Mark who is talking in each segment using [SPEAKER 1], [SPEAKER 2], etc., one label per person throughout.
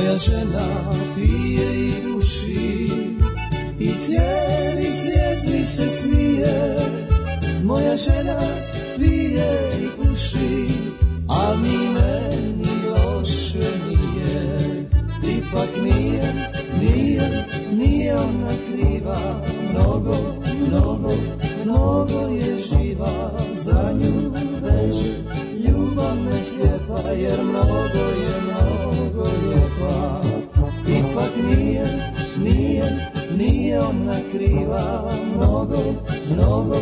[SPEAKER 1] žena pije i buši I cijeli svijet mi se smije Moja žena pije i puši A ni meni loše nije Ipak nije, nije, nije ona kriva Mnogo, mnogo, mnogo je živa Za nju veže ljubav me slijepa Jer mnogo je, mnogo lijepa Ipak nije, nije, nije ona kriva Mnogo, mnogo,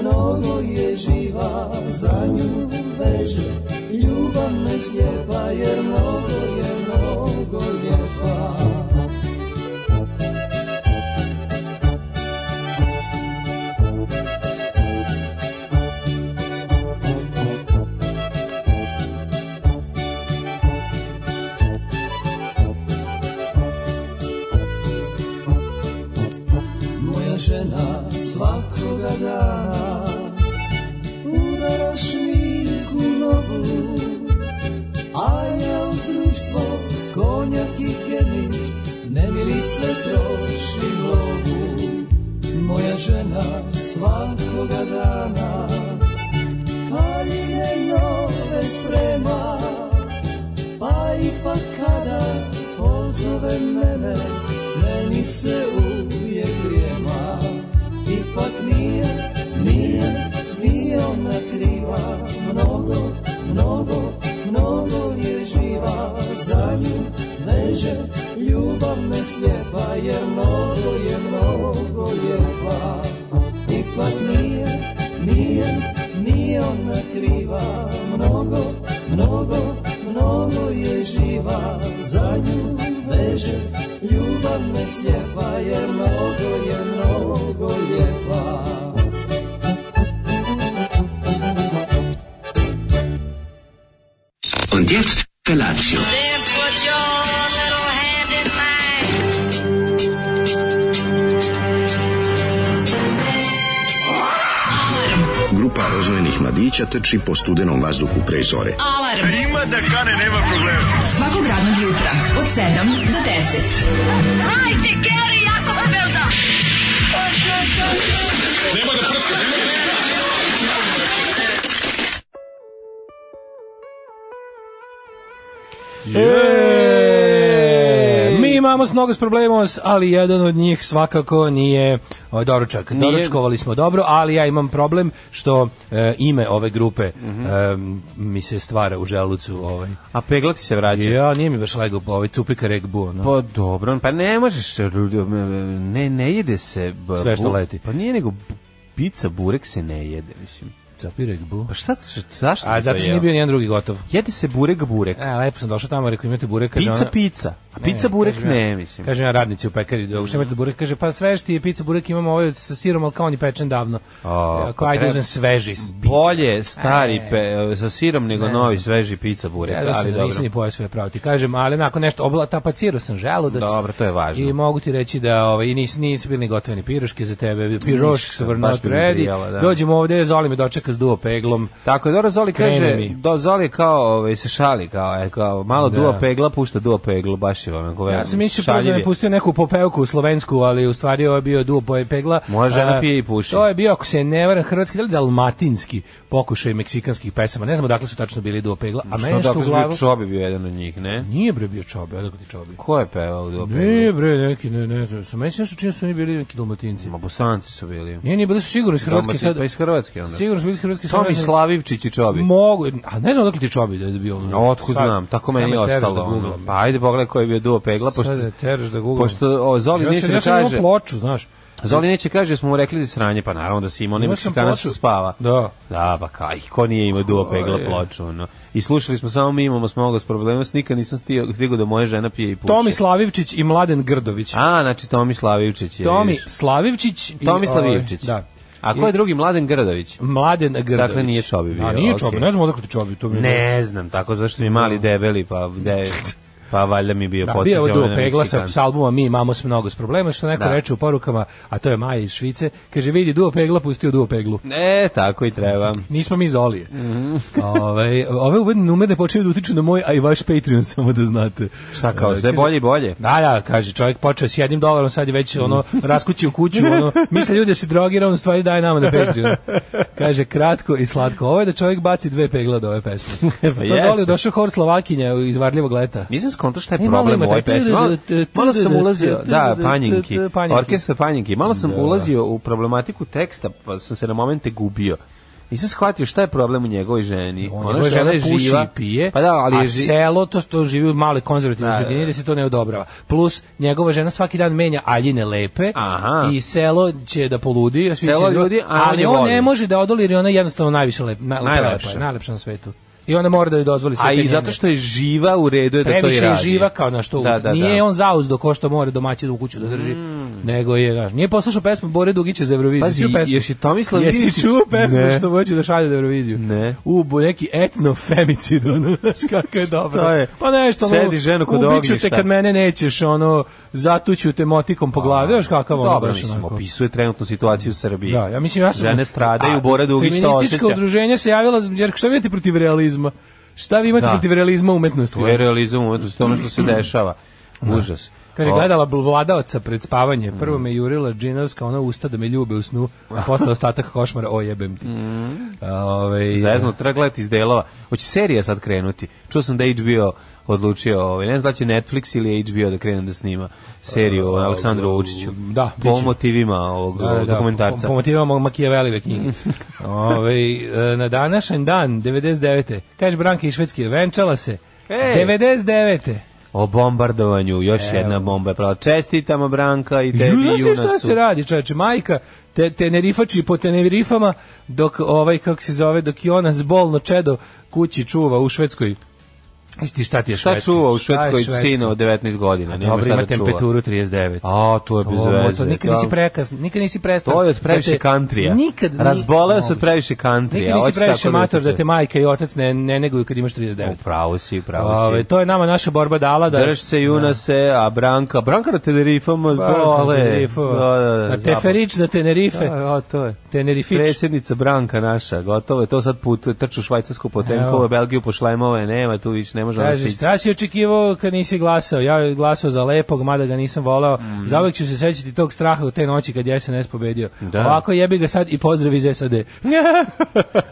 [SPEAKER 1] mnogo je živa Za nju veže ljubav me slijepa Jer mnogo je, mnogo lijepa Moja žena svakoga dana Udaraš mi u nogu A ja u društvo konjak i kemić Nemilice troši lovu Moja žena svakoga dana pa Paljine nove sprema Pa ipak kada pozove mene Meni se uvijek vrijema Ipak nije, nije, nije ona kriva Mnogo, mnogo, mnogo je živa pa Za nju veže ljubav me slijepa Jer mnogo je, mnogo lijepa Ipak nije, nije, nije ona kriva Mnogo, mnogo, mnogo je živa Za nju veže ljubav me slijepa Jer mnogo je, mnogo pa. lijepa
[SPEAKER 2] Und jetzt Felatio.
[SPEAKER 3] Then put your little hand in mine.
[SPEAKER 4] Grupa rozvojenih mladića trči po studenom vazduhu pre zore.
[SPEAKER 5] Alarm. Ima da kane, nema problema. Svakog radnog jutra, od 7 do 10.
[SPEAKER 6] Hajde, Geri Jakobelda!
[SPEAKER 7] E, Mi imamo s mnogo s problemom, ali jedan od njih svakako nije ovaj doručak. Doručkovali smo dobro, ali ja imam problem što e, ime ove grupe
[SPEAKER 8] Mhm.
[SPEAKER 7] e, mi se stvara u želucu. Ovaj.
[SPEAKER 8] A pegla ti se vraća.
[SPEAKER 7] Ja, nije mi baš lego po ovaj cupika regbu. No.
[SPEAKER 8] Pa dobro, pa ne možeš, ne, ne jede se. b-
[SPEAKER 7] Sve što
[SPEAKER 8] bu-
[SPEAKER 7] leti.
[SPEAKER 8] Pa nije nego b- pica, burek se ne jede, mislim.
[SPEAKER 7] Capi regbu.
[SPEAKER 8] Pa šta, š- zašto?
[SPEAKER 7] A
[SPEAKER 8] bi to
[SPEAKER 7] zato što
[SPEAKER 8] jeo?
[SPEAKER 7] nije bio nijedan drugi gotov.
[SPEAKER 8] Jede se burek, burek.
[SPEAKER 7] E, lepo sam došao tamo, rekao imate bureka.
[SPEAKER 8] Pica, pica. A pica, burek
[SPEAKER 7] kažem ja-
[SPEAKER 8] ne, mislim.
[SPEAKER 7] Kažem ja radnici u pekari, da uopšte imate burek, kaže, pa svež ti je pica burek, imamo ovaj sa sirom, ali kao on je pečen davno.
[SPEAKER 8] A,
[SPEAKER 7] Ako
[SPEAKER 8] pa
[SPEAKER 7] ajde
[SPEAKER 8] treba-
[SPEAKER 7] uzmem sveži s pica.
[SPEAKER 8] Bolje stari
[SPEAKER 7] E.
[SPEAKER 8] pe, sa sirom nego
[SPEAKER 7] Ne
[SPEAKER 8] novi
[SPEAKER 7] znam.
[SPEAKER 8] sveži pica burek,
[SPEAKER 7] Ja da
[SPEAKER 8] ali
[SPEAKER 7] sam,
[SPEAKER 8] dobro.
[SPEAKER 7] nisam ni pojao sve pravo ti kažem, ali nakon nešto obla, tapacirao sam želudac.
[SPEAKER 8] Dobro, to je važno.
[SPEAKER 7] I mogu ti reći da ovaj, nisu, nisu bili ni gotovi ni piroške za tebe, piroške su were
[SPEAKER 8] baš
[SPEAKER 7] not
[SPEAKER 8] bi mi grijala,
[SPEAKER 7] ready.
[SPEAKER 8] da.
[SPEAKER 7] Dođemo ovde, Zoli me dočeka s duo peglom.
[SPEAKER 8] Tako je, dobro, Zoli
[SPEAKER 7] Kreni
[SPEAKER 8] kaže,
[SPEAKER 7] mi.
[SPEAKER 8] do, Zoli je kao, ovaj, se šali, kao, e, kao malo
[SPEAKER 7] Da.
[SPEAKER 8] duo pegla, pušta duo peglu, baš je onako,
[SPEAKER 7] Ja sam mislio prvo
[SPEAKER 8] šaljiv
[SPEAKER 7] da
[SPEAKER 8] je.
[SPEAKER 7] me pustio neku popevku slovensku, ali u stvari ovo je bio duo boje pegla.
[SPEAKER 8] Moja žena
[SPEAKER 7] A,
[SPEAKER 8] pije i puši.
[SPEAKER 7] To je bio, ako se ne varam, hrvatski, da li dalmatinski pokušaj meksikanskih pesama. Ne znamo dakle su tačno bili duo pegla. A Pa meni
[SPEAKER 8] Što
[SPEAKER 7] što
[SPEAKER 8] dakle
[SPEAKER 7] u
[SPEAKER 8] dobro glavu...
[SPEAKER 7] glavu...
[SPEAKER 8] bio Čobi bio jedan od njih, ne?
[SPEAKER 7] Nije bre bio čobe, odakle ti čobe.
[SPEAKER 8] Ko je pevao duo peglu?
[SPEAKER 7] Ne bre, neki, ne, ne znam, su meni se nešto čini da su oni bili neki dalmatinci.
[SPEAKER 8] Ma Bosanci su bili.
[SPEAKER 7] Nije, nije, bili su sigurno iz Hrvatske
[SPEAKER 8] Dalmati-
[SPEAKER 7] sad.
[SPEAKER 8] Pa iz Hrvatske onda.
[SPEAKER 7] Sigurno su bili iz Hrvatske sad,
[SPEAKER 8] Tomi
[SPEAKER 7] ne znam-
[SPEAKER 8] Slavivčić i Čobi.
[SPEAKER 7] Mogu, a ne znam odakle ti čobi da je bio ono.
[SPEAKER 8] Otkud
[SPEAKER 7] Sad-
[SPEAKER 8] znam, tako
[SPEAKER 7] sad
[SPEAKER 8] meni je
[SPEAKER 7] me teraš da
[SPEAKER 8] ostalo. ono.
[SPEAKER 7] googlam.
[SPEAKER 8] pa ajde pogledaj ko je bio duo pegla, pošto,
[SPEAKER 7] Sad me teraš da googlam.
[SPEAKER 8] pošto o, Zoli
[SPEAKER 7] Ja sam-
[SPEAKER 8] neće da
[SPEAKER 7] ja sam imao
[SPEAKER 8] kaže.
[SPEAKER 7] ploču, znaš.
[SPEAKER 8] Zoli neće kaže da smo mu rekli da sranje, pa naravno da si imao, ne
[SPEAKER 7] Imao sam
[SPEAKER 8] Meksikanac što
[SPEAKER 7] ploču.
[SPEAKER 8] spava.
[SPEAKER 7] Da.
[SPEAKER 8] Da, pa kaj, ko nije imao duo pegla
[SPEAKER 7] je?
[SPEAKER 8] ploču, ono. I slušali smo samo mi imamo smoga s problema, s nikad nisam stio- stigao da moja žena pije i puše.
[SPEAKER 7] Tomi Slavivčić i Mladen Grdović.
[SPEAKER 8] A, znači Tomi Slavivčić je.
[SPEAKER 7] Tomi
[SPEAKER 8] vidiš.
[SPEAKER 7] Slavivčić i ovaj,
[SPEAKER 8] Tomi Slavivčić.
[SPEAKER 7] Da.
[SPEAKER 8] A ko je drugi Mladen Grdović?
[SPEAKER 7] Mladen Grdović.
[SPEAKER 8] Dakle, nije Čobi bio,
[SPEAKER 7] A nije
[SPEAKER 8] okej.
[SPEAKER 7] čobi, ne znam odakle ti čobi, to mi je-
[SPEAKER 8] Ne znam, tako zašto mi je mali debeli, pa gde je- Pa valjda mi je bio
[SPEAKER 7] Da, bio je
[SPEAKER 8] podsjećao
[SPEAKER 7] ovo
[SPEAKER 8] na
[SPEAKER 7] duo Pegla sa,
[SPEAKER 8] Meksikanca.
[SPEAKER 7] sa albuma Mi imamo s mnogo s problema, što neko
[SPEAKER 8] Da.
[SPEAKER 7] reče u porukama, a to je Maja iz Švice, kaže vidi duo Pegla, pustio duo Peglu.
[SPEAKER 8] E, tako i treba.
[SPEAKER 7] Nismo mi iz Olije. ove, ove uvedne numere počinju da utiču na moj, a i vaš Patreon, samo da znate.
[SPEAKER 8] Šta kao,
[SPEAKER 7] E,
[SPEAKER 8] sve
[SPEAKER 7] kaže-
[SPEAKER 8] bolje i bolje.
[SPEAKER 7] Da, da, kaže, čovjek počeo s jednim dolarom, sad je već ono, raskućio kuću, ono, misle ljudi da se drogira, on u stvari daje nama na Patreon. Kaže, kratko i slatko, ovo je da čovjek baci dve pegle od ove pesme.
[SPEAKER 8] Pa
[SPEAKER 7] pa
[SPEAKER 8] jeste.
[SPEAKER 7] Zoli, došao hor Slovakinja iz Varljivog leta.
[SPEAKER 8] Nisam skonto šta
[SPEAKER 7] E,
[SPEAKER 8] je
[SPEAKER 7] malo
[SPEAKER 8] problem u
[SPEAKER 7] ima
[SPEAKER 8] ovoj
[SPEAKER 7] taj-
[SPEAKER 8] pesmi. Malo, malo sam ulazio, da, panjinki,
[SPEAKER 7] Panjinki.
[SPEAKER 8] orkestar panjinki. Malo sam ulazio u problematiku teksta, pa sam se na momente gubio. Nisam shvatio šta je problem u njegovoj ženi.
[SPEAKER 7] On
[SPEAKER 8] Ona
[SPEAKER 7] je
[SPEAKER 8] što
[SPEAKER 7] žena
[SPEAKER 8] je
[SPEAKER 7] Pa puši
[SPEAKER 8] živa,
[SPEAKER 7] i pije,
[SPEAKER 8] pa da, ali
[SPEAKER 7] a
[SPEAKER 8] je ži-
[SPEAKER 7] selo to, to živi u male konzervativne
[SPEAKER 8] Da, da,
[SPEAKER 7] sredini
[SPEAKER 8] da.
[SPEAKER 7] da se to ne odobrava. Plus, njegova žena svaki dan menja aljine lepe
[SPEAKER 8] Aha.
[SPEAKER 7] i selo će da poludi. a svi
[SPEAKER 8] Selo
[SPEAKER 7] će da-
[SPEAKER 8] ljudi, a
[SPEAKER 7] ali
[SPEAKER 8] on je
[SPEAKER 7] on
[SPEAKER 8] voli.
[SPEAKER 7] ne može da odoli jer je ona jednostavno najviše lep, na,
[SPEAKER 8] Najlepša.
[SPEAKER 7] najlepša. je, najlepša na svetu. I ona mora da joj dozvoli sve
[SPEAKER 8] A
[SPEAKER 7] te
[SPEAKER 8] i
[SPEAKER 7] njene-
[SPEAKER 8] zato što je živa u redu je da to i
[SPEAKER 7] previše je
[SPEAKER 8] radi.
[SPEAKER 7] živa kao na što
[SPEAKER 8] Da, da,
[SPEAKER 7] nije
[SPEAKER 8] da.
[SPEAKER 7] on zauzdo ko što mora domaći u kuću da drži nego je znaš nije poslušao pesmu Bore Dugića za Euroviziju
[SPEAKER 8] Pazi,
[SPEAKER 7] Čuo pesmu?
[SPEAKER 8] jesi Tomislav
[SPEAKER 7] jesi
[SPEAKER 8] Iličić?
[SPEAKER 7] čuo pesmu
[SPEAKER 8] Ne.
[SPEAKER 7] što hoće da šalje na Euroviziju
[SPEAKER 8] Ne.
[SPEAKER 7] u bo- neki etno femicid ono znaš kako je dobro
[SPEAKER 8] To je.
[SPEAKER 7] pa nešto ono,
[SPEAKER 8] Sedi ženu kod
[SPEAKER 7] ubiću
[SPEAKER 8] ognjišta.
[SPEAKER 7] te kad mene nećeš ono zatuću te motikom po glavi znaš kakav ono
[SPEAKER 8] Pa, Dobro,
[SPEAKER 7] baš
[SPEAKER 8] mislim,
[SPEAKER 7] onako.
[SPEAKER 8] opisuje trenutnu situaciju u Srbiji.
[SPEAKER 7] Da, ja mislim ja sam
[SPEAKER 8] Žene stradaju,
[SPEAKER 7] A,
[SPEAKER 8] Bora Dugić to
[SPEAKER 7] Feminističko
[SPEAKER 8] osjeća.
[SPEAKER 7] udruženje se javilo jer šta vi imate protiv realizma? Šta vi imate
[SPEAKER 8] Da.
[SPEAKER 7] protiv realizma u umetnosti?
[SPEAKER 8] To je realizam umetnosti, to je ono što se dešava. Užas.
[SPEAKER 7] Kaže,
[SPEAKER 8] O,
[SPEAKER 7] gledala bl- vladaoca pred spavanje,
[SPEAKER 8] Mm.
[SPEAKER 7] prvo me jurila džinovska, ona usta da me ljube u snu, a posle ostatak košmara, o jebem ti.
[SPEAKER 8] Mm.
[SPEAKER 7] Ove,
[SPEAKER 8] Zezno, treba gledati iz delova. Hoće serija sad krenuti. Čuo sam da je HBO odlučio, ovaj, ne znam da li će Netflix ili HBO da krenu da snima seriju o
[SPEAKER 7] E,
[SPEAKER 8] Aleksandru
[SPEAKER 7] e,
[SPEAKER 8] Vučiću.
[SPEAKER 7] da,
[SPEAKER 8] po
[SPEAKER 7] biće.
[SPEAKER 8] motivima ovog ovog dokumentarca.
[SPEAKER 7] Po, po motivama Makijevelive knjige. Ove, e, na današnji dan, 99. Kaže, Branka iz Švedske, venčala se.
[SPEAKER 8] Ej!
[SPEAKER 7] 99.
[SPEAKER 8] O bombardovanju, još jedna bomba je prava. Čestitamo Branka i tebi
[SPEAKER 7] Ju,
[SPEAKER 8] i
[SPEAKER 7] znaš šta
[SPEAKER 8] Junasu.
[SPEAKER 7] se radi, čoveče, majka te, tenerifači po tenerifama, dok ovaj, kako se zove, dok i ona zbolno čedo kući čuva u Švedskoj. Isti šta ti je
[SPEAKER 8] Šta
[SPEAKER 7] Švedska?
[SPEAKER 8] čuva u
[SPEAKER 7] Šta je
[SPEAKER 8] Švedskoj
[SPEAKER 7] Švedska?
[SPEAKER 8] sina od 19 godina? Nema
[SPEAKER 7] Dobro,
[SPEAKER 8] šta
[SPEAKER 7] ima
[SPEAKER 8] da čuva.
[SPEAKER 7] temperaturu 39.
[SPEAKER 8] A, to je bez
[SPEAKER 7] O,
[SPEAKER 8] veze.
[SPEAKER 7] to nikad
[SPEAKER 8] Da.
[SPEAKER 7] nisi prekas, nikad nisi prestao.
[SPEAKER 8] To je od previše
[SPEAKER 7] da te-
[SPEAKER 8] kantrija.
[SPEAKER 7] Nikad ni-
[SPEAKER 8] Razboleo se od
[SPEAKER 7] moguće.
[SPEAKER 8] previše kantrija,
[SPEAKER 7] Nikad
[SPEAKER 8] hoće
[SPEAKER 7] nisi previše
[SPEAKER 8] tako da
[SPEAKER 7] mator da
[SPEAKER 8] utiče.
[SPEAKER 7] te majka i otac ne, ne neguju kad imaš 39.
[SPEAKER 8] Upravo si, upravo
[SPEAKER 7] Ove,
[SPEAKER 8] pa si.
[SPEAKER 7] to je nama naša borba dala da
[SPEAKER 8] Drž se Junase, a Branka, Branka na Tenerifama,
[SPEAKER 7] Bar-
[SPEAKER 8] dole.
[SPEAKER 7] Pa,
[SPEAKER 8] Da, da, Pa, da,
[SPEAKER 7] na Teferić, na Tenerife,
[SPEAKER 8] zabava. Da, da, to je.
[SPEAKER 7] Tenerifić.
[SPEAKER 8] Predsjednica Branka naša, gotovo je to sad put, trču Švajcarsku po tenkove,
[SPEAKER 7] Evo.
[SPEAKER 8] Belgiju po šlajmove, nema tu više, ne može ona
[SPEAKER 7] Kaže,
[SPEAKER 8] stići.
[SPEAKER 7] šta si očekivao kad nisi glasao? Ja bih glasao za lepog, mada ga nisam volao.
[SPEAKER 8] Mhm.
[SPEAKER 7] Mm. Zavek ću se sećati tog straha u te noći kad je SNS pobedio.
[SPEAKER 8] Da.
[SPEAKER 7] Ovako jebi ga sad i pozdrav iz SAD.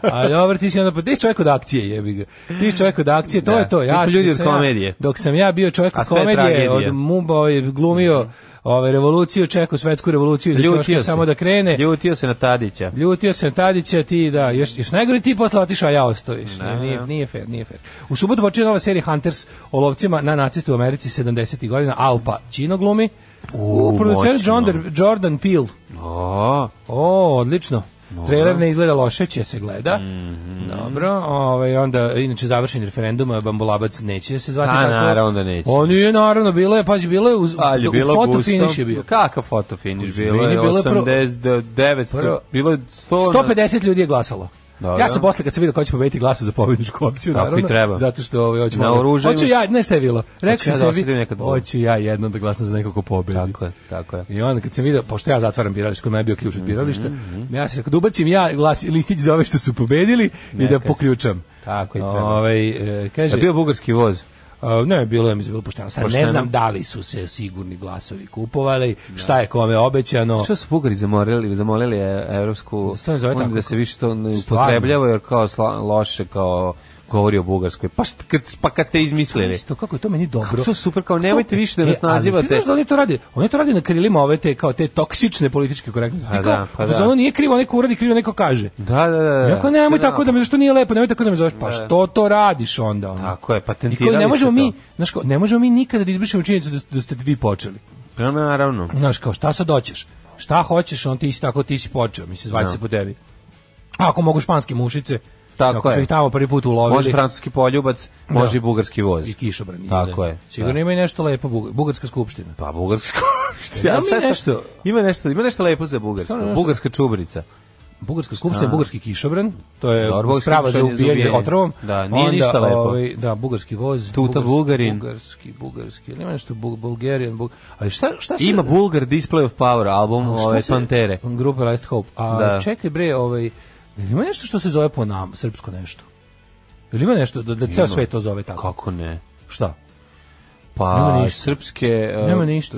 [SPEAKER 7] A dobro, ti si onda, pa ti si čovjek od akcije jebi ga. Ti si čovjek od akcije, to
[SPEAKER 8] Da.
[SPEAKER 7] je to.
[SPEAKER 8] Mi
[SPEAKER 7] Ja,
[SPEAKER 8] smo
[SPEAKER 7] sam-
[SPEAKER 8] ljudi
[SPEAKER 7] dok
[SPEAKER 8] od
[SPEAKER 7] sam ja-
[SPEAKER 8] komedije.
[SPEAKER 7] dok sam ja bio čovjek
[SPEAKER 8] A
[SPEAKER 7] od
[SPEAKER 8] sve je
[SPEAKER 7] komedije,
[SPEAKER 8] tragedija.
[SPEAKER 7] od Mumba ovaj, glumio ovaj, revoluciju, čekao svetsku revoluciju, za
[SPEAKER 8] Ljutio se.
[SPEAKER 7] ćoške samo da krene.
[SPEAKER 8] Ljutio se na Tadića.
[SPEAKER 7] Ljutio sam Tadića, ti da, još, još najgore ti posle otišao, a ja ostojiš.
[SPEAKER 8] Da.
[SPEAKER 7] Nije, nije fair, nije fair. U subotu počinje nova serija Hunters o lovcima na nacistu u Americi 70. godina, Alpa Čino glumi.
[SPEAKER 8] U,
[SPEAKER 7] producent
[SPEAKER 8] moćno.
[SPEAKER 7] John Der- Jordan Peele.
[SPEAKER 8] O,
[SPEAKER 7] O, odlično. Trailer ne izgleda loše, će se gleda.
[SPEAKER 8] Mhm.
[SPEAKER 7] Dobro, ovaj, onda, inače, završen referendum, a Bambolabac neće se zvati
[SPEAKER 8] A,
[SPEAKER 7] tako.
[SPEAKER 8] Pa, naravno da neće.
[SPEAKER 7] On je, naravno, bilo je, pazi, bilo je, uz,
[SPEAKER 8] Pa, ali je bilo
[SPEAKER 7] foto
[SPEAKER 8] gusto.
[SPEAKER 7] finish je bio.
[SPEAKER 8] Kakav foto finish?
[SPEAKER 7] Izvini,
[SPEAKER 8] Bilo je
[SPEAKER 7] bilo je prvo-
[SPEAKER 8] 80, 900,
[SPEAKER 7] Prvo-
[SPEAKER 8] bilo je 100...
[SPEAKER 7] 150 ljudi je glasalo.
[SPEAKER 8] Ono- Dobro.
[SPEAKER 7] Ja sam posle kad sam vidio ko će pobediti glasu za pobedničku opciju,
[SPEAKER 8] Tako i
[SPEAKER 7] naravno,
[SPEAKER 8] treba.
[SPEAKER 7] zato što ovaj hoću.
[SPEAKER 8] Na
[SPEAKER 7] malo-
[SPEAKER 8] oružaju-
[SPEAKER 7] Hoću ja, ne šta je bilo. Rekao
[SPEAKER 8] Hoću ja
[SPEAKER 7] sam
[SPEAKER 8] da osetim
[SPEAKER 7] sebi,
[SPEAKER 8] nekad bol.
[SPEAKER 7] hoću ja jedno da glasam za nekog ko pobedi.
[SPEAKER 8] Tako je, tako je. Mhm,
[SPEAKER 7] I onda kad sam vidio, pošto ja zatvaram biralište, kod mene je bio ključ od birališta, ja sam rekao da ubacim ja glas listić za ove što su pobedili i da
[SPEAKER 8] Neka se-
[SPEAKER 7] poključam.
[SPEAKER 8] Tako i treba.
[SPEAKER 7] Ovaj e, kaže,
[SPEAKER 8] Je bio bugarski voz.
[SPEAKER 7] a, ne, bilo je mi bilo pošteno. Sad
[SPEAKER 8] Pošteno.
[SPEAKER 7] ne znam da li su se sigurni glasovi kupovali, šta je kome obećano.
[SPEAKER 8] Što su Bugari zamolili, zamolili je Evropsku
[SPEAKER 7] To ne zove
[SPEAKER 8] uniju
[SPEAKER 7] tako.
[SPEAKER 8] da se više to ne
[SPEAKER 7] Stvarno.
[SPEAKER 8] upotrebljava jer kao sla, loše kao govori o Bugarskoj. Pa, št, kad, pa kad te izmislili.
[SPEAKER 7] Isto kako je to meni dobro.
[SPEAKER 8] Kako to super, kao
[SPEAKER 7] Kako to-
[SPEAKER 8] nemojte više da
[SPEAKER 7] E,
[SPEAKER 8] nas
[SPEAKER 7] ali
[SPEAKER 8] nazivate.
[SPEAKER 7] Ti znaš da oni to radi? Oni to radi na krilima ove te kao te toksične političke korektnosti.
[SPEAKER 8] Pa
[SPEAKER 7] Ti kao,
[SPEAKER 8] da, pa da.
[SPEAKER 7] za ono nije krivo neko uradi, krivo neko kaže.
[SPEAKER 8] Da, da, da. da.
[SPEAKER 7] Jako nemoj tako da me zašto nije lepo, nemoj tako da me zoveš. Pa što to radiš onda? Ono?
[SPEAKER 8] Tako je,
[SPEAKER 7] I kao,
[SPEAKER 8] patentirali
[SPEAKER 7] ne možemo
[SPEAKER 8] se to.
[SPEAKER 7] mi, znaš kao, ne možemo mi nikada da izbrišemo činjenicu da, da ste vi počeli.
[SPEAKER 8] Pa naravno.
[SPEAKER 7] Znaš kao, šta sad hoćeš? Šta hoćeš, on ti si tako, ti si počeo, mislim, zvaće
[SPEAKER 8] Da.
[SPEAKER 7] se po tebi. A ako mogu španske mušice,
[SPEAKER 8] Tako
[SPEAKER 7] ako
[SPEAKER 8] je.
[SPEAKER 7] su ih tamo prvi put ulovili.
[SPEAKER 8] Može francuski poljubac, može i bugarski voz.
[SPEAKER 7] I kišobran.
[SPEAKER 8] Tako je.
[SPEAKER 7] Sigurno
[SPEAKER 8] Da.
[SPEAKER 7] ima i nešto lepo, Buga- Bugarska skupština.
[SPEAKER 8] Pa bugarsko.
[SPEAKER 7] Ima mi
[SPEAKER 8] sad to-
[SPEAKER 7] nešto.
[SPEAKER 8] Ima nešto, ima nešto lepo za bugarsko.
[SPEAKER 7] Stvarno nešto.
[SPEAKER 8] Bugarska čubrica.
[SPEAKER 7] Bugarska skupština, bugarski kišobran, to je
[SPEAKER 8] Dobro, bugarski
[SPEAKER 7] sprava za
[SPEAKER 8] kišobran je za
[SPEAKER 7] ubijanje
[SPEAKER 8] ubijanje.
[SPEAKER 7] otrovom.
[SPEAKER 8] Da, nije ništa lepo.
[SPEAKER 7] Ovaj, da, bugarski voz.
[SPEAKER 8] Tuta
[SPEAKER 7] bugarski-
[SPEAKER 8] Bugarin.
[SPEAKER 7] Bugarski, bugarski, ili ima nešto bul, Bulgarian, bul, ali šta, šta se...
[SPEAKER 8] Ima Bulgar Display of Power album
[SPEAKER 7] šta
[SPEAKER 8] ove
[SPEAKER 7] se-
[SPEAKER 8] Pantere.
[SPEAKER 7] Grupa Last Hope. A
[SPEAKER 8] Da.
[SPEAKER 7] čekaj bre, ovaj, jel ima nešto što se zove po nam, srpsko nešto? Ili ima nešto da, da ceo svet to zove tako?
[SPEAKER 8] Kako ne?
[SPEAKER 7] Šta? Nema
[SPEAKER 8] Pa
[SPEAKER 7] ništa.
[SPEAKER 8] srpske e,
[SPEAKER 7] Nema ništa.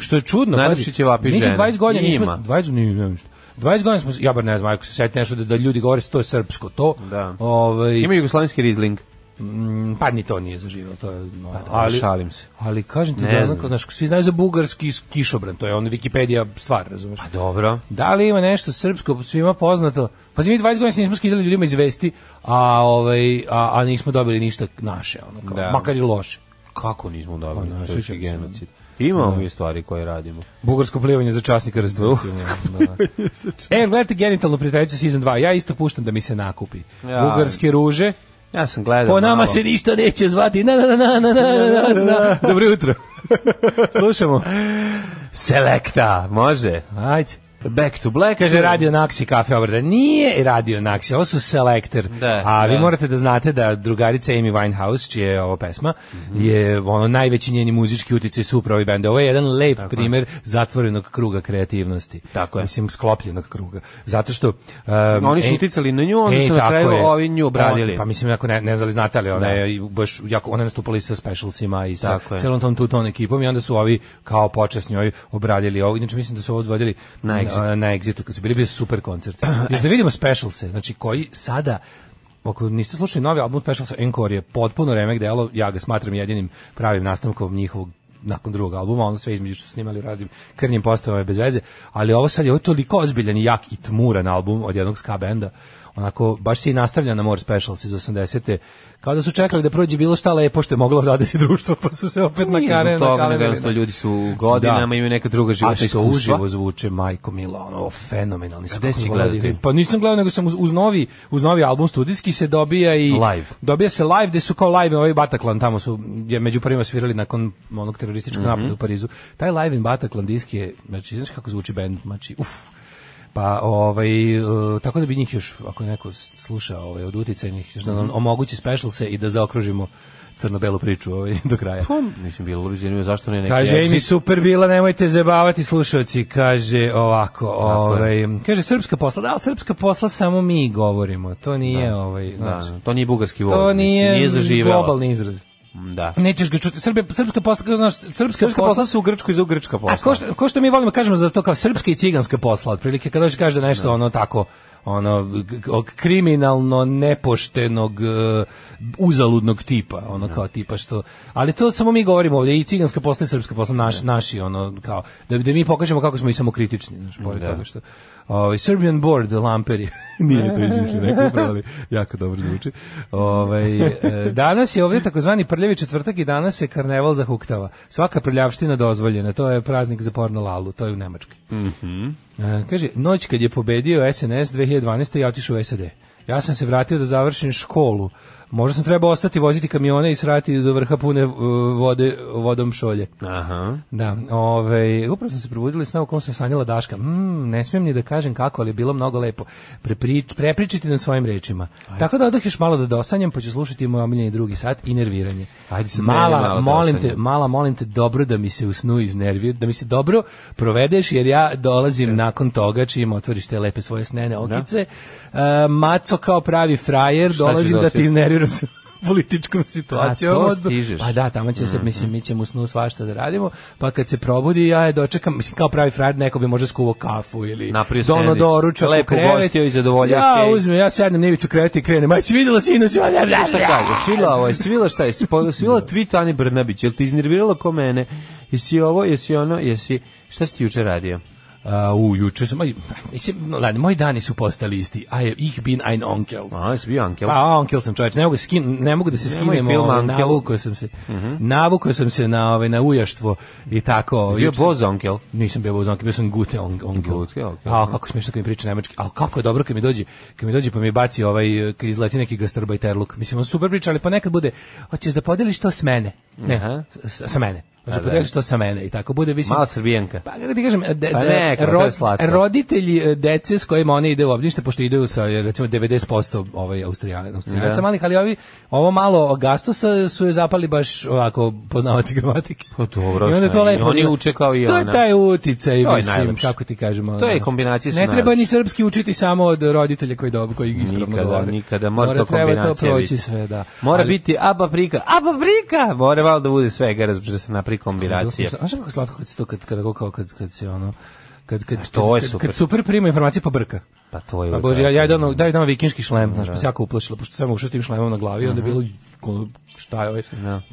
[SPEAKER 7] Što je čudno,
[SPEAKER 8] Najlepši ćevapi
[SPEAKER 7] mi se
[SPEAKER 8] žene.
[SPEAKER 7] 20 godina nismo,
[SPEAKER 8] Ima.
[SPEAKER 7] 20 nije, nema ništa. 20 godina smo, ja bar ne znam, ako se sjetite nešto da, da ljudi govore to je srpsko, to,
[SPEAKER 8] Da.
[SPEAKER 7] ovaj,
[SPEAKER 8] Ima jugoslavenski Riesling.
[SPEAKER 7] Mm, pa ni to nije zaživjelo, to je, no,
[SPEAKER 8] Ali
[SPEAKER 7] ali,
[SPEAKER 8] Pa šalim se.
[SPEAKER 7] ali kažem ti
[SPEAKER 8] Ne
[SPEAKER 7] da,
[SPEAKER 8] znam.
[SPEAKER 7] onako, znaš, svi znaju za bugarski s- kišobran, to je on Wikipedia stvar, razumeš?
[SPEAKER 8] Pa dobro.
[SPEAKER 7] Da li ima nešto srpsko svima poznato? Pa mi 20 godina se nismo skidali ljudima iz vesti, a, ovaj, a, a nismo dobili ništa naše, ono, kao,
[SPEAKER 8] Da.
[SPEAKER 7] makar i loše.
[SPEAKER 8] Kako nismo
[SPEAKER 7] Pa, ne,
[SPEAKER 8] dobili? To
[SPEAKER 7] sjećam
[SPEAKER 8] je
[SPEAKER 7] se.
[SPEAKER 8] genocid. Imamo mi stvari koje radimo.
[SPEAKER 7] Bugarsko plivanje za časnika restitucije. e, gledajte genitalnu prijateljicu season 2. Ja isto puštam da mi se nakupi.
[SPEAKER 8] Ja.
[SPEAKER 7] Bugarske ruže.
[SPEAKER 8] Ja sam gledao
[SPEAKER 7] Po nama
[SPEAKER 8] malo.
[SPEAKER 7] se ništa neće zvati. Na, na, na, na, na, na, na, na. Dobro jutro. Slušamo.
[SPEAKER 8] Selekta, može.
[SPEAKER 7] Ajde.
[SPEAKER 8] Back to Black.
[SPEAKER 7] Kaže radio Naksi kafe obrada. Nije radio Naksi, ovo su selektor.
[SPEAKER 8] Da,
[SPEAKER 7] A vi
[SPEAKER 8] da.
[SPEAKER 7] morate da znate da drugarica Amy Winehouse, čija je ovo pesma,
[SPEAKER 8] Mhm.
[SPEAKER 7] je ono najveći njeni muzički utjecaj su upravo i bende. Ovo je jedan lep primer zatvorenog kruga kreativnosti.
[SPEAKER 8] Tako je.
[SPEAKER 7] Mislim, sklopljenog kruga. Zato što... um,
[SPEAKER 8] Oni su
[SPEAKER 7] Amy-
[SPEAKER 8] uticali na nju, onda su na
[SPEAKER 7] tako
[SPEAKER 8] kraju
[SPEAKER 7] je.
[SPEAKER 8] ovi nju obradili.
[SPEAKER 7] On- pa mislim, ako ne, ne znali, znate li, ona je baš, jako, ona je nastupala i sa specialsima i sa
[SPEAKER 8] Tako je.
[SPEAKER 7] celom tom tuton ekipom i onda su ovi kao počas njoj obradili ovo. Inače, mislim da su ovo odvodili
[SPEAKER 8] Na Exitu.
[SPEAKER 7] a, na Exitu, kad su bili, bili su super koncerti. Još da vidimo specialse, znači koji sada Ako niste slušali novi album Specialsa Encore je potpuno remek delo, ja ga smatram jedinim pravim nastavkom njihovog nakon drugog albuma, ono sve između što su snimali u raznim krnjim postavama je bez veze, ali ovo sad je ovo je toliko ozbiljan i jak i tmuran album od jednog ska benda, onako baš se i nastavlja na More Specials iz 80-te, kao da su čekali da prođe bilo šta lepo što je moglo zadesi društvo, pa su se opet na
[SPEAKER 8] Nije
[SPEAKER 7] kare,
[SPEAKER 8] zbog
[SPEAKER 7] na
[SPEAKER 8] toga,
[SPEAKER 7] kare
[SPEAKER 8] nego jednostavno ljudi su u godinama, imaju neka druga
[SPEAKER 7] a
[SPEAKER 8] životna
[SPEAKER 7] što
[SPEAKER 8] iskustva.
[SPEAKER 7] uživo zvuče Majko Mila, ono fenomenalni su.
[SPEAKER 8] A gde
[SPEAKER 7] kako
[SPEAKER 8] si
[SPEAKER 7] vole da
[SPEAKER 8] gledao ti?
[SPEAKER 7] igraju. Pa nisam gledao, nego sam uz, uz novi uz novi album studijski se dobija i
[SPEAKER 8] Live.
[SPEAKER 7] Dobija se live gde su kao live ovaj Bataclan tamo su je među prvima svirali nakon onog terorističkog napada u Parizu. Taj live in Bataclan disk je znači znaš kako zvuči bend, znači uf. Pa ovaj e, tako da bi njih još ako neko s- sluša ovaj od uticajnih još da nam omogući special se i da zaokružimo crno-belu priču ovaj do kraja.
[SPEAKER 8] Pa, Mislim, bilo bi zanimljivo zašto ne neki
[SPEAKER 7] Kaže,
[SPEAKER 8] exit.
[SPEAKER 7] Amy super bila, nemojte zabavati slušalci, kaže ovako, ovaj, kaže srpska posla, da, ali srpska posla samo mi govorimo, to nije, ovaj,
[SPEAKER 8] Da,
[SPEAKER 7] znaš,
[SPEAKER 8] to nije bugarski voz,
[SPEAKER 7] to nije,
[SPEAKER 8] mislim, nije zaživelo.
[SPEAKER 7] globalni izraz. Pa
[SPEAKER 8] Da.
[SPEAKER 7] Nećeš ga čuti, Srbija, srpska posla, kao, znaš, srpska,
[SPEAKER 8] Srpska
[SPEAKER 7] posla,
[SPEAKER 8] posla su u Grčku iz u Grčka posla.
[SPEAKER 7] a ko što, ko što mi volimo kažemo za to kao srpska i ciganska posla, otprilike kad dođe kaže da nešto ono tako ono k- k- kriminalno nepoštenog e, uzaludnog tipa ono kao tipa što ali to samo mi govorimo ovdje i ciganska posla i srpska posla naš, naši ono kao da da mi pokažemo kako smo i samokritični znači pored toga što ovaj Serbian board lamperi nije to izmislio neko upravo, ali jako dobro zvuči ovaj e, danas je ovdje takozvani prljavi četvrtak i danas je karneval zahuktava svaka prljavština dozvoljena to je praznik za porno lalu to je u Nemačkoj E, kaže, noć kad je pobedio SNS 2012. ja otišao u SAD. Ja sam se vratio da završim školu. Možda sam trebao ostati voziti kamione i srati do vrha pune uh, vode, vodom šolje.
[SPEAKER 8] Aha.
[SPEAKER 7] Da, ovaj, upravo sam se probudila i sna u kom sam sanjala Daška. Mm, ne smijem ni da kažem kako, ali je bilo mnogo lepo. Preprič, prepričiti na svojim rečima. Tako da odah još malo da dosanjam, pa ću slušati moj omiljeni drugi sat i nerviranje.
[SPEAKER 8] Ajde sad
[SPEAKER 7] mala,
[SPEAKER 8] meni malo
[SPEAKER 7] molim te,
[SPEAKER 8] dosanjam.
[SPEAKER 7] mala, molim te, dobro da mi se u snu iznervio, da mi se dobro provedeš, jer ja dolazim nakon toga čim otvoriš te lepe svoje snene okice. E, maco kao pravi frajer,
[SPEAKER 8] ćeš
[SPEAKER 7] dolazim da ti
[SPEAKER 8] dostići?
[SPEAKER 7] iznerviram sa političkom situacijom.
[SPEAKER 8] to
[SPEAKER 7] Od-
[SPEAKER 8] stižeš. Mhm.
[SPEAKER 7] Pa da, tamo će se, mislim, mi ćemo u snu svašta da radimo, pa kad se probudi, ja je dočekam, mislim, kao pravi frajer, neko bi možda skuvao kafu ili
[SPEAKER 8] Napravio
[SPEAKER 7] dono
[SPEAKER 8] sendvič.
[SPEAKER 7] doručak u
[SPEAKER 8] Lepo
[SPEAKER 7] krevet.
[SPEAKER 8] ugostio i zadovoljio
[SPEAKER 7] Ja
[SPEAKER 8] čej.
[SPEAKER 7] uzmem, ja sednem na ivicu kreveta i krenem, aj si vidjela sinoć, Ja, ja, ja,
[SPEAKER 8] Šta kaže? Svila ovo, je, svila šta je? Spo- Svila tweet Ani Brnabić, jel ti iznervirala ko mene? Jesi ovo, jesi ono, jesi... Šta si ti juče radio?
[SPEAKER 7] A, u, juče sam, aj, mislim, lani, moji dani su postali isti, a je, ih bin ein onkel.
[SPEAKER 8] A, jesi bio Ankel?
[SPEAKER 7] Pa onkel sam čovječ, ne mogu, skin, ne mogu da se
[SPEAKER 8] Nemoj
[SPEAKER 7] skinem,
[SPEAKER 8] film
[SPEAKER 7] ovaj,
[SPEAKER 8] Onkel. Mhm.
[SPEAKER 7] navukao sam se, navukao sam se na, ovaj, na ujaštvo i tako. ovaj,
[SPEAKER 8] bio
[SPEAKER 7] juče sam-
[SPEAKER 8] Boz Ankel?
[SPEAKER 7] Nisam bio vozonke, bio sam gute on on
[SPEAKER 8] Gute, ok.
[SPEAKER 7] A kako smešno kad mi priča nemački. Al kako je dobro kad mi dođe, kad mi dođe pa mi baci ovaj eh, kad izleti neki gastarbajterluk. Mislim on super priča, ali ponekad bude hoćeš da podeliš to s mene. Ne,
[SPEAKER 8] Aha.
[SPEAKER 7] s- sa mene. Kaže,
[SPEAKER 8] da.
[SPEAKER 7] podeli što sa mene i tako bude. Mislim,
[SPEAKER 8] Mala Srbijanka.
[SPEAKER 7] Pa kako ti kažem, de, de,
[SPEAKER 8] Pa neka, to je slatko.
[SPEAKER 7] roditelji e, dece s kojima one ide u obdanište, pošto idu sa e, recimo 90% ovaj Austrijanaca
[SPEAKER 8] Da.
[SPEAKER 7] Austrijanaca malih, ali ovi, ovo malo Gastosa su je zapali baš ovako poznavaci gramatike.
[SPEAKER 8] Pa dobro,
[SPEAKER 7] I onda je
[SPEAKER 8] šta
[SPEAKER 7] to
[SPEAKER 8] je,
[SPEAKER 7] lepo.
[SPEAKER 8] oni uče kao i
[SPEAKER 7] To je
[SPEAKER 8] ona.
[SPEAKER 7] taj uticaj,
[SPEAKER 8] To je
[SPEAKER 7] mislim,
[SPEAKER 8] najlepše.
[SPEAKER 7] kako ti kažemo.
[SPEAKER 8] To je kombinacija su
[SPEAKER 7] Ne treba
[SPEAKER 8] najlepše.
[SPEAKER 7] ni srpski učiti samo od roditelja koji dobu, koji ispravno
[SPEAKER 8] nikada,
[SPEAKER 7] govore.
[SPEAKER 8] nikada, mora, to
[SPEAKER 7] treba
[SPEAKER 8] kombinacija
[SPEAKER 7] to proći
[SPEAKER 8] biti.
[SPEAKER 7] sve, da.
[SPEAKER 8] Mora
[SPEAKER 7] Ali-
[SPEAKER 8] biti aba frika, aba frika! Mora malo da bude svega, razbog da se napravi kombinacija.
[SPEAKER 7] Znaš kako je slatko kad se to kad kad kako kad kad se ono kad kad
[SPEAKER 8] to je
[SPEAKER 7] kad,
[SPEAKER 8] super.
[SPEAKER 7] kad super prima informacije pa brka.
[SPEAKER 8] Pa to je...
[SPEAKER 7] Pa
[SPEAKER 8] uvek
[SPEAKER 7] bože, ja ja
[SPEAKER 8] tako.
[SPEAKER 7] dao daj dao vikinški šlem, znaš, pa se jako uplašila, pošto sam ušao s tim šlemom na glavi, onda je
[SPEAKER 8] Mhm.
[SPEAKER 7] bilo ko- šta je ovaj,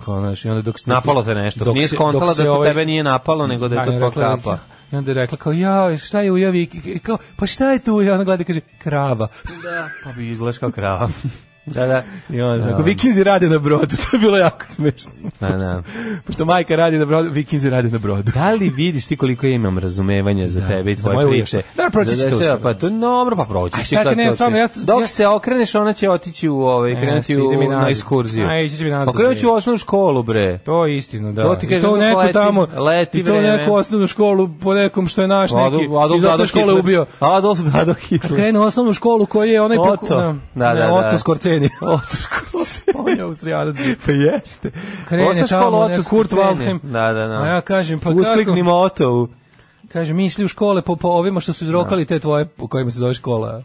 [SPEAKER 7] kao, znaš, i onda dok se-
[SPEAKER 8] Napalo te nešto.
[SPEAKER 7] dok
[SPEAKER 8] Nije
[SPEAKER 7] se-
[SPEAKER 8] skontala
[SPEAKER 7] dok se
[SPEAKER 8] da to
[SPEAKER 7] ovaj-
[SPEAKER 8] tebe nije napalo, nego da je to
[SPEAKER 7] i
[SPEAKER 8] tvoja
[SPEAKER 7] rekla-
[SPEAKER 8] kapa.
[SPEAKER 7] I onda je rekla kao, ja, šta je uja viki? Kao, pa šta je tu uja? Ona gleda i kaže, krava.
[SPEAKER 8] Da, pa bi izgledaš kao krava. da, da.
[SPEAKER 7] I onda, tako, vikinzi rade na brodu, to je bilo jako smešno.
[SPEAKER 8] Da, da.
[SPEAKER 7] Pošto majka radi na brodu, vikinzi rade na brodu.
[SPEAKER 8] Da li vidiš ti koliko ja imam razumevanja za tebe i
[SPEAKER 7] za
[SPEAKER 8] tvoje
[SPEAKER 7] moje
[SPEAKER 8] priče?
[SPEAKER 7] uješte. Dobro, proći će to
[SPEAKER 8] se-
[SPEAKER 7] uskoro.
[SPEAKER 8] Pa to dobro, pa proći
[SPEAKER 7] A
[SPEAKER 8] će.
[SPEAKER 7] šta ti
[SPEAKER 8] kad
[SPEAKER 7] ne,
[SPEAKER 8] to
[SPEAKER 7] stvarno,
[SPEAKER 8] krene.
[SPEAKER 7] ja t-
[SPEAKER 8] Dok
[SPEAKER 7] ja-
[SPEAKER 8] se okreneš, ona će otići u ovaj,
[SPEAKER 7] E,
[SPEAKER 8] krenuti
[SPEAKER 7] ide mi
[SPEAKER 8] u, na
[SPEAKER 7] nazad.
[SPEAKER 8] ekskurziju.
[SPEAKER 7] A, ići će mi nazad,
[SPEAKER 8] Pa krenut ću
[SPEAKER 7] bre.
[SPEAKER 8] u osnovnu školu, bre.
[SPEAKER 7] To je istina, da.
[SPEAKER 8] To ti
[SPEAKER 7] I
[SPEAKER 8] kažem,
[SPEAKER 7] to
[SPEAKER 8] kako
[SPEAKER 7] neko
[SPEAKER 8] leti-
[SPEAKER 7] tamo,
[SPEAKER 8] leti
[SPEAKER 7] i to
[SPEAKER 8] vreme.
[SPEAKER 7] neko osnovnu školu po nekom što je naš neki, iz osnovne škole
[SPEAKER 8] Hitler.
[SPEAKER 7] ubio.
[SPEAKER 8] Adolf Dado Hitler.
[SPEAKER 7] Krenu u osnovnu školu koji je onaj
[SPEAKER 8] Oto.
[SPEAKER 7] poku- na-
[SPEAKER 8] Da, da,
[SPEAKER 7] na
[SPEAKER 8] da.
[SPEAKER 7] Oto Skorceni.
[SPEAKER 8] Oto Skorceni.
[SPEAKER 7] On je Austrijanac. bio.
[SPEAKER 8] Pa jeste.
[SPEAKER 7] Krene
[SPEAKER 8] Osnovna škola
[SPEAKER 7] tamo,
[SPEAKER 8] Oto
[SPEAKER 7] ne, Kurt
[SPEAKER 8] Skorceni.
[SPEAKER 7] Waldheim.
[SPEAKER 8] Da, da, da.
[SPEAKER 7] A ja kažem, pa
[SPEAKER 8] Uskliknimo Oto.
[SPEAKER 7] kako? Kaže, misli u škole po, po ovima što su izrokali te tvoje, po kojima se zove škola.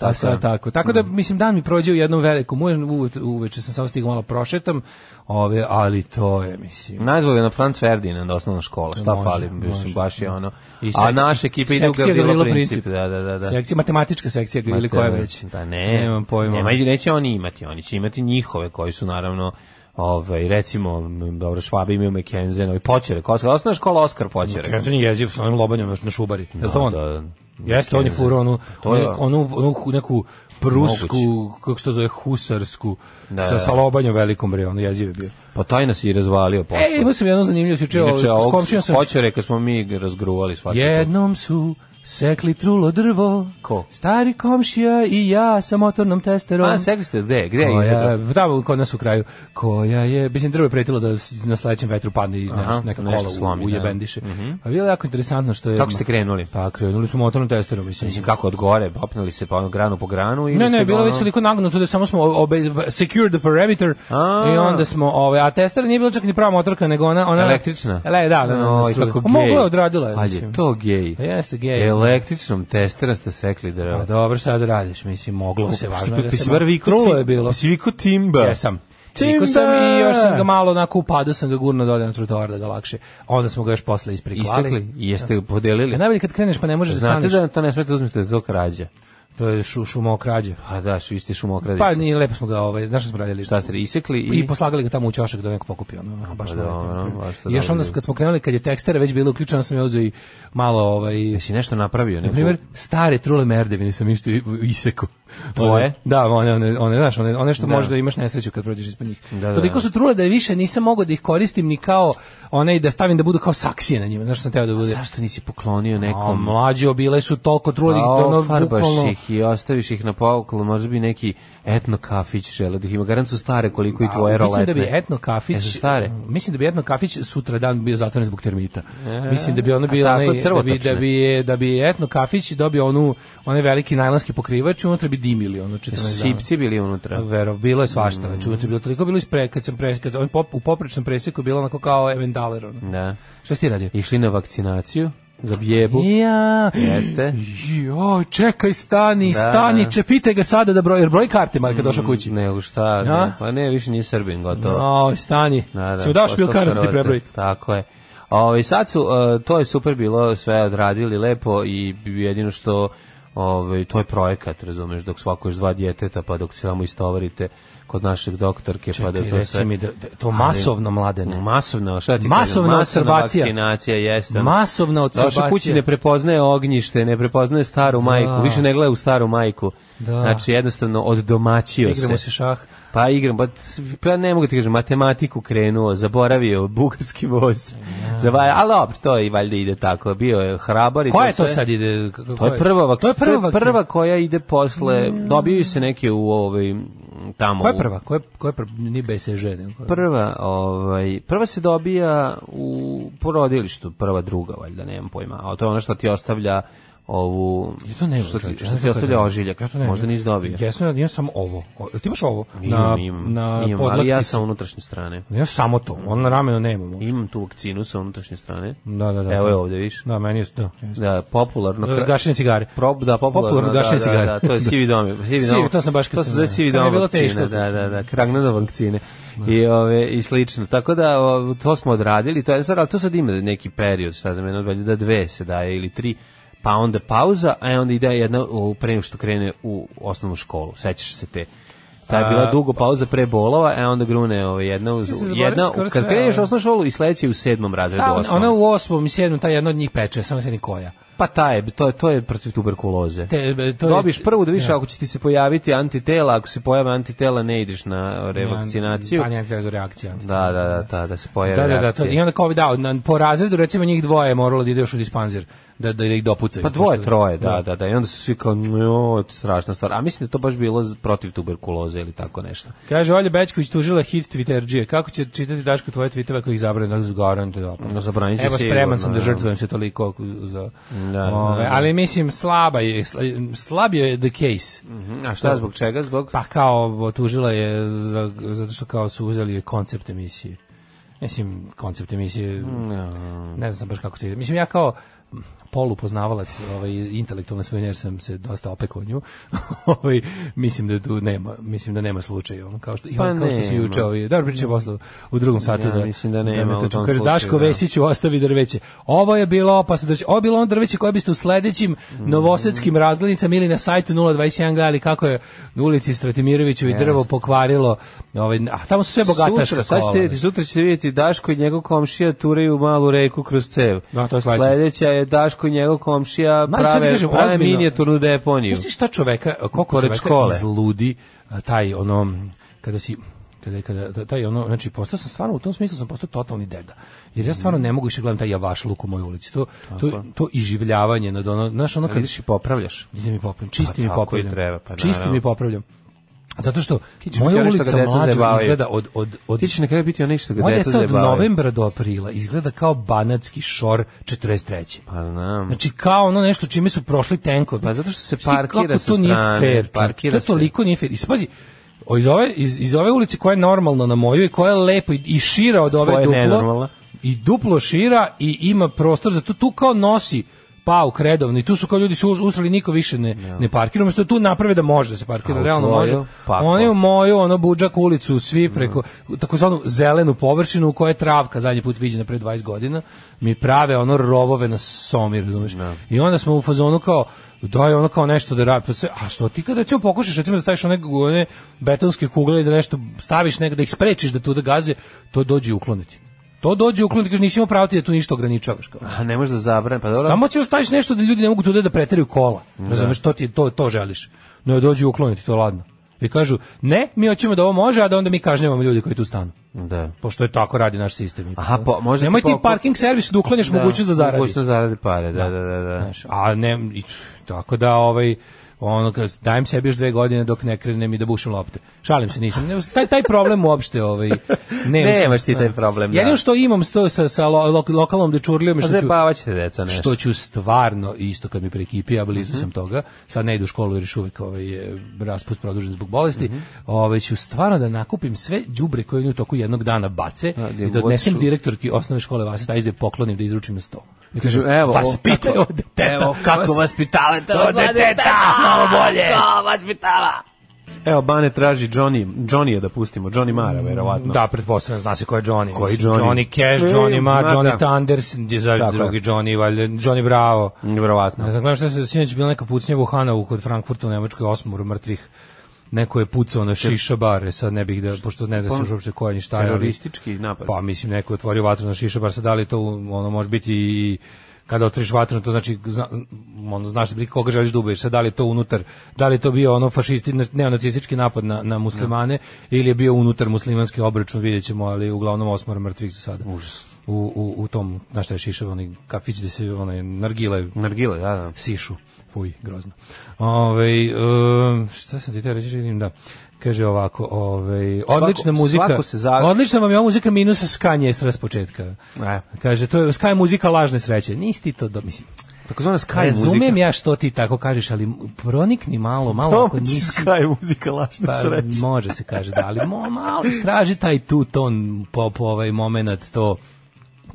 [SPEAKER 7] A sad tako. Tako da, mislim, dan mi prođe u jednom velikom uveč, uveče sam samo stigao malo prošetam, ove, ali to je, mislim,
[SPEAKER 8] Nazvali na Franz Ferdinand osnovna škola, šta
[SPEAKER 7] Može,
[SPEAKER 8] fali, mislim,
[SPEAKER 7] može.
[SPEAKER 8] baš je ono.
[SPEAKER 7] I
[SPEAKER 8] A
[SPEAKER 7] sekcija-
[SPEAKER 8] naša ekipa ide u
[SPEAKER 7] sekcija
[SPEAKER 8] Gavrilo
[SPEAKER 7] Gavrilo
[SPEAKER 8] princip.
[SPEAKER 7] Princip.
[SPEAKER 8] Da, da, da. da.
[SPEAKER 7] sekcija, matematička sekcija ili koja
[SPEAKER 8] Mater-
[SPEAKER 7] već.
[SPEAKER 8] Da ne,
[SPEAKER 7] Nemam pojma.
[SPEAKER 8] Nema, i neće oni imati, oni će imati njihove koji su naravno ovaj recimo m, dobro Švabi imaju McKenzen, ovaj Poćerek, Oskar, osnovna škola Oskar Poćerek. Pa
[SPEAKER 7] Kenzen je jeziv sa onim lobanjem na- na šubari. Je li to on?
[SPEAKER 8] Da, da.
[SPEAKER 7] Jeste, on je furao onu,
[SPEAKER 8] To je-
[SPEAKER 7] onu, onu, onu hu- neku prusku, kako se to zove, husarsku,
[SPEAKER 8] Da, da.
[SPEAKER 7] sa, sa lobanjem velikom, bre, ono jeziv je bio.
[SPEAKER 8] Pa taj nas je i razvalio posle.
[SPEAKER 7] E, imao sam jednu zanimljivu sjuče, ovaj,
[SPEAKER 8] Inače,
[SPEAKER 7] s
[SPEAKER 8] ovog
[SPEAKER 7] komšijom sam...
[SPEAKER 8] Poćereka smo mi razgruvali svaki put.
[SPEAKER 7] Jednom su sekli trulo drvo,
[SPEAKER 8] Ko?
[SPEAKER 7] stari komšija i ja sa motornom testerom.
[SPEAKER 8] A, Pa, sekli ste, gde? Gde je?
[SPEAKER 7] koja, tamo kod nas u kraju, koja je, mislim, drvo je pretilo da s- na sledećem vetru padne i
[SPEAKER 8] Aha,
[SPEAKER 7] neš, neka
[SPEAKER 8] nešto
[SPEAKER 7] kola
[SPEAKER 8] slomi,
[SPEAKER 7] u,
[SPEAKER 8] da. Mhm.
[SPEAKER 7] u jebendiše. A bilo je jako interesantno što je...
[SPEAKER 8] Kako ste krenuli?
[SPEAKER 7] Pa krenuli smo motornom testerom, mislim.
[SPEAKER 8] Mislim, kako od gore, popnuli se pa ono granu po granu? ili
[SPEAKER 7] Ne,
[SPEAKER 8] ste
[SPEAKER 7] ne, bilo je
[SPEAKER 8] ono-
[SPEAKER 7] već toliko nagnuto da samo smo obe, secure the parameter
[SPEAKER 8] A.
[SPEAKER 7] i onda smo, ovaj, a tester nije bilo čak ni prava motorka, nego ona... ona
[SPEAKER 8] Električna?
[SPEAKER 7] Le, da, da, da, na
[SPEAKER 8] Oj,
[SPEAKER 7] struju.
[SPEAKER 8] kako
[SPEAKER 7] A
[SPEAKER 8] gej.
[SPEAKER 7] Mogla je odradila, je,
[SPEAKER 8] Ali je
[SPEAKER 7] mislim.
[SPEAKER 8] to gej.
[SPEAKER 7] Pa Jeste, gej.
[SPEAKER 8] Električnom testera ste sekli drvo.
[SPEAKER 7] Pa dobro, šta da radiš, mislim, moglo se, važno je da
[SPEAKER 8] Ti
[SPEAKER 7] se...
[SPEAKER 8] si bar viko
[SPEAKER 7] Trulo
[SPEAKER 8] tim-
[SPEAKER 7] je bilo.
[SPEAKER 8] ti si viko timba.
[SPEAKER 7] Jesam. Tiko sam i još sam ga malo onako upadao, sam ga gurno dolje na trotoar da ga lakše. Onda smo ga još posle ispriklali.
[SPEAKER 8] Istekli? I Jeste ga podelili?
[SPEAKER 7] A najbolje kad kreneš pa ne možeš
[SPEAKER 8] Znate
[SPEAKER 7] da staneš.
[SPEAKER 8] da to ne smete da uzmete da je to krađa.
[SPEAKER 7] To je šu, šumokrađe.
[SPEAKER 8] Pa da, su isti šumokradice.
[SPEAKER 7] Pa nije lepo smo ga, ovaj, znaš šta smo radili?
[SPEAKER 8] Šta ste isekli? I,
[SPEAKER 7] i poslagali ga tamo u ćošak da neko pokupi ono onako, baš
[SPEAKER 8] Pa
[SPEAKER 7] malo
[SPEAKER 8] dobro,
[SPEAKER 7] je to.
[SPEAKER 8] baš to
[SPEAKER 7] I još
[SPEAKER 8] dobro
[SPEAKER 7] onda
[SPEAKER 8] bilo.
[SPEAKER 7] kad smo krenuli kad je tekstera već bilo uključeno sam ja uzeo i malo ovaj
[SPEAKER 8] Jesi nešto napravio?
[SPEAKER 7] na primjer stare trule merdevine sam isto i- iseku
[SPEAKER 8] Tvoje?
[SPEAKER 7] One- da one one one znaš one, one što možda imaš nesreću kad prođeš ispod njih
[SPEAKER 8] Da, da,
[SPEAKER 7] toliko
[SPEAKER 8] da.
[SPEAKER 7] su trule da više nisam mogao da ih koristim ni kao one i da stavim da budu kao saksije na njima znaš što sam teo da bude
[SPEAKER 8] Zašto nisi poklonio
[SPEAKER 7] a
[SPEAKER 8] nekom?
[SPEAKER 7] mlađe bile su toliko trule da ih
[SPEAKER 8] A,
[SPEAKER 7] ono
[SPEAKER 8] farbaš
[SPEAKER 7] bukvalno
[SPEAKER 8] Pa ih i ostaviš ih na pookolu, možda bi neki etno kafić žele da ih ima. Garant su stare koliko i tvoje
[SPEAKER 7] A, Mislim
[SPEAKER 8] roletne.
[SPEAKER 7] da bi etno
[SPEAKER 8] Jesu
[SPEAKER 7] kafić
[SPEAKER 8] stare?
[SPEAKER 7] Mislim da bi etno kafić sutra dan bio zatvoren zbog termita. mislim da bi ono
[SPEAKER 8] E, a
[SPEAKER 7] bio
[SPEAKER 8] tako
[SPEAKER 7] onaj, da bi
[SPEAKER 8] crvotočne.
[SPEAKER 7] da bi je- da bi etno kafić dobio onu onaj veliki najlonski pokrivač i unutra bi dimili ono 14 dana.
[SPEAKER 8] Sipci bili unutra.
[SPEAKER 7] Vero, bilo je svašta,
[SPEAKER 8] Mm.
[SPEAKER 7] znači unutra je bilo toliko bilo ispre, kad sam pres, kad on pop, u poprečnom preseku je bilo onako kao Evendaler ono.
[SPEAKER 8] Da.
[SPEAKER 7] Šta si ti radio?
[SPEAKER 8] Išli na vakcinaciju za bjebu.
[SPEAKER 7] Ja.
[SPEAKER 8] Jeste.
[SPEAKER 7] Jo, čekaj, stani,
[SPEAKER 8] Da, da. Mm,
[SPEAKER 7] stani, čepite ga sada da broj, jer broj karte, Marka, došao kući.
[SPEAKER 8] Ne, u šta,
[SPEAKER 7] A?
[SPEAKER 8] ne, pa ne, više nije Srbin, gotovo.
[SPEAKER 7] Aj, stani.
[SPEAKER 8] Da, da,
[SPEAKER 7] Si mu daš
[SPEAKER 8] postao
[SPEAKER 7] bil kartu ti
[SPEAKER 8] Hrvate.
[SPEAKER 7] prebroji.
[SPEAKER 8] Tako je. Ovaj sad su e, to je super bilo, sve odradili lepo i jedino što ovaj to je projekat, razumeš, dok svako još dva djeteta, pa dok se samo istovarite kod našeg doktorke, pa da
[SPEAKER 7] Čekaj,
[SPEAKER 8] to
[SPEAKER 7] reci
[SPEAKER 8] sve
[SPEAKER 7] mi da, da- to masovno mladene.
[SPEAKER 8] masovna, šta ti
[SPEAKER 7] Masovna
[SPEAKER 8] kažem,
[SPEAKER 7] odsebacija.
[SPEAKER 8] vakcinacija jeste. ono.
[SPEAKER 7] Masovna
[SPEAKER 8] Došao
[SPEAKER 7] odsebacija.
[SPEAKER 8] kući ne prepoznaje ognjište, ne prepoznaje staru majku, više ne gleda u staru majku.
[SPEAKER 7] Da.
[SPEAKER 8] Znači jednostavno oddomaćio
[SPEAKER 7] Igramo se šah.
[SPEAKER 8] Pa igram, pa, pa ne mogu ti kažem, matematiku krenuo, zaboravio bugarski voz. Zavajao, ali dobro, to i valjda ide tako. Bio je hrabar i
[SPEAKER 7] Koja je to
[SPEAKER 8] sve.
[SPEAKER 7] sad ide? k- k-
[SPEAKER 8] To
[SPEAKER 7] koja
[SPEAKER 8] je prva
[SPEAKER 7] To je prva
[SPEAKER 8] prva
[SPEAKER 7] vakcina.
[SPEAKER 8] koja ide posle. Dobiju se neke u ovaj tamo.
[SPEAKER 7] Koja je
[SPEAKER 8] u-
[SPEAKER 7] prva? Koja je, koja je prva? Ni BSŽ. nego koja je-
[SPEAKER 8] Prva, ovaj, prva se dobija u porodilištu, prva druga valjda, nemam pojma. A to je ono što ti ostavlja ovu
[SPEAKER 7] Ja to ne
[SPEAKER 8] što, ti,
[SPEAKER 7] čovječe,
[SPEAKER 8] što ti
[SPEAKER 7] kako je
[SPEAKER 8] ostavlja
[SPEAKER 7] to?
[SPEAKER 8] ožiljak.
[SPEAKER 7] Ja to ne
[SPEAKER 8] Možda
[SPEAKER 7] znam.
[SPEAKER 8] nisi dobio.
[SPEAKER 7] Jesam, ja imam samo ovo. O, jel ti imaš ovo?
[SPEAKER 8] Imam, imam,
[SPEAKER 7] na
[SPEAKER 8] imam, ali
[SPEAKER 7] podlaktici?
[SPEAKER 8] ja sa unutrašnje strane.
[SPEAKER 7] Ja samo to, on na ramenu nemamo.
[SPEAKER 8] Imam tu vakcinu sa unutrašnje strane.
[SPEAKER 7] Da, da, da.
[SPEAKER 8] Evo
[SPEAKER 7] to-
[SPEAKER 8] je ovde, viš.
[SPEAKER 7] Da, meni je... Da,
[SPEAKER 8] Da, popularno.
[SPEAKER 7] E, gašenje cigare.
[SPEAKER 8] Prob, da, popularno,
[SPEAKER 7] Popularno gašenje
[SPEAKER 8] da,
[SPEAKER 7] cigare.
[SPEAKER 8] Da, da, to je sivi dom. Sivi
[SPEAKER 7] Sivi,
[SPEAKER 8] dom.
[SPEAKER 7] to sam baš kad
[SPEAKER 8] To se
[SPEAKER 7] sam-
[SPEAKER 8] zove sivi
[SPEAKER 7] kad mi je
[SPEAKER 8] dom
[SPEAKER 7] bilo
[SPEAKER 8] vakcine,
[SPEAKER 7] teško.
[SPEAKER 8] da, da, da, kragneza vakcine. I, ove, I slično. Tako da, o, to smo odradili, to je sad, ali to sad ima neki period, šta znam, jedno, valjda dve se daje ili tri, pa onda pauza, a onda ide jedna u, pre nego što krene u osnovnu školu. Sećaš se te Ta je bila
[SPEAKER 7] A,
[SPEAKER 8] dugo pauza pre bolova, a onda grune ove, jedna, uz,
[SPEAKER 7] Sve se zaboravio
[SPEAKER 8] jedna,
[SPEAKER 7] skoro
[SPEAKER 8] kad
[SPEAKER 7] sve,
[SPEAKER 8] kreneš u
[SPEAKER 7] ali-
[SPEAKER 8] osnovnu školu i sledeće je u sedmom razredu
[SPEAKER 7] Da,
[SPEAKER 8] osnovne.
[SPEAKER 7] ona u osmom i sedmom, ta jedna od njih peče, samo se ni koja.
[SPEAKER 8] Pa ta je, to je, to je protiv tuberkuloze.
[SPEAKER 7] Te, be, to je-
[SPEAKER 8] Dobiš prvu da više
[SPEAKER 7] Pa Ja.
[SPEAKER 8] ako će ti se pojaviti antitela, ako se pojave antitela ne ideš na revakcinaciju.
[SPEAKER 7] Pa ne, to je reakcija.
[SPEAKER 8] Da, da, da, da, da se pojave
[SPEAKER 7] Da, da, da, to,
[SPEAKER 8] reakcije.
[SPEAKER 7] i onda kao da, na, po razredu recimo njih dvoje je moralo da ide još u dispanzer, da, da ih dopucaju.
[SPEAKER 8] Pa dvoje,
[SPEAKER 7] Pošto-
[SPEAKER 8] troje, da, da, da. I onda su svi kao, "Jo, to je strašna stvar. A mislim da je to baš bilo z- protiv tuberkuloze ili tako nešto.
[SPEAKER 7] Kaže, Olja Bečković tužila hit Twitterđije. Kako će čitati Daško tvoje tweetove ako ih zabrane da su garante da
[SPEAKER 8] No, zabranit će
[SPEAKER 7] Evo,
[SPEAKER 8] sigurno,
[SPEAKER 7] spreman sam da
[SPEAKER 8] da.
[SPEAKER 7] žrtvujem se toliko za...
[SPEAKER 8] da,
[SPEAKER 7] Ove,
[SPEAKER 8] da.
[SPEAKER 7] ali mislim, slaba je, sla- slabio je the case.
[SPEAKER 8] A šta, zbog čega? Zbog...
[SPEAKER 7] Pa kao, tužila je za, zato što kao su uzeli koncept emisije. Mislim, koncept emisije, ne znam baš kako to ide. Mislim, ja kao polupoznavalac ovaj, intelektualne svojine, jer sam se dosta opekao nju, ovaj, mislim da tu nema, mislim da nema slučaja. Ono, kao što, i
[SPEAKER 8] Pa
[SPEAKER 7] on, kao što su
[SPEAKER 8] nema.
[SPEAKER 7] juče, ovaj, dobro pričamo posle u drugom satu.
[SPEAKER 8] Ja mislim da nema
[SPEAKER 7] me
[SPEAKER 8] u
[SPEAKER 7] trču.
[SPEAKER 8] tom
[SPEAKER 7] Kaže,
[SPEAKER 8] slučaju,
[SPEAKER 7] Daško
[SPEAKER 8] da.
[SPEAKER 7] Vesiću ostavi drveće. Ovo je bilo opasno drveće. Ovo je bilo ono drveće koje biste u sledećim novosadskim razglednicama ili na sajtu 021 gledali kako je u ulici Stratimiroviću i drvo pokvarilo. Ovaj, a tamo su sve bogataška
[SPEAKER 8] Sutra, sad ćete
[SPEAKER 7] kola.
[SPEAKER 8] vidjeti, sutra ćete vidjeti Daško i njegov komšija tureju malu reku kroz cev.
[SPEAKER 7] Da, to je sledeća.
[SPEAKER 8] Sledeća je Daško i njegov komšija
[SPEAKER 7] Ma, sad ti
[SPEAKER 8] prave,
[SPEAKER 7] kažem,
[SPEAKER 8] prave
[SPEAKER 7] ozbiljno.
[SPEAKER 8] minijaturnu deponiju.
[SPEAKER 7] Pusti šta čoveka, koliko
[SPEAKER 8] Pored
[SPEAKER 7] čoveka
[SPEAKER 8] škole.
[SPEAKER 7] zludi a, taj ono, kada si kada kada taj ono znači postao sam stvarno u tom smislu sam postao totalni deda jer ja stvarno ne mogu više gledam taj javašluk u mojoj ulici to to to iživljavanje nad ono znaš ono
[SPEAKER 8] Kad
[SPEAKER 7] kad
[SPEAKER 8] ideš i popravljaš.
[SPEAKER 7] Ide mi popravljam, čistim
[SPEAKER 8] Pa
[SPEAKER 7] i
[SPEAKER 8] tako i
[SPEAKER 7] popravljam.
[SPEAKER 8] treba, pa
[SPEAKER 7] čistim
[SPEAKER 8] naravno.
[SPEAKER 7] i popravljam. Zato što
[SPEAKER 8] ćeš biti
[SPEAKER 7] moja
[SPEAKER 8] onaj što
[SPEAKER 7] ulica
[SPEAKER 8] ga deca
[SPEAKER 7] mlađa
[SPEAKER 8] zajebavaju.
[SPEAKER 7] izgleda od... od, od
[SPEAKER 8] Ti ćeš na kraju biti onaj što ga
[SPEAKER 7] moja
[SPEAKER 8] deca
[SPEAKER 7] deca od
[SPEAKER 8] zajebavaju.
[SPEAKER 7] novembra do aprila izgleda kao banatski šor 43.
[SPEAKER 8] Pa znam.
[SPEAKER 7] Znači kao ono nešto čime su prošli tenkovi.
[SPEAKER 8] Pa zato što se
[SPEAKER 7] Znaš ti
[SPEAKER 8] parkira
[SPEAKER 7] kako
[SPEAKER 8] sa
[SPEAKER 7] to nije
[SPEAKER 8] strane,
[SPEAKER 7] fair, čovječe,
[SPEAKER 8] parkira se.
[SPEAKER 7] to toliko nije fair. I spazi, o, iz, ove, iz, iz ove ulice koja je normalna na moju i koja je lepo i, i šira od ove
[SPEAKER 8] Tvoja je
[SPEAKER 7] duplo.
[SPEAKER 8] nenormalna.
[SPEAKER 7] I duplo šira i ima prostor za to. Tu kao nosi pauk redovno i tu su kao ljudi se uz- usrali niko više ne, ne parkira, umjesto da tu naprave da može da se parkira,
[SPEAKER 8] A u
[SPEAKER 7] realno
[SPEAKER 8] tvoju?
[SPEAKER 7] može.
[SPEAKER 8] Pa ako. Mhm.
[SPEAKER 7] Oni u moju, ono budžak ulicu, svi preko takozvanu zelenu površinu u kojoj je travka zadnji put viđena pre 20 godina, mi prave ono rovove na somi, razumeš? I onda smo u fazonu kao, daj ono kao nešto da radi, pa sve, a što ti kada recimo pokušaš recimo da staviš one, one betonske kugle i da nešto staviš nekada, da ih sprečiš da tu da gaze, to dođe ukloniti. To dođe ukloniti, kaže nisi imao pravo ti da tu ništa ograničavaš. Kao.
[SPEAKER 8] A ne možeš da zabrane, pa dobro.
[SPEAKER 7] Samo ćeš staviš nešto da ljudi ne mogu tude da preteraju kola. Razumeš, to ti je- to to želiš. No dođu ukloniti to ladno. I kažu, ne, mi hoćemo da ovo može, a da onda mi kažnjavamo ljudi koji tu stanu.
[SPEAKER 8] Da.
[SPEAKER 7] Pošto je tako radi naš sistem.
[SPEAKER 8] Aha, pa možda ti
[SPEAKER 7] Nemoj ti
[SPEAKER 8] pa-
[SPEAKER 7] parking servis da ukloniš mogućnost da zaradi.
[SPEAKER 8] Mogućnost da zaradi pare, da, da, da. da.
[SPEAKER 7] Znaš, a ne, i- tako da, ovaj, ono, kad dajem sebi još dve godine dok ne krenem i da bušim lopte. Šalim se, nisam. Ne, taj, taj problem uopšte, ovaj, ne,
[SPEAKER 8] Nemaš ti taj problem, da.
[SPEAKER 7] Jedino što imam sto sa, sa lo, lo, lokalnom dečurlijom je
[SPEAKER 8] Pa Mhm.
[SPEAKER 7] što ću,
[SPEAKER 8] zajebavat ćete deca nešto.
[SPEAKER 7] što ću stvarno isto kad mi prekipi, ja blizu sam toga, sad ne idu u školu jer još uvijek ovaj, je raspust produžen zbog bolesti,
[SPEAKER 8] Mhm.
[SPEAKER 7] ovaj, ću stvarno da nakupim sve đubre koje oni u toku jednog dana bace
[SPEAKER 8] A, gdje
[SPEAKER 7] i da odnesem
[SPEAKER 8] god su-
[SPEAKER 7] direktorki osnovne škole Vasi Stajić da je poklonim da izručim na sto. Ja
[SPEAKER 8] Kažem, evo,
[SPEAKER 7] vas
[SPEAKER 8] ovo
[SPEAKER 7] pitaj
[SPEAKER 8] kako-
[SPEAKER 7] od deteta.
[SPEAKER 8] Evo, kako vas pitale, to od deteta, malo bolje. Kako vas pitala. Evo, Bane traži Johnny, Johnny da pustimo, Johnny Mara, verovatno.
[SPEAKER 7] Da, pretpostavljam, zna se ko je Johnny.
[SPEAKER 8] Ko je
[SPEAKER 7] Mislim,
[SPEAKER 8] Johnny?
[SPEAKER 7] Johnny Cash,
[SPEAKER 8] E,
[SPEAKER 7] Johnny Marr,
[SPEAKER 8] ma
[SPEAKER 7] Johnny
[SPEAKER 8] da.
[SPEAKER 7] Thunders, gdje za
[SPEAKER 8] Tako je.
[SPEAKER 7] drugi Johnny, valjda, Johnny Bravo. Ne
[SPEAKER 8] Verovatno.
[SPEAKER 7] znam, gledam šta se, sinoć bila neka pucnjava u Hanovu kod Frankfurta u Nemačkoj, osmoru mrtvih. Neko je pucao na šiša bare, sad ne bih da, pošto ne znam se uopšte ko je ni šta je. ali-
[SPEAKER 8] Teroristički napad.
[SPEAKER 7] Pa mislim neko je otvorio vatru na šiša, bar sad da li to ono može biti i kada otvoriš vatru, to znači zna, ono, znaš da koga želiš da ubiješ, sad da li je to unutar, da li je to bio ono fašisti, neonacistički napad na, na muslimane ili je bio unutar muslimanski obračun, vidjet ćemo, ali uglavnom osmora mrtvih za sada. Užas. u, u, u tom, znaš šta je šišav, onaj kafić gde se onaj nargile
[SPEAKER 8] Nargile, da, da.
[SPEAKER 7] sišu. Fuj, grozno. Ove, um, šta sam ti te reći, vidim da kaže ovako, ovaj odlična muzika.
[SPEAKER 8] svako se za-
[SPEAKER 7] Odlična vam je ova muzika minusa skanje s početka.
[SPEAKER 8] E.
[SPEAKER 7] Kaže to je skaj muzika lažne sreće. Nisi ti to do, mislim.
[SPEAKER 8] Takozvana Sky
[SPEAKER 7] Razumem
[SPEAKER 8] muzika.
[SPEAKER 7] ja što ti tako kažeš, ali pronikni malo, malo ako
[SPEAKER 8] Domaći
[SPEAKER 7] nisi
[SPEAKER 8] Sky muzika, lažna
[SPEAKER 7] pa
[SPEAKER 8] sreća.
[SPEAKER 7] može se kaže da, ali mo, malo istraži taj tu ton pop ovaj momenat to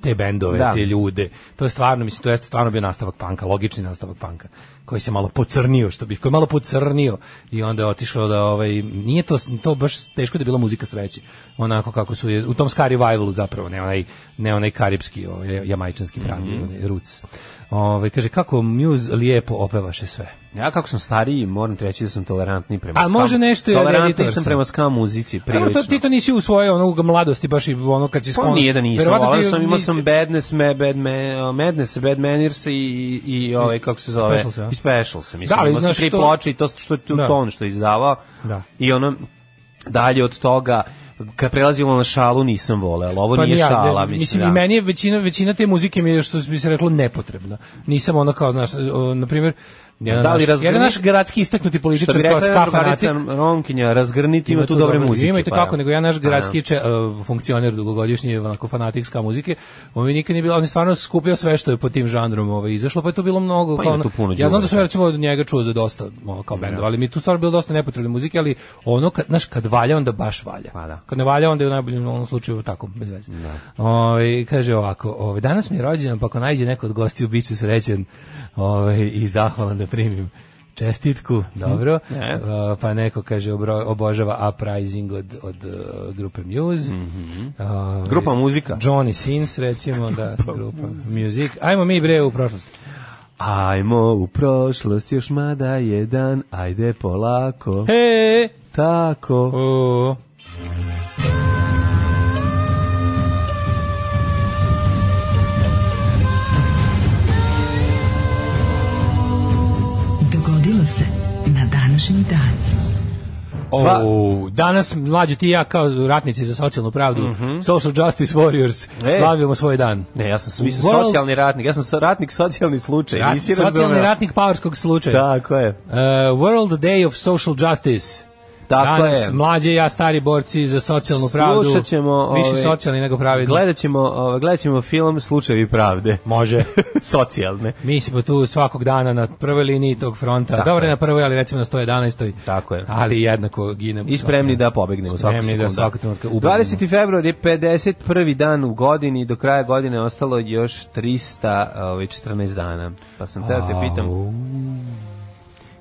[SPEAKER 7] te bendove,
[SPEAKER 8] Da.
[SPEAKER 7] te ljude. To je stvarno, mislim, to jeste stvarno bio nastavak panka, logični nastavak panka, koji se malo pocrnio, što bi, koji je malo pocrnio i onda je otišao da, ovaj, nije to, to baš teško da je bila muzika sreće, onako kako su, je, u tom ska revivalu zapravo, ne onaj, ne onaj karibski, ovaj, jamajčanski pravi,
[SPEAKER 8] Mhm.
[SPEAKER 7] onaj roots. Ovaj, kaže, kako Muse lijepo opevaše sve.
[SPEAKER 8] Ja kako sam stariji, moram ti reći da sam tolerantni prema
[SPEAKER 7] A
[SPEAKER 8] ska-
[SPEAKER 7] može nešto, ja
[SPEAKER 8] Tolerantni
[SPEAKER 7] editor
[SPEAKER 8] sam
[SPEAKER 7] sam.
[SPEAKER 8] prema ska muzici, prilično.
[SPEAKER 7] Prilično. to ti to nisi u svojoj ono u mladosti baš i ono kad si
[SPEAKER 8] Pa
[SPEAKER 7] sklon-
[SPEAKER 8] nije da nisam,
[SPEAKER 7] Verovatno
[SPEAKER 8] volao
[SPEAKER 7] ti-
[SPEAKER 8] sam, imao
[SPEAKER 7] ni-
[SPEAKER 8] sam badness, me, bad, me, madness, bad manners i, i, i ovaj, kako se zove,
[SPEAKER 7] Specials, ja.
[SPEAKER 8] i specials. Mislim,
[SPEAKER 7] Da, ali
[SPEAKER 8] imao sam
[SPEAKER 7] znaš
[SPEAKER 8] tri
[SPEAKER 7] što-
[SPEAKER 8] ploče i to što je tu
[SPEAKER 7] Da.
[SPEAKER 8] ton što je izdavao.
[SPEAKER 7] Da.
[SPEAKER 8] I ono, dalje od toga, kad prelazilo na šalu nisam voleo, ali ovo
[SPEAKER 7] pa
[SPEAKER 8] nije
[SPEAKER 7] ni ja,
[SPEAKER 8] šala,
[SPEAKER 7] ne,
[SPEAKER 8] mislim,
[SPEAKER 7] mislim
[SPEAKER 8] da.
[SPEAKER 7] i meni je većina većina te muzike mi je što bi se reklo nepotrebna. Nisam ono kao znaš, o, na primjer, jedan,
[SPEAKER 8] Da li
[SPEAKER 7] naš,
[SPEAKER 8] razgrni-
[SPEAKER 7] jedan naš gradski istaknuti
[SPEAKER 8] Što
[SPEAKER 7] političar
[SPEAKER 8] bi
[SPEAKER 7] kao
[SPEAKER 8] rekla jedna
[SPEAKER 7] ska fanatik
[SPEAKER 8] drugarica Romkinja, razgrniti ima tu dobre
[SPEAKER 7] dobro-
[SPEAKER 8] muzike.
[SPEAKER 7] Ima i
[SPEAKER 8] pa
[SPEAKER 7] kako,
[SPEAKER 8] ja.
[SPEAKER 7] nego ja naš
[SPEAKER 8] Pa
[SPEAKER 7] gradski če, uh, funkcioner dugogodišnji, onako fanatikska muzike, on mi nikad nije bilo, on je stvarno skupio sve što je po tim žanrom ovaj, izašlo, pa je to bilo mnogo.
[SPEAKER 8] Pa
[SPEAKER 7] kao
[SPEAKER 8] ima tu
[SPEAKER 7] ono-
[SPEAKER 8] puno
[SPEAKER 7] ja znam da
[SPEAKER 8] đubreta.
[SPEAKER 7] sam ja recimo od njega čuo za dosta ono, kao bendova, ali mi je tu stvarno bilo dosta nepotrebne muzike, ali ono, kad, znaš, kad valja, onda baš valja.
[SPEAKER 8] Pa da.
[SPEAKER 7] Kad ne valja, onda je u najboljem onom slučaju tako, bez veze. Ovaj, kaže ovako, ovaj, danas mi je rođendan, pa ako najde neko od gostiju, bit ću srećen ovaj, i zahvalan da primim čestitku,
[SPEAKER 8] Mhm.
[SPEAKER 7] dobro.
[SPEAKER 8] Ne.
[SPEAKER 7] Uh, pa neko kaže obro- obožava Uprising od, od uh, grupe Muse.
[SPEAKER 8] Mhm.
[SPEAKER 7] Uh,
[SPEAKER 8] Grupa muzika.
[SPEAKER 7] Johnny Sins recimo, da, grupa Music. Ajmo mi bre u prošlost.
[SPEAKER 8] Ajmo u prošlost, još mada jedan, ajde polako,
[SPEAKER 7] He!
[SPEAKER 8] tako.
[SPEAKER 7] O.
[SPEAKER 5] Dogodilo se na današnji dan.
[SPEAKER 8] Dva-
[SPEAKER 7] O, danas mlađi ti i ja kao ratnici za socijalnu pravdu, Social Justice Warriors,
[SPEAKER 8] Mhm. E.
[SPEAKER 7] slavimo svoj dan.
[SPEAKER 8] Ne, ja sam mislim
[SPEAKER 7] World-
[SPEAKER 8] socijalni ratnik, ja sam so- ratnik socijalni slučaj,
[SPEAKER 7] Rat-
[SPEAKER 8] nisi
[SPEAKER 7] socijalni
[SPEAKER 8] razumeo.
[SPEAKER 7] ratnik paorskog slučaja.
[SPEAKER 8] Tako je.
[SPEAKER 7] Uh, World Day of Social Justice.
[SPEAKER 8] Tako
[SPEAKER 7] Danas
[SPEAKER 8] je.
[SPEAKER 7] mlađe i ja, stari borci za socijalnu pravdu.
[SPEAKER 8] Slušat ćemo,
[SPEAKER 7] Više
[SPEAKER 8] ovaj,
[SPEAKER 7] socijalni nego pravedni.
[SPEAKER 8] Gledat ćemo, ovaj, gledat ćemo film Slučajevi pravde.
[SPEAKER 7] Može.
[SPEAKER 8] Socijalne.
[SPEAKER 7] Mi smo tu svakog dana na prvoj liniji tog fronta.
[SPEAKER 8] Tako
[SPEAKER 7] Dobro
[SPEAKER 8] je.
[SPEAKER 7] na prvoj, ali recimo na 111.
[SPEAKER 8] Tako je.
[SPEAKER 7] Ali jednako ginemo.
[SPEAKER 8] I spremni da pobegnemo svaku
[SPEAKER 7] Spremni da
[SPEAKER 8] sekundu.
[SPEAKER 7] svakog trenutka ubegnemo.
[SPEAKER 8] 20. februar je 51. dan u godini, do kraja godine je ostalo još 314 dana. Pa sam teo te pitam,
[SPEAKER 7] Au.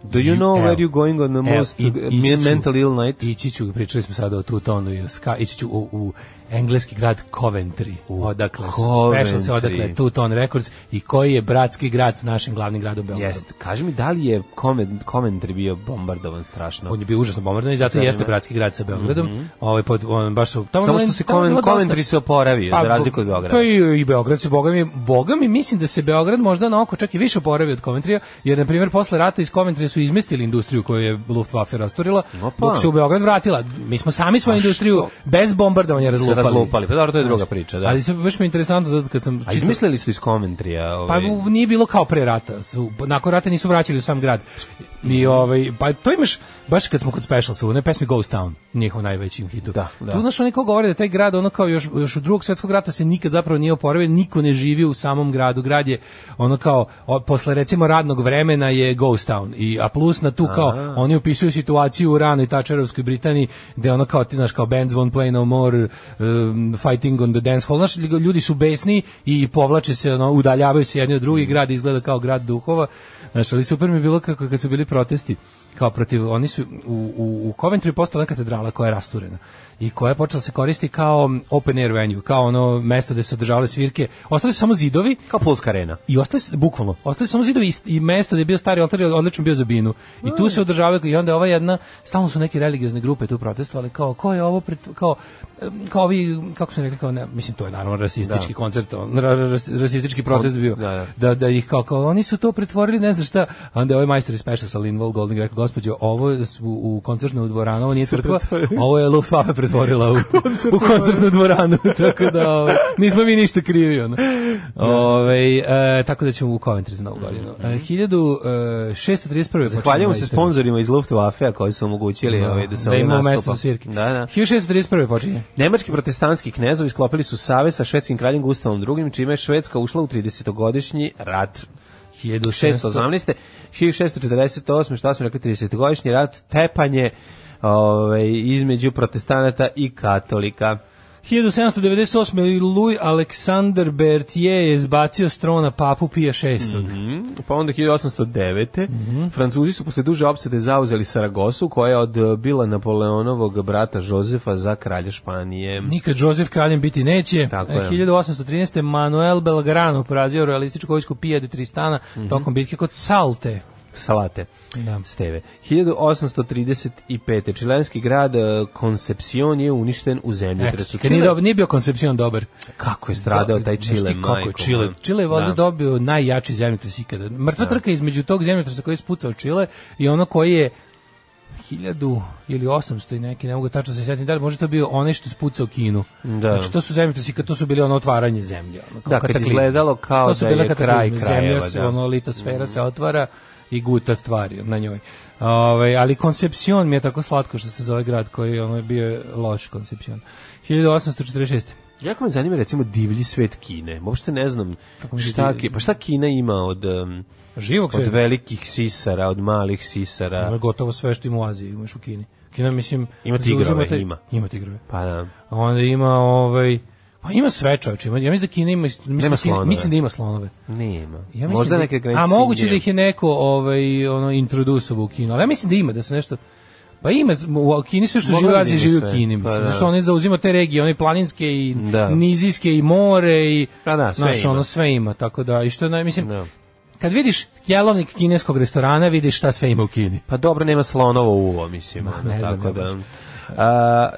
[SPEAKER 7] E,
[SPEAKER 8] do you know where you're going on the
[SPEAKER 7] Evo,
[SPEAKER 8] most
[SPEAKER 7] i-
[SPEAKER 8] uh,
[SPEAKER 7] ići ću-
[SPEAKER 8] mental ill night?
[SPEAKER 7] Ići ću, pričali smo sada o Tutonu i o Ska, ići ću u, u engleski grad Coventry, odakle, su- special se
[SPEAKER 8] Coventry.
[SPEAKER 7] odakle Tuton Records i koji je bratski grad s našim glavnim gradom Beogradom.
[SPEAKER 8] Jeste, kaži mi da li je komen- komentri bio bombardovan strašno?
[SPEAKER 7] On je bio užasno bombardovan i zato i jeste bratski grad sa Beogradom. Ovaj pod on baš su tamo
[SPEAKER 8] Mhm. Samo
[SPEAKER 7] bilo-
[SPEAKER 8] što se
[SPEAKER 7] tamo je bilo
[SPEAKER 8] komen,
[SPEAKER 7] dosta-
[SPEAKER 8] komentri se oporavio,
[SPEAKER 7] Pa,
[SPEAKER 8] za razliku od
[SPEAKER 7] Pa
[SPEAKER 8] Beograda.
[SPEAKER 7] i, i Beograd se, boga mi, boga mi, mislim da se Beograd možda na oko čak i više oporavio od Komentrija, jer, na primjer, posle rata iz Komentrija su izmestili industriju koju je Luftwaffe rasturila,
[SPEAKER 8] Opa.
[SPEAKER 7] dok se u Beograd vratila. Mi smo sami svoju industriju bez bombardovanja
[SPEAKER 8] Se
[SPEAKER 7] razlupali.
[SPEAKER 8] razlupali, pa dobro, to je druga priča, da.
[SPEAKER 7] Ali se baš mi je interesantno zato kad sam
[SPEAKER 8] A
[SPEAKER 7] čisto-
[SPEAKER 8] izmislili su iz komentrija.
[SPEAKER 7] pa
[SPEAKER 8] Ovaj,
[SPEAKER 7] u- nije bilo kao pre rata. Su, nakon rata nisu vraćali u sam grad. I ovaj, pa to imaš, baš kad smo kod specialsa, u onoj pesmi Ghost Town, njihov najvećim hitu.
[SPEAKER 8] Da, da.
[SPEAKER 7] Tu znaš, oni kao govore da taj grad, ono kao još, još u drugog svjetskog rata se nikad zapravo nije oporavio, niko ne živi u samom gradu. Grad je ono kao, o, posle recimo radnog vremena je Ghost Town. I, a plus na tu kao, oni upisuju situaciju u ranoj Tačerovskoj Britaniji, gde ono kao, ti znaš, kao bands won't play no more, um, fighting on the dance hall. Znaš, ljudi su besni i povlače se, ono, udaljavaju se jedni od drugih, grad izgleda kao grad duhova. Znaš, ali super mi je bilo kako kad su bili protesti kao protiv, oni su u, u, u Coventry postala neka katedrala koja je rasturena i koja je počela se koristi kao open air venue, kao ono mesto gde su se održavale svirke. Ostali su samo zidovi
[SPEAKER 8] Kao Pulska arena.
[SPEAKER 7] i ostali su, bukvalno, ostali su samo zidovi i, i mesto gde je bio stari oltar je odlično bio za binu. I tu se održavaju, i onda je ova jedna, stalno su neke religiozne grupe tu protestovali, kao, ko je ovo, pred, kao, em, kao ovi, kako su rekli, kao, ne, mislim, to je naravno rasistički koncert, on, ra- ra- ras- rasistički protest bio,
[SPEAKER 8] da, da.
[SPEAKER 7] da, da ih kao, kao, oni su to pretvorili, ne znaš šta, onda je ovaj majstor iz Peša sa Linval Golding rekao, gospođo, ovo su u koncertnu dvoranu, ovo nije crkva, ovo je Luftwaffe pretvorila u, u koncertnu dvoranu, tako da ovaj, nismo mi ništa krivi. Ono. Ovaj, e, tako da ćemo u Coventry za novu godinu. E, 1631. počinje
[SPEAKER 8] Hvaljamo se
[SPEAKER 7] majstor.
[SPEAKER 8] sponzorima iz Luftwaffe-a koji su omogućili da, ovaj, da se
[SPEAKER 7] da
[SPEAKER 8] ovaj
[SPEAKER 7] imamo
[SPEAKER 8] nastupa.
[SPEAKER 7] mesto za svirke.
[SPEAKER 8] Da, da.
[SPEAKER 7] 1631. počinje.
[SPEAKER 8] Nemački protestantski knezovi sklopili su savez sa švedskim kraljem Gustavom II, čime je Švedska ušla u 30-godišnji rat.
[SPEAKER 7] 1618.
[SPEAKER 8] 1618. 1648. Šta smo rekli, 30-godišnji rat, tepanje ovaj, između protestanata i katolika.
[SPEAKER 7] 1798. Louis Alexander Berthier je izbacio s trona papu Pija VI.
[SPEAKER 8] Pa onda 1809. Francuzi su posle duže opsade zauzeli Saragosu, koja je odbila Napoleonovog brata Jozefa za kralja Španije.
[SPEAKER 7] Nikad Jozef kraljem biti neće.
[SPEAKER 8] Tako
[SPEAKER 7] E,
[SPEAKER 8] je.
[SPEAKER 7] 1813. Manuel Belgrano porazio realističku vojsku Pija de Tristana
[SPEAKER 8] Mhm.
[SPEAKER 7] tokom bitke kod Salte.
[SPEAKER 8] Salate.
[SPEAKER 7] Da.
[SPEAKER 8] Steve. 1835. Čilenski grad eh, Concepcion je uništen u
[SPEAKER 7] Eto,
[SPEAKER 8] zemljotresu.
[SPEAKER 7] kad nije, dob- nije bio koncepcion dobar.
[SPEAKER 8] Kako je stradao taj
[SPEAKER 7] Znaš ti
[SPEAKER 8] Čile,
[SPEAKER 7] kako je
[SPEAKER 8] majko?
[SPEAKER 7] Čile, Čile je valjda
[SPEAKER 8] Da.
[SPEAKER 7] dobio najjači zemljotres ikada. Mrtva trka između tog zemljotresa koji je spucao Čile i ono koji je 1000 ili 800 i neki, ne mogu tačno se sjetiti, da li možda to bio onaj što je spucao Kinu.
[SPEAKER 8] Da.
[SPEAKER 7] Znači to su zemljotresi, kad to su bili ono otvaranje zemlje. Ono, kao
[SPEAKER 8] Da, kad
[SPEAKER 7] kataklizme.
[SPEAKER 8] izgledalo kao
[SPEAKER 7] to Ono su
[SPEAKER 8] da
[SPEAKER 7] bile
[SPEAKER 8] je kraj
[SPEAKER 7] kataklizme.
[SPEAKER 8] krajeva,
[SPEAKER 7] Zemlja se,
[SPEAKER 8] da. Mm.
[SPEAKER 7] ono, litosfera se otvara i guta stvari na njoj. Ove, ali Concepcion mi je tako slatko što se zove grad koji ono, je bio loš Concepcion. 1846.
[SPEAKER 8] Jako me zanima recimo divlji svet Kine. Uopšte ne znam
[SPEAKER 7] mi se
[SPEAKER 8] šta,
[SPEAKER 7] divlji-
[SPEAKER 8] Ki- pa šta Kina ima od, em,
[SPEAKER 7] Živog
[SPEAKER 8] od
[SPEAKER 7] sveta.
[SPEAKER 8] velikih sisara, od malih sisara.
[SPEAKER 7] Ono, gotovo sve što ima u Aziji, imaš u Kini. Kina, mislim...
[SPEAKER 8] Ima
[SPEAKER 7] zauzima
[SPEAKER 8] tigrove,
[SPEAKER 7] taj-
[SPEAKER 8] ima.
[SPEAKER 7] Ima tigrove.
[SPEAKER 8] Pa da.
[SPEAKER 7] A Onda ima, ovaj... Pa ima sve čovječe. Ima, ja mislim da Kina ima... Mislim,
[SPEAKER 8] Nema
[SPEAKER 7] da Kina-
[SPEAKER 8] slonove.
[SPEAKER 7] mislim da ima slonove.
[SPEAKER 8] Nema.
[SPEAKER 7] Ja mislim
[SPEAKER 8] Možda
[SPEAKER 7] da,
[SPEAKER 8] neke granice.
[SPEAKER 7] A moguće da
[SPEAKER 8] Indije.
[SPEAKER 7] ih je neko ovaj, ono, introdusovo u Kinu. Ali ja mislim da ima, da se nešto... Pa ima, u Kini sve što
[SPEAKER 8] Moglo
[SPEAKER 7] živi u
[SPEAKER 8] bi
[SPEAKER 7] Aziji
[SPEAKER 8] da
[SPEAKER 7] živi u
[SPEAKER 8] ima sve.
[SPEAKER 7] Kini.
[SPEAKER 8] Pa
[SPEAKER 7] Mislim,
[SPEAKER 8] da.
[SPEAKER 7] Zašto oni zauzima te regije, one planinske i
[SPEAKER 8] Da.
[SPEAKER 7] nizijske i more i...
[SPEAKER 8] Pa da, sve
[SPEAKER 7] znaš,
[SPEAKER 8] ima.
[SPEAKER 7] ono, sve ima. Tako da, i što, je naj- mislim,
[SPEAKER 8] Da.
[SPEAKER 7] kad vidiš jelovnik kineskog restorana, vidiš šta sve ima u Kini.
[SPEAKER 8] Pa dobro, nema slonova uvo, mislim.
[SPEAKER 7] Ma,
[SPEAKER 8] ono,
[SPEAKER 7] ne znam,
[SPEAKER 8] tako
[SPEAKER 7] ja
[SPEAKER 8] da.
[SPEAKER 7] baš.
[SPEAKER 8] A,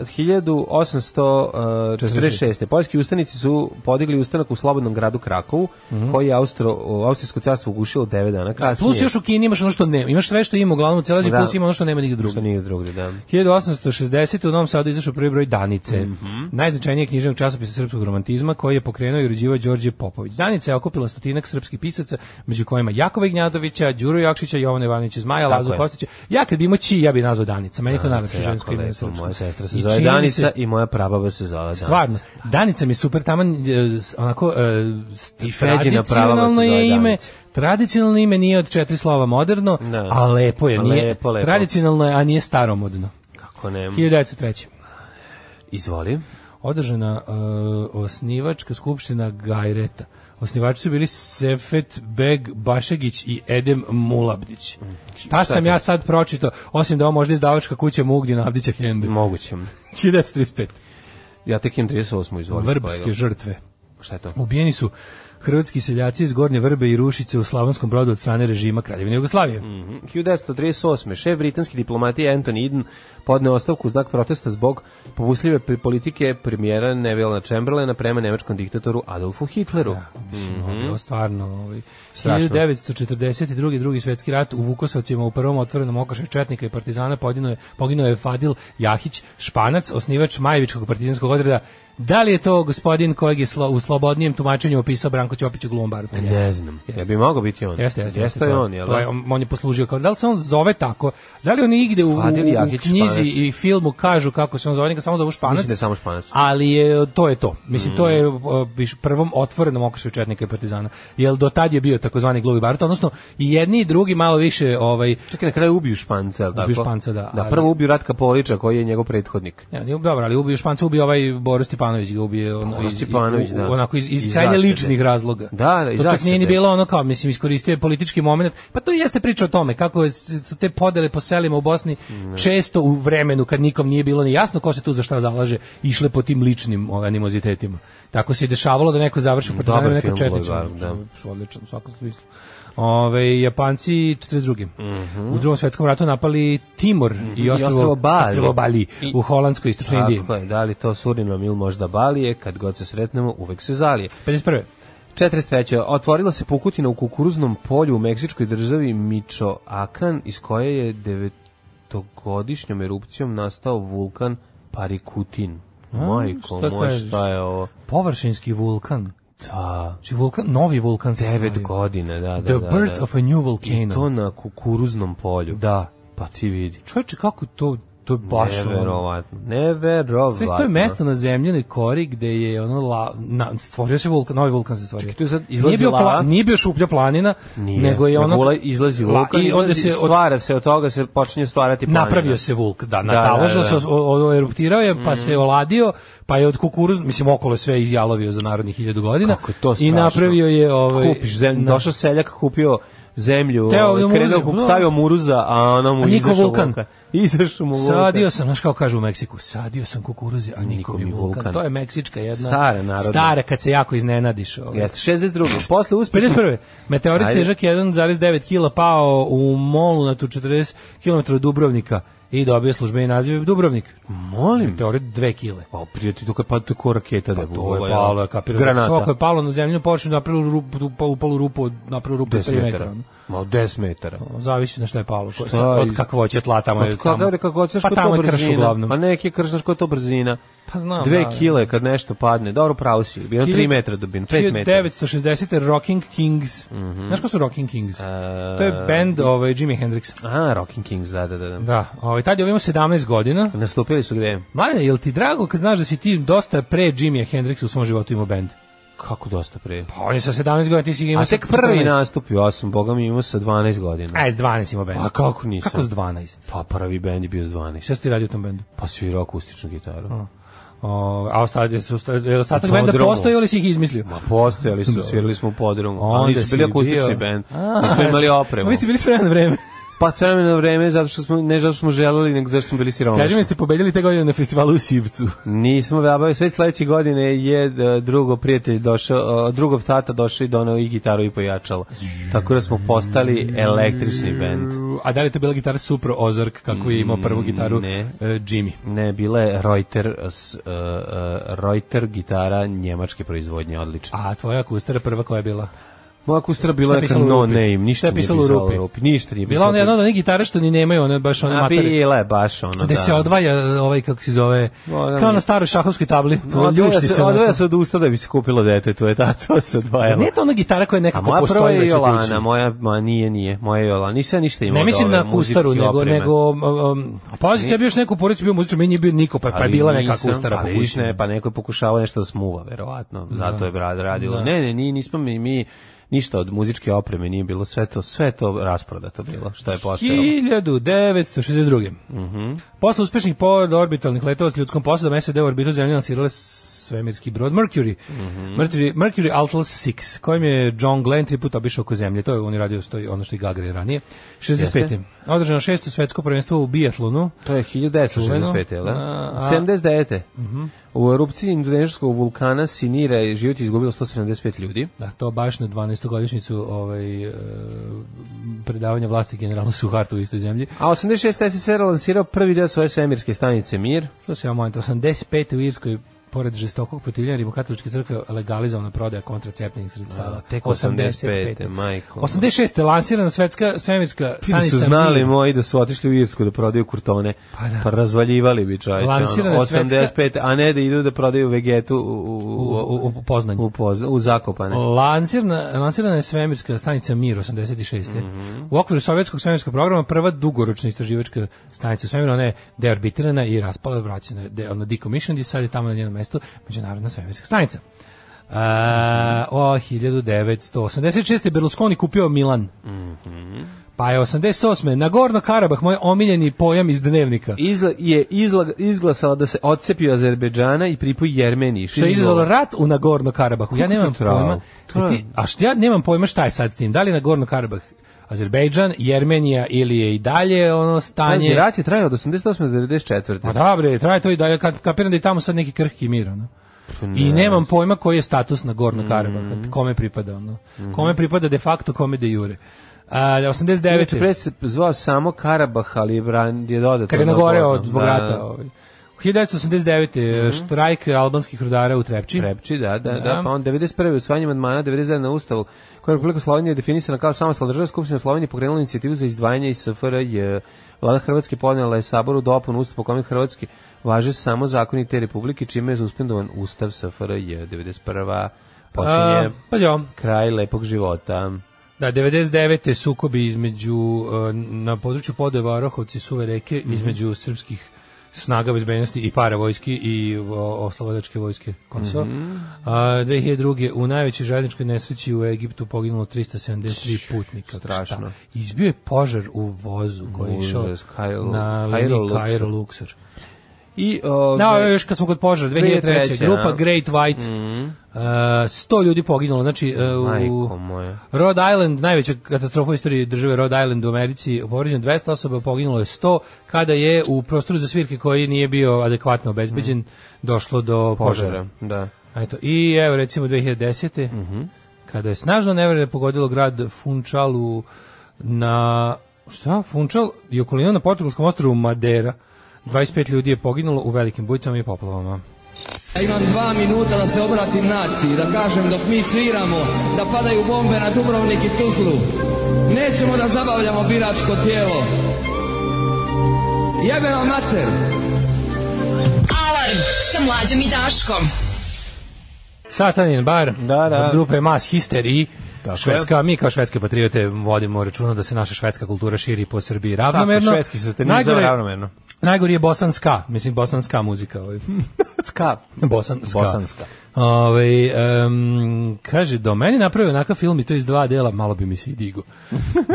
[SPEAKER 8] 1846. Poljski ustanici su podigli ustanak u slobodnom gradu Krakovu, koji je Austro, Austrijsko carstvo ugušilo 9 dana kasnije.
[SPEAKER 7] Mhm. Plus još u Kini imaš ono što nema. Imaš sve što ima uglavnom u celazi,
[SPEAKER 8] Da.
[SPEAKER 7] plus ima ono što nema nigde
[SPEAKER 8] Što
[SPEAKER 7] drugo.
[SPEAKER 8] nije drugde, da.
[SPEAKER 7] 1860. u Novom Sadu izašao prvi broj Danice,
[SPEAKER 8] Mhm.
[SPEAKER 7] najznačajnije književnog časopisa srpskog romantizma koji je pokrenuo i uređivao Đorđe Popović. Danica je okupila stotinak srpskih pisaca, među kojima Jakova Ignjadovića, Đuro Jakšića, Jovana Ivanovića Zmaja,
[SPEAKER 8] Tako
[SPEAKER 7] Lazu
[SPEAKER 8] je.
[SPEAKER 7] Kostića. Ja kad bi imao čiji, ja bi nazvao Danica. Meni je to nadam se
[SPEAKER 8] Jako
[SPEAKER 7] žensko ime na
[SPEAKER 8] lepo.
[SPEAKER 7] srpskom.
[SPEAKER 8] Moja sestra se
[SPEAKER 7] I
[SPEAKER 8] zove
[SPEAKER 7] čini mi
[SPEAKER 8] Danica
[SPEAKER 7] se-
[SPEAKER 8] i moja prababa se zove Danica.
[SPEAKER 7] Stvarno, Danica mi je super taman, e, s- onako, e, s-
[SPEAKER 8] I Feđina prava vas se
[SPEAKER 7] tradicionalno
[SPEAKER 8] zove
[SPEAKER 7] je ime,
[SPEAKER 8] Danica.
[SPEAKER 7] tradicionalno ime nije od četiri slova moderno,
[SPEAKER 8] Da.
[SPEAKER 7] a lepo je,
[SPEAKER 8] A
[SPEAKER 7] nije,
[SPEAKER 8] lepo, Mhm. lepo.
[SPEAKER 7] tradicionalno je, a nije staromodno.
[SPEAKER 8] Kako ne?
[SPEAKER 7] 1903.
[SPEAKER 8] Izvoli.
[SPEAKER 7] Održana e, osnivačka skupština Gajreta. Osnivači su bili Sefet Beg Bašegić i Edem Mulabdić. Šta sam ja sad pročito, osim da ovo možda izdavačka kuća Mugdina Avdića Hende.
[SPEAKER 8] Moguće.
[SPEAKER 7] 1935.
[SPEAKER 8] Ja tek imam 38. Izvoli.
[SPEAKER 7] Vrbske
[SPEAKER 8] kolega.
[SPEAKER 7] žrtve.
[SPEAKER 8] Šta je to?
[SPEAKER 7] Ubijeni su hrvatski seljaci iz Gornje Vrbe i Rušice u Slavonskom brodu od strane režima Kraljevine Jugoslavije.
[SPEAKER 8] 1938. šef britanske diplomatije Anthony Eden podneo ostavku u znak protesta zbog popustljive pri- politike premijera Neville Chamberlaina prema nemačkom diktatoru Adolfu Hitleru.
[SPEAKER 7] Da, mislim, ovo je bilo stvarno. Ovaj.
[SPEAKER 8] Mhm. Strašno.
[SPEAKER 7] 1942. drugi svetski rat u Vukosovcima u prvom otvorenom okršaju Četnika i Partizana poginuo je, poginuo je Fadil Jahić Španac, osnivač Majevičkog partizanskog odreda. Da li je to gospodin kojeg je slo- u slobodnijem tumačenju opisao Branko Ćopić u Glumbaru?
[SPEAKER 8] Ne znam. Ja bi mogao biti on.
[SPEAKER 7] Jeste, jeste.
[SPEAKER 8] Jeste je
[SPEAKER 7] to
[SPEAKER 8] on, jel?
[SPEAKER 7] to je, on, on je poslužio kao, da li se on zove tako? Da li oni igde u, u,
[SPEAKER 8] Fadil
[SPEAKER 7] u
[SPEAKER 8] Jahić
[SPEAKER 7] knjizi
[SPEAKER 8] Španac.
[SPEAKER 7] i filmu kažu kako se on zove, neka samo zovu Španac?
[SPEAKER 8] Mislim da je samo Španac. Mm.
[SPEAKER 7] Ali je, to je to. Mislim, to je o, viš- prvom otvorenom okršaju Četnika i Partizana. Jer do tad je bio takozvani gluvi barut, odnosno i jedni i drugi malo više ovaj,
[SPEAKER 8] Čekaj, na kraju ubiju Španca, jel tako?
[SPEAKER 7] Ubiju Španca, da,
[SPEAKER 8] Da,
[SPEAKER 7] ali-
[SPEAKER 8] prvo ubiju Ratka Polića, koji je njegov prethodnik.
[SPEAKER 7] Ja, nije, dobro, ali ubio Španca, ubio ovaj Boris Stepanović, ga ubio ono,
[SPEAKER 8] Boris
[SPEAKER 7] iz,
[SPEAKER 8] Stepanović,
[SPEAKER 7] u-
[SPEAKER 8] da.
[SPEAKER 7] onako iz, iz,
[SPEAKER 8] Iz
[SPEAKER 7] krajnje
[SPEAKER 8] zasede.
[SPEAKER 7] ličnih razloga.
[SPEAKER 8] Da, da, iz
[SPEAKER 7] to čak nije ni
[SPEAKER 8] zasede.
[SPEAKER 7] bilo ono kao, mislim, iskoristio je politički moment. Pa to jeste priča o tome, kako je s- su te podele po selima u Bosni često u vremenu kad nikom nije bilo ni jasno ko se tu za šta zalaže, išle po tim ličnim ovaj, animozitetima. Tako se i dešavalo da neko završi partizanima,
[SPEAKER 8] dobar
[SPEAKER 7] neko
[SPEAKER 8] film,
[SPEAKER 7] četnicima.
[SPEAKER 8] Boulevard, da.
[SPEAKER 7] Odlično, u svakom smislu. Ove, Japanci 42. U drugom svetskom ratu napali Timor i ostrvo,
[SPEAKER 8] Mhm. ostrvo Bali.
[SPEAKER 7] ostrvo Bali
[SPEAKER 8] I-
[SPEAKER 7] u holandskoj istočnoj Indiji.
[SPEAKER 8] Tako je, da li to Surinam ili možda Balije, kad god se sretnemo, uvek se zalije.
[SPEAKER 7] 51.
[SPEAKER 8] 43. Otvorila se pukutina u kukuruznom polju u meksičkoj državi Michoacan, iz koje je devetogodišnjom erupcijom nastao vulkan Parikutin. Majko,
[SPEAKER 7] šta
[SPEAKER 8] moj,
[SPEAKER 7] kažeš?
[SPEAKER 8] šta je ovo?
[SPEAKER 7] Površinski vulkan.
[SPEAKER 8] Da,
[SPEAKER 7] Znači vulkan, novi vulkan se
[SPEAKER 8] devet
[SPEAKER 7] stvorio.
[SPEAKER 8] godina, da, da,
[SPEAKER 7] The
[SPEAKER 8] da, da.
[SPEAKER 7] birth of a new
[SPEAKER 8] I to
[SPEAKER 7] volcano.
[SPEAKER 8] na kukuruznom polju.
[SPEAKER 7] Da.
[SPEAKER 8] Pa ti vidi.
[SPEAKER 7] Čovječe, kako to, to je baš... ono-
[SPEAKER 8] Neverovatno. Neverovatno.
[SPEAKER 7] Sve to je mesto na zemljenoj kori gde je ono la, na, stvorio se vulkan, novi vulkan se stvorio.
[SPEAKER 8] Čekaj, tu sad izlazi
[SPEAKER 7] nije bio
[SPEAKER 8] lava?
[SPEAKER 7] nije bio šuplja planina,
[SPEAKER 8] Nije.
[SPEAKER 7] nego je ono
[SPEAKER 8] Ula- izlazi
[SPEAKER 7] La-
[SPEAKER 8] vulkan
[SPEAKER 7] i onda se od,
[SPEAKER 8] stvara se od toga se počinje stvarati planina.
[SPEAKER 7] napravio se vulk, da, na
[SPEAKER 8] Da, da,
[SPEAKER 7] taložno
[SPEAKER 8] da. Mhm.
[SPEAKER 7] se o- o- eruptirao je, pa se oladio, pa je od kukuruz, mislim okolo je sve izjalovio za narodnih 1000 godina.
[SPEAKER 8] Kako je to
[SPEAKER 7] I
[SPEAKER 8] strašno.
[SPEAKER 7] napravio je ovaj
[SPEAKER 8] Kupiš zemlju,
[SPEAKER 7] na-
[SPEAKER 8] došao seljak, kupio zemlju,
[SPEAKER 7] Teo
[SPEAKER 8] ovaj,
[SPEAKER 7] da mu
[SPEAKER 8] krenuo,
[SPEAKER 7] uzeo,
[SPEAKER 8] kup-
[SPEAKER 7] no.
[SPEAKER 8] stavio muruza, a ono mu
[SPEAKER 7] A niko
[SPEAKER 8] izašao vulkan.
[SPEAKER 7] vulkan.
[SPEAKER 8] Izašao mu vulkan.
[SPEAKER 7] Sadio sam, znaš kao kažu u Meksiku, sadio sam kukuruze, a
[SPEAKER 8] Niko
[SPEAKER 7] niko mi
[SPEAKER 8] mi
[SPEAKER 7] vulkan.
[SPEAKER 8] vulkan.
[SPEAKER 7] To je meksička jedna.
[SPEAKER 8] Stara narodna.
[SPEAKER 7] Stara, kad se jako iznenadiš. Ovaj.
[SPEAKER 8] Jeste, 62. Posle uspešno...
[SPEAKER 7] 51. Meteorit
[SPEAKER 8] Ajde.
[SPEAKER 7] težak 1,9 kg pao u molu na tu 40 km od Dubrovnika i dobio službeni naziv Dubrovnik.
[SPEAKER 8] Molim.
[SPEAKER 7] Meteorit 2 kg.
[SPEAKER 8] Pa, prijatelj, to kad pada to je ko raketa da je
[SPEAKER 7] Pa To je
[SPEAKER 8] ovaj,
[SPEAKER 7] palo, je kapirano.
[SPEAKER 8] Granata.
[SPEAKER 7] To ako je palo na zemlju, počne napravilo rupu, upa- upalo rupu, od- napravilo rupu od
[SPEAKER 8] 10
[SPEAKER 7] 3
[SPEAKER 8] metara.
[SPEAKER 7] metara. ono.
[SPEAKER 8] Ma, 10 metara.
[SPEAKER 7] Zavisi na šta je palo. Ko-
[SPEAKER 8] Šta
[SPEAKER 7] sa-
[SPEAKER 8] je-
[SPEAKER 7] od kakvoće tla tamo je.
[SPEAKER 8] Od kako
[SPEAKER 7] tamo-
[SPEAKER 8] je kako hoćeš
[SPEAKER 7] pa
[SPEAKER 8] ko
[SPEAKER 7] tamo
[SPEAKER 8] to
[SPEAKER 7] je krš
[SPEAKER 8] brzina.
[SPEAKER 7] uglavnom.
[SPEAKER 8] Pa neki krš znaš ko je to brzina.
[SPEAKER 7] Pa znam,
[SPEAKER 8] Dve
[SPEAKER 7] da, da.
[SPEAKER 8] kile kad nešto padne. Dobro pravo si. Bio 3 metra Mhm. dubin, 5 metara.
[SPEAKER 7] 1960. Rocking Kings. Znaš ko su Rocking Kings? to je band ovaj, Jimi Hendrixa.
[SPEAKER 8] Aha, E, Rocking Kings, da, da, da. da.
[SPEAKER 7] Da, ovaj, tad je ovaj imao 17 godina.
[SPEAKER 8] Nastupili su gde?
[SPEAKER 7] Mladine, je li ti drago kad znaš da si ti dosta pre Jimmy Hendrixa u svom životu imao bend?
[SPEAKER 8] Kako dosta pre?
[SPEAKER 7] Pa on je sa 17 godina, ti si ga imao
[SPEAKER 8] A
[SPEAKER 7] sa
[SPEAKER 8] tek prvi
[SPEAKER 7] 14.
[SPEAKER 8] nastup, ja sam, boga mi imao sa 12 godina.
[SPEAKER 7] Aj, s 12 imao bend.
[SPEAKER 8] A kako nisam?
[SPEAKER 7] Kako s 12?
[SPEAKER 8] Pa prvi bend je bio s 12.
[SPEAKER 7] Šta si ti radio u tom bendu?
[SPEAKER 8] Pa svirao akustičnu gitaru.
[SPEAKER 7] O, a ostaje, su, osta- je li ostatak
[SPEAKER 8] U
[SPEAKER 7] benda
[SPEAKER 8] podrumu.
[SPEAKER 7] postoji ili si ih izmislio?
[SPEAKER 8] Ma postojali su, svirali smo u podrumu, ali
[SPEAKER 7] Onda
[SPEAKER 8] nisu bili
[SPEAKER 7] si
[SPEAKER 8] akustični
[SPEAKER 7] bio-
[SPEAKER 8] bend.
[SPEAKER 7] A,
[SPEAKER 8] Nismo imali opremu.
[SPEAKER 7] Vi ste bili sve na vreme.
[SPEAKER 8] Pa sve na vreme, zato što smo, ne zato što smo želeli, nego zato što smo bili siromašni.
[SPEAKER 7] Kaži mi, ste pobedili te godine na festivalu u Sibcu.
[SPEAKER 8] Nismo veabali, sve sledeće godine je e, drugo prijatelj došao, e, drugog tata došao i donao i gitaru i pojačalo. Tako da smo postali električni bend.
[SPEAKER 7] A da li je to bila gitara Supro Ozark, kako je imao prvu gitaru
[SPEAKER 8] Mm, Ne.
[SPEAKER 7] e, Jimmy?
[SPEAKER 8] Ne, bila je Reuter, s, e, e, Reuter gitara njemačke proizvodnje, odlično.
[SPEAKER 7] A tvoja akustara prva koja je bila?
[SPEAKER 8] Moja kustra bila
[SPEAKER 7] Šta je
[SPEAKER 8] neka
[SPEAKER 7] pisalo u
[SPEAKER 8] no
[SPEAKER 7] rupi?
[SPEAKER 8] name, ništa
[SPEAKER 7] Šta je
[SPEAKER 8] nije
[SPEAKER 7] pisalo u
[SPEAKER 8] pisalo
[SPEAKER 7] rupi?
[SPEAKER 8] Ništa nije
[SPEAKER 7] Bila
[SPEAKER 8] pisalo.
[SPEAKER 7] ona jedna od onih gitara što ni nemaju, one baš one
[SPEAKER 8] A
[SPEAKER 7] materi.
[SPEAKER 8] bila je baš ono,
[SPEAKER 7] Gde
[SPEAKER 8] da.
[SPEAKER 7] se odvaja ovaj, kako se zove,
[SPEAKER 8] O, da,
[SPEAKER 7] kao
[SPEAKER 8] mi-
[SPEAKER 7] na staroj šahovskoj tabli.
[SPEAKER 8] Odvaja
[SPEAKER 7] Ljušti se.
[SPEAKER 8] se,
[SPEAKER 7] ono.
[SPEAKER 8] odvaja se od usta da bi se kupilo dete, to je ta, to se odvajalo.
[SPEAKER 7] Nije to ona gitara koja
[SPEAKER 8] A
[SPEAKER 7] nekako
[SPEAKER 8] moja prva
[SPEAKER 7] postoji
[SPEAKER 8] je
[SPEAKER 7] već u kući.
[SPEAKER 8] Jolana, moja, ma nije, nije, moja je Jolana. Nisam ja ništa imao
[SPEAKER 7] Ne
[SPEAKER 8] od
[SPEAKER 7] mislim
[SPEAKER 8] ove
[SPEAKER 7] na kustaru,
[SPEAKER 8] muzičke
[SPEAKER 7] nego,
[SPEAKER 8] opreme.
[SPEAKER 7] nego um, um, a pazi, tebi još neko u porodici bio muzičar, meni je bio niko, pa, pa je
[SPEAKER 8] Ali
[SPEAKER 7] bila neka
[SPEAKER 8] nisam,
[SPEAKER 7] kustara
[SPEAKER 8] pa
[SPEAKER 7] po
[SPEAKER 8] vidiš,
[SPEAKER 7] kući.
[SPEAKER 8] ne, pa neko je pokušavao nešto da smuva, verovatno. Zato je brad radilo. Ne, ne, ni- nismo mi, mi ništa od muzičke opreme nije bilo sve to, sve to rasprodato bilo, što je postojalo.
[SPEAKER 7] 1962. Posle uspešnih pod orbitalnih letova s ljudskom posadom, SED u orbitu zemlje lansirale svemirski brod Mercury. Mercury, Mercury Atlas 6, kojim je John Glenn tri puta obišao oko zemlje. To je on je radio stoji, ono što i Gagarin ranije. 65. Održano šesto svetsko prvenstvo u biatlonu.
[SPEAKER 8] To je 1965, jel da?
[SPEAKER 7] A, a- Mhm.
[SPEAKER 8] 79. U erupciji indonezijskog vulkana Sinira je život izgubilo 175 ljudi.
[SPEAKER 7] Da, to baš na 12. godišnjicu ovaj, e, predavanja vlasti generalu Suhartu u istoj zemlji.
[SPEAKER 8] A 86. SSR lansirao prvi deo svoje svemirske stanice Mir.
[SPEAKER 7] Slušaj, ja moment, 85. u Irskoj pored žestokog protivljenja Rimokatoličke crkve legalizovana prodaja kontraceptivnih sredstava.
[SPEAKER 8] A, tek 85., majko.
[SPEAKER 7] 86. lansirana svetska svemirska
[SPEAKER 8] Ti da
[SPEAKER 7] stanica.
[SPEAKER 8] su znali
[SPEAKER 7] Mir.
[SPEAKER 8] moji da su otišli u Irsku da prodaju kurtone, pa,
[SPEAKER 7] Pa da.
[SPEAKER 8] razvaljivali bi čovječe. ono,
[SPEAKER 7] Lansirana
[SPEAKER 8] 85, a ne da idu da prodaju vegetu u, u,
[SPEAKER 7] U- u- u Poznanju.
[SPEAKER 8] U, Pozna- u Zakopane.
[SPEAKER 7] Lansirna, lansirana je svemirska stanica Mir 86. U okviru sovjetskog svemirskog programa prva dugoročna istraživačka stanica u svemiru, ona je deorbitirana i raspala, vraćena je de, ono, ona decommissioned i sad je tamo na njenom mestu međunarodna svemirska stanica. Uh, o, 1986. je Berlusconi kupio Milan. Pa je 88. Nagorno Karabah, moj omiljeni pojam iz dnevnika.
[SPEAKER 8] Izla, je izla, izglasala da se odcepi od Azerbejdžana i pripoji Jermeniji.
[SPEAKER 7] što je izazvalo rat u Nagorno Karabahu. Ja
[SPEAKER 8] Kako
[SPEAKER 7] nemam
[SPEAKER 8] ti trao?
[SPEAKER 7] pojma.
[SPEAKER 8] To je-
[SPEAKER 7] Ti- a što ja nemam pojma šta je sad s tim? Da li je Nagorno Karabah Azerbejdžan, Jermenija ili je i dalje ono
[SPEAKER 8] Pazi,
[SPEAKER 7] stanje?
[SPEAKER 8] rat je trajao od 88. do 94.
[SPEAKER 7] Pa da bre, traje to i dalje, kad kapiram da je tamo sad neki krhki mir, ono.
[SPEAKER 8] Pa
[SPEAKER 7] I nemam pojma koji je status na Gorno
[SPEAKER 8] Mm.
[SPEAKER 7] Karabaha, kome pripada ono.
[SPEAKER 8] Mhm.
[SPEAKER 7] Kome pripada de facto, kome de jure. A, 89.
[SPEAKER 8] Inače, pre se zvao samo Karabah, ali je, bran, je dodatno.
[SPEAKER 7] Kad je nagoreo
[SPEAKER 8] nagorno.
[SPEAKER 7] od zbog
[SPEAKER 8] Da,
[SPEAKER 7] rata.
[SPEAKER 8] da.
[SPEAKER 7] Ovaj. 1989. Mm štrajk albanskih rudara u Trepči.
[SPEAKER 8] Trepči, da, da, da,
[SPEAKER 7] Da.
[SPEAKER 8] pa on 91. usvajanje amandmana 99 na ustavu koja je Republika Slovenija definisana kao samostalna država Skupština Slovenije pokrenula inicijativu za izdvajanje iz SFRJ. Vlada Hrvatske podnijela je saboru dopun ustav po kome Hrvatske važe samo zakoni te republike čime je suspendovan ustav SFRJ 91.
[SPEAKER 7] A,
[SPEAKER 8] počinje
[SPEAKER 7] pa jo,
[SPEAKER 8] kraj lepog života.
[SPEAKER 7] Da, 99. sukobi između e, na području Podeva Arahovci Suve reke
[SPEAKER 8] Mhm.
[SPEAKER 7] između srpskih snaga bezbednosti i paravojski i o, oslobodačke vojske Kosova.
[SPEAKER 8] Mhm.
[SPEAKER 7] A, 2002. u najvećoj željezničkoj nesreći u Egiptu poginulo 373 putnika.
[SPEAKER 8] strašno.
[SPEAKER 7] Šta? Izbio je požar u vozu koji je išao
[SPEAKER 8] Užas, Kairo-
[SPEAKER 7] na
[SPEAKER 8] Kairo
[SPEAKER 7] liniji
[SPEAKER 8] Luxor.
[SPEAKER 7] Kairo Luxor.
[SPEAKER 8] I
[SPEAKER 7] Da,
[SPEAKER 8] ovaj
[SPEAKER 7] još kad smo kod požara, 2003.
[SPEAKER 8] 2003.,
[SPEAKER 7] grupa
[SPEAKER 8] a?
[SPEAKER 7] Great White, e, 100 ljudi poginulo, znači e, u-
[SPEAKER 8] Mhm. Majko moja.
[SPEAKER 7] Rhode Island, najveća katastrofa u istoriji države Rhode Island u Americi, povređeno 200 osoba, poginulo je 100, kada je u prostoru za svirke koji nije bio adekvatno obezbeđen, došlo do požara.
[SPEAKER 8] požara, da.
[SPEAKER 7] Eto, I evo recimo 2010. Kada je snažno nevere pogodilo grad Funchal u, na... Šta? Funchal i okolina na portugalskom ostrovu Madera. 25 ljudi je poginulo u velikim bujicama i poplavama.
[SPEAKER 2] Ja imam dva minuta da se obratim naciji, da kažem dok mi sviramo, da padaju bombe na Dubrovnik i Tuzlu. Nećemo da zabavljamo biračko tijelo. Jebe vam mater!
[SPEAKER 5] Alarm sa mlađom i Daškom.
[SPEAKER 7] Satanin bar
[SPEAKER 8] Da, da.
[SPEAKER 7] od grupe Mass Histeriji.
[SPEAKER 8] Tako je.
[SPEAKER 7] švedska, mi kao švedske patriote vodimo računa da se naša švedska kultura širi po Srbiji ravnomerno.
[SPEAKER 8] Tako, švedski satanizam ravnomerno.
[SPEAKER 7] Najgori je bosanska, mislim bosanska muzika. Ovaj.
[SPEAKER 8] Ska.
[SPEAKER 7] bosanska.
[SPEAKER 8] Bosanska.
[SPEAKER 7] Ovaj, em, kaže, do meni napravio onakav film i to iz dva dela, malo bi mi se i digo.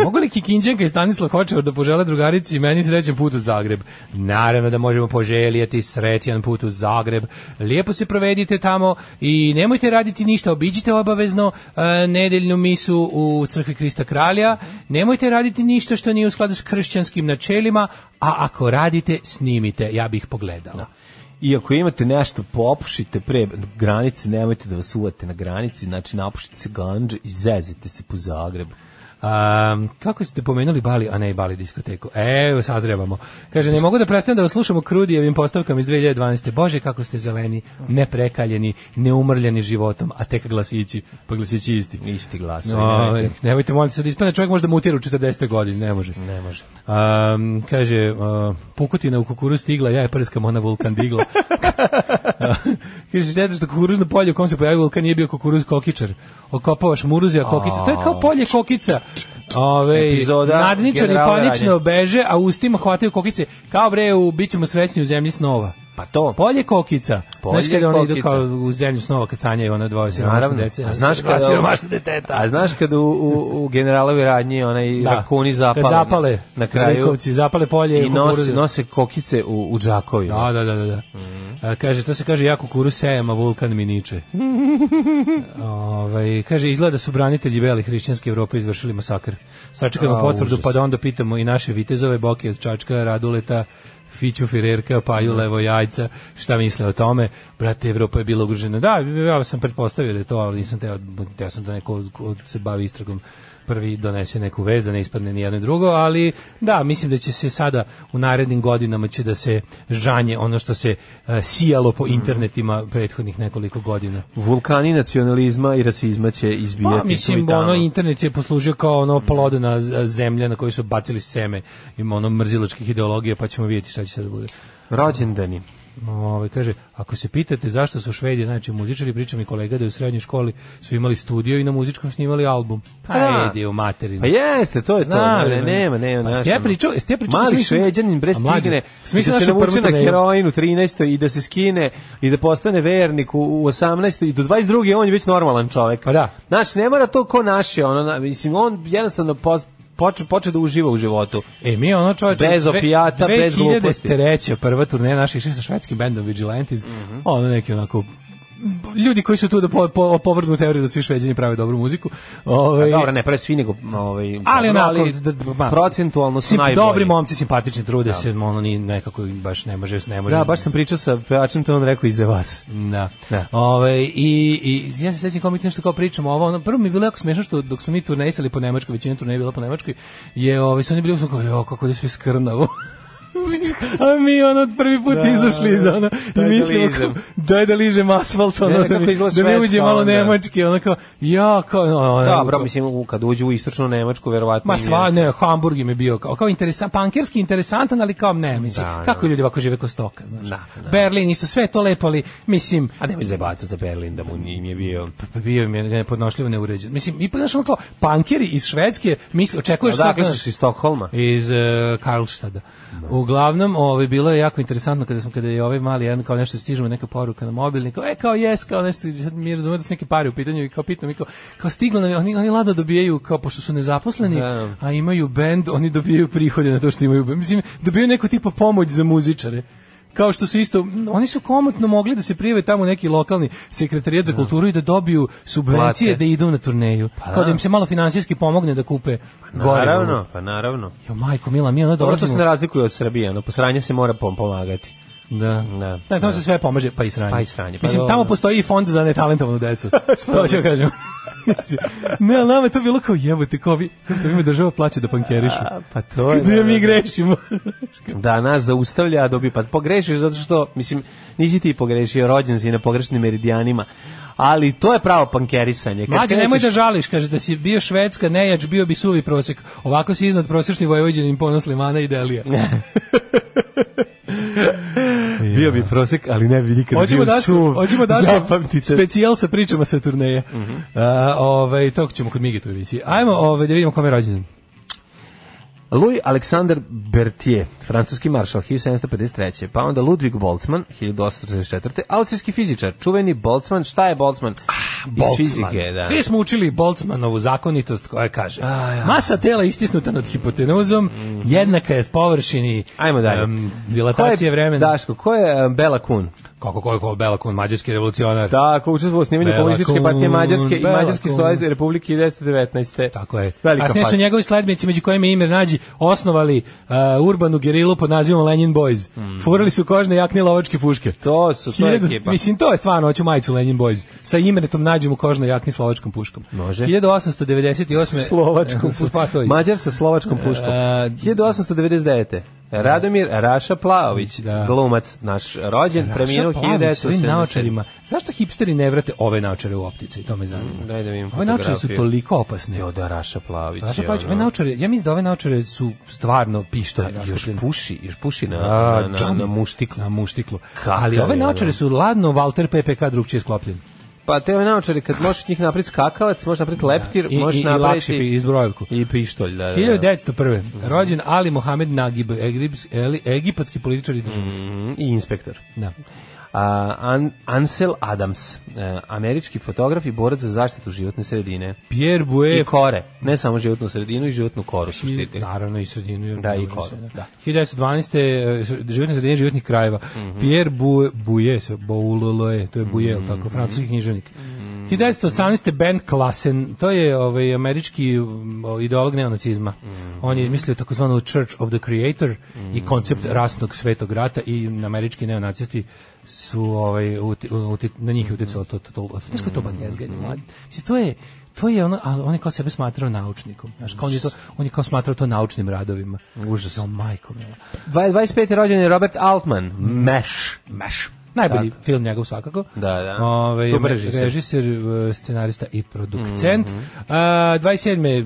[SPEAKER 7] Mogu li Kikinđenka i Stanislav Hočevar da požele drugarici i meni srećan put u Zagreb? Naravno da možemo poželjeti srećan put u Zagreb. Lijepo se provedite tamo i nemojte raditi ništa, obiđite obavezno e, nedeljnu misu u crkvi Krista Kralja, nemojte raditi ništa što nije u skladu s kršćanskim načelima, a ako radite, snimite, ja bih pogledala.
[SPEAKER 8] I ako imate nešto, popušite pre granice, nemojte da vas uvate na granici, znači napušite se ganđe i zezite se po Zagrebu.
[SPEAKER 7] Um, kako ste pomenuli Bali, a ne i Bali diskoteku? Evo, sazrevamo. Kaže, ne mogu da prestanem da vas slušam u Krudijevim postavkama iz 2012. Bože, kako ste zeleni, neprekaljeni, neumrljeni životom, a tek glasići, pa glasići isti.
[SPEAKER 8] Isti glas.
[SPEAKER 7] No, nemojte moliti sad ispane, čovjek može da mutira u 40. godini, ne može.
[SPEAKER 8] Ne može.
[SPEAKER 7] Um, kaže, uh, pukotina u kukuruz stigla, ja je prskam, ona vulkan digla. kaže, šteta što kukuruzno polje u kom se pojavio vulkan nije bio kukuruz kokičar. Okopavaš muruzi, a kokica, to je kao polje kokica. Ove,
[SPEAKER 8] Epizoda
[SPEAKER 7] nadničani
[SPEAKER 8] generala
[SPEAKER 7] panično
[SPEAKER 8] Radnje.
[SPEAKER 7] beže, a ustima hvataju kokice. Kao bre, u, bit ćemo srećni u zemlji snova.
[SPEAKER 8] Pa to.
[SPEAKER 7] Polje kokica.
[SPEAKER 8] Polje
[SPEAKER 7] znaš kada oni idu
[SPEAKER 8] kokica.
[SPEAKER 7] kao u zemlju snova kad sanjaju ona dva siromašne
[SPEAKER 8] Naravno.
[SPEAKER 7] dece.
[SPEAKER 8] A znaš
[SPEAKER 7] Dva
[SPEAKER 8] kada
[SPEAKER 7] siromašna deteta.
[SPEAKER 8] A znaš kad u, u, u generalovi radnji onaj
[SPEAKER 7] Da.
[SPEAKER 8] rakuni zapale.
[SPEAKER 7] Kad zapale,
[SPEAKER 8] na kraju.
[SPEAKER 7] Rekovci, zapale polje
[SPEAKER 8] I
[SPEAKER 7] kukuruza.
[SPEAKER 8] nose, nose kokice u, u džakovima.
[SPEAKER 7] Da, da, da, da. da. A, kaže, to se kaže ja kukuru sejem, a vulkan mi niče. Ovaj, kaže, izgleda su branitelji beli hrišćanske Evrope izvršili masakr. Sačekajmo
[SPEAKER 8] A,
[SPEAKER 7] potvrdu,
[SPEAKER 8] užas.
[SPEAKER 7] pa da onda pitamo i naše vitezove boke od Čačka, Raduleta, Fiću Firerka, Paju Levo Jajca, šta misle o tome? Brate, Evropa je bila ugrožena. Da, ja sam pretpostavio da je to, ali nisam teo, teo sam da neko ko se bavi istragom prvi donese neku vez da ne ispadne ni jedno ni drugo, ali da, mislim da će se sada u narednim godinama će da se žanje ono što se e, sijalo po
[SPEAKER 8] Mhm.
[SPEAKER 7] internetima prethodnih nekoliko godina.
[SPEAKER 8] Vulkani nacionalizma i rasizma će izbijati.
[SPEAKER 7] Pa, mislim,
[SPEAKER 8] tu i tamo.
[SPEAKER 7] ono, internet je poslužio kao ono plodena z- zemlja na koju su bacili seme, ima ono mrzilačkih ideologija, pa ćemo vidjeti šta će sad da bude.
[SPEAKER 8] Rođendani.
[SPEAKER 7] Ovaj kaže, ako se pitate zašto su Švedi najče muzičari, priča mi kolega da je u srednjoj školi su imali studio i na muzičkom snimali album. Pa
[SPEAKER 8] Da.
[SPEAKER 7] ide u materinu.
[SPEAKER 8] Pa jeste, to je to.
[SPEAKER 7] Znam,
[SPEAKER 8] ne, ne, nema, nema.
[SPEAKER 7] Pa
[SPEAKER 8] znaš,
[SPEAKER 7] ste ja
[SPEAKER 8] ono.
[SPEAKER 7] pričao, ste ja pričao.
[SPEAKER 8] Mali
[SPEAKER 7] mislim-
[SPEAKER 8] šveđanin bre
[SPEAKER 7] A mlađe,
[SPEAKER 8] stigne
[SPEAKER 7] smisli
[SPEAKER 8] da se
[SPEAKER 7] našu prvu
[SPEAKER 8] navuče na
[SPEAKER 7] turneju.
[SPEAKER 8] heroin u 13. i da se skine i da postane vernik u, u 18. i do 22. on je već normalan čovek.
[SPEAKER 7] Pa da.
[SPEAKER 8] Znaš, ne mora to ko naše, ono, na- mislim, on jednostavno post, poče, poče da uživa u životu.
[SPEAKER 7] E, mi ono čovječe...
[SPEAKER 8] Bez opijata, bez gluposti.
[SPEAKER 7] 2003. prva turneja naša išli sa švedskim bendom Vigilantes,
[SPEAKER 8] Mhm.
[SPEAKER 7] ono neki onako ljudi koji su tu da po, po, povrnu teoriju da svi šveđani prave dobru muziku. Ovaj,
[SPEAKER 8] Pa dobro, ne pre svi nego ovaj
[SPEAKER 7] ali
[SPEAKER 8] dobro,
[SPEAKER 7] onako,
[SPEAKER 8] ali
[SPEAKER 7] d- d- ma,
[SPEAKER 8] procentualno su
[SPEAKER 7] sim-
[SPEAKER 8] najbolji.
[SPEAKER 7] Dobri momci, simpatični, trude se, ono ni nekako baš ne može, ne može.
[SPEAKER 8] Da, baš sam pričao sa pevačem, to on rekao iza vas.
[SPEAKER 7] Da.
[SPEAKER 8] Da.
[SPEAKER 7] Ove, i, i, ja se sećam kao mi nešto kao pričamo ovo, ono, prvo mi je bilo jako smiješno što dok smo mi turnejsali po Nemačkoj, većina turneja je bila po Nemačkoj, je, ove, su oni bili u svom kao, jo, kako je sve skrnavo. a mi ono prvi put
[SPEAKER 8] Da,
[SPEAKER 7] izašli iz ono i
[SPEAKER 8] daj da
[SPEAKER 7] mislimo
[SPEAKER 8] ližem.
[SPEAKER 7] kao, daj da ližem asfalt ono,
[SPEAKER 8] Ne,
[SPEAKER 7] da,
[SPEAKER 8] kako
[SPEAKER 7] mi,
[SPEAKER 8] izgleda
[SPEAKER 7] da mi
[SPEAKER 8] Švedska
[SPEAKER 7] uđe malo
[SPEAKER 8] onda.
[SPEAKER 7] nemački ono kao ja kao ono, ono,
[SPEAKER 8] Dobro, mislim, u- kad uđu u istočnu Nemačku, verovatno...
[SPEAKER 7] Ma
[SPEAKER 8] im je-
[SPEAKER 7] sva, ne, Hamburg im je bio kao, kao interesan, pankerski interesantan, ali kao ne, mislim,
[SPEAKER 8] Da,
[SPEAKER 7] kako
[SPEAKER 8] da.
[SPEAKER 7] ljudi ovako žive ko stoka, znaš.
[SPEAKER 8] Da, da.
[SPEAKER 7] Berlin isto, sve je to lepo, ali mislim,
[SPEAKER 8] A nemoj zajebacati za Berlin, da mu im je bio...
[SPEAKER 7] pa bio mi je nepodnošljivo neuređen. Mislim, ipak znaš ono kao, pankeri iz Švedske, misli, očekuješ sad,
[SPEAKER 8] Odakle
[SPEAKER 7] znaš,
[SPEAKER 8] su iz Stokholma?
[SPEAKER 7] iz uh, Karlštada. Uglavnom, ovaj bilo je jako interesantno kada smo kada je ovaj mali jedan kao nešto stiže mu neka poruka na mobilni, kao e kao jes, kao nešto sad mi razumemo da su neke pare u pitanju i kao pitam i kao kao stiglo nam je, oni oni lado dobijaju kao pošto su nezaposleni,
[SPEAKER 8] Da.
[SPEAKER 7] a imaju bend, oni dobijaju prihode na to što imaju. bend. Mislim, dobijaju neko tipa pomoć za muzičare kao što su isto, m, oni su komotno mogli da se prijave tamo u neki lokalni sekretarijat za kulturu i da dobiju subvencije da
[SPEAKER 8] Plate.
[SPEAKER 7] idu na turneju. kao da im se malo finansijski pomogne da kupe gorivo.
[SPEAKER 8] Naravno, pa naravno.
[SPEAKER 7] Jo, majko, mila, mi ono
[SPEAKER 8] Dobro, to se
[SPEAKER 7] dolazimo.
[SPEAKER 8] ne razlikuje od Srbije, ono, posranje se mora pom pomagati.
[SPEAKER 7] Da.
[SPEAKER 8] Da,
[SPEAKER 7] Da, tamo
[SPEAKER 8] da.
[SPEAKER 7] se sve pomaže, pa i sranje.
[SPEAKER 8] Pa i sranje, pa
[SPEAKER 7] Mislim,
[SPEAKER 8] dobro. znači?
[SPEAKER 7] tamo postoji i fond za netalentovanu decu. Što ću kažem? Mislim, ne, ali nama je to bilo kao jebote, kao vi, kako to ime država plaća da pankerišu.
[SPEAKER 8] A, pa to je,
[SPEAKER 7] Gde
[SPEAKER 8] da,
[SPEAKER 7] mi
[SPEAKER 8] da.
[SPEAKER 7] grešimo.
[SPEAKER 8] Da, nas zaustavlja, a dobi pa pogrešiš zato što, mislim, nisi ti pogrešio, rođen si na pogrešnim meridijanima. Ali to je pravo pankerisanje. Kad
[SPEAKER 7] Mlađe, nemoj da
[SPEAKER 8] krećeš-
[SPEAKER 7] žališ, kaže da si bio švedska, nejač, bio bi suvi prosek. Ovako si iznad prosječni vojvođenim ponos Limana i Delija.
[SPEAKER 8] Bio bi prosek, ali ne bi nikad
[SPEAKER 7] Hoćemo daš, hoćemo daš
[SPEAKER 8] Zapamtite. Mhm.
[SPEAKER 7] specijal sa pričama sa turneje. A, ovaj, to ćemo kod Migi tu emisiji. Ajmo ovaj, da vidimo kome je rođendan.
[SPEAKER 8] Louis Alexander Berthier, francuski maršal 1753. Pa onda Ludwig Boltzmann 1844. Austrijski fizičar, čuveni Boltzmann. Šta je Ah, Boltzmann? Iz fizike, da.
[SPEAKER 7] Svi smo učili Boltzmanovu zakonitost koja kaže masa tela istisnuta nad hipotenuzom jednaka je s površini
[SPEAKER 8] Mhm. Ajmo dalje.
[SPEAKER 7] em,
[SPEAKER 8] Ko
[SPEAKER 7] dilatacije vremena.
[SPEAKER 8] Daško, ko je um, Bela Kun?
[SPEAKER 7] Kako ko je ko Belakon, mađarski revolucionar.
[SPEAKER 8] Tako, učestvovao u snimanju
[SPEAKER 7] Bela
[SPEAKER 8] komunističke
[SPEAKER 7] Kun,
[SPEAKER 8] partije Mađarske i
[SPEAKER 7] Bela
[SPEAKER 8] Mađarski
[SPEAKER 7] Kun.
[SPEAKER 8] savez Republike 1919.
[SPEAKER 7] Tako je.
[SPEAKER 8] Velika
[SPEAKER 7] Kasnije su
[SPEAKER 8] faca.
[SPEAKER 7] njegovi sledbenici, među kojima je Imre Nađi, osnovali e, urbanu gerilu pod nazivom Lenin Boys. Furali su kožne jakne i lovačke puške.
[SPEAKER 8] Mhm. To su, to je
[SPEAKER 7] Hiljadu-
[SPEAKER 8] ekipa.
[SPEAKER 7] Mislim, to je stvarno, hoću majicu Lenin Boys. Sa Imretom Nađim u kožnoj jakni s lovačkom puškom.
[SPEAKER 8] Može.
[SPEAKER 7] 1898.
[SPEAKER 8] Slovačkom
[SPEAKER 7] Pa, to
[SPEAKER 8] puškom.
[SPEAKER 7] je
[SPEAKER 8] Mađar sa slovačkom puškom.
[SPEAKER 7] E,
[SPEAKER 8] 1899. Radomir Raša Plavović,
[SPEAKER 7] Da.
[SPEAKER 8] glumac naš rođen, preminuo
[SPEAKER 7] Raša Plavi sa ovim
[SPEAKER 8] 1970.
[SPEAKER 7] naočarima. Zašto hipsteri ne vrate ove naočare u optici? To me zanima.
[SPEAKER 8] Mm, Daj da vidim
[SPEAKER 7] Ove naočare su
[SPEAKER 8] fotografiju.
[SPEAKER 7] toliko opasne.
[SPEAKER 8] Jo, da, Raša Plavić.
[SPEAKER 7] Raša
[SPEAKER 8] je
[SPEAKER 7] Plavić,
[SPEAKER 8] ono-
[SPEAKER 7] ove naočare, ja mislim da ove naočare su stvarno pištolj.
[SPEAKER 8] Još
[SPEAKER 7] raskopljene.
[SPEAKER 8] puši, još puši na,
[SPEAKER 7] A,
[SPEAKER 8] na, na,
[SPEAKER 7] džabe.
[SPEAKER 8] na muštiklu.
[SPEAKER 7] Na muštiklu.
[SPEAKER 8] Kakav
[SPEAKER 7] Ali ove
[SPEAKER 8] je, ono?
[SPEAKER 7] naočare
[SPEAKER 8] da.
[SPEAKER 7] su ladno Walter PPK drugčije sklopljen.
[SPEAKER 8] Pa te ove naočare, kad možeš njih napraviti skakavac, možeš napraviti leptir,
[SPEAKER 7] I, i,
[SPEAKER 8] možeš
[SPEAKER 7] i lakše
[SPEAKER 8] napraviti...
[SPEAKER 7] pi- iz brojevku.
[SPEAKER 8] I pištolj, da, da. da.
[SPEAKER 7] 1901. Rođen Ali Mohamed Nagib, egrips- eli- egipatski političar i državnik.
[SPEAKER 8] Mhm, I inspektor.
[SPEAKER 7] Da.
[SPEAKER 8] A, An, Ansel Adams, e, američki fotograf i borac za zaštitu životne sredine.
[SPEAKER 7] Pierre Bouet,
[SPEAKER 8] I kore, ne samo životnu sredinu i životnu koru su
[SPEAKER 7] I-
[SPEAKER 8] štitili.
[SPEAKER 7] Naravno i sredinu. jer
[SPEAKER 8] Da, i
[SPEAKER 7] ne može
[SPEAKER 8] koru,
[SPEAKER 7] se,
[SPEAKER 8] da.
[SPEAKER 7] 1912. e, životne sredine životnih krajeva. Pierre Bou- Bouye, se- Bouloloe, to je Bouye, jel tako, francuski književnik. 1918. Ben Klassen, to je ovaj, američki um, ideolog neonacizma. On je izmislio takozvanu Church of the Creator i koncept rasnog svetog rata i američki neonacisti su ovaj, uti, uti, na njih je uticalo to. to, to, to, znaš kao to bandjezganje, mladi? Mislim, to je to je ono, ali on je kao sebe smatrao naučnikom. Znaš, kao on, je to, on je kao smatrao to naučnim radovima. Užas. Jo, majko mila.
[SPEAKER 8] Dva- 25. rođen je Robert Altman, Mesh.
[SPEAKER 7] Meš. Najbolji film njegov svakako.
[SPEAKER 8] Da, da.
[SPEAKER 7] Ovaj,
[SPEAKER 8] Super
[SPEAKER 7] režiser.
[SPEAKER 8] režiser. Mhm.
[SPEAKER 7] eh, scenarista i producent. A, 27. je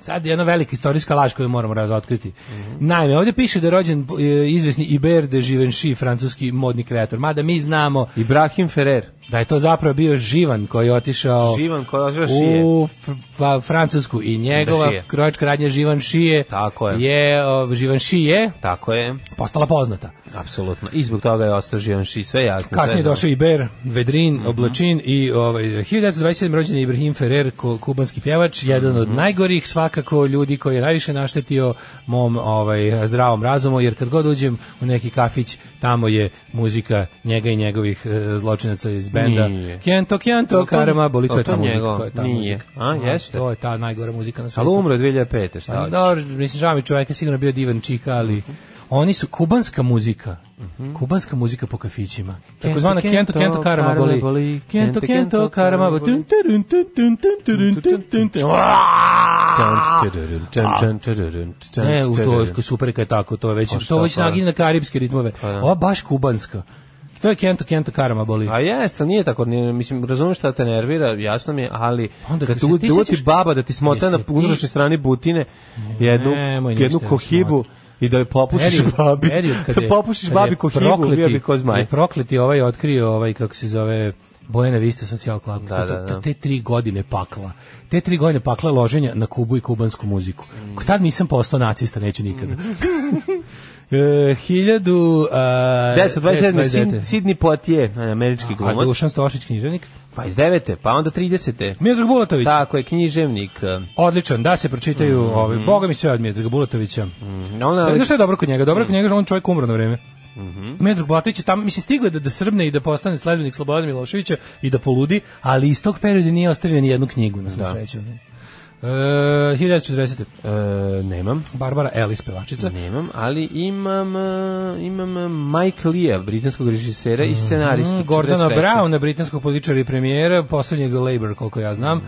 [SPEAKER 7] sad jedna velika istorijska laž koju moramo razotkriti.
[SPEAKER 8] Mhm.
[SPEAKER 7] Naime, ovdje piše da je rođen eh, izvesni Iber de Givenchy, francuski modni kreator. Mada mi znamo
[SPEAKER 8] Ibrahim Ferrer,
[SPEAKER 7] da je to zapravo bio Živan koji je otišao
[SPEAKER 8] živan koji održava šije.
[SPEAKER 7] u Fr- pa, Francusku i njegova
[SPEAKER 8] Da šije.
[SPEAKER 7] krojačka radnja Živan Šije
[SPEAKER 8] Tako je.
[SPEAKER 7] je o, Živan Šije
[SPEAKER 8] Tako je,
[SPEAKER 7] postala poznata.
[SPEAKER 8] apsolutno. I zbog toga je ostao živan ši, sve jasno.
[SPEAKER 7] Kasnije
[SPEAKER 8] sve
[SPEAKER 7] je
[SPEAKER 8] znam.
[SPEAKER 7] došao Iber, Vedrin,
[SPEAKER 8] Mhm.
[SPEAKER 7] Oblačin i ovaj, 1927. rođen je Ibrahim Ferrer, ko- kubanski pjevač, jedan
[SPEAKER 8] Mhm.
[SPEAKER 7] od najgorih svakako ljudi koji je najviše naštetio mom ovaj, zdravom razumu, jer kad god uđem u neki kafić, tamo je muzika njega i njegovih eh, zločinaca iz benda.
[SPEAKER 8] Nije.
[SPEAKER 7] Kento, kento,
[SPEAKER 8] To- to-
[SPEAKER 7] karama, boli, to
[SPEAKER 8] to-
[SPEAKER 7] je ta
[SPEAKER 8] to
[SPEAKER 7] muzika.
[SPEAKER 8] njegov.
[SPEAKER 7] To je ta
[SPEAKER 8] Nije.
[SPEAKER 7] muzika.
[SPEAKER 8] A, jeste?
[SPEAKER 7] To je ta najgora muzika na
[SPEAKER 8] Ali
[SPEAKER 7] svijetu.
[SPEAKER 8] umro je 2005. Šta
[SPEAKER 7] Pa
[SPEAKER 8] hoćeš?
[SPEAKER 7] dobro, mislim, žao mi čovjek je sigurno bio divan čika, ali oni su kubanska muzika. Kubanska muzika po kafićima. Tako zvana Kento, Kento, Karama boli. Kento, Kento, Karama boli. Tun, tun, tun, tun, tun, tun, tun, tun, tun, tun. Uaaaa! Ne, E, u to je super kad je tako, to je
[SPEAKER 8] Pa
[SPEAKER 7] već,
[SPEAKER 8] šta,
[SPEAKER 7] to već
[SPEAKER 8] pa da.
[SPEAKER 7] naginje na karipske ritmove.
[SPEAKER 8] da.
[SPEAKER 7] Ova baš kubanska. To je Kento Kento Karama boli.
[SPEAKER 8] A jeste, ali nije tako, nije, mislim, razumem šta te nervira, jasno mi je, ali
[SPEAKER 7] Onda
[SPEAKER 8] kad
[SPEAKER 7] kad
[SPEAKER 8] te
[SPEAKER 7] se-
[SPEAKER 8] uvati
[SPEAKER 7] ti
[SPEAKER 8] uvati
[SPEAKER 7] sećaš-
[SPEAKER 8] baba da ti smota
[SPEAKER 7] Jesi
[SPEAKER 8] na
[SPEAKER 7] ti-
[SPEAKER 8] unutrašnjoj strani butine jednu,
[SPEAKER 7] Nemoj ništa
[SPEAKER 8] jednu
[SPEAKER 7] da
[SPEAKER 8] kohibu i da je popušiš
[SPEAKER 7] Period-
[SPEAKER 8] babi,
[SPEAKER 7] period kad
[SPEAKER 8] da
[SPEAKER 7] je- kad
[SPEAKER 8] popušiš
[SPEAKER 7] je
[SPEAKER 8] babi kohibu, bio bi ko zmaj.
[SPEAKER 7] je prokleti ovaj otkrio ovaj, kako se zove, Bojana Vista Social Club.
[SPEAKER 8] Da,
[SPEAKER 7] To-
[SPEAKER 8] da,
[SPEAKER 7] to-
[SPEAKER 8] da.
[SPEAKER 7] Te tri godine pakla. Te tri godine pakla loženja na Kubu i kubansku muziku.
[SPEAKER 8] Mm.
[SPEAKER 7] Tad nisam postao nacista, neću nikada. E, Hiljadu... a,
[SPEAKER 8] 1027.
[SPEAKER 7] 1027.
[SPEAKER 8] Sid- Sidney Poitier, e, američki
[SPEAKER 7] A
[SPEAKER 8] glumac,
[SPEAKER 7] Dušan Stošić, književnik.
[SPEAKER 8] 29. pa onda 30.
[SPEAKER 7] Miodrag Bulatović.
[SPEAKER 8] Tako je, književnik. E,
[SPEAKER 7] Odličan, da se pročitaju
[SPEAKER 8] Mm-hmm.
[SPEAKER 7] ovi. Boga mi sve od Miodraga Bulatovića.
[SPEAKER 8] Ona,
[SPEAKER 7] Ali što je dobro kod njega? Dobro je
[SPEAKER 8] Mm.
[SPEAKER 7] kod njega je što on čovjek umro na vreme.
[SPEAKER 8] Mhm.
[SPEAKER 7] Medrag Bulatović je tam, mislim, stigao je da, da srbne i da postane sledbenik Slobodana Miloševića i da poludi, ali iz tog perioda nije ostavio ni jednu knjigu, na svu sreću. E, 1940.
[SPEAKER 8] e, nemam.
[SPEAKER 7] Barbara Ellis, pevačica.
[SPEAKER 8] Nemam, ali imam, e, imam e, Mike Lee, britanskog režisera i scenarista.
[SPEAKER 7] Gordana
[SPEAKER 8] 43..
[SPEAKER 7] Mm, Brown, britanskog političara i premijera, poslednjeg Labour, koliko ja znam,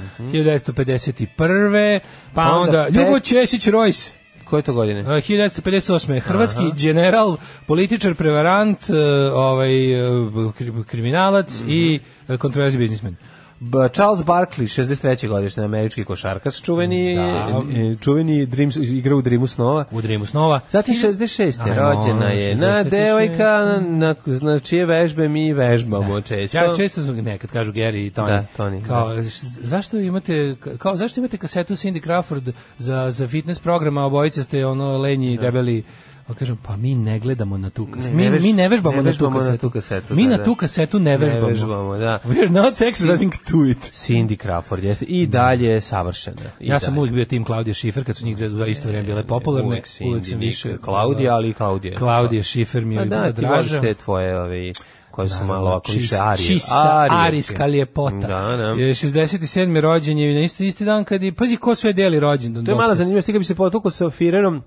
[SPEAKER 7] 1951. Pa
[SPEAKER 8] Mhm. Onda
[SPEAKER 7] onda,
[SPEAKER 8] pet-
[SPEAKER 7] Ljubo Česić Rojs,
[SPEAKER 8] Koje to godine?
[SPEAKER 7] Uh, 1958. Hrvatski general, političar, prevarant, uh, ovaj, uh, kri- kriminalac
[SPEAKER 8] Mhm.
[SPEAKER 7] i uh, kontroverzni biznismen.
[SPEAKER 8] B- Charles Barkley, 63. godišnji američki košarkaš, čuveni,
[SPEAKER 7] Da.
[SPEAKER 8] e, čuveni Dreams, igra u Dreamu snova.
[SPEAKER 7] U Dreamu snova.
[SPEAKER 8] Zatim 66.
[SPEAKER 7] Ajmo,
[SPEAKER 8] rođena je na
[SPEAKER 7] 66..
[SPEAKER 8] devojka na, na čije vežbe mi vežbamo često.
[SPEAKER 7] Ja često sam- nekad kažu Gary i Tony.
[SPEAKER 8] Da, Tony,
[SPEAKER 7] Kao, š- zašto imate kao zašto imate kasetu Cindy Crawford za za fitness programa, obojice ste ono lenji, debeli. A kažem, pa mi ne gledamo na tu kasetu.
[SPEAKER 8] Ne, ne
[SPEAKER 7] Mi,
[SPEAKER 8] vež-
[SPEAKER 7] mi ne vežbamo,
[SPEAKER 8] ne vežbamo
[SPEAKER 7] na, tu
[SPEAKER 8] na
[SPEAKER 7] kasetu.
[SPEAKER 8] tu kasetu,
[SPEAKER 7] Mi
[SPEAKER 8] da,
[SPEAKER 7] na
[SPEAKER 8] da.
[SPEAKER 7] tu kasetu ne vežbamo.
[SPEAKER 8] Ne vežbamo, da.
[SPEAKER 7] We're not exercising to it.
[SPEAKER 8] Cindy Crawford jeste i dalje je savršena. I
[SPEAKER 7] Ja sam
[SPEAKER 8] dalje.
[SPEAKER 7] uvijek bio tim Klaudije Šifer, kad su njih dve u isto vrijeme bile popularne.
[SPEAKER 8] Uvek Cindy,
[SPEAKER 7] uvijek sam više...
[SPEAKER 8] nikad Klaudija, ali i Klaudija.
[SPEAKER 7] Klaudija Šifer mi je
[SPEAKER 8] Pa
[SPEAKER 7] bila
[SPEAKER 8] da, ti voliš
[SPEAKER 7] draža.
[SPEAKER 8] te tvoje ovi, koje su malo ovako
[SPEAKER 7] Čist-
[SPEAKER 8] više arije.
[SPEAKER 7] Čista
[SPEAKER 8] Arijevke.
[SPEAKER 7] arijska ljepota.
[SPEAKER 8] Da, da.
[SPEAKER 7] Je 67. rođen je i na isti, isti dan kad je... Pazi ko sve deli rođendan.
[SPEAKER 8] To je mala zanimljivost, ti kad bi se potukao sa Firerom,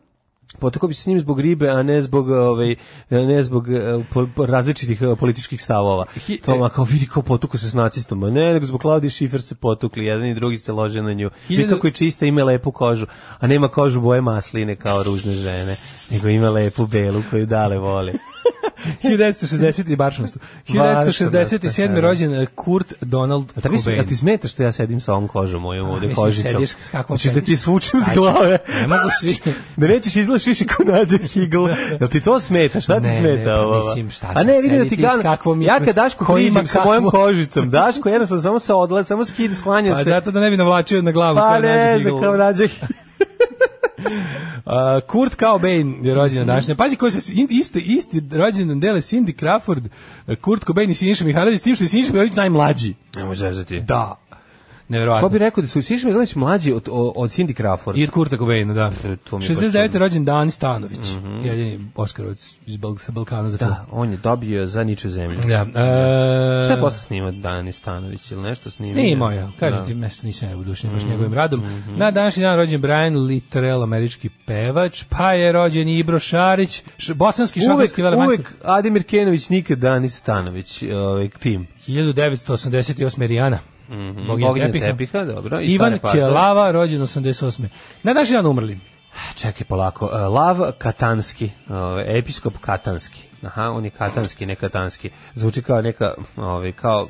[SPEAKER 8] potukao bi se s njim zbog ribe, a ne zbog, ovaj, ne zbog eh, po- po- različitih eh, političkih stavova.
[SPEAKER 7] Hi- e
[SPEAKER 8] to ma kao vidi kao potukao se s nacistom, a ne, nego zbog Klaudije Šifer se potukli, jedan i drugi se lože na nju.
[SPEAKER 7] Hiljadu-
[SPEAKER 8] Nikako je čista, ima lepu kožu, a nema kožu boje masline kao ružne žene, nego ima lepu belu koju dale voli.
[SPEAKER 7] 1960. i baršnost. 1967.
[SPEAKER 8] da.
[SPEAKER 7] rođen je Kurt Donald
[SPEAKER 8] A tebi, a
[SPEAKER 7] Cobain.
[SPEAKER 8] ti smeta što ja sedim sa ovom kožom mojom ovde
[SPEAKER 7] mislim,
[SPEAKER 8] kožicom?
[SPEAKER 7] sediš s kakvom
[SPEAKER 8] Hoćeš da ti
[SPEAKER 7] sediš?
[SPEAKER 8] svučem s
[SPEAKER 7] Ajde,
[SPEAKER 8] glave?
[SPEAKER 7] ne mogu svi.
[SPEAKER 8] da nećeš izlaš više ko nađe higl. Jel ti to smeta? Šta ti
[SPEAKER 7] Ne, ne,
[SPEAKER 8] smeta?
[SPEAKER 7] pa
[SPEAKER 8] ovo?
[SPEAKER 7] mislim, šta
[SPEAKER 8] A
[SPEAKER 7] sad,
[SPEAKER 8] ne, vidi da ti
[SPEAKER 7] sediti s
[SPEAKER 8] gan...
[SPEAKER 7] kakvom-
[SPEAKER 8] Ja kad Daško
[SPEAKER 7] ko ima
[SPEAKER 8] priđem sa mojom
[SPEAKER 7] kakvu-
[SPEAKER 8] kožicom, Daško jednostavno samo se odlazi, samo skid, sklanja
[SPEAKER 7] Pa
[SPEAKER 8] se.
[SPEAKER 7] zato da ne bi navlačio na glavu.
[SPEAKER 8] pa
[SPEAKER 7] kao nađe
[SPEAKER 8] ne, za
[SPEAKER 7] Beagle.
[SPEAKER 8] kao nađe higl.
[SPEAKER 7] Uh, Kurt Cobain je rođen danas. Pazi ko se in- isti isti rođendan dele Cindy Crawford, uh, Kurt Cobain i Siniša Mihajlović, s tim što je Siniša Mihajlović najmlađi.
[SPEAKER 8] Ne može zezati.
[SPEAKER 7] Da.
[SPEAKER 8] Ko
[SPEAKER 7] Neverovatno.
[SPEAKER 8] bi rekao da su Siša Mihajlović mlađi od, o- od Cindy Crawford?
[SPEAKER 7] I od Kurta Cobaina, da.
[SPEAKER 8] To mi je Mhm.
[SPEAKER 7] 69. rođen Dan Stanović, jedini Oskarovac iz Bal- sa Balkana za film.
[SPEAKER 8] Da, on je dobio za niču zemlju.
[SPEAKER 7] Da. e,
[SPEAKER 8] Šta je posle snimao Dani Stanović ili nešto snimao?
[SPEAKER 7] Snimao je, kažem
[SPEAKER 8] Da. Mhm.
[SPEAKER 7] ti, nešto nisam ja udušen baš njegovim radom. Na današnji dan rođen Brian Littrell, američki pevač, pa je rođen i Ibro Šarić, š- bosanski
[SPEAKER 8] Uvek,
[SPEAKER 7] šahovski velemajstor.
[SPEAKER 8] uvek Ademir Kenović, nikad Dani Stanović, ovaj, tim.
[SPEAKER 7] 1988. Rijana. Mm
[SPEAKER 8] Boginja tepiha. dobro. i
[SPEAKER 7] Ivan
[SPEAKER 8] Stare Pazove.
[SPEAKER 7] Kjelava, rođen 88. Na današnji dan umrli.
[SPEAKER 8] Čekaj polako. e, Lav Katanski, ovaj, episkop Katanski. Aha, on je Katanski, ne Katanski. Zvuči kao neka, ovaj, kao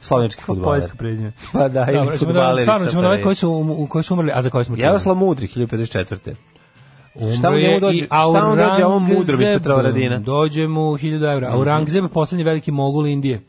[SPEAKER 8] slovenski fudbaler.
[SPEAKER 7] Poljsko prezime.
[SPEAKER 8] Pa da, ili
[SPEAKER 7] Dobro, ćemo da,
[SPEAKER 8] fudbaleri.
[SPEAKER 7] stvarno ćemo da ove koji su, um- koji su umrli, a za koje smo čuli.
[SPEAKER 8] Jaroslav Mudri, 1054.
[SPEAKER 7] Umro je
[SPEAKER 8] njemu dođe?
[SPEAKER 7] i
[SPEAKER 8] Šta mu dođe ovom mudrom iz
[SPEAKER 7] Aurangzeb.
[SPEAKER 8] Petrovaradina?
[SPEAKER 7] Dođe mu 1000
[SPEAKER 8] Mhm.
[SPEAKER 7] evra. Aurangzeb je poslednji veliki mogul Indije.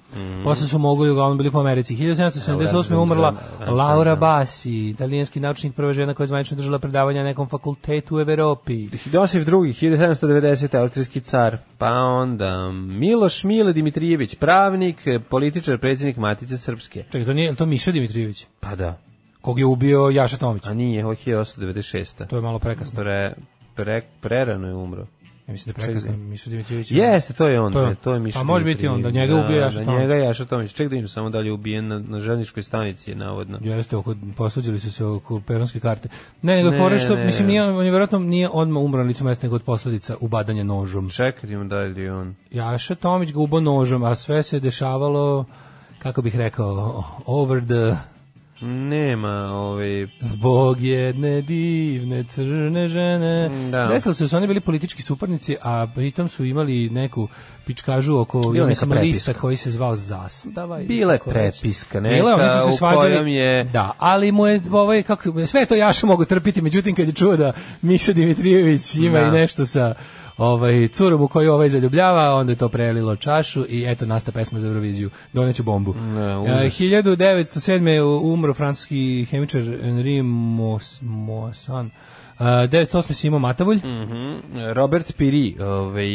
[SPEAKER 7] Posle su moguli uglavnom bili po Americi. 1778. umrla
[SPEAKER 8] Aurangzeb,
[SPEAKER 7] Laura Bassi, italijanski naučnik, prva žena koja je zvanično držala predavanja na nekom fakultetu u Evropi.
[SPEAKER 8] Josif II, 1790. austrijski car, pa onda Miloš Mile Dimitrijević, pravnik, e, političar, predsjednik Matice Srpske.
[SPEAKER 7] Čekaj, to nije je li to Miša Dimitrijević,
[SPEAKER 8] Pa da.
[SPEAKER 7] kog je ubio Jaša Tomić.
[SPEAKER 8] A nije, ovo je 1896.
[SPEAKER 7] To je malo prekasno.
[SPEAKER 8] Pre, pre, prerano je umro.
[SPEAKER 7] Ja mislim da je prekasno Miša Dimitrijević.
[SPEAKER 8] Jeste, to je on.
[SPEAKER 7] To je on.
[SPEAKER 8] To je, to je Miša
[SPEAKER 7] A može biti on, da njega ubio Jaša
[SPEAKER 8] Tomić. Da,
[SPEAKER 7] Tomić.
[SPEAKER 8] njega je Jaša Tomić. Ček da im samo da li je ubijen na, na želničkoj stanici, navodno.
[SPEAKER 7] Jeste, oko, posuđili su se oko peronske karte. Ne, nego je
[SPEAKER 8] Ne,
[SPEAKER 7] fora što,
[SPEAKER 8] ne.
[SPEAKER 7] mislim, nije, on je vjerojatno nije odmah umro na licu mesta, nego od posledica ubadanja nožom.
[SPEAKER 8] Čekaj da im da li je on.
[SPEAKER 7] Jaša Tomić ga ubo nožom, a sve se dešavalo, kako bih rekao, over the
[SPEAKER 8] Nema, ovaj...
[SPEAKER 7] Zbog jedne divne crne žene.
[SPEAKER 8] da.
[SPEAKER 7] Desilo se da su oni bili politički suparnici, a pritom su imali neku pičkažu oko
[SPEAKER 8] neka
[SPEAKER 7] ja mislim, lista
[SPEAKER 8] prepiska.
[SPEAKER 7] koji se zvao Zastava. ili
[SPEAKER 8] Bila je
[SPEAKER 7] tako već.
[SPEAKER 8] prepiska neka
[SPEAKER 7] Bila, oni su se
[SPEAKER 8] u
[SPEAKER 7] svađali.
[SPEAKER 8] kojom je-
[SPEAKER 7] Da, ali mu je, ovaj, kako, sve to Jaša mogu trpiti, međutim kad je čuo da Miša Dimitrijević ima
[SPEAKER 8] Da.
[SPEAKER 7] i nešto sa ovaj curom u koju ovaj zaljubljava, onda je to prelilo čašu i eto nasta pesma za Euroviziju. Doneću bombu.
[SPEAKER 8] Ne,
[SPEAKER 7] E,
[SPEAKER 8] užas.
[SPEAKER 7] 1907. je umro francuski hemičar Henri Mos, Mosan. Uh, 908. Simo Matavulj.
[SPEAKER 8] Mm. Mhm. Robert Piri, ovaj,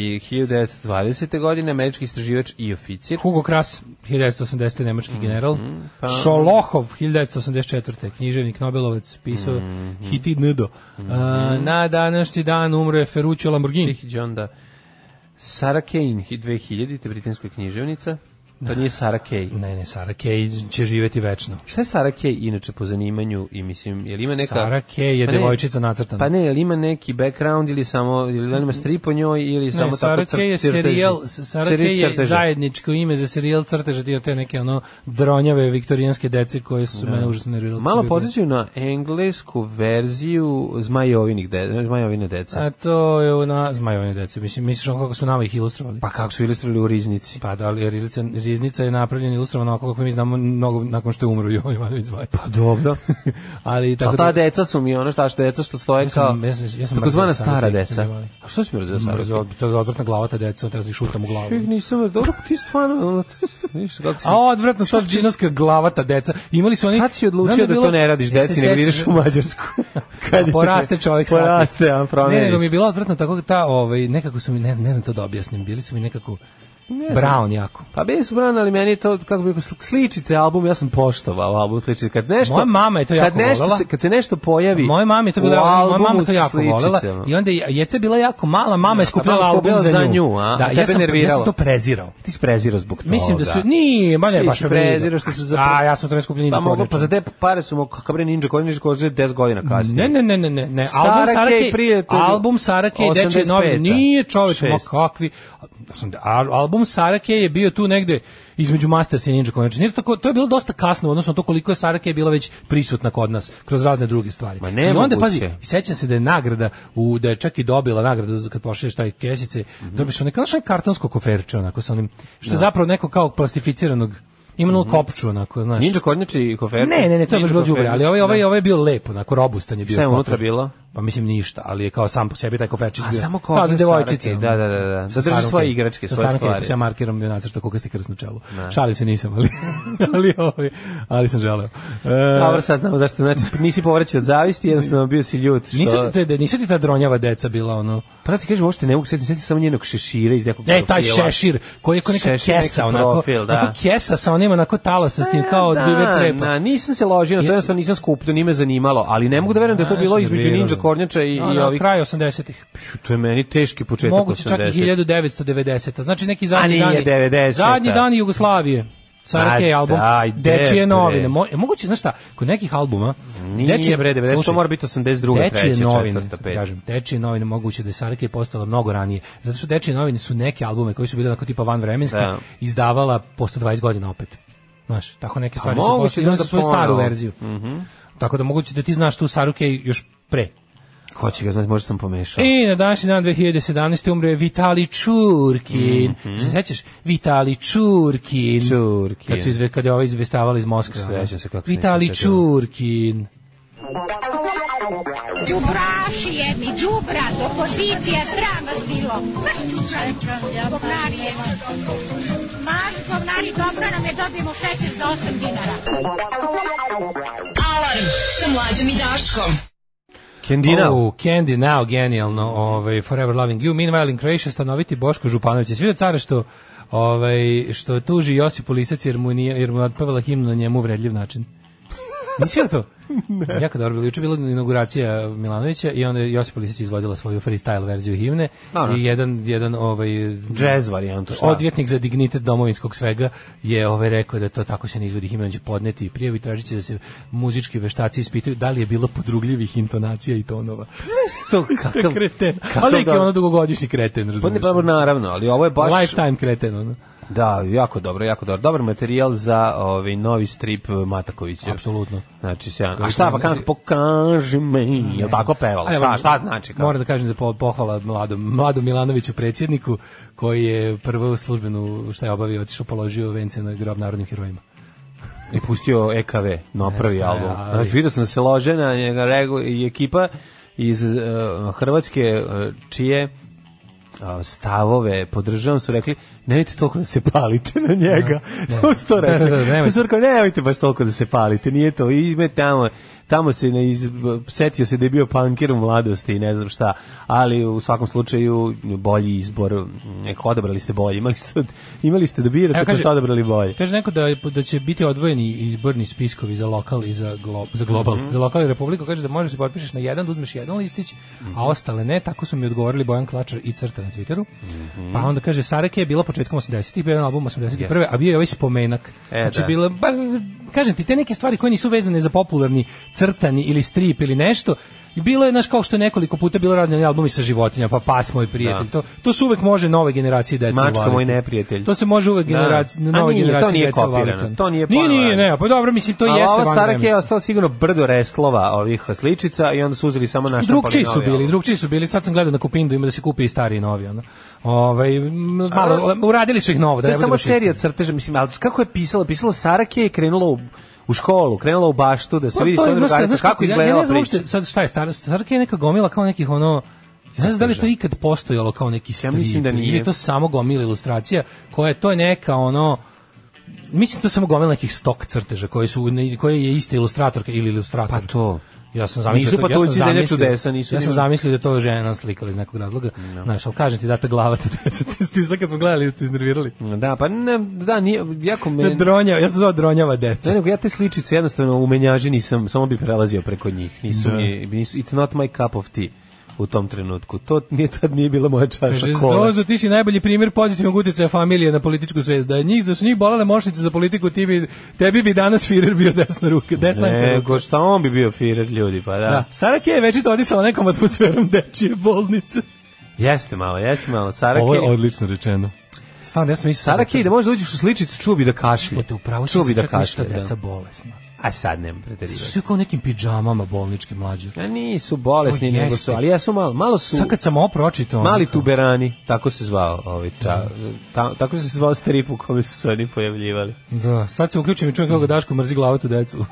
[SPEAKER 8] 1920. godine, američki istraživač i oficir.
[SPEAKER 7] Hugo Kras, 1980. nemački
[SPEAKER 8] Mm,
[SPEAKER 7] general.
[SPEAKER 8] pa.
[SPEAKER 7] Šolohov, 1984. književnik, nobelovac, pisao
[SPEAKER 8] Mm,
[SPEAKER 7] Hiti Ndo. E, na današnji dan umro je Ferruccio Lamborghini.
[SPEAKER 8] Iđe onda Sarah Kane, 2000. te britanska književnica. To nije Sarah Kane.
[SPEAKER 7] Ne, ne, Sara Kay će živeti večno.
[SPEAKER 8] Šta je Sara Kay inače po zanimanju i mislim, je li ima neka...
[SPEAKER 7] Sara Kay je
[SPEAKER 8] Pa ne,
[SPEAKER 7] devojčica nacrtana.
[SPEAKER 8] Pa ne, je li ima neki background ili samo, ili da li ima strip o njoj ili samo
[SPEAKER 7] ne,
[SPEAKER 8] tako
[SPEAKER 7] Sara
[SPEAKER 8] crt-
[SPEAKER 7] Kay je
[SPEAKER 8] crteži?
[SPEAKER 7] serijal, Sara
[SPEAKER 8] Serijal
[SPEAKER 7] Kay je
[SPEAKER 8] crteža.
[SPEAKER 7] zajedničko ime za serijal crteža, dio te neke ono dronjave viktorijanske dece koje su mene užasno nervirale.
[SPEAKER 8] Malo
[SPEAKER 7] Kad su bile
[SPEAKER 8] podsjećaju na englesku verziju zmajovinih de, zmajovine
[SPEAKER 7] dece.
[SPEAKER 8] deca.
[SPEAKER 7] A to je na zmajovanje dece. Mislim, misliš ono kako su nama ih ilustrovali?
[SPEAKER 8] pa kako su ilustrirali u riznici.
[SPEAKER 7] Pa da, ali Riznica, Riznica je napravljena i ilustrovana ovako kako mi znamo mnogo nakon što je umro Jovan Ivanović Zmaj. Pa
[SPEAKER 8] Dobro.
[SPEAKER 7] ali
[SPEAKER 8] A
[SPEAKER 7] tako
[SPEAKER 8] Pa ta deca su mi ono šta što deca što stoje
[SPEAKER 7] Ja sam-
[SPEAKER 8] kao
[SPEAKER 7] ja sam- ja sam
[SPEAKER 8] takozvana
[SPEAKER 7] mrzio Sara
[SPEAKER 8] stara
[SPEAKER 7] Kay,
[SPEAKER 8] deca.
[SPEAKER 7] sam je mali.
[SPEAKER 8] A što si mi razvio
[SPEAKER 7] da,
[SPEAKER 8] Sara
[SPEAKER 7] brzo,
[SPEAKER 8] Kay?
[SPEAKER 7] to je odvratna glava ta deca, treba da ih šutam u glavu.
[SPEAKER 8] Čih, Nisam, dobro, ti stvarno, ono, ništa, kako si...
[SPEAKER 7] A odvratno sta džinovska glavata deca. Imali su oni
[SPEAKER 8] Kad si
[SPEAKER 7] Znam
[SPEAKER 8] odlučio
[SPEAKER 7] je
[SPEAKER 8] da,
[SPEAKER 7] bilo- E,
[SPEAKER 8] to ne radiš
[SPEAKER 7] se
[SPEAKER 8] deci, nego
[SPEAKER 7] sjećaš-
[SPEAKER 8] ideš u Mađarsku? Kad
[SPEAKER 7] Pa
[SPEAKER 8] je
[SPEAKER 7] poraste
[SPEAKER 8] to-
[SPEAKER 7] čovjek svaki.
[SPEAKER 8] Poraste, a promeniš.
[SPEAKER 7] Ne, nego mi je bilo odvratno tako ta, ovaj, nekako su mi, ne, znam- ne znam to da objasnim, bili su mi nekako brown jako.
[SPEAKER 8] Pa bili su brani, ali meni je to, kako bih rekao, sličice album, ja sam poštovao album sličice. Kad nešto,
[SPEAKER 7] Moja mama je to
[SPEAKER 8] kad
[SPEAKER 7] jako
[SPEAKER 8] nešto
[SPEAKER 7] volela.
[SPEAKER 8] Se, kad se nešto pojavi
[SPEAKER 7] Moje mami je to
[SPEAKER 8] u
[SPEAKER 7] bila, moja mama
[SPEAKER 8] albumu
[SPEAKER 7] to
[SPEAKER 8] sa
[SPEAKER 7] jako volela
[SPEAKER 8] sličicama.
[SPEAKER 7] i onda je Jeca bila jako mala, mama je skupljala
[SPEAKER 8] mama
[SPEAKER 7] album
[SPEAKER 8] skupljala
[SPEAKER 7] za nju.
[SPEAKER 8] za nju, a?
[SPEAKER 7] Da,
[SPEAKER 8] A
[SPEAKER 7] ja
[SPEAKER 8] tebe
[SPEAKER 7] sam, ja
[SPEAKER 8] nervirala.
[SPEAKER 7] sam to prezirao.
[SPEAKER 8] Ti si prezirao zbog toga.
[SPEAKER 7] Mislim da su ni, ma ne,
[SPEAKER 8] Ti
[SPEAKER 7] baš
[SPEAKER 8] si
[SPEAKER 7] me briga.
[SPEAKER 8] prezirao što su za-
[SPEAKER 7] A ja sam to ne skupljao
[SPEAKER 8] Pa
[SPEAKER 7] niđe
[SPEAKER 8] mogu, pa za te pare su mu, kakav bre ninja, koji ninja koji je 10 godina kasnije.
[SPEAKER 7] Ne, ne, ne, ne, ne, ne. Album
[SPEAKER 8] Sara
[SPEAKER 7] Sara
[SPEAKER 8] Kay
[SPEAKER 7] Kay,
[SPEAKER 8] prijatelju,
[SPEAKER 7] album Sara Kay, dečje
[SPEAKER 8] 85-a.
[SPEAKER 7] novine, nije čovjek, ma
[SPEAKER 8] Šest.
[SPEAKER 7] kakvi. Osam- a- Album Sara Kay je bio tu negde između Masters i Ninja Connection. Jer tako, to je bilo dosta kasno, odnosno to koliko je Sara Kay bila već prisutna kod nas, kroz razne druge stvari.
[SPEAKER 8] Ma
[SPEAKER 7] I onda,
[SPEAKER 8] nemoguće.
[SPEAKER 7] pazi, sećam se da je nagrada, u, da je čak i dobila nagradu za kad pošliješ taj kesice,
[SPEAKER 8] Mhm.
[SPEAKER 7] dobiš onaj, kao znaš, onaj kartonsko koferče, onako, sa onim, što je zapravo neko kao plastificiranog, ima ono kopču, onako, znaš.
[SPEAKER 8] Mhm. Ninja kornjači i koferče.
[SPEAKER 7] Ne, ne, ne, to je baš
[SPEAKER 8] Ninja
[SPEAKER 7] bilo đubre,
[SPEAKER 8] koferče.
[SPEAKER 7] ali ovaj ovaj ovaj je bio lepo, onako robustan je bio.
[SPEAKER 8] Šta je
[SPEAKER 7] kofer.
[SPEAKER 8] unutra bilo?
[SPEAKER 7] Pa mislim ništa, ali je kao sam po sebi taj koferčić
[SPEAKER 8] A,
[SPEAKER 7] bio.
[SPEAKER 8] samo
[SPEAKER 7] Kao
[SPEAKER 8] kofer
[SPEAKER 7] Pa za
[SPEAKER 8] sa
[SPEAKER 7] devojčice.
[SPEAKER 8] Sarake, da, da, da,
[SPEAKER 7] Sa
[SPEAKER 8] da. Da drži
[SPEAKER 7] Sarake.
[SPEAKER 8] svoje igračke,
[SPEAKER 7] Sa
[SPEAKER 8] svoje
[SPEAKER 7] Sarake,
[SPEAKER 8] stvari.
[SPEAKER 7] Ja markiram bio nacrta koliko ste krsno čelo. Šalim se nisam, ali ali ovaj, ali sam želeo. E,
[SPEAKER 8] Dobro, sad znamo zašto, znači, nisi povraćao od zavisti, jednostavno bio si ljut. Što...
[SPEAKER 7] Nisu ti, te, nisu ti ta dronjava deca bila ono...
[SPEAKER 8] Pa da ti kažem, uopšte ne mogu sjetiti, sjetiti samo njenog šešira iz nekog
[SPEAKER 7] E, taj
[SPEAKER 8] profila.
[SPEAKER 7] šešir, koji je kao neka
[SPEAKER 8] Šešir,
[SPEAKER 7] kesa,
[SPEAKER 8] neki
[SPEAKER 7] onako,
[SPEAKER 8] profil, da.
[SPEAKER 7] onako kesa sa onim, onako tala sa s tim, kao pa, od bibe
[SPEAKER 8] E, da,
[SPEAKER 7] crepa.
[SPEAKER 8] da, nisam se ložio na to,
[SPEAKER 7] Je-
[SPEAKER 8] jednostavno nisam skupio, nije me zanimalo, ali ne mogu da verujem da je to
[SPEAKER 7] Ja
[SPEAKER 8] bilo
[SPEAKER 7] sam
[SPEAKER 8] između
[SPEAKER 7] nervirao.
[SPEAKER 8] Ninja Kornjača i,
[SPEAKER 7] Ono,
[SPEAKER 8] i ovih...
[SPEAKER 7] Kraj 80-ih.
[SPEAKER 8] Pšu, To je meni teški početak
[SPEAKER 7] Moguće čak i
[SPEAKER 8] 80.
[SPEAKER 7] 1990. Znači neki zadnji
[SPEAKER 8] nije
[SPEAKER 7] dan.
[SPEAKER 8] 90-a.
[SPEAKER 7] Zadnji dan Jugoslavije.
[SPEAKER 8] A
[SPEAKER 7] Sara Kay album,
[SPEAKER 8] daj, bre.
[SPEAKER 7] Dečije novine. Mo, e, moguće, znaš šta, kod nekih albuma...
[SPEAKER 8] Nije bre, 90, to mora biti 82.,
[SPEAKER 7] Dečije
[SPEAKER 8] treće,
[SPEAKER 7] novine,
[SPEAKER 8] četvrta, peta.
[SPEAKER 7] kažem, Dečije novine moguće da je Sara Kay postala mnogo ranije. Zato što Dečije novine su neke albume koji su bili onako tipa vanvremenski,
[SPEAKER 8] Da.
[SPEAKER 7] izdavala po 120 godina opet. Znaš, tako neke stvari su
[SPEAKER 8] Pa moguće
[SPEAKER 7] postale,
[SPEAKER 8] da
[SPEAKER 7] imali
[SPEAKER 8] onda
[SPEAKER 7] su svoju staru
[SPEAKER 8] ponovo. Mhm.
[SPEAKER 7] verziju. Tako da moguće da ti znaš tu Saru Kay još pre.
[SPEAKER 8] Ko će ga znati, možda sam pomešao.
[SPEAKER 7] I na današnji dan 2017. umre Vitali Čurkin. Se sećaš? Vitali Čurkin.
[SPEAKER 8] Mhm. Čurkin.
[SPEAKER 7] Kad, su izve, kad je ovaj izvestavala iz Moskve. ono.
[SPEAKER 8] Sećam se kako se
[SPEAKER 7] Vitali
[SPEAKER 8] nisam sećao.
[SPEAKER 7] Čurkin.
[SPEAKER 6] Đubraši jedni, đubra, opozicija, sram vas bilo. Baš čučaj, govnari jedni. Maš, govnari, dobro nam je, dobijemo šećer za 8 dinara.
[SPEAKER 5] Alarm sa mlađom i Daškom.
[SPEAKER 8] Kendina.
[SPEAKER 7] Oh, Candy Now, genijalno. Ovaj, Forever Loving You. Meanwhile in Croatia stanoviti Boško Županović. Svi da cara što ovaj, što tuži Josipu Lisac jer mu, nije, jer mu je odpevala himnu na njemu uvredljiv način. Nisi vidio to? ne. Jako dobro bilo. Juče je bila inauguracija Milanovića i onda je Josipa Lisić izvodila svoju freestyle verziju himne
[SPEAKER 8] Naravno.
[SPEAKER 7] i jedan, jedan ovaj,
[SPEAKER 8] Jazz varijantu, šta?
[SPEAKER 7] odvjetnik za dignitet domovinskog svega je ovaj rekao da to tako se ne izvodi himna, on će podneti i prijavi tražit će da se muzički veštaci ispitaju da li je bilo podrugljivih intonacija i tonova.
[SPEAKER 8] to
[SPEAKER 7] To je
[SPEAKER 8] kakav...
[SPEAKER 7] kreten.
[SPEAKER 8] kakav
[SPEAKER 7] Ali lik je
[SPEAKER 8] dobro.
[SPEAKER 7] ono dugogodišnji kreten,
[SPEAKER 8] Pa ne,
[SPEAKER 7] razumiješ?
[SPEAKER 8] pa naravno, ali ovo je baš...
[SPEAKER 7] Lifetime kreten, ono.
[SPEAKER 8] Da, jako dobro, jako dobro. Dobar materijal za ovaj novi strip Matakovića.
[SPEAKER 7] Apsolutno.
[SPEAKER 8] Znači, sjajan. A šta, pa kako pokaži me, je li tako pevala?
[SPEAKER 7] Ajde,
[SPEAKER 8] Šta,
[SPEAKER 7] moram-
[SPEAKER 8] šta znači? Kako?
[SPEAKER 7] Moram da kažem za po- pohvala mladom, mladom Milanoviću predsjedniku koji je prvu službenu šta je obavio, otišao položio vence na grob narodnim herojima.
[SPEAKER 8] I pustio E EKV, no prvi
[SPEAKER 7] šta je,
[SPEAKER 8] album.
[SPEAKER 7] ali-
[SPEAKER 8] Znači, vidio sam da se lože na njega rego, i ekipa iz eh, Hrvatske eh, čije eh, stavove podržavam su rekli nemojte toliko da se palite na njega to su to rekli
[SPEAKER 7] Da, da, da, nemojte.
[SPEAKER 8] Što su rekli, nemojte baš toliko da se palite nije to ime tamo tamo se ne iz, setio se da je bio punkir u mladosti i ne znam šta ali u svakom slučaju bolji izbor neko odabrali ste bolji imali ste, imali ste da birate
[SPEAKER 7] Evo,
[SPEAKER 8] pa
[SPEAKER 7] kaže-
[SPEAKER 8] ste odabrali bolji
[SPEAKER 7] Kaže neko da, je- da će biti odvojeni izborni spiskovi za lokal i za, glo, za global.
[SPEAKER 8] Mhm.
[SPEAKER 7] Za lokal i republiku kaže da možeš da se potpišeš na jedan, da uzmeš jedan listić,
[SPEAKER 8] Mhm.
[SPEAKER 7] a ostale ne. Tako su mi odgovorili Bojan Klačar i Crta na Twitteru.
[SPEAKER 8] Mhm.
[SPEAKER 7] Pa onda kaže, Sarake je bila početkom 80-ih, bio je jedan album 81. a bio je ovaj spomenak.
[SPEAKER 8] E,
[SPEAKER 7] znači,
[SPEAKER 8] da.
[SPEAKER 7] bila, ba, kažem ti, te neke stvari koje nisu vezane za popularni crtani ili strip ili nešto, I bilo je, znaš, kao što je nekoliko puta bilo radni albumi sa životinja, pa pas moj prijatelj. To, to se uvek može nove generacije dece
[SPEAKER 8] Mačka moj
[SPEAKER 7] uvaliti.
[SPEAKER 8] neprijatelj.
[SPEAKER 7] To se može uvek
[SPEAKER 8] Da.
[SPEAKER 7] generacije,
[SPEAKER 8] A
[SPEAKER 7] nove
[SPEAKER 8] nije, to
[SPEAKER 7] generacije
[SPEAKER 8] nije
[SPEAKER 7] dece
[SPEAKER 8] kopirano,
[SPEAKER 7] uvaliti.
[SPEAKER 8] to nije
[SPEAKER 7] Nije, nije,
[SPEAKER 8] ponovo
[SPEAKER 7] ne, pa dobro, mislim, to
[SPEAKER 8] Ali
[SPEAKER 7] jeste
[SPEAKER 8] ova Sarake je
[SPEAKER 7] vanvremensko.
[SPEAKER 8] ostalo sigurno brdo reslova ovih sličica i onda su uzeli samo naš
[SPEAKER 7] Drugčiji su bili, drugčiji su bili. Sad sam gledao na Kupindu, ima da se kupi i stari i novi. Ono. Ovaj, m, malo,
[SPEAKER 8] Ali-
[SPEAKER 7] uradili su ih novo. Da
[SPEAKER 8] To
[SPEAKER 7] ne
[SPEAKER 8] je samo
[SPEAKER 7] budemo čisti.
[SPEAKER 8] serija crteža, mislim, ali kako je pisala? Pisala Sarake i krenula u, u školu, krenula u baštu da se
[SPEAKER 7] Pa
[SPEAKER 8] vidi
[SPEAKER 7] to je baš,
[SPEAKER 8] sve drugarica,
[SPEAKER 7] znaš
[SPEAKER 8] kako
[SPEAKER 7] ja-
[SPEAKER 8] izgledala
[SPEAKER 7] Ja ne znam
[SPEAKER 8] priča.
[SPEAKER 7] uopšte, sad šta je stara, Starka je neka gomila kao nekih ono, Ja ne znam da li je to ikad postojalo kao neki strip.
[SPEAKER 8] mislim da nije.
[SPEAKER 7] Ili je to samo gomila ilustracija koja je, to je neka ono, mislim to je samo gomila nekih stok crteža koji su, ne- koje je ista ilustratorka ili ilustrator.
[SPEAKER 8] Pa to.
[SPEAKER 7] Ja sam zamislio
[SPEAKER 8] Nisu
[SPEAKER 7] to-
[SPEAKER 8] patuljci
[SPEAKER 7] ja sam
[SPEAKER 8] zemlje
[SPEAKER 7] zamislio-
[SPEAKER 8] čudesa, nisu
[SPEAKER 7] Ja sam
[SPEAKER 8] ni-
[SPEAKER 7] zamislio da je to žena slikala iz nekog razloga. Znaš, ali kažem ti data glava te deseti, stisak kad smo gledali, ste iznervirali.
[SPEAKER 8] Da, pa ne, da, nije, jako me...
[SPEAKER 7] Dronjava, ja sam zvao dronjava deca.
[SPEAKER 8] Ne, nego ja te sličice jednostavno u menjaži nisam, samo bi prelazio preko njih. Nisu mi, nisu, it's not my cup of tea u tom trenutku. To nije, tad nije bila moja čaša
[SPEAKER 7] Kaže,
[SPEAKER 8] kola.
[SPEAKER 7] Zozo, ti si najbolji primjer pozitivnog utjecaja familije na političku svest. Da, je njih, da su njih bolale mošnice za politiku, ti bi, tebi bi danas Firer bio desna ruka. Desna ruka.
[SPEAKER 8] Nego šta on bi bio firer ljudi, pa da.
[SPEAKER 7] Da. Sara Kej je večito odisala nekom atmosferom dečije bolnice.
[SPEAKER 8] Jeste malo, jeste malo. Sara
[SPEAKER 7] Ovo je
[SPEAKER 8] Kay-
[SPEAKER 7] odlično rečeno. Stvarno, ja sam mislio...
[SPEAKER 8] Sara Kej, da možda uđeš u sličicu, čuo bi da kašlje.
[SPEAKER 7] Te upravo
[SPEAKER 8] čuo
[SPEAKER 7] si
[SPEAKER 8] bi da
[SPEAKER 7] da čak ništa
[SPEAKER 8] kašlje.
[SPEAKER 7] deca
[SPEAKER 8] Da.
[SPEAKER 7] bolesna.
[SPEAKER 8] A sad nemam preterivati.
[SPEAKER 7] Sve kao u nekim pidžamama bolnički mlađe.
[SPEAKER 8] A nisu bolesni,
[SPEAKER 7] To
[SPEAKER 8] nego
[SPEAKER 7] jeste.
[SPEAKER 8] su, ali ja su malo, malo su...
[SPEAKER 7] Sad kad sam ovo pročitao... ono
[SPEAKER 8] Mali
[SPEAKER 7] kao-
[SPEAKER 8] tuberani, tako se zvao ovaj ča, ta, tako se zvao strip u kome su se oni pojavljivali.
[SPEAKER 7] Da, sad se uključim i čujem kako Daško mrzi glavatu decu.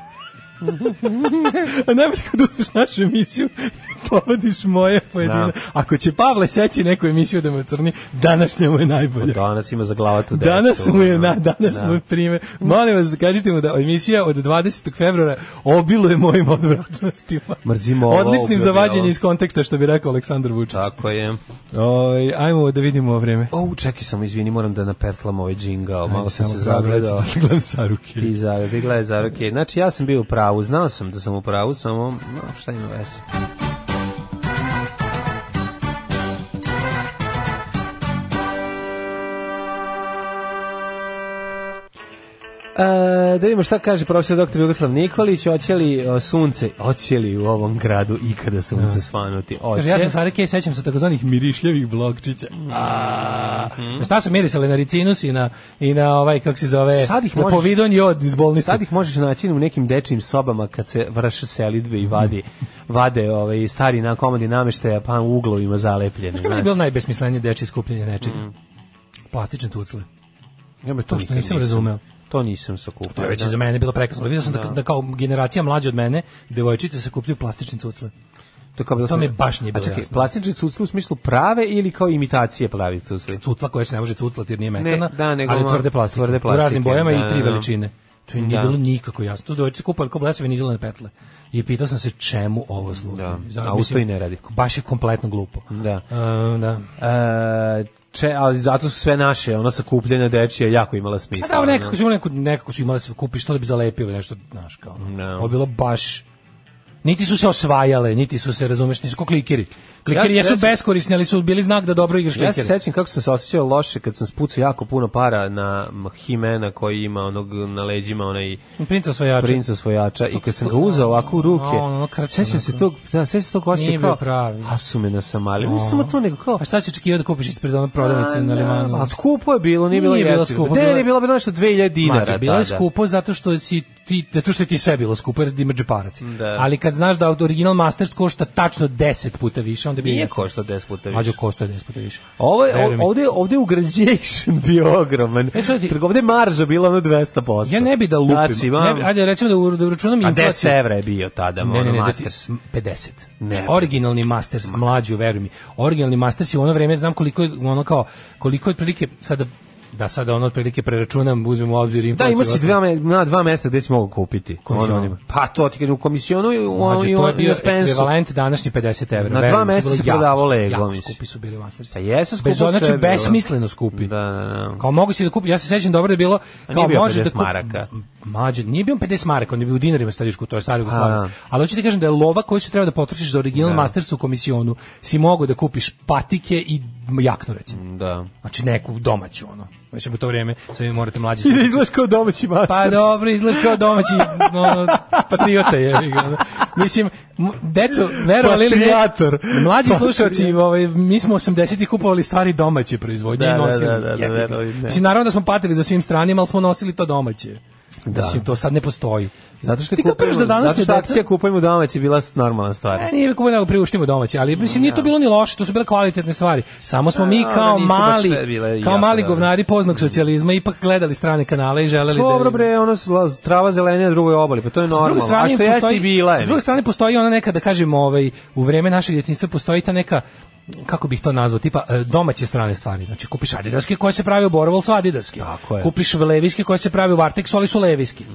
[SPEAKER 7] A najbolje kad uzmeš našu emisiju, povodiš moje pojedine.
[SPEAKER 8] Da.
[SPEAKER 7] Ako će Pavle seći neku emisiju da me crni, današnja mu je najbolja.
[SPEAKER 8] Danas ima za glavatu decu.
[SPEAKER 7] Pa Danas mu je,
[SPEAKER 8] ono.
[SPEAKER 7] na, danas
[SPEAKER 8] Da.
[SPEAKER 7] mu je primjer. Molim vas, kažite mu da emisija od 20. februara obiluje mojim odvratnostima.
[SPEAKER 8] Mrzimo ovo,
[SPEAKER 7] Odličnim za
[SPEAKER 8] obljubljamo.
[SPEAKER 7] vađenje iz konteksta, što bi rekao Aleksandar Vučić.
[SPEAKER 8] Tako je.
[SPEAKER 7] Oj, ajmo da vidimo vreme.
[SPEAKER 8] O, čekaj samo, izvini, moram da napertlam ovaj džingao, malo
[SPEAKER 7] Ajde,
[SPEAKER 8] sam se
[SPEAKER 7] samo da gledam-
[SPEAKER 8] zagledao.
[SPEAKER 7] da gledam Saruke.
[SPEAKER 8] Ti za, ti gledaj za ruke. Znači, ja sam bio u pravu, znao sam da sam u pravu, samo, no, šta ima veze. E, da vidimo šta kaže profesor doktor Jugoslav Nikolić, hoće li o, sunce, hoće li u ovom gradu ikada sunce svanuti? Hoće.
[SPEAKER 7] Jer ja sam Sara Kej sećam se takozvanih mirišljavih blokčića.
[SPEAKER 8] Mm.
[SPEAKER 7] A, Šta su mirisali na ricinus i na, i na ovaj, kako se zove,
[SPEAKER 8] Sad ih
[SPEAKER 7] na
[SPEAKER 8] možeš-
[SPEAKER 7] povidon jod iz bolnice.
[SPEAKER 8] Sad ih možeš naći u nekim dečijim sobama kad se vrše selidbe i vadi, vade ovaj, stari na komadi nameštaja pa u uglovima zalepljeni.
[SPEAKER 7] Kako bi
[SPEAKER 8] znaš. Mm.
[SPEAKER 7] bilo najbesmislenije dečje skupljenje nečega? Plastične tucle.
[SPEAKER 8] Ja me
[SPEAKER 7] To što
[SPEAKER 8] nikad
[SPEAKER 7] nisam razumeo.
[SPEAKER 8] To nisam sakupio.
[SPEAKER 7] To je već
[SPEAKER 8] da.
[SPEAKER 7] za mene bilo prekasno. Vidio sam da, da kao generacija mlađa od mene, devojčice se kupljuju plastične cucle.
[SPEAKER 8] To, kao bilo-
[SPEAKER 7] to mi baš nije
[SPEAKER 8] A
[SPEAKER 7] bilo
[SPEAKER 8] čekaj,
[SPEAKER 7] jasno.
[SPEAKER 8] Plastični cucli u smislu prave ili kao imitacije pravi cucli?
[SPEAKER 7] Cutla koja se ne može cutlati jer nije mekana,
[SPEAKER 8] da, nego
[SPEAKER 7] ali
[SPEAKER 8] malo-
[SPEAKER 7] tvrde plastike.
[SPEAKER 8] tvrde
[SPEAKER 7] U raznim
[SPEAKER 8] plastike,
[SPEAKER 7] bojama
[SPEAKER 8] da,
[SPEAKER 7] i tri
[SPEAKER 8] da, da.
[SPEAKER 7] veličine. To im nije
[SPEAKER 8] Da.
[SPEAKER 7] bilo nikako jasno. To su dojčice kupali kao blesave nizelene petle. I pitao sam se čemu ovo služi.
[SPEAKER 8] Da.
[SPEAKER 7] Zato,
[SPEAKER 8] A uz to
[SPEAKER 7] mislim,
[SPEAKER 8] i ne radi.
[SPEAKER 7] Baš je kompletno glupo.
[SPEAKER 8] Da.
[SPEAKER 7] E, da.
[SPEAKER 8] E, če, ali zato su sve naše, ono sakupljene dečije jako imala
[SPEAKER 7] A
[SPEAKER 8] smisla.
[SPEAKER 7] da, ali
[SPEAKER 8] ono.
[SPEAKER 7] nekako su imali, neku, nekako su imali se kupiš to da bi zalepili nešto, znaš, kao. ono.
[SPEAKER 8] Da.
[SPEAKER 7] Ovo je bilo baš... Niti su se osvajale, niti su se, razumeš, nisu ko klikeri. Klikeri
[SPEAKER 8] Ja se
[SPEAKER 7] jesu
[SPEAKER 8] sećam-
[SPEAKER 7] beskorisni, ali su bili znak da dobro igraš
[SPEAKER 8] Ja se
[SPEAKER 7] klikere.
[SPEAKER 8] sećam kako sam se osjećao loše kad sam spucao jako puno para na m, Himena koji ima onog na leđima onaj
[SPEAKER 7] Princa osvajača.
[SPEAKER 8] princ osvojača i kad sam ga uzeo ovako u ruke,
[SPEAKER 7] Ono, ono, kratko,
[SPEAKER 8] sećam se
[SPEAKER 7] onako.
[SPEAKER 8] tog, da, sećam se tog
[SPEAKER 7] Nije
[SPEAKER 8] osjeća
[SPEAKER 7] bio
[SPEAKER 8] kao,
[SPEAKER 7] pravi.
[SPEAKER 8] a su me nasamali, nisam samo to nego kao,
[SPEAKER 7] A šta si očekivao da kupiš ispred one prodavnice na limanu?
[SPEAKER 8] A skupo je bilo, nije,
[SPEAKER 7] Nije bilo
[SPEAKER 8] bilo
[SPEAKER 7] skupo,
[SPEAKER 8] jeftino. Gde
[SPEAKER 7] bilo je-
[SPEAKER 8] je bilo bi nešto 2000 dinara
[SPEAKER 7] Mađo, bilo je
[SPEAKER 8] tada.
[SPEAKER 7] skupo zato što si ti zato što je ti sve bilo skupo jer imaš džeparac.
[SPEAKER 8] Da.
[SPEAKER 7] Ali kad znaš da original Masters košta tačno 10 puta više, onda bi
[SPEAKER 8] Nije košta 10 puta više.
[SPEAKER 7] Mađo košta 10 puta više.
[SPEAKER 8] Ovo je,
[SPEAKER 7] Veruj mi.
[SPEAKER 8] o- ovde, ovde je ugrađation bio ogroman.
[SPEAKER 7] E, sad ti-
[SPEAKER 8] Trgo- Ovde je marža bila ono 200%.
[SPEAKER 7] Ja ne bi da lupim.
[SPEAKER 8] Znači,
[SPEAKER 7] ne bi,
[SPEAKER 8] imam,
[SPEAKER 7] ajde recimo da u- da uračunam
[SPEAKER 8] a
[SPEAKER 7] inflaciju.
[SPEAKER 8] 10 evra je bio tada,
[SPEAKER 7] Ne, ne, ne, da ti-
[SPEAKER 8] Masters.
[SPEAKER 7] m, 50.
[SPEAKER 8] Ne.
[SPEAKER 7] Originalni Masters, mlađi, veruj mi. Originalni Masters je u ono vreme, znam koliko je ono kao, koliko je otprilike, sada, da sada ono otprilike preračunam, uzmem u obzir
[SPEAKER 8] Da,
[SPEAKER 7] inflaciju.
[SPEAKER 8] ima si dva, me- na dva mesta gde si mogu kupiti.
[SPEAKER 7] Komisionima.
[SPEAKER 8] Ono, Pa to ti kažem, u komisionu i u,
[SPEAKER 7] Mlađe,
[SPEAKER 8] i u,
[SPEAKER 7] to je
[SPEAKER 8] i u
[SPEAKER 7] bio
[SPEAKER 8] Spensu.
[SPEAKER 7] ekvivalent današnji 50 evra.
[SPEAKER 8] Na
[SPEAKER 7] verujem,
[SPEAKER 8] dva
[SPEAKER 7] to je
[SPEAKER 8] mesta
[SPEAKER 7] bilo
[SPEAKER 8] se
[SPEAKER 7] jako
[SPEAKER 8] prodavao
[SPEAKER 7] skupo,
[SPEAKER 8] Lego,
[SPEAKER 7] jako
[SPEAKER 8] mislim.
[SPEAKER 7] skupi su bili Masters.
[SPEAKER 8] Pa jesu skupo
[SPEAKER 7] Bez ono, znači,
[SPEAKER 8] sve bilo.
[SPEAKER 7] besmisleno skupi.
[SPEAKER 8] Da, da, da.
[SPEAKER 7] Kao mogu si da kupi, ja se sećam dobro da je bilo, kao
[SPEAKER 8] bio
[SPEAKER 7] možeš da
[SPEAKER 8] 50
[SPEAKER 7] kupi.
[SPEAKER 8] maraka.
[SPEAKER 7] Mađe, nije bio 50 maraka, on je bio u dinarima starišku, to je stari Jugoslavija.
[SPEAKER 8] A.
[SPEAKER 7] Ali hoću ti kažem da je lova koju se treba da potrošiš za original Masters u komisionu, si mogao da kupiš patike i jaknu recimo.
[SPEAKER 8] Da.
[SPEAKER 7] Znači neku domaću ono. Mislim u to vrijeme, sve vi morate mlađi.
[SPEAKER 8] I da izgledaš kao domaći Masters.
[SPEAKER 7] Pa dobro, izgledaš kao domaći ono, patriota je. ono. Mislim, m- deco, verovali ili ne,
[SPEAKER 8] Patrijator.
[SPEAKER 7] mlađi slušalci, ovaj, mi smo 80-ih kupovali stvari domaće proizvodnje
[SPEAKER 8] Da,
[SPEAKER 7] i
[SPEAKER 8] da,
[SPEAKER 7] nosili.
[SPEAKER 8] da, da, da,
[SPEAKER 7] Jebi ga.
[SPEAKER 8] verovali ne.
[SPEAKER 7] Mislim, naravno da smo patili za svim stranima, ali smo nosili to domaće. Da.
[SPEAKER 8] Da.
[SPEAKER 7] Mislim, to sad ne postoji.
[SPEAKER 8] Zato što
[SPEAKER 7] Ti kapiraš
[SPEAKER 8] kupujemo,
[SPEAKER 7] da danas
[SPEAKER 8] zato što
[SPEAKER 7] je deca-
[SPEAKER 8] akcija kupujemo domaći bila normalna stvar.
[SPEAKER 7] E, nije kupovali, nego priuštimo domaće, ali mislim, nije to bilo ni loše, to su bile kvalitetne stvari. Samo smo mi
[SPEAKER 8] A,
[SPEAKER 7] kao
[SPEAKER 8] one nisu baš
[SPEAKER 7] mali,
[SPEAKER 8] sve bile
[SPEAKER 7] kao
[SPEAKER 8] jako
[SPEAKER 7] mali
[SPEAKER 8] dobre.
[SPEAKER 7] govnari poznog socijalizma, ipak gledali strane kanale i želeli da...
[SPEAKER 8] Dobro bre, ono su la- trava zelenija, drugo je obali, pa to je
[SPEAKER 7] S druge
[SPEAKER 8] normalno. A
[SPEAKER 7] strane
[SPEAKER 8] što jeste
[SPEAKER 7] postoji-
[SPEAKER 8] i bila
[SPEAKER 7] S
[SPEAKER 8] je.
[SPEAKER 7] druge strane postoji ona neka da kažemo ovaj u vreme našeg djetinjstva postoji ta neka kako bih to nazvao, tipa e, domaće strane stvari. Znači kupiš Adidaske koje se prave u Borovu, ali su Adidaske.
[SPEAKER 8] Tako je. Mhm.
[SPEAKER 7] Kupiš Levijske koje se prave u Varteksu, ali su Levijski.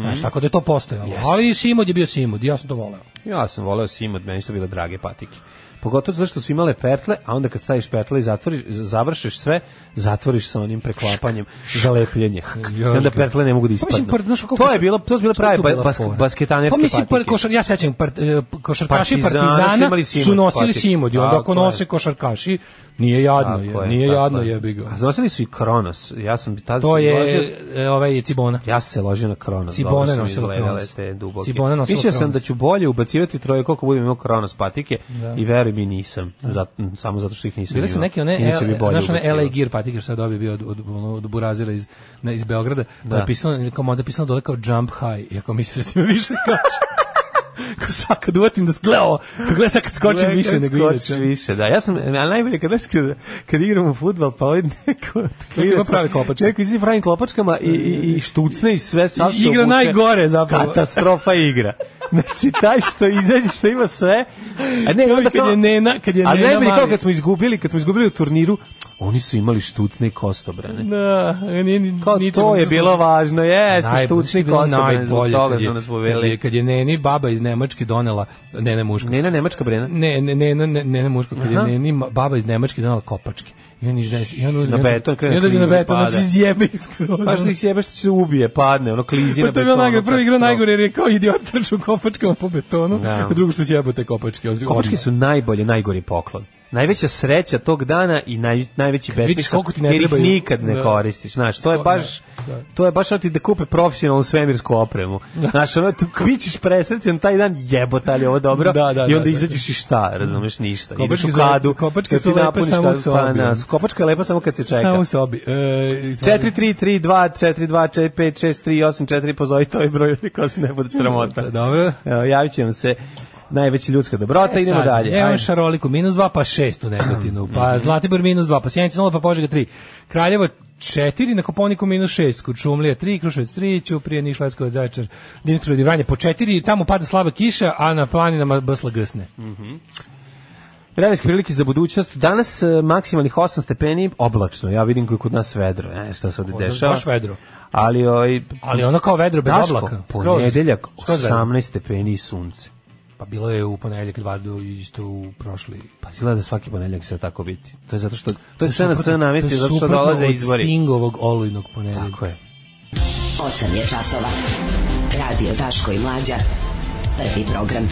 [SPEAKER 7] Znači, tako da je to postojalo. Ali Simod je bio Simod, ja sam to voleo.
[SPEAKER 8] Ja sam voleo Simod, meni su to bile drage patike. Pogotovo zato što su imale pertle, a onda kad staviš pertle i zatvoriš, završiš sve, zatvoriš sa onim preklapanjem za lepljenje. I
[SPEAKER 7] Još
[SPEAKER 8] onda
[SPEAKER 7] ga.
[SPEAKER 8] pertle ne mogu
[SPEAKER 7] Pa
[SPEAKER 8] da
[SPEAKER 7] mislim,
[SPEAKER 8] ispadnu.
[SPEAKER 7] par- znaš kako-
[SPEAKER 8] to je bilo, to su bile
[SPEAKER 7] šta je
[SPEAKER 8] prave
[SPEAKER 7] tu
[SPEAKER 8] ba,
[SPEAKER 7] bila
[SPEAKER 8] bas,
[SPEAKER 7] fora?
[SPEAKER 8] basketanevske
[SPEAKER 7] Pa mislim, par,
[SPEAKER 8] patike.
[SPEAKER 7] košar, ja sećam, par, e, košarkaši
[SPEAKER 8] Partizana su
[SPEAKER 7] Partizana,
[SPEAKER 8] imali
[SPEAKER 7] su,
[SPEAKER 8] Simod
[SPEAKER 7] nosili
[SPEAKER 8] patike.
[SPEAKER 7] Simod i onda
[SPEAKER 8] Tako
[SPEAKER 7] ako
[SPEAKER 8] je.
[SPEAKER 7] nose košarkaši, nije jadno, je, nije jadno jebi ga.
[SPEAKER 8] A nosili su i Kronos. Ja sam tad
[SPEAKER 7] To
[SPEAKER 8] sam
[SPEAKER 7] je
[SPEAKER 8] dolazio-
[SPEAKER 7] e, ovaj Cibona.
[SPEAKER 8] Ja sam se ložio na Kronos.
[SPEAKER 7] Cibone
[SPEAKER 8] dobro su mi
[SPEAKER 7] nosila
[SPEAKER 8] izgledale
[SPEAKER 7] Kronos.
[SPEAKER 8] Te duboke.
[SPEAKER 7] Cibone nosila
[SPEAKER 8] Mislio sam
[SPEAKER 7] Kronos.
[SPEAKER 8] da ću bolje ubacivati troje koliko budem imao Kronos patike i veruj mi nisam. Zato, samo zato što ih nisam
[SPEAKER 7] Bile su
[SPEAKER 8] imao.
[SPEAKER 7] neke one,
[SPEAKER 8] Inače bi
[SPEAKER 7] L-
[SPEAKER 8] bolje
[SPEAKER 7] znaš one LA
[SPEAKER 8] ubacivao.
[SPEAKER 7] Gear patike što je dobio bio od, od, ono, od Burazira iz, ne, iz Beograda, da. je pisano, ili kao moda pisano dole kao Jump High, iako mislim da s time više skače. Ko sad kad uvatim da skleo, kako gleda sad kad skočim
[SPEAKER 8] Gle,
[SPEAKER 7] više
[SPEAKER 8] kad
[SPEAKER 7] nego
[SPEAKER 8] skočiš
[SPEAKER 7] inače.
[SPEAKER 8] više, da. Ja sam, a najbolje kad, znaš, kad, kad igram u futbal, pa ovaj neko... od klinaca-
[SPEAKER 7] pravi klopačke.
[SPEAKER 8] Neko izdi pravi klopačkama i, i, i štucne i sve sav
[SPEAKER 7] I
[SPEAKER 8] se
[SPEAKER 7] igra
[SPEAKER 8] obuče.
[SPEAKER 7] najgore zapravo.
[SPEAKER 8] Katastrofa igra. Znači, taj što izađe, što ima sve. A ne, onda
[SPEAKER 7] Kad
[SPEAKER 8] kao...
[SPEAKER 7] je Nena, kad je
[SPEAKER 8] A
[SPEAKER 7] Nena
[SPEAKER 8] najbolje kao
[SPEAKER 7] mali.
[SPEAKER 8] kad smo izgubili, kad smo izgubili u turniru, oni su imali štucne i kostobrane.
[SPEAKER 7] Da, nije, ni-
[SPEAKER 8] Kao
[SPEAKER 7] ničemu
[SPEAKER 8] to je
[SPEAKER 7] nisu
[SPEAKER 8] bilo važno, jeste,
[SPEAKER 7] Najbolje,
[SPEAKER 8] štucni
[SPEAKER 7] što je bilo
[SPEAKER 8] kostobrane, zbog
[SPEAKER 7] najbolje
[SPEAKER 8] toga
[SPEAKER 7] kad je-
[SPEAKER 8] su nas
[SPEAKER 7] kad je-
[SPEAKER 8] poveli.
[SPEAKER 7] Kad je Neni baba iz Nemačke donela, Nena muška,
[SPEAKER 8] Nena Nemačka brena.
[SPEAKER 7] Ne, ne, ne, ne, ne, ne, ne muško, kad je
[SPEAKER 8] Aha.
[SPEAKER 7] ne, ni ma- baba iz Nemačke donala kopačke. I on izdesi, i on uzme, i
[SPEAKER 8] Na
[SPEAKER 7] on-
[SPEAKER 8] beton krene
[SPEAKER 7] i on dođe na
[SPEAKER 8] klizi,
[SPEAKER 7] beton,
[SPEAKER 8] pada.
[SPEAKER 7] znači izjebe iskoro.
[SPEAKER 8] Pa što ih znači, sjebe što se ubije, padne, ono klizi
[SPEAKER 7] Pa
[SPEAKER 8] na
[SPEAKER 7] to je bilo
[SPEAKER 8] betonu.
[SPEAKER 7] najgore, prvi igra
[SPEAKER 8] katastrofa.
[SPEAKER 7] najgore jer je kao idiot trčao kopačkama po betonu,
[SPEAKER 8] Da.
[SPEAKER 7] a drugo što će jebati kopačke. odmah.
[SPEAKER 8] Kopačke su najbolje, najgori poklon. Najveća sreća tog dana i naj, najveći
[SPEAKER 7] vidiš
[SPEAKER 8] besmisao,
[SPEAKER 7] koliko ti ne
[SPEAKER 8] jer ih
[SPEAKER 7] trebaju.
[SPEAKER 8] nikad ne
[SPEAKER 7] Da.
[SPEAKER 8] koristiš. Znaš, to je
[SPEAKER 7] Sto-
[SPEAKER 8] baš,
[SPEAKER 7] da, da.
[SPEAKER 8] to je baš ono ti da kupe profesionalnu svemirsku opremu. Znaš, ono, tu bićeš presrećen taj dan, jebota li je ovo dobro,
[SPEAKER 7] Da, da,
[SPEAKER 8] i
[SPEAKER 7] da,
[SPEAKER 8] onda
[SPEAKER 7] da.
[SPEAKER 8] izađeš i šta, razumeš, ništa.
[SPEAKER 7] Kopačke
[SPEAKER 8] Ideš u
[SPEAKER 7] su-
[SPEAKER 8] kadu,
[SPEAKER 7] kopačke
[SPEAKER 8] da ti
[SPEAKER 7] su lepe
[SPEAKER 8] napuniš
[SPEAKER 7] samo u
[SPEAKER 8] kadu, pa
[SPEAKER 7] sobi.
[SPEAKER 8] na, kopačka je lepa samo kad se čeka.
[SPEAKER 7] Samo u sobi. E,
[SPEAKER 8] 4 3 3 2 4 2 4 5 6 3 8 4 pozovite ovaj broj niko se ne bude sramota.
[SPEAKER 7] Dobro.
[SPEAKER 8] Evo, javit će vam se najveća ljudska dobrota, Pa idemo
[SPEAKER 7] E, Sad,
[SPEAKER 8] dalje.
[SPEAKER 7] Evo
[SPEAKER 8] Ajde. Mhm.
[SPEAKER 7] Šaroliku, minus 2, pa 6 u Negotinu, pa Zlatibor minus 2, pa Sjenica 0, pa Požega 3, Kraljevo 4, na Koponiku minus 6, Kučumlija 3, Kruševac 3, Ćuprije, Niš, Leskovac, Zaječar, Dimitrov, Divranje po 4, tamo pada slaba kiša, a na planinama bsla gsne.
[SPEAKER 8] Mhm. Vremenske prilike za budućnost. Danas e, maksimalnih 8 stepeni, oblačno. Ja vidim kako je kod nas vedro. E, šta se ovde
[SPEAKER 7] Ovde
[SPEAKER 8] dešava?
[SPEAKER 7] baš vedro.
[SPEAKER 8] Ali ovaj
[SPEAKER 7] Ali ono kao vedro bez
[SPEAKER 8] Daško,
[SPEAKER 7] oblaka. Skroz.
[SPEAKER 8] ponedeljak
[SPEAKER 7] Skroz vedro.
[SPEAKER 8] 18 stepeni i sunce.
[SPEAKER 7] Pa bilo je u ponedeljak dva do isto u prošli.
[SPEAKER 8] Pa izgleda da svaki ponedeljak će tako biti. To je zato što to je
[SPEAKER 7] Suprotno-
[SPEAKER 8] SNS namestio zato što
[SPEAKER 7] suprotno
[SPEAKER 8] dolaze
[SPEAKER 7] od
[SPEAKER 8] izbori.
[SPEAKER 7] Stingovog olujnog ponedeljka.
[SPEAKER 8] Tako je.
[SPEAKER 5] 8 je časova. Radio Daško i Mlađa. Prvi program.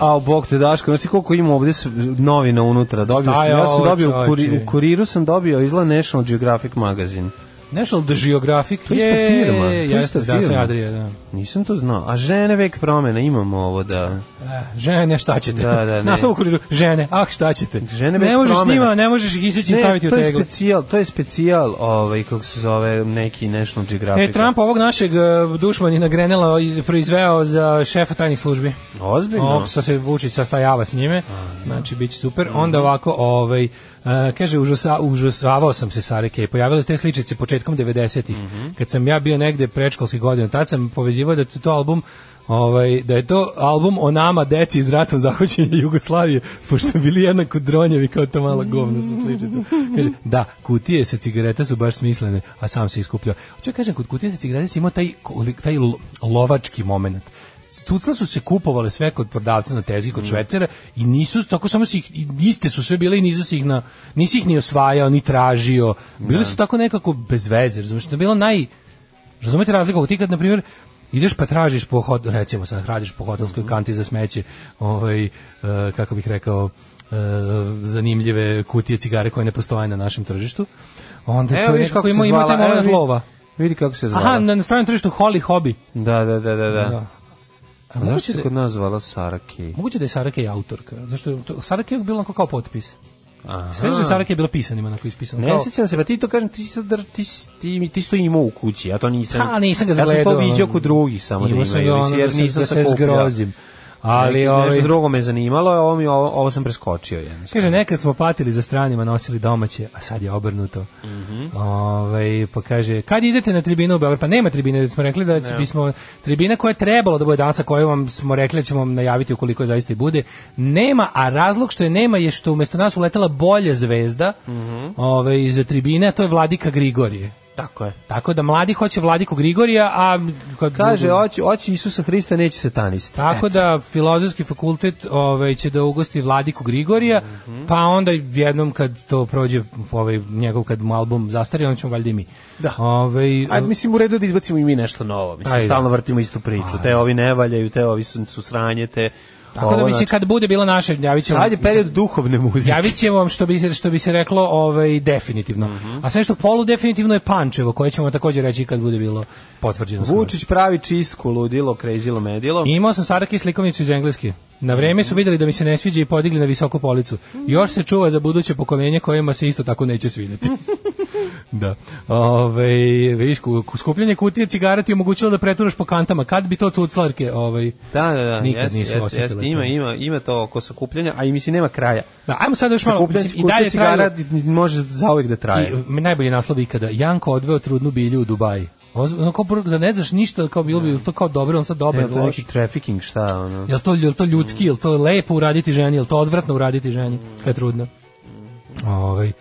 [SPEAKER 8] A, bog te daško, znaš ti koliko ima ovde s- novina unutra? Dobio
[SPEAKER 7] Šta
[SPEAKER 8] sam,
[SPEAKER 7] je
[SPEAKER 8] ja sam
[SPEAKER 7] ovo,
[SPEAKER 8] dobio, u, kuri,
[SPEAKER 7] čoveče?
[SPEAKER 8] u kuriru sam dobio izla National Geographic magazin.
[SPEAKER 7] National Geographic
[SPEAKER 8] To je ista firma, to je
[SPEAKER 7] jeste,
[SPEAKER 8] ista
[SPEAKER 7] da,
[SPEAKER 8] firma.
[SPEAKER 7] sve Adrije, da.
[SPEAKER 8] Nisam to znao. A žene vek promena, imamo ovo da...
[SPEAKER 7] Eh, Žene, šta ćete?
[SPEAKER 8] Da, da, ne.
[SPEAKER 7] Naslov u kuriru, žene, ah, šta ćete?
[SPEAKER 8] Žene bez
[SPEAKER 7] ne možeš
[SPEAKER 8] promena.
[SPEAKER 7] njima, ne možeš ih iseći i
[SPEAKER 8] Ne,
[SPEAKER 7] staviti u
[SPEAKER 8] to je
[SPEAKER 7] teglu.
[SPEAKER 8] specijal, to je specijal, ovaj, kako se zove, neki National Geographic.
[SPEAKER 7] E, Trump ovog našeg eh, dušmanina Grenela iz- proizveo za šefa tajnih službi.
[SPEAKER 8] Ozbiljno?
[SPEAKER 7] Ovog sa se Vučić sastajava s njime, znači bit će super. Onda ovako, ovaj, eh, kaže, užasa, užasavao sam se Sarike. Pojavile su te sličice početkom 90-ih. Kad sam ja bio negde predškolskih godina, tad sam povezivao da je to album Ovaj, da je to album o nama deci iz ratom zahoćenja Jugoslavije pošto su bili jednako dronjevi kao to mala govna sa sličicom kaže, da, kutije sa cigareta su baš smislene a sam se iskupljao hoću da kažem, kod kutije sa cigareta si imao taj, taj lo- lovački moment Cucle su se kupovale sve kod prodavca na tezgi
[SPEAKER 8] Mm.
[SPEAKER 7] kod švecera i nisu tako samo si ih i iste su sve bile i nisu si ih na nisi ih ni osvajao ni tražio. Bile su tako nekako bez veze, razumeš, to je bilo naj Razumete razliku? Ti kad, na primjer, ideš pa tražiš po hod, recimo sad, radiš po hotelskoj
[SPEAKER 8] Mhm.
[SPEAKER 7] kanti za smeće, ovaj, e, kako bih rekao, e, zanimljive kutije cigare koje ne postoje na našem tržištu. Onda to
[SPEAKER 8] Evo
[SPEAKER 7] je
[SPEAKER 8] vidiš kako
[SPEAKER 7] nekako
[SPEAKER 8] se
[SPEAKER 7] ima,
[SPEAKER 8] zvala.
[SPEAKER 7] ima taj
[SPEAKER 8] evo
[SPEAKER 7] moment
[SPEAKER 8] vidi-
[SPEAKER 7] lova.
[SPEAKER 8] Vidi kako se zvala.
[SPEAKER 7] Aha, na, na stranom tržištu Holly Hobby.
[SPEAKER 8] Da, da, da, da. da.
[SPEAKER 7] Da. A
[SPEAKER 8] A zašto
[SPEAKER 7] moguće
[SPEAKER 8] se
[SPEAKER 7] da-
[SPEAKER 8] kod nas zvala Saraki?
[SPEAKER 7] Moguće da je Sarake i autorka. Zašto je to, Sarake je bilo onako kao potpis.
[SPEAKER 8] Aha.
[SPEAKER 7] Sve da Sarake je bila pisanima onako ispisana.
[SPEAKER 8] Ne
[SPEAKER 7] kao-
[SPEAKER 8] sjećam se, pa ti to kažem, ti si to, dr- ti, si- ti, mi- ti si to imao u kući, ja to nisam.
[SPEAKER 7] Ha, nisam ga
[SPEAKER 8] Ja
[SPEAKER 7] zagledao. ono.
[SPEAKER 8] sam to viđao kod drugih samo da
[SPEAKER 7] Imao
[SPEAKER 8] imaju,
[SPEAKER 7] sam ga, ono,
[SPEAKER 8] mislim, jer
[SPEAKER 7] da se-
[SPEAKER 8] nisam
[SPEAKER 7] da
[SPEAKER 8] se
[SPEAKER 7] se
[SPEAKER 8] kupljao.
[SPEAKER 7] zgrozim. Ali,
[SPEAKER 8] Neki-
[SPEAKER 7] ovaj-
[SPEAKER 8] Nešto drugo me zanimalo, a ovo, mi, ovo, ovo sam preskočio. jednostavno.
[SPEAKER 7] Kaže, nekad smo patili za stranima, nosili domaće, a sad je obrnuto. Ovaj, pa kaže, kad idete na tribinu u Beograd? Pa nema tribine, jer smo rekli da će- bismo... Tribina koja je trebalo da bude danas, a koju vam smo rekli da ćemo vam najaviti ukoliko je zaista i bude, nema, a razlog što je nema je što umjesto nas uletela bolja zvezda ovaj, iza tribine, a to je Vladika Grigorije.
[SPEAKER 8] Tako je.
[SPEAKER 7] Tako da mladi hoće Vladiku Grigorija, a... Kad
[SPEAKER 8] Kaže, oći, oći Isusa Hrista neće satanista.
[SPEAKER 7] Tako da filozofski fakultet ovaj će da ugosti Vladiku Grigorija,
[SPEAKER 8] Mhm.
[SPEAKER 7] pa onda jednom kad to prođe ovaj njegov kad mu album zastari, on ćemo valjda i mi.
[SPEAKER 8] Da.
[SPEAKER 7] Ovaj
[SPEAKER 8] Ajde, E, mislim, u redu je da izbacimo i mi nešto novo. Mislim,
[SPEAKER 7] Ajde.
[SPEAKER 8] stalno vrtimo istu priču. Te ovi ne valjaju, te ovi su, su sranje, te...
[SPEAKER 7] tako da
[SPEAKER 8] ovo,
[SPEAKER 7] mislim
[SPEAKER 8] znači,
[SPEAKER 7] kad bude bilo naše javit ćemo
[SPEAKER 8] Sad je period duhovne muzike.
[SPEAKER 7] Javit će vam što bi se što bi se reklo ovaj definitivno.
[SPEAKER 8] Mhm.
[SPEAKER 7] A sve što polu definitivno je Pančevo, koje ćemo također reći kad bude bilo potvrđeno. skoro.
[SPEAKER 8] Vučić pravi čistku, ludilo, krezilo, medilo.
[SPEAKER 7] Imao sam Saraki slikovnicu iz engleski. Na vreme su vidjeli da mi se ne sviđa i podigli na visoku policu. Još se čuva za buduće pokolenje kojima se isto tako neće svidjeti. da. Ove, vidiš, ku- ku- skupljanje kutije cigara ti je omogućilo da preturaš po kantama. Kad bi to tuclarke? Ovaj,
[SPEAKER 8] Da, da, da,
[SPEAKER 7] Nikad
[SPEAKER 8] jeste,
[SPEAKER 7] nisu
[SPEAKER 8] jeste,
[SPEAKER 7] osjetile
[SPEAKER 8] jeste,
[SPEAKER 7] to.
[SPEAKER 8] ima, ima, ima to oko sakupljanja, a i mislim nema kraja.
[SPEAKER 7] da, ajmo sad još malo.
[SPEAKER 8] Sakupljanje
[SPEAKER 7] mislim, I dalje
[SPEAKER 8] cigara
[SPEAKER 7] trajalo,
[SPEAKER 8] traju... može zauvek da traje.
[SPEAKER 7] i, m, najbolji naslov ikada. Janko odveo trudnu bilju u Dubaji. Oz- ono kao prvo da ne znaš ništa, kao bilo bi to kao dobro, on sad dobar,
[SPEAKER 8] Evo, to je
[SPEAKER 7] loš.
[SPEAKER 8] neki trafficking, šta, ono.
[SPEAKER 7] Jel to, jel to ljudski, jel to lepo uraditi ženi, jel to odvratno uraditi ženi, kad je trudno? Ovaj,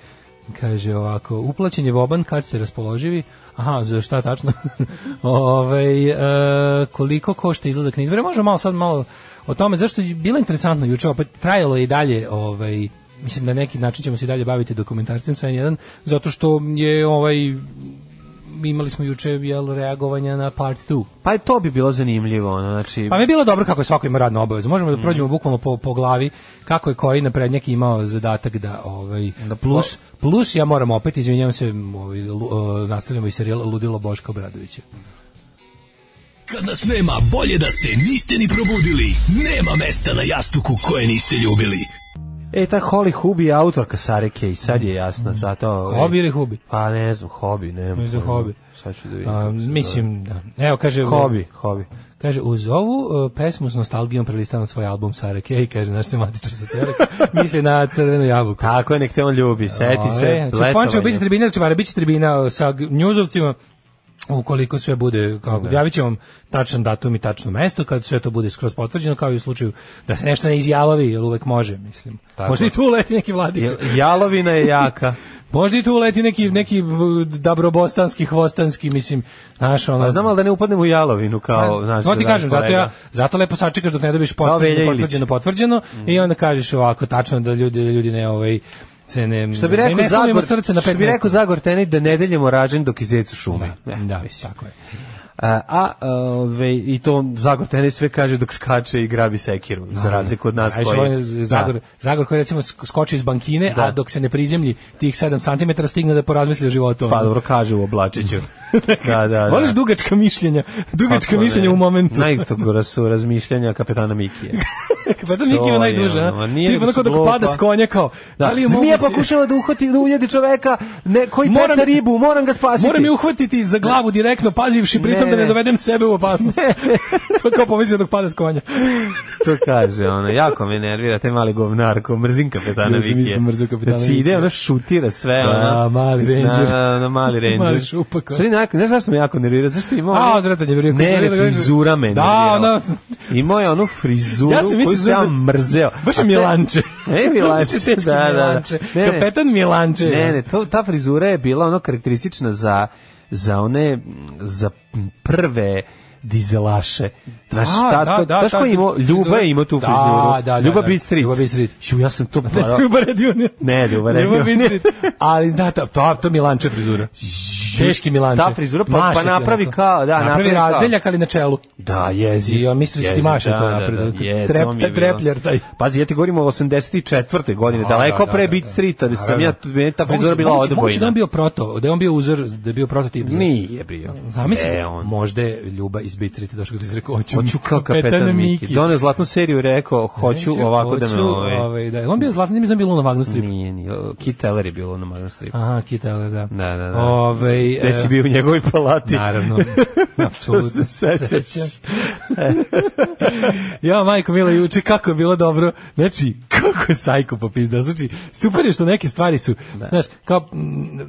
[SPEAKER 7] kaže ovako, uplaćen je voban kad ste raspoloživi, aha, za šta tačno? ovaj, e, koliko košta izlazak na izbore? Možemo malo sad malo o tome, zašto je bilo interesantno juče, opet trajalo je i dalje, ovaj, mislim da neki način ćemo se i dalje baviti dokumentarcem sa N1, zato što je ovaj, imali smo juče jel, reagovanja na part 2.
[SPEAKER 8] Pa je to bi bilo zanimljivo, ono, znači...
[SPEAKER 7] Pa mi je bilo dobro kako je svako ima radnu obavezu. Možemo da prođemo bukvalno po, po glavi kako je koji naprednjak imao zadatak da ovaj plus plus ja moram opet izvinjavam se ovaj lu- eh, nastavljamo i serijal Ludilo Boška Obradovića.
[SPEAKER 9] Kad nas nema, bolje da se niste ni probudili. Nema mesta na jastuku koje niste ljubili.
[SPEAKER 8] E, ta Holly Hubi je autorka Sarike i sad je jasno, zato... ovaj,
[SPEAKER 7] Mm. Hobi ili hubi?
[SPEAKER 8] Pa ne znam, hobi, ne znam.
[SPEAKER 7] Ne znam, hobi.
[SPEAKER 8] Sad ću da vidim.
[SPEAKER 7] A,
[SPEAKER 8] kako se zove.
[SPEAKER 7] Pa mislim da. Evo kaže
[SPEAKER 8] Hobi, hobi.
[SPEAKER 7] Kaže, uz ovu e, pesmu s nostalgijom prelistavam svoj album Sara Kay, kaže naš tematičar sa Cerek, misli na crvenu jabuku.
[SPEAKER 8] Tako je, nek te on ljubi, seti se,
[SPEAKER 7] Ove, znači, Počeo biti
[SPEAKER 8] letovanje.
[SPEAKER 7] tribina, čuvara, bit će tribina sa g- njuzovcima, ukoliko sve bude, kao, javit ćemo vam tačan datum i tačno mesto, kad sve to bude skroz potvrđeno, kao i u slučaju da se nešto ne izjalovi, jer uvek može, mislim.
[SPEAKER 8] Tako.
[SPEAKER 7] Možda i tu leti neki vladik.
[SPEAKER 8] Jel- Jalovina je jaka.
[SPEAKER 7] Možda i tu leti neki, neki v- dabrobostanski, hvostanski, mislim, znaš, ono...
[SPEAKER 8] Pa znam ali da ne upadnem u jalovinu kao, znaš,
[SPEAKER 7] to ti
[SPEAKER 8] da,
[SPEAKER 7] kažem, zato,
[SPEAKER 8] kolega.
[SPEAKER 7] ja, zato lepo sačekaš dok ne dobiš potvrđeno,
[SPEAKER 8] Velja Ilić.
[SPEAKER 7] potvrđeno, potvrđeno i onda kažeš ovako tačno da ljudi, da ljudi ne ovaj, se ne,
[SPEAKER 8] Što bi
[SPEAKER 7] ne-
[SPEAKER 8] rekao
[SPEAKER 7] ne slomimo
[SPEAKER 8] Zagor,
[SPEAKER 7] srce na
[SPEAKER 8] što
[SPEAKER 7] pet
[SPEAKER 8] bi rekao Zagor Tenić da ne deljemo rađen dok izjecu šumi.
[SPEAKER 7] Da,
[SPEAKER 8] Eh,
[SPEAKER 7] da
[SPEAKER 8] mislim.
[SPEAKER 7] tako je.
[SPEAKER 8] A, a ove, i to Zagor tenis sve kaže dok skače i grabi sekiru, za razliku od nas
[SPEAKER 7] A još
[SPEAKER 8] koji...
[SPEAKER 7] ovaj Zagor, Zagor koji recimo sk- skoči iz bankine,
[SPEAKER 8] Da.
[SPEAKER 7] a dok se ne prizemlji tih 7 cm stigne da porazmisli o životu.
[SPEAKER 8] Da, pa dobro kaže u oblačiću. da, da, da.
[SPEAKER 7] Ono. Voliš dugačka mišljenja, dugačka
[SPEAKER 8] Kako ne?
[SPEAKER 7] mišljenja u momentu.
[SPEAKER 8] Najgora su razmišljanja kapetana Mikije.
[SPEAKER 7] Pa da Miki ima
[SPEAKER 8] je,
[SPEAKER 7] najduže, a?
[SPEAKER 8] ono, nije
[SPEAKER 7] Tipa
[SPEAKER 8] da su
[SPEAKER 7] onako dok
[SPEAKER 8] glupa.
[SPEAKER 7] pada s konja kao.
[SPEAKER 8] Da.
[SPEAKER 7] Da li je
[SPEAKER 8] Zmija
[SPEAKER 7] moguće-
[SPEAKER 8] pokušava da uhvati, da uljedi čoveka, ne, koji
[SPEAKER 7] Moram-
[SPEAKER 8] peca ribu, moram ga spasiti.
[SPEAKER 7] Moram je uhvatiti za glavu direktno, pazivši pritom
[SPEAKER 8] Ne,
[SPEAKER 7] da ne,
[SPEAKER 8] ne.
[SPEAKER 7] dovedem sebe u opasnost. to kao pomislio dok pada s konja.
[SPEAKER 8] To kaže, ono, jako me nervira, taj mali govnar, ko mrzim kapetana
[SPEAKER 7] Ja sam
[SPEAKER 8] Vikije.
[SPEAKER 7] isto mrzio kapetana
[SPEAKER 8] Znači, ide,
[SPEAKER 7] Vikija.
[SPEAKER 8] ono, šutira sve,
[SPEAKER 7] Da,
[SPEAKER 8] ono.
[SPEAKER 7] mali ranger.
[SPEAKER 8] Na, na, na mali ranger.
[SPEAKER 7] Mali šupak, ono.
[SPEAKER 8] Sve nekako, znaš zašto me jako nervira, zašto ima ono...
[SPEAKER 7] A, odvratan je bio.
[SPEAKER 8] Ne, frizura me
[SPEAKER 7] Da,
[SPEAKER 8] nervirala.
[SPEAKER 7] ona...
[SPEAKER 8] Imao je onu frizuru
[SPEAKER 7] Ja sam mislio
[SPEAKER 8] koju sam ja
[SPEAKER 7] za-
[SPEAKER 8] mrzeo.
[SPEAKER 7] Baš
[SPEAKER 8] A
[SPEAKER 7] je
[SPEAKER 8] te-
[SPEAKER 7] Milanče.
[SPEAKER 8] E, Milanče,
[SPEAKER 7] Teški
[SPEAKER 8] da, da, da.
[SPEAKER 7] Milanče.
[SPEAKER 8] Ne, ne.
[SPEAKER 7] Kapetan Milanče.
[SPEAKER 8] Ne, ne, to, ta frizura je bila ono karakteristična za, za one, m, za prve dizelaše. Znaš,
[SPEAKER 7] Da,
[SPEAKER 8] ta,
[SPEAKER 7] da,
[SPEAKER 8] to,
[SPEAKER 7] da,
[SPEAKER 8] znaš ko
[SPEAKER 7] ta
[SPEAKER 8] je imao,
[SPEAKER 7] frizura.
[SPEAKER 8] Ljuba je imao tu
[SPEAKER 7] Da,
[SPEAKER 8] frizuru.
[SPEAKER 7] da, da,
[SPEAKER 8] Ljuba
[SPEAKER 7] da.
[SPEAKER 8] Bistrit.
[SPEAKER 7] Ljuba Bistrit.
[SPEAKER 8] Ću, ja sam to...
[SPEAKER 7] Ljuba Radione.
[SPEAKER 8] Ne, Ljuba Radione.
[SPEAKER 7] Ljuba Bistrit. Ali da, to, to, to Milanče frizura. Teški Milanče.
[SPEAKER 8] Ta frizura, pa-
[SPEAKER 7] Maše
[SPEAKER 8] pa
[SPEAKER 7] ti
[SPEAKER 8] napravi
[SPEAKER 7] onako.
[SPEAKER 8] kao, da, napravi
[SPEAKER 7] Napravi
[SPEAKER 8] kao.
[SPEAKER 7] razdeljak, ali na čelu.
[SPEAKER 8] Da, jezi.
[SPEAKER 7] I on misli da su ti maše to napred, trep- trepljer taj.
[SPEAKER 8] Pazi, ja ti govorim o 84. godine,
[SPEAKER 7] A,
[SPEAKER 8] daleko
[SPEAKER 7] da, da,
[SPEAKER 8] pre
[SPEAKER 7] da,
[SPEAKER 8] Beat
[SPEAKER 7] da.
[SPEAKER 8] Streeta, da sam
[SPEAKER 7] Naravno.
[SPEAKER 8] ja, tu- meni ta frizura
[SPEAKER 7] Moguće-
[SPEAKER 8] bila
[SPEAKER 7] moguće- Moguće da
[SPEAKER 8] odbojna.
[SPEAKER 7] on bio proto, da je on bio uzor, da je bio prototip. za-
[SPEAKER 8] Nije bio.
[SPEAKER 7] Zamisli,
[SPEAKER 8] E,
[SPEAKER 7] da
[SPEAKER 8] on.
[SPEAKER 7] možda je Ljuba iz Bitrite došao kada izrekao, hoću,
[SPEAKER 8] Hoću kao kapetan Miki. Doneo zlatnu seriju, rekao, hoću ovako da me
[SPEAKER 7] Hoću,
[SPEAKER 8] ove...
[SPEAKER 7] ovaj, da, on bio zlatni, nije mi znam bilo na Wagner strip.
[SPEAKER 8] Nije, nije. Kit Teller je bilo na Magnus Stripu.
[SPEAKER 7] Aha, Kitale, da.
[SPEAKER 8] Da, da, da.
[SPEAKER 7] Ovaj,
[SPEAKER 8] Gde si
[SPEAKER 7] e,
[SPEAKER 8] bio u njegovoj palati?
[SPEAKER 7] Naravno, apsolutno.
[SPEAKER 8] se sećaš.
[SPEAKER 7] Sećam. ja, majko Mila, juče kako je bilo dobro. Znači, kako je sajko popizdao. Znači, super je što neke stvari su, znaš, kao, m,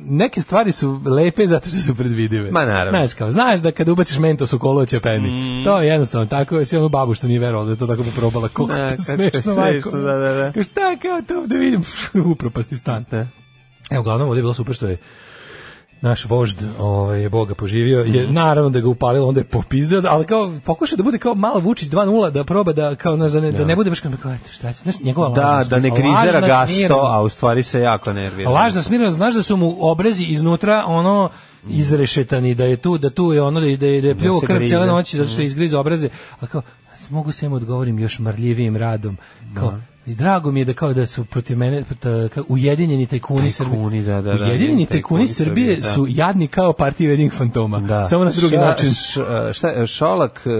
[SPEAKER 7] neke stvari su lepe zato što su predvidive.
[SPEAKER 8] Ma, naravno. Mm.
[SPEAKER 7] Znaš, kao, znaš da kada ubaciš mentos u kolo će peni. To je jednostavno tako, je sve ono babu što nije verovala da je to tako probala. Kako
[SPEAKER 8] Da,
[SPEAKER 7] to
[SPEAKER 8] kako je
[SPEAKER 7] smešno, majko.
[SPEAKER 8] smešno, da, da, da.
[SPEAKER 7] Kao, šta kao to da vidim? Upropasti stan.
[SPEAKER 8] Da.
[SPEAKER 7] Evo, uglavnom, ovdje je bilo super što je naš vožd, ovaj je Boga poživio, je
[SPEAKER 8] Mhm.
[SPEAKER 7] naravno da ga upalilo, onda je popizdao, ali kao pokušao da bude kao malo Vučić 2:0 da proba da kao znaš, da ne, da ne bude baš kao kao, eto, šta će, znaš, njegova
[SPEAKER 8] Da,
[SPEAKER 7] lažna
[SPEAKER 8] da ne
[SPEAKER 7] smirenost,
[SPEAKER 8] grizera
[SPEAKER 7] lažna
[SPEAKER 8] gasto,
[SPEAKER 7] smirenost.
[SPEAKER 8] a u stvari se jako nervira.
[SPEAKER 7] Lažna smirenost, znaš da su mu obrezi iznutra ono izrešetani, da je tu, da tu je ono, da je, da je, da je pljuo
[SPEAKER 8] se
[SPEAKER 7] krv
[SPEAKER 8] grize.
[SPEAKER 7] cijele noći, zato što je izgrizo obraze, a kao, mogu se im odgovorim još marljivijim radom, kao, I drago mi je da kao da su protiv mene ta- kao ujedinjeni tajkuni,
[SPEAKER 8] Tajkuni,
[SPEAKER 7] Srbije.
[SPEAKER 8] da, da, da,
[SPEAKER 7] ujedinjeni
[SPEAKER 8] tajkuni
[SPEAKER 7] tajkuni
[SPEAKER 8] Srbije,
[SPEAKER 7] Srbije
[SPEAKER 8] da.
[SPEAKER 7] su jadni kao partija jedinih fantoma.
[SPEAKER 8] Da.
[SPEAKER 7] Samo na drugi
[SPEAKER 8] Ša-
[SPEAKER 7] način.
[SPEAKER 8] š- šta, Šolak, e,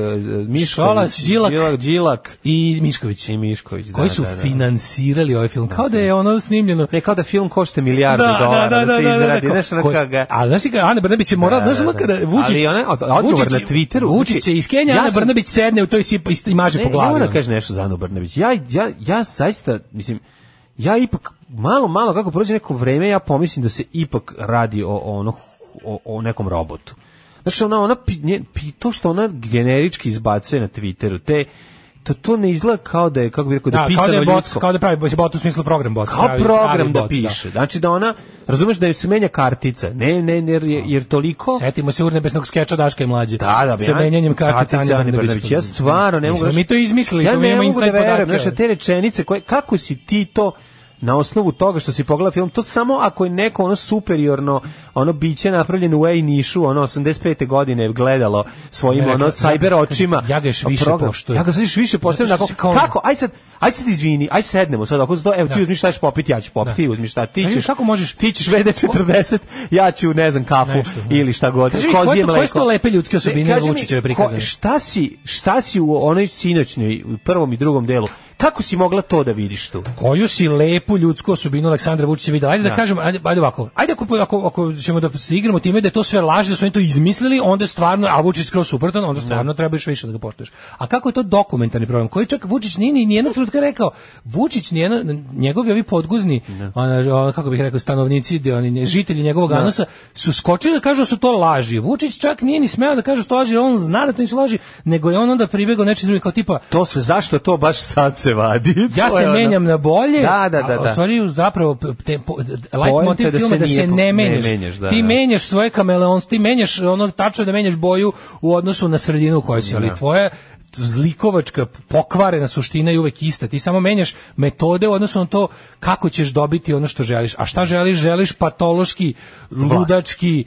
[SPEAKER 8] Mišković,
[SPEAKER 7] Šolak, Đilak.
[SPEAKER 8] Đilak, Đilak
[SPEAKER 7] I Mišković.
[SPEAKER 8] i Mišković. da,
[SPEAKER 7] koji su
[SPEAKER 8] da, da.
[SPEAKER 7] finansirali ovaj film. Kao da je ono snimljeno
[SPEAKER 8] Ne, kao da film košta milijardu dolara, da, se izradi,
[SPEAKER 7] kao-
[SPEAKER 8] znaš, ono
[SPEAKER 7] ko-
[SPEAKER 8] kao ga...
[SPEAKER 7] Ali znaš ti kao, Ana Brnabić je morala,
[SPEAKER 8] Da, da,
[SPEAKER 7] znaš ono
[SPEAKER 8] da.
[SPEAKER 7] kada Vučić...
[SPEAKER 8] Ali ona- od- odgovor na Twitteru,
[SPEAKER 7] Vučić
[SPEAKER 8] znači,
[SPEAKER 7] je iz Kenja,
[SPEAKER 8] ja
[SPEAKER 7] Ana
[SPEAKER 8] sam-
[SPEAKER 7] Brnabić sedne u toj sipa i maže po
[SPEAKER 8] Ne, ja
[SPEAKER 7] glavi.
[SPEAKER 8] moram da
[SPEAKER 7] ono.
[SPEAKER 8] kažem nešto za Anu Brnabić. Ja, ja, ja zaista, mislim, ja ipak, malo, malo, kako prođe neko vreme, ja pomislim da se ipak radi o, o ono, o, o nekom robotu. Znači, ona, ona, pi- nje- pi- to što ona generički izbacuje na Twitteru, te, to, to ne izgleda kao da je, kako bi rekao, da,
[SPEAKER 7] Da, kao
[SPEAKER 8] je
[SPEAKER 7] da
[SPEAKER 8] pisano
[SPEAKER 7] je bot,
[SPEAKER 8] ljudsko.
[SPEAKER 7] kao da pravi mislim, bot u smislu program bot.
[SPEAKER 8] Kao program da piše. Znači da ona, razumeš da joj se menja kartica. Ne, ne, ne, jer, jer toliko...
[SPEAKER 7] Setimo se urnebesnog skeča Daška i mlađe.
[SPEAKER 8] Da, da,
[SPEAKER 7] Sa
[SPEAKER 8] Anja-
[SPEAKER 7] menjanjem
[SPEAKER 8] kartice
[SPEAKER 7] kartica
[SPEAKER 8] Ane
[SPEAKER 7] Ane
[SPEAKER 8] Brnabić.
[SPEAKER 7] Brnabić.
[SPEAKER 8] Ja stvarno ne mogu...
[SPEAKER 7] Nismo
[SPEAKER 8] znaš-
[SPEAKER 7] mi to izmislili,
[SPEAKER 8] ja
[SPEAKER 7] to mi
[SPEAKER 8] ne
[SPEAKER 7] imamo
[SPEAKER 8] mogu da
[SPEAKER 7] inside
[SPEAKER 8] verujem,
[SPEAKER 7] podatke.
[SPEAKER 8] znaš, te rečenice, koje, kako si ti to na osnovu toga što si pogledao film, to samo ako je neko ono superiorno, ono biće napravljeno u Ej Nišu, ono 85. godine gledalo svojim
[SPEAKER 7] Ne,
[SPEAKER 8] ono
[SPEAKER 7] rekao-
[SPEAKER 8] cyber očima.
[SPEAKER 7] Ja ga još više
[SPEAKER 8] program.
[SPEAKER 7] poštujem.
[SPEAKER 8] Ja ga sad još više poštujem.
[SPEAKER 7] Zato što
[SPEAKER 8] Onako,
[SPEAKER 7] si kao ono-
[SPEAKER 8] kako? Aj sad, aj sad izvini, aj sednemo sad oko za to. Evo ti
[SPEAKER 7] Da.
[SPEAKER 8] uzmiš šta ćeš popiti, ja ću popiti, ti uzmiš šta ti
[SPEAKER 7] Ne,
[SPEAKER 8] ćeš.
[SPEAKER 7] kako možeš-
[SPEAKER 8] Ti ćeš VD40, ja ću ne znam kafu
[SPEAKER 7] Nešto, da.
[SPEAKER 8] ili šta god.
[SPEAKER 7] Kaži mi, koje
[SPEAKER 8] kozije
[SPEAKER 7] to- koje su to
[SPEAKER 8] mleko.
[SPEAKER 7] lepe ljudske
[SPEAKER 8] Ne,
[SPEAKER 7] osobine
[SPEAKER 8] kaži mi,
[SPEAKER 7] Vučićeve
[SPEAKER 8] ko-
[SPEAKER 7] prikazane?
[SPEAKER 8] Šta si, šta si u onoj sinoćnoj, u prvom i drugom delu? Kako si mogla to da vidiš tu?
[SPEAKER 7] Koju si lepu ljudsku osobinu Aleksandra Vučića videla? Ajde da, kažem, ajde, ajde ovako. Ajde ako, ako, ako ćemo da se igramo time da je to sve laže, da su oni to izmislili, onda je stvarno, a Vučić skroz suprotan, onda stvarno treba još više da ga poštuješ. A kako je to dokumentarni program? Koji čak Vučić nije ni nijednog trenutka rekao. Vučić, njena, njegovi ovi podguzni, ona, ona, kako bih rekao, stanovnici, de- oni, žitelji njegovog anosa, su skočili da kažu da su to laži. Vučić čak nije ni smeo da kaže da su to laži, jer on zna da to nisu laži, nego je on onda pribegao nečim drugim kao tipa,
[SPEAKER 8] To se, zašto to baš sad se vadi?
[SPEAKER 7] ja
[SPEAKER 8] To
[SPEAKER 7] se
[SPEAKER 8] je ono-
[SPEAKER 7] menjam na bolje.
[SPEAKER 8] Da, da, da,
[SPEAKER 7] a
[SPEAKER 8] da.
[SPEAKER 7] U stvari zapravo te, po, light
[SPEAKER 8] Poenta je
[SPEAKER 7] motiv
[SPEAKER 8] da
[SPEAKER 7] filma
[SPEAKER 8] se
[SPEAKER 7] da se
[SPEAKER 8] nije- ne
[SPEAKER 7] ne menjaš.
[SPEAKER 8] menjaš, da,
[SPEAKER 7] ti
[SPEAKER 8] da.
[SPEAKER 7] menjaš svoje kameleonstvo, ti menjaš ono tačno je da menjaš boju u odnosu na sredinu u kojoj si, ali tvoja zlikovačka pokvarena suština je uvek ista. Ti samo menjaš metode u odnosu na to kako ćeš dobiti ono što želiš. A šta želiš? Želiš patološki, ludački,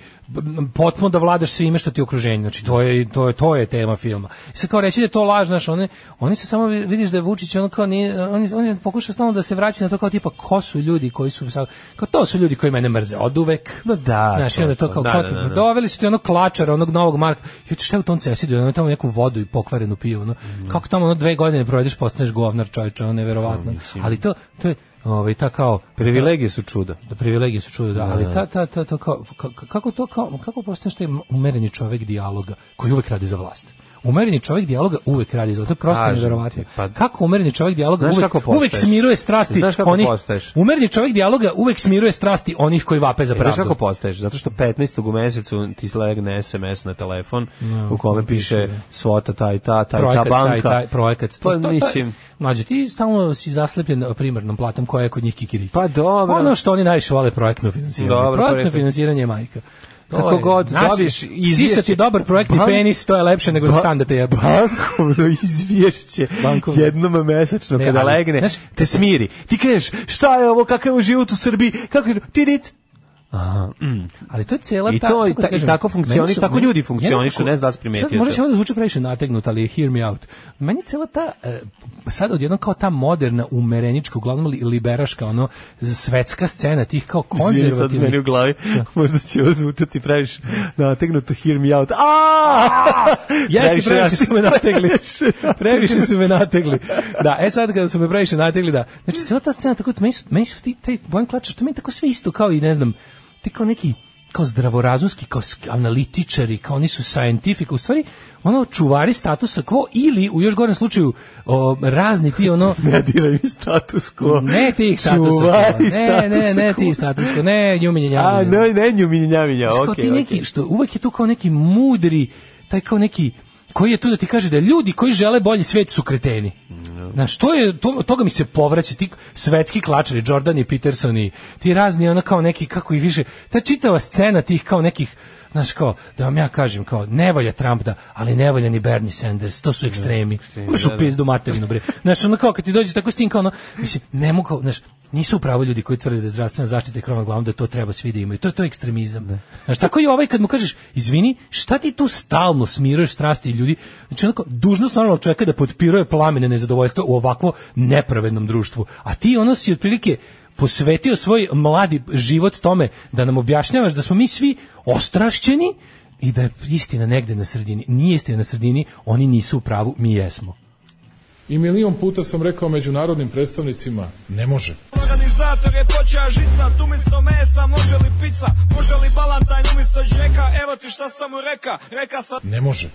[SPEAKER 7] potpuno da vladaš svime što ti je okruženje. Znači to je to je to je tema filma. I sad kao reći da je to laž, znaš, one oni se samo vidiš da je Vučić on kao nije, on, on je pokušao stalno da se vraća na to kao tipa ko su ljudi koji su sad kao to su ljudi koji mene mrze oduvek.
[SPEAKER 8] Ma da,
[SPEAKER 7] Znaš,
[SPEAKER 8] to
[SPEAKER 7] i onda
[SPEAKER 8] je
[SPEAKER 7] to
[SPEAKER 8] to.
[SPEAKER 7] kao
[SPEAKER 8] Da,
[SPEAKER 7] kao
[SPEAKER 8] da,
[SPEAKER 7] tipa,
[SPEAKER 8] da, da.
[SPEAKER 7] doveli su ti onog klačara, onog novog Marka. Jo, ti šta je u tom cesidu, ono tamo neku vodu i pokvarenu piju, ono.
[SPEAKER 8] Mm.
[SPEAKER 7] Kako tamo ono dve godine provedeš, postaneš govnar čovječe, ono neverovatno. Ali to, to je ovaj, ta kao...
[SPEAKER 8] Privilegije su E, čuda.
[SPEAKER 7] Da privilegije su čudo, da, ali ta, ta, ta, to kao, ka- kako to kao, kako postaneš taj umereni čovek dijaloga koji uvek radi za vlast? Umereni čovek dijaloga uvek radi za vlast. To je prosto
[SPEAKER 8] Kažem ti,
[SPEAKER 7] neverovatno.
[SPEAKER 8] pa-
[SPEAKER 7] kako umereni čovek dijaloga
[SPEAKER 8] Znaš
[SPEAKER 7] uvek,
[SPEAKER 8] kako postaješ?
[SPEAKER 7] uvek smiruje strasti
[SPEAKER 8] Znaš kako
[SPEAKER 7] onih...
[SPEAKER 8] postaješ?
[SPEAKER 7] Umereni čovek dijaloga uvek smiruje strasti onih koji vape za
[SPEAKER 8] E, Znaš kako
[SPEAKER 7] pravdu.
[SPEAKER 8] postaješ? Zato što 15. u mesecu ti slegne SMS na telefon u kome piše svota taj ta, taj ta banka.
[SPEAKER 7] taj, taj projekat.
[SPEAKER 8] Pa
[SPEAKER 7] to- to-
[SPEAKER 8] mislim,
[SPEAKER 7] Mlađe, ti stalno si zaslepljen primarnom platom koja je kod njih kikiri.
[SPEAKER 8] Pa dobro.
[SPEAKER 7] Ono što oni najviše vole projektno finansiranje.
[SPEAKER 8] Dobro,
[SPEAKER 7] projektno
[SPEAKER 8] projektno.
[SPEAKER 7] finansiranje je majka. To
[SPEAKER 8] Kako
[SPEAKER 7] je-
[SPEAKER 8] god
[SPEAKER 7] nas-
[SPEAKER 8] dobiješ izvješće-
[SPEAKER 7] Sisati dobar projektni
[SPEAKER 8] Ban-
[SPEAKER 7] penis, to je lepše nego da
[SPEAKER 8] Ba-
[SPEAKER 7] stan da te jebe.
[SPEAKER 8] bankovno izvješće
[SPEAKER 7] Bankovno.
[SPEAKER 8] jednom mesečno
[SPEAKER 7] Ne,
[SPEAKER 8] kada
[SPEAKER 7] ali,
[SPEAKER 8] legne
[SPEAKER 7] znaš-
[SPEAKER 8] te smiri. Ti kažeš šta je ovo, kakav je ovo život u Srbiji, kako je tidit.
[SPEAKER 7] Ali to je cijela
[SPEAKER 8] I
[SPEAKER 7] ta...
[SPEAKER 8] to i
[SPEAKER 7] kako da
[SPEAKER 8] ta- i tako funkcioni-
[SPEAKER 7] meni su-
[SPEAKER 8] tako
[SPEAKER 7] meni-
[SPEAKER 8] ljudi
[SPEAKER 7] ja
[SPEAKER 8] funkcionišu,
[SPEAKER 7] nekako-
[SPEAKER 8] ne znam da li si primetio
[SPEAKER 7] Sad, možda
[SPEAKER 8] to.
[SPEAKER 7] će ovo da zvuči previše nategnut, ali hear me out. Meni cijela ta, e, sad odjedno kao ta moderna, umerenička, uglavnom li- liberaška, ono, svetska scena tih kao
[SPEAKER 8] Izvini, sad meni
[SPEAKER 7] konzervativnih
[SPEAKER 8] u glavi, možda će ovo zvučati previš nategnuto hear me out. Aaaa!
[SPEAKER 7] Jeste, previše su me nategli. Previše su me nategli. Da, e sad kada su me previše nategli, da. Znači, cijela ta scena, tako, meni su, meni su ti, taj Bojan Klačar, to meni tako sve isto, kao i, ne znam, ti kao neki, kao zdravorazumski, kao sk- analitičari, kao oni su scientific, u stvari, ono, čuvari statusa quo ili, u još gorem slučaju, o, razni ti, ono,
[SPEAKER 8] Ne diraj mi status quo.
[SPEAKER 7] ne ti status
[SPEAKER 8] Čuvari
[SPEAKER 7] quo, ne, ne,
[SPEAKER 8] status
[SPEAKER 7] ne
[SPEAKER 8] quo.
[SPEAKER 7] ti status quo, ne njuminje
[SPEAKER 8] A,
[SPEAKER 7] njavine.
[SPEAKER 8] ne, ne, nju minjavija,
[SPEAKER 7] Znaš, kao
[SPEAKER 8] okej,
[SPEAKER 7] ti neki,
[SPEAKER 8] okej.
[SPEAKER 7] što uvek je tu kao neki mudri, taj kao neki koji je tu da ti kaže da ljudi koji žele bolji svet su kreteni. Znaš, to je, to, toga mi se povraća, ti svetski klačari, Jordan i Peterson i ti razni, ono kao neki, kako i više, ta čitava scena tih kao nekih, znaš kao, da vam ja kažem, kao, ne volja Trump da, ali ne volja ni Bernie Sanders, to su ekstremi. Imaš u pizdu materinu, bre. Znaš, ono kao, kad ti dođe tako s tim, kao ono, mislim, ne mogu, kao, znaš, nisu pravo ljudi koji tvrde da je zdravstvena zaštita i krov nad glavom, da to treba svi da imaju. To, to je ekstremizam. Znaš, tako i ovaj kad mu kažeš, izvini, šta ti tu stalno smiruješ strasti i ljudi? Znači, onako, dužnost normalno čovjeka je da potpiruje plamene nezadovoljstva u ovakvo nepravednom društvu. A ti ono si otprilike posvetio svoj mladi život tome da nam objašnjavaš da smo mi svi ostrašćeni i da je istina negde na sredini. Nije istina na sredini, oni nisu u pravu, mi jesmo.
[SPEAKER 10] I milion puta sam rekao međunarodnim predstavnicima, ne može.
[SPEAKER 1] Organizator je počeo žica, tu umjesto mesa može li pizza, može li balantajn umjesto džeka, evo ti šta sam mu reka, reka sam
[SPEAKER 10] Ne može.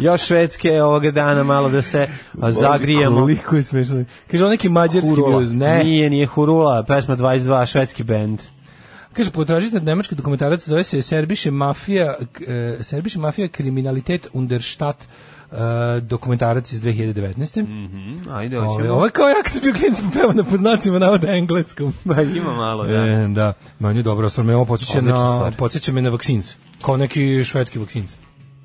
[SPEAKER 8] Još švedske ovoga dana malo da se a, zagrijemo.
[SPEAKER 7] Koliko je smešno. Kaže, on neki mađarski
[SPEAKER 8] Hurula.
[SPEAKER 7] blues, ne.
[SPEAKER 8] Nije, nije Hurula, pesma 22, švedski bend.
[SPEAKER 7] Kaže, potražite nemački dokumentarac, zove se Serbiše mafija, k- e, Serbiše mafija kriminalitet understadt e, dokumentarac iz 2019. Mm,
[SPEAKER 8] Ajde,
[SPEAKER 7] Ovo, ovo je Ovaj, kao ja kad sam bio klinic popeo na poznacima navode engleskom.
[SPEAKER 8] Ma ima malo, da.
[SPEAKER 7] E, da. Ma on je dobro, stvarno me ovo podsjeća
[SPEAKER 8] Odlična
[SPEAKER 7] na,
[SPEAKER 8] stvar.
[SPEAKER 7] podsjeća me na vakcins. Kao neki švedski vakcins.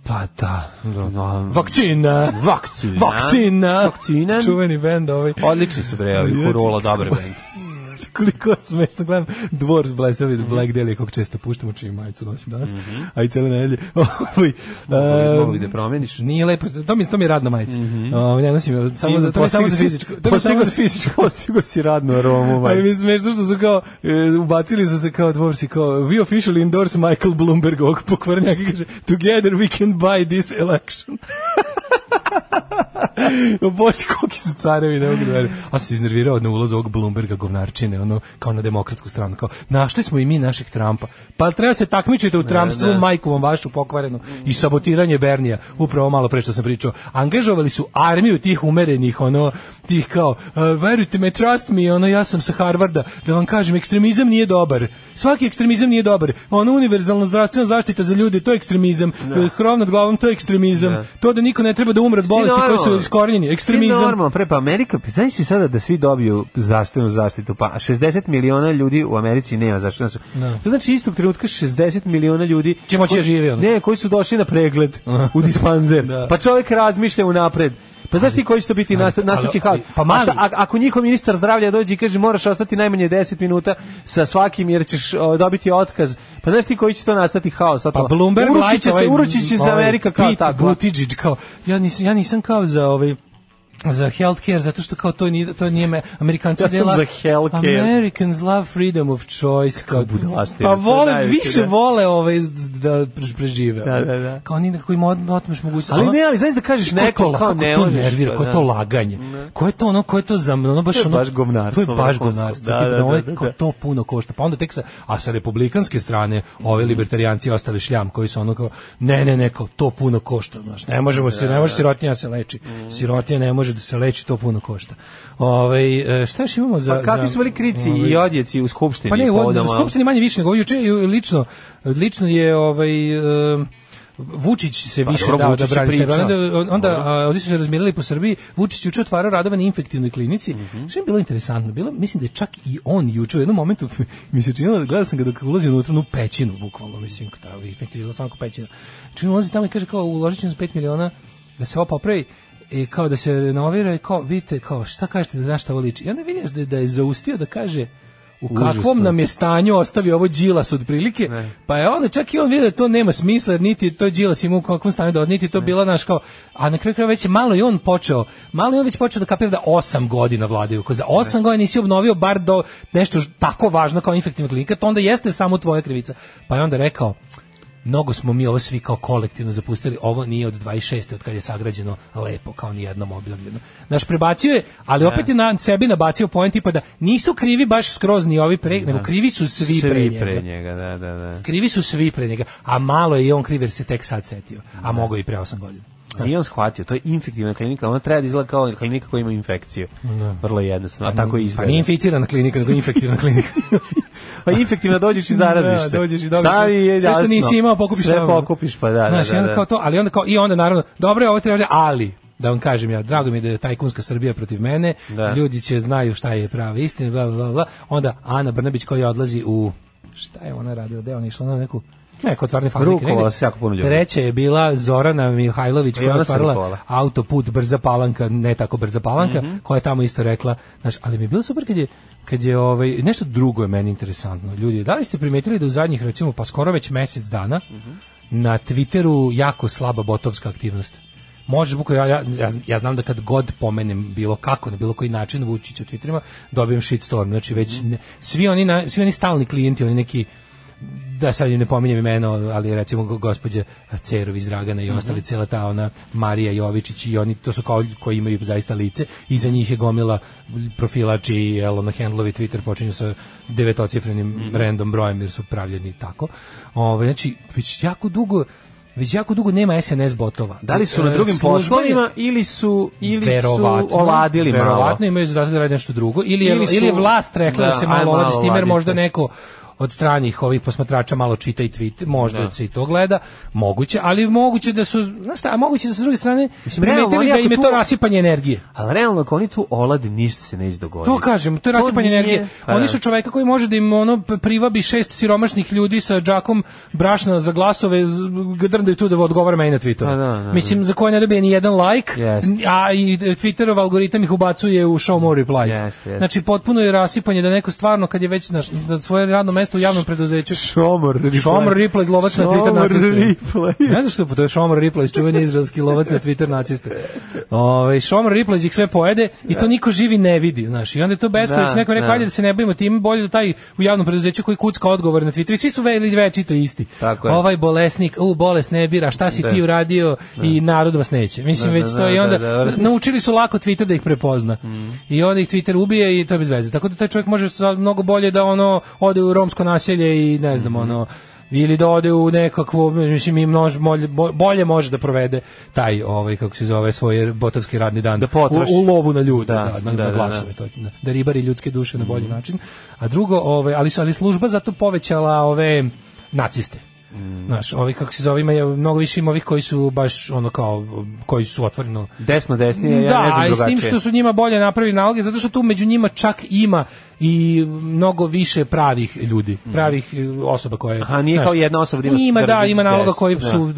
[SPEAKER 8] Pa da. No,
[SPEAKER 7] Vakcina!
[SPEAKER 8] Vakcina.
[SPEAKER 7] Vakcina!
[SPEAKER 8] Vakcina.
[SPEAKER 7] Čuveni bend ovaj.
[SPEAKER 8] Odlični su bre, ovi Hurula, dobar bend.
[SPEAKER 7] E, koliko smešno gledam Dwarfs Blessed with Black Dahlia kog često puštamo čiju majicu nosim danas a i cele nedelje Ovaj,
[SPEAKER 8] Mogu
[SPEAKER 7] em,
[SPEAKER 8] mogu i da promeniš.
[SPEAKER 7] nije lepo to mi, to mi je radna majica Ovaj, ne nosim je samo za, to mi je samo
[SPEAKER 8] Postigo
[SPEAKER 7] za
[SPEAKER 8] si-
[SPEAKER 7] fizičko to mi je samo
[SPEAKER 8] postigo
[SPEAKER 7] za
[SPEAKER 8] si-
[SPEAKER 7] fizičko
[SPEAKER 8] Postigo si radnu aromu,
[SPEAKER 7] Ali mi
[SPEAKER 8] majke.
[SPEAKER 7] je smešno što su kao, e, ubacili su se kao dvorsi, kao, we officially endorse Michael Bloomberg ovog pokvarnjaka i kaže, together we can buy this election. Bože, koliki su carevi, ne mogu da verujem. A sam se iznervirao na ulaz ovog Bloomberga govnarčine, ono, kao na demokratsku stranu, kao, našli smo i mi našeg Trumpa. Pa treba se takmičiti u Trumpstvu,
[SPEAKER 8] da.
[SPEAKER 7] majkovom vašu pokvarenu i sabotiranje Bernija, upravo malo pre što sam pričao. Angažovali su armiju tih umerenih, ono, tih kao, "Uh, verujte me, trust me, ono, ja sam sa Harvarda, da vam kažem, ekstremizam nije dobar. Svaki ekstremizam nije dobar. Ono, univerzalna zdravstvena zaštita za ljude, to je ekstremizam. Eh, Krov nad glavom, to je ekstremizam.
[SPEAKER 8] Da.
[SPEAKER 7] To da niko ne treba da umre od bolesti koje su
[SPEAKER 8] normalno.
[SPEAKER 7] iskorenjeni,
[SPEAKER 8] Ti
[SPEAKER 7] ekstremizam.
[SPEAKER 8] Normalno, pre pa Amerika, pa znaš si sada da svi dobiju zdravstvenu zaštitu, pa 60 miliona ljudi u Americi nema zaštitu. No. To znači istog trenutka 60 miliona ljudi
[SPEAKER 7] Će moći
[SPEAKER 8] koji-
[SPEAKER 7] da žive, ono.
[SPEAKER 8] Ne, koji su došli na pregled u dispanzer.
[SPEAKER 7] Da.
[SPEAKER 8] Pa čovjek razmišlja unapred. Pa znaš ti koji će to biti
[SPEAKER 7] ali-
[SPEAKER 8] nasta- nastaći
[SPEAKER 7] ali-
[SPEAKER 8] haos?
[SPEAKER 7] pa mali-
[SPEAKER 8] A šta, a- ako njihov ministar zdravlja dođe i kaže moraš ostati najmanje 10 minuta sa svakim jer ćeš o, dobiti otkaz, pa znaš ti koji će to nastati haos?
[SPEAKER 7] Pa Bloomberg
[SPEAKER 8] urušit
[SPEAKER 7] Light,
[SPEAKER 8] će
[SPEAKER 7] ovaj,
[SPEAKER 8] se, urušit će se
[SPEAKER 7] ovaj
[SPEAKER 8] Amerika kao
[SPEAKER 7] Pete
[SPEAKER 8] tako.
[SPEAKER 7] Buttigieg, kao, ja nisam, ja nisam kao za ovaj za healthcare, zato što kao to nije, to nije me, Amerikanci
[SPEAKER 8] Ja sam
[SPEAKER 7] dela-
[SPEAKER 8] za healthcare.
[SPEAKER 7] Americans love freedom of choice. Kao,
[SPEAKER 8] budalaština,
[SPEAKER 7] pa
[SPEAKER 8] to je
[SPEAKER 7] vole,
[SPEAKER 8] najveće,
[SPEAKER 7] više
[SPEAKER 8] da.
[SPEAKER 7] vole ove z- da pre- prežive.
[SPEAKER 8] Da, da, da.
[SPEAKER 7] Kao oni na kojima od- otmeš mogućnost.
[SPEAKER 8] Ali
[SPEAKER 7] Ono-
[SPEAKER 8] ne, ali znaš da kažeš
[SPEAKER 7] Ko je to,
[SPEAKER 8] neko
[SPEAKER 7] la-
[SPEAKER 8] kao
[SPEAKER 7] kako
[SPEAKER 8] ne
[SPEAKER 7] to
[SPEAKER 8] možeš,
[SPEAKER 7] nervira,
[SPEAKER 8] pa
[SPEAKER 7] koje je
[SPEAKER 8] da.
[SPEAKER 7] to laganje. Koje je to ono, koje je to za ono baš
[SPEAKER 8] To je
[SPEAKER 7] ono
[SPEAKER 8] baš govnarstvo,
[SPEAKER 7] To je baš
[SPEAKER 8] vrhunsko.
[SPEAKER 7] govnarstvo.
[SPEAKER 8] Da,
[SPEAKER 7] tipa
[SPEAKER 8] da,
[SPEAKER 7] da ovaj-
[SPEAKER 8] da, da,
[SPEAKER 7] kao
[SPEAKER 8] da.
[SPEAKER 7] to puno košta. Pa onda tek sa a sa republikanske strane
[SPEAKER 8] Mm.
[SPEAKER 7] ovi libertarijanci i ostali šljam koji su ono kao ne ne ne kao to puno košta, znaš. Ne možemo se ne može sirotinja da se leči.
[SPEAKER 8] Mm.
[SPEAKER 7] Sirotinja ne može da se leči, to puno košta. Ovaj e, šta još imamo za
[SPEAKER 8] Pa kakvi
[SPEAKER 7] za-
[SPEAKER 8] su bili krici
[SPEAKER 7] ovaj-
[SPEAKER 8] i odjeci u skupštini?
[SPEAKER 7] pa ne, u,
[SPEAKER 8] povodom,
[SPEAKER 7] u
[SPEAKER 8] a?
[SPEAKER 7] Skupštini manje više nego juče ju- lično, lično je ovaj em, Vučić se više
[SPEAKER 8] Pa dobro,
[SPEAKER 7] dao da
[SPEAKER 8] Vučić je
[SPEAKER 7] brani sebe.
[SPEAKER 8] pričao.
[SPEAKER 7] Onda, onda a, ovdje su se razmirali po Srbiji. Vučić juče otvarao radove na infektivnoj klinici.
[SPEAKER 8] Mhm.
[SPEAKER 7] Što je bilo interesantno? Bilo, mislim da je čak i on juče u jednom momentu mi se činilo, da gledao sam ga dok ulazi unutra u onu pećinu, bukvalno, mislim, ta infektivna stanko pećina. Čim Znači, ulazi tamo i kaže kao uložit ćemo 5 miliona da se ovo popravi i kao da se renovira i kao vidite kao šta kažete da na šta ovo liči i onda vidiš da, je- da je zaustio da kaže u kakvom nam je stanju ostavio ovo Đilas otprilike, pa je onda čak i on vidio da to nema smisla, jer niti je to Đilas ima u kakvom stanju da niti je to bila naš kao, a na kraju kraja već je malo i on počeo, malo je on već počeo da kapira da osam godina vladaju, ako za osam godina nisi obnovio bar do nešto ž- tako važno kao infektivna klinika, to onda jeste samo tvoja krivica. Pa je onda rekao, mnogo smo mi ovo svi kao kolektivno zapustili, ovo nije od 26. od kad je sagrađeno lepo, kao ni jednom objavljeno. Naš prebacio je, ali opet je na sebi nabacio poen tipa da nisu krivi baš skroz ni ovi pre, nego krivi su svi, pre
[SPEAKER 8] Svi
[SPEAKER 7] njega.
[SPEAKER 8] pre njega, da, da, da.
[SPEAKER 7] Krivi su svi pre njega, a malo je i on kriv jer se tek sad setio, a mogao je i pre 8 godina.
[SPEAKER 8] Nije on shvatio, to je infektivna klinika, ona treba da izgleda kao klinika koja ima infekciju. Vrlo jednostavno, a tako i
[SPEAKER 7] Pa
[SPEAKER 8] izgleda.
[SPEAKER 7] nije inficirana klinika, nego infektivna klinika.
[SPEAKER 8] Pa infektivna dođeš i zaraziš
[SPEAKER 7] Da,
[SPEAKER 8] se.
[SPEAKER 7] dođeš i dobiš-
[SPEAKER 8] Šta mi je
[SPEAKER 7] Sve što
[SPEAKER 8] jasno?
[SPEAKER 7] nisi imao pokupiš.
[SPEAKER 8] Sve
[SPEAKER 7] tamo.
[SPEAKER 8] pokupiš, pa da,
[SPEAKER 7] Znaš, i
[SPEAKER 8] da,
[SPEAKER 7] onda
[SPEAKER 8] da.
[SPEAKER 7] kao to, ali onda kao i onda naravno, dobro je ovo treba, ali da vam kažem ja, drago mi je da je tajkunska Srbija protiv mene,
[SPEAKER 8] Da.
[SPEAKER 7] ljudi će znaju šta je prava istina, bla, bla, bla, bla. Onda Ana Brnabić koja odlazi u, šta je ona radila, gde je ona išla na neku, neko otvarne fabrike.
[SPEAKER 8] Rukovala
[SPEAKER 7] negde.
[SPEAKER 8] se jako puno ljudi.
[SPEAKER 7] Treća je bila Zorana Mihajlović koja je
[SPEAKER 8] ona se
[SPEAKER 7] otvarala
[SPEAKER 8] rukovala.
[SPEAKER 7] autoput brza palanka, ne tako brza palanka, koja je tamo isto rekla, znaš, ali mi je bilo super kad je kad je ovaj nešto drugo je meni interesantno. Ljudi, da li ste primetili da u zadnjih recimo pa skoro već mjesec dana na Twitteru jako slaba botovska aktivnost? Može buko ja, ja, ja- ja znam da kad god pomenem bilo kako na bilo koji način Vučić u Twitterima dobijem shitstorm. Znači već ne- svi oni na- svi oni stalni klijenti, oni neki da sad im ne pominjem imeno, ali recimo go- gospođa Cerov iz Dragana
[SPEAKER 8] Mhm.
[SPEAKER 7] i ostali, cijela ta ona Marija Jovičić i oni, to su kao ljudi koji imaju zaista lice, iza njih je gomila profilači i jel, ono, handlovi Twitter počinju sa devetocifrenim
[SPEAKER 8] Mhm.
[SPEAKER 7] random brojem jer su pravljeni tako. Ove, znači, već jako dugo već jako dugo nema SNS botova.
[SPEAKER 8] Da li su na
[SPEAKER 7] E,
[SPEAKER 8] drugim
[SPEAKER 7] služba je-
[SPEAKER 8] poslovima ili su ili su ovladili malo?
[SPEAKER 7] verovatno imaju zadatak da rade nešto drugo ili je, ili
[SPEAKER 8] Ili su-
[SPEAKER 7] je vlast rekla da,
[SPEAKER 8] da,
[SPEAKER 7] se
[SPEAKER 8] aj,
[SPEAKER 7] malo
[SPEAKER 8] malo
[SPEAKER 7] oladi s tim jer
[SPEAKER 8] oladite.
[SPEAKER 7] možda neko od stranih ovih posmatrača malo čita i tweet, možda se i to gleda, moguće, ali moguće da su, znaš šta, a moguće da su s druge strane
[SPEAKER 8] realno,
[SPEAKER 7] primetili
[SPEAKER 8] oni
[SPEAKER 7] da
[SPEAKER 8] ako
[SPEAKER 7] im je to
[SPEAKER 8] tu-
[SPEAKER 7] rasipanje energije.
[SPEAKER 8] Ali realno, ako oni tu olade, ništa se neće dogoditi.
[SPEAKER 7] To kažem, to je rasipanje
[SPEAKER 8] nije-
[SPEAKER 7] energije.
[SPEAKER 8] Pa
[SPEAKER 7] Oni
[SPEAKER 8] da.
[SPEAKER 7] su čoveka koji može da im ono p- privabi šest siromašnih ljudi sa džakom brašna za glasove, z- g- drndaju tu da odgovara meni na Twitteru.
[SPEAKER 8] Pa da, da, da.
[SPEAKER 7] Mislim, za koje ne dobije ni jedan like,
[SPEAKER 8] Jest.
[SPEAKER 7] n- a i Twitterov algoritam ih ubacuje u show more replies.
[SPEAKER 8] Jest, jest.
[SPEAKER 7] Znači, potpuno je rasipanje da neko stvarno, kad je već na, š- na svoje radno mesto u javnom preduzeću,
[SPEAKER 8] Šomor replay.
[SPEAKER 7] Šomor Ripley lovac na Twitter
[SPEAKER 8] Šomor
[SPEAKER 7] naciste.
[SPEAKER 8] replay.
[SPEAKER 7] Ne znam što je to je Šomor Ripley, čuveni izraelski lovac na Twitter naciste. Ovaj Šomor Ripley ih sve pojede i to niko živi ne vidi, znaš. I onda je to beskorisno.
[SPEAKER 8] Da,
[SPEAKER 7] Neko je rekao
[SPEAKER 8] da.
[SPEAKER 7] ajde da se ne bavimo tim, bolje da taj u javnom preduzeću koji kucka odgovor na Twitter. I svi su veli večito isti.
[SPEAKER 8] Tako je.
[SPEAKER 7] Ovaj bolesnik, u bolest ne bira, šta si ti uradio i narod vas neće. Mislim
[SPEAKER 8] Da,
[SPEAKER 7] već
[SPEAKER 8] da,
[SPEAKER 7] to i
[SPEAKER 8] da,
[SPEAKER 7] onda
[SPEAKER 8] da, da. Mm.
[SPEAKER 7] naučili su lako Twitter da ih prepozna. I onda ih Twitter ubije i to je bez veze. Tako da taj čovjek može sa- mnogo bolje da ono ode u romsko naselje i ne znam ono
[SPEAKER 8] Mm-hmm.
[SPEAKER 7] ili da ode u nekakvo mislim i množ bolje, bolje može da provede taj ovaj kako se zove svoj botovski radni dan
[SPEAKER 8] Da potroši.
[SPEAKER 7] u, u lovu na ljude
[SPEAKER 8] Da,
[SPEAKER 7] da, na,
[SPEAKER 8] da,
[SPEAKER 7] na
[SPEAKER 8] da, Mhm.
[SPEAKER 7] glasove to je, na- da ribari ljudske duše na bolji način a drugo ovaj ali su ali služba zato povećala ove naciste
[SPEAKER 8] Mhm.
[SPEAKER 7] Znaš, ovi kako se zove, ima je mnogo više ima ovih koji su baš ono kao koji su otvoreno
[SPEAKER 8] Desno, desnije, ja
[SPEAKER 7] da,
[SPEAKER 8] ne znam
[SPEAKER 7] a i s
[SPEAKER 8] drugačije.
[SPEAKER 7] tim što su njima bolje napravili naloge, zato što tu među njima čak ima i mnogo više pravih ljudi, pravih e, osoba koje...
[SPEAKER 8] Mhm. Aha, nije kao jedna osoba da ima-
[SPEAKER 7] Ima,
[SPEAKER 8] da
[SPEAKER 7] da,
[SPEAKER 8] radi
[SPEAKER 7] ima naloga
[SPEAKER 8] deset,
[SPEAKER 7] koji
[SPEAKER 8] da.
[SPEAKER 7] su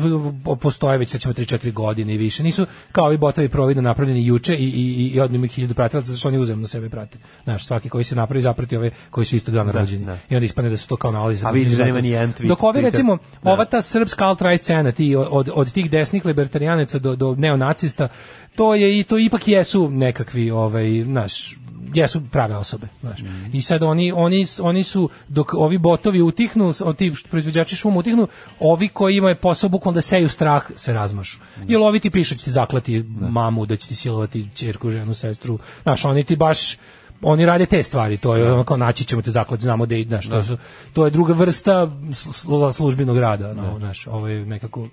[SPEAKER 7] po- postoje već, sad ćemo 3-4 godine i više. Nisu kao ovi botovi providno napravljeni juče i, i, i odnim ih hiljadu pratilaca, zato što oni uzemno sebe prate. Znaš, svaki koji se napravi zaprati ove koji su istog dana rođeni.
[SPEAKER 8] da.
[SPEAKER 7] I onda ispane da su to kao nalazi za
[SPEAKER 8] A vidiš da nema
[SPEAKER 7] pratilaca.
[SPEAKER 8] ni jedan tweet,
[SPEAKER 7] Dok ovi,
[SPEAKER 8] Twitter.
[SPEAKER 7] recimo,
[SPEAKER 8] Da.
[SPEAKER 7] ova ta srpska alt-right scena, ti, od, od tih desnih libertarijaneca do, do neonacista, to je i to ipak jesu nekakvi, ovaj, naš, jesu prave osobe, znaš. I sad oni, oni, s- oni su, dok ovi botovi utihnu, s- o, ti št- proizvođači šuma utihnu, ovi koji imaju posao bukvalno da seju strah se razmašu. Jer ovi ti pišu, će ti zaklati mamu, da će ti silovati čerku, ženu, sestru, znaš, oni ti baš, oni rade te stvari, to je ono kao naći ćemo te zaklad, znamo da ideš, to, su, to je druga vrsta slu- službenog rada, no, znaš, ovo je nekako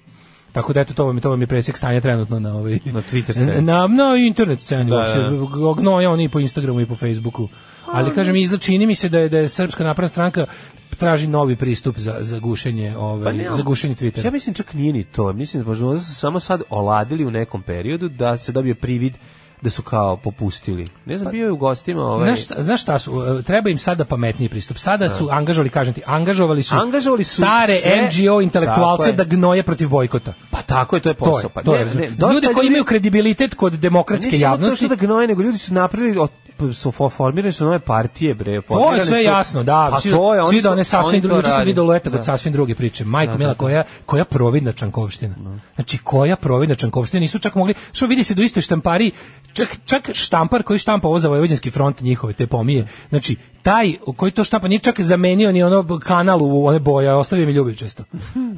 [SPEAKER 7] Tako da eto to vam je to vam je presek stanja trenutno na ovaj
[SPEAKER 8] Na Twitter sceni.
[SPEAKER 7] Na na internet sceni
[SPEAKER 8] Da,
[SPEAKER 7] uopšte. Gnoja oni i po Instagramu i po Facebooku. Ali kažem izla čini mi se da je da je Srpska napredna stranka traži novi pristup za za gušenje ovaj
[SPEAKER 8] ne,
[SPEAKER 7] za gušenje
[SPEAKER 8] Pa Ja
[SPEAKER 7] Twittera.
[SPEAKER 8] mislim čak nije ni to. Mislim da možda možda su samo sad oladili u nekom periodu da se dobije privid da su kao popustili. Ne znam, bio je u gostima ovaj...
[SPEAKER 7] Pa Znaš šta, znaš šta su, e, treba im sada pametniji pristup. Sada su angažovali, kažem ti, angažovali su,
[SPEAKER 8] Angažovali su
[SPEAKER 7] stare
[SPEAKER 8] sve-
[SPEAKER 7] NGO
[SPEAKER 8] Tako
[SPEAKER 7] intelektualce
[SPEAKER 8] je.
[SPEAKER 7] da gnoje protiv bojkota.
[SPEAKER 8] Pa tako je, to je
[SPEAKER 7] To
[SPEAKER 8] posao.
[SPEAKER 7] je,
[SPEAKER 8] Pa
[SPEAKER 7] to je.
[SPEAKER 8] ne,
[SPEAKER 7] razumeš.
[SPEAKER 8] ne, dosta
[SPEAKER 7] Ljude koji
[SPEAKER 8] ljudi-
[SPEAKER 7] imaju kredibilitet kod demokratske
[SPEAKER 8] Ne samo to
[SPEAKER 7] javnosti.
[SPEAKER 8] što da gnoje, nego ljudi su napravili od su fo- formirane su nove partije bre
[SPEAKER 7] To je
[SPEAKER 8] formirane
[SPEAKER 7] sve
[SPEAKER 8] su-
[SPEAKER 7] jasno, da.
[SPEAKER 8] pa
[SPEAKER 7] svi,
[SPEAKER 8] to je, oni
[SPEAKER 7] svi da
[SPEAKER 8] su-
[SPEAKER 7] one
[SPEAKER 8] oni
[SPEAKER 7] sasvim
[SPEAKER 8] to
[SPEAKER 7] druge, juče sam
[SPEAKER 8] rade.
[SPEAKER 7] video letak
[SPEAKER 8] Da.
[SPEAKER 7] od sasvim druge priče. Majko Mila, koja, koja providna čankovština. Znači, koja providna čankovština. Nisu čak mogli, što vidi se da u istoj štampari, čak, čak štampar koji štampa ovo za Vojvođanski front njihove, te pomije. Znači, taj koji to štampa nije čak zamenio ni ono kanal u one boje, ostavio mi ljubi često.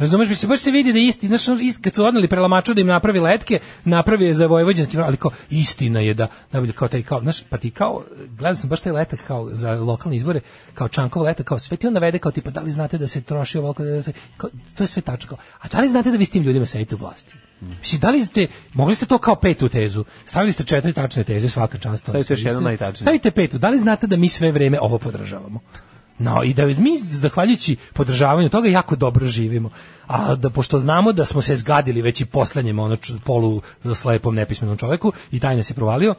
[SPEAKER 7] Razumeš, mi se baš se vidi da je isti, znači, ono, ist, kad su odneli prelamaču da im napravi letke, napravi je za Vojvođanski front, ali kao istina je da, najbolje kao taj kao, znaš, pa ti kao, gledao sam baš taj letak kao za lokalne izbore, kao Čankov letak, kao sve ti on navede kao tipa da li znate da se troši ovoliko, da se- kao, to je sve tačno kao, a da li znate da vi s tim ljudima sedite u vlasti? Mislim, da li ste, mogli ste to kao petu tezu, stavili ste četiri tačne teze, svaka čast.
[SPEAKER 8] Stavite još
[SPEAKER 7] Stavite-
[SPEAKER 8] jednu najtačniju.
[SPEAKER 7] Stavite petu, da li znate da mi sve vreme ovo podržavamo? No, i da mi, zahvaljujući podržavanju toga, jako dobro živimo. A da, pošto znamo da smo se zgadili već i poslednjem ono, č- polu slepom nepismenom čoveku i taj nas je provalio,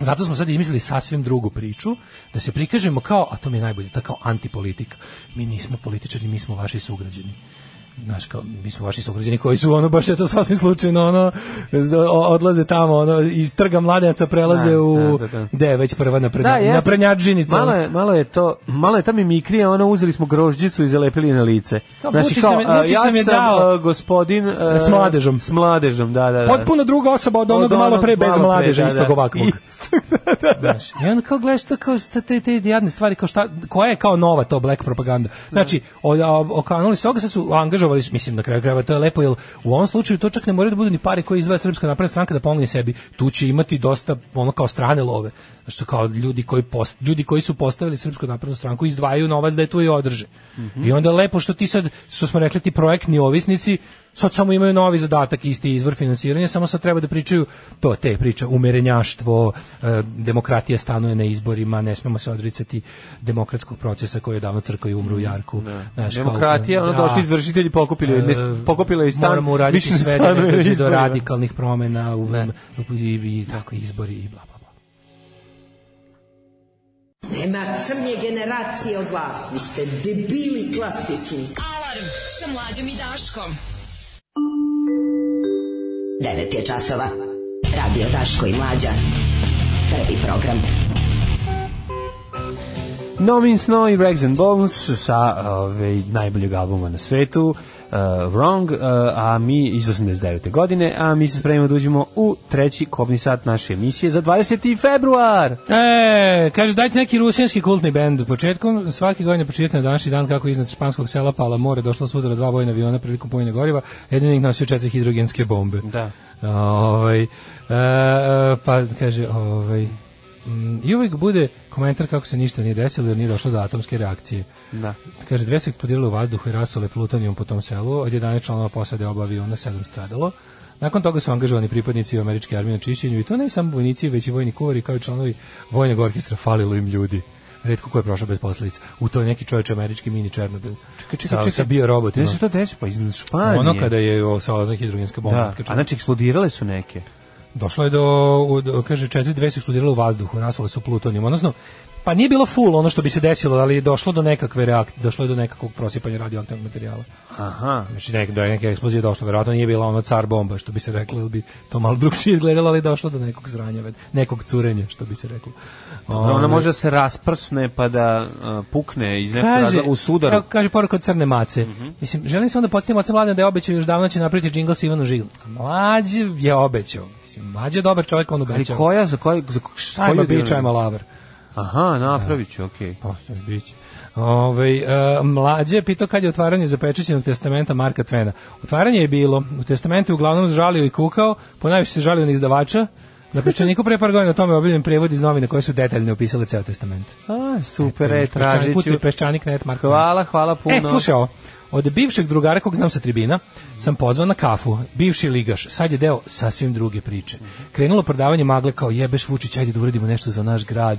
[SPEAKER 7] Zato smo sad izmislili sasvim drugu priču, da se prikažemo kao, a to mi je najbolje, ta kao antipolitika. Mi nismo političari, mi smo vaši sugrađani znaš kao, mi smo vaši sugrađani koji su ono baš eto sasvim slučajno ono z- o- odlaze tamo ono iz trga mladenaca prelaze
[SPEAKER 8] Da,
[SPEAKER 7] u
[SPEAKER 8] da, da, da.
[SPEAKER 7] gde je već prva na
[SPEAKER 8] Da, jeste.
[SPEAKER 7] na prednjačžinica.
[SPEAKER 8] Malo je, malo je to, malo je ta mimikrija, ono uzeli smo grožđicu i zalepili je na lice.
[SPEAKER 7] Da,
[SPEAKER 8] Znači
[SPEAKER 7] Vučić
[SPEAKER 8] kao,
[SPEAKER 7] nam je- Vučić
[SPEAKER 8] a, ja
[SPEAKER 7] nam je
[SPEAKER 8] sam
[SPEAKER 7] dao-
[SPEAKER 8] a, gospodin... a,
[SPEAKER 7] S mladežom.
[SPEAKER 8] S mladežom, da, da, da.
[SPEAKER 7] Potpuno druga osoba od
[SPEAKER 8] Od
[SPEAKER 7] onog malo pre
[SPEAKER 8] onog
[SPEAKER 7] bez
[SPEAKER 8] malo pre,
[SPEAKER 7] mladeža,
[SPEAKER 8] da,
[SPEAKER 7] istog
[SPEAKER 8] da.
[SPEAKER 7] ovakvog. Znaš, I onda kao gledaš to kao šta te, te jadne stvari, kao šta, koja je kao nova to black propaganda. Znači, o- a- okanuli se ovoga, sad su angažovali, s- mislim, na kraju krajeva, to je lepo, jer u ovom slučaju to čak ne moraju da budu ni pare koje izvaja Srpska napredna stranka da pomogne sebi. Tu će imati dosta, ono, kao strane love. Znači, su kao ljudi koji, post, ljudi koji su postavili Srpsku naprednu stranku izdvajaju novac da je tu i održe. I onda je lepo što ti sad, što smo rekli, ti projektni ovisnici, sad samo imaju novi zadatak, isti izvor finansiranja, samo sad treba da pričaju to, te priče, umerenjaštvo, e, demokratija stanuje na izborima, ne smemo se odricati demokratskog procesa koji je davno crkao i umru u Jarku. Znaš, kao-
[SPEAKER 8] Demokratija, ono
[SPEAKER 7] Da.
[SPEAKER 8] došli izvršitelji, pokupili, je- ne,
[SPEAKER 7] E,
[SPEAKER 8] pokupila je stan.
[SPEAKER 7] moramo uraditi
[SPEAKER 8] više ne
[SPEAKER 7] sve da
[SPEAKER 8] stanuje
[SPEAKER 7] ne
[SPEAKER 8] na
[SPEAKER 7] dođe do
[SPEAKER 8] izborima.
[SPEAKER 7] radikalnih promena u,
[SPEAKER 8] Ne.
[SPEAKER 7] i, i tako izbori i bla bla bla.
[SPEAKER 5] Nema crnje generacije od vas. Vi ste debili klasični.
[SPEAKER 11] Alarm sa mlađom i Daškom.
[SPEAKER 5] 9 je časova. Radio Daško i Mlađa. Prvi program.
[SPEAKER 8] No Means No i Rags and Bones sa ove, najboljeg albuma na svetu uh, Wrong, uh, a mi iz 89. godine, a mi se spremimo da uđemo u treći kobni sat naše emisije za 20. februar.
[SPEAKER 7] E, kaže, dajte neki rusijanski kultni bend. Početkom svake godine početite na današnji dan kako je iznad španskog sela Pala More došlo s udara dva vojna aviona prilikom pojenja goriva, jedan ih nosio četiri hidrogenske bombe.
[SPEAKER 8] Da.
[SPEAKER 7] Ovaj, e, pa kaže, ovaj, mm, i uvijek bude komentar kako se ništa nije desilo jer nije došlo do atomske reakcije.
[SPEAKER 8] Da.
[SPEAKER 7] Kaže, dve se eksplodirale u vazduhu i rasule plutonijom po tom selu, od 11 članova posade oba aviona sedam stradalo. Nakon toga su angažovani pripadnici američke armije na čišćenju i to ne samo vojnici, već i vojni kuvari kao i članovi vojnog orkestra, falilo im ljudi. Retko ko je prošao bez posledica. U to je neki čovječ američki mini Černobil. Čekaj,
[SPEAKER 8] Čekaj, čekaj,
[SPEAKER 7] Sa, bio robot.
[SPEAKER 8] Gde se to desi? Pa iz Španije.
[SPEAKER 7] Ono kada je o, sa onom hidrogenska bomba.
[SPEAKER 8] Da, a
[SPEAKER 7] otkačila.
[SPEAKER 8] znači eksplodirale su neke.
[SPEAKER 7] Došlo je do, od- kaže, četiri dve su eksplodirale u vazduhu, rasule su plutonijom, odnosno Pa nije bilo full ono što bi se desilo, ali je došlo do nekakve reak, došlo je do nekakvog prosipanja radioaktivnog materijala.
[SPEAKER 8] Aha.
[SPEAKER 7] Znači nek, do neke eksplozije došlo, verovatno nije bila ono car bomba, što bi se reklo, ili bi to malo drugčije izgledalo, ali je došlo do nekog zranja, ved- nekog curenja, što bi se reklo.
[SPEAKER 8] Dobro, ona
[SPEAKER 7] Ove,
[SPEAKER 8] može da se razprsne pa da uh, pukne iz nekog razloga u sudaru. Mhm.
[SPEAKER 7] evo, kaže poruka od Crne Mace. Mislim, želim se onda podsjetiti Mace Mladena da je obećao još davno će napraviti džingl sa Ivanu Žigl. Mlađe je obećao. Mislim, mlađe je dobar čovjek, on
[SPEAKER 8] Ali
[SPEAKER 7] obećao.
[SPEAKER 8] koja, za koja, za ko- š-
[SPEAKER 7] Ajma
[SPEAKER 8] koju
[SPEAKER 7] bić,
[SPEAKER 8] dionicu?
[SPEAKER 7] ajma laver.
[SPEAKER 8] Aha, napravit ću, okej.
[SPEAKER 7] Pa, to je bić. Ove, e, mlađe je pitao kad je otvaranje zapečećenog testamenta Marka Tvena. Otvaranje je bilo, u testamentu je uglavnom žalio i kukao, ponajviše se žalio na izdavača, na pečeniku pre par godina o tome je objavljen prevod iz novina koje su detaljno opisale ceo testament.
[SPEAKER 8] A, super, e,
[SPEAKER 7] Peščanik,
[SPEAKER 8] tražit
[SPEAKER 7] pucaj
[SPEAKER 8] ću.
[SPEAKER 7] peščanik, net Marka Tvena.
[SPEAKER 8] Hvala, hvala puno.
[SPEAKER 7] E, slušaj ovo. Od bivšeg drugara kog znam sa tribina, sam pozvan na kafu. Bivši ligaš, sad je deo sasvim druge priče. Krenulo prodavanje magle kao jebeš Vučić, ajde da uradimo nešto za naš grad.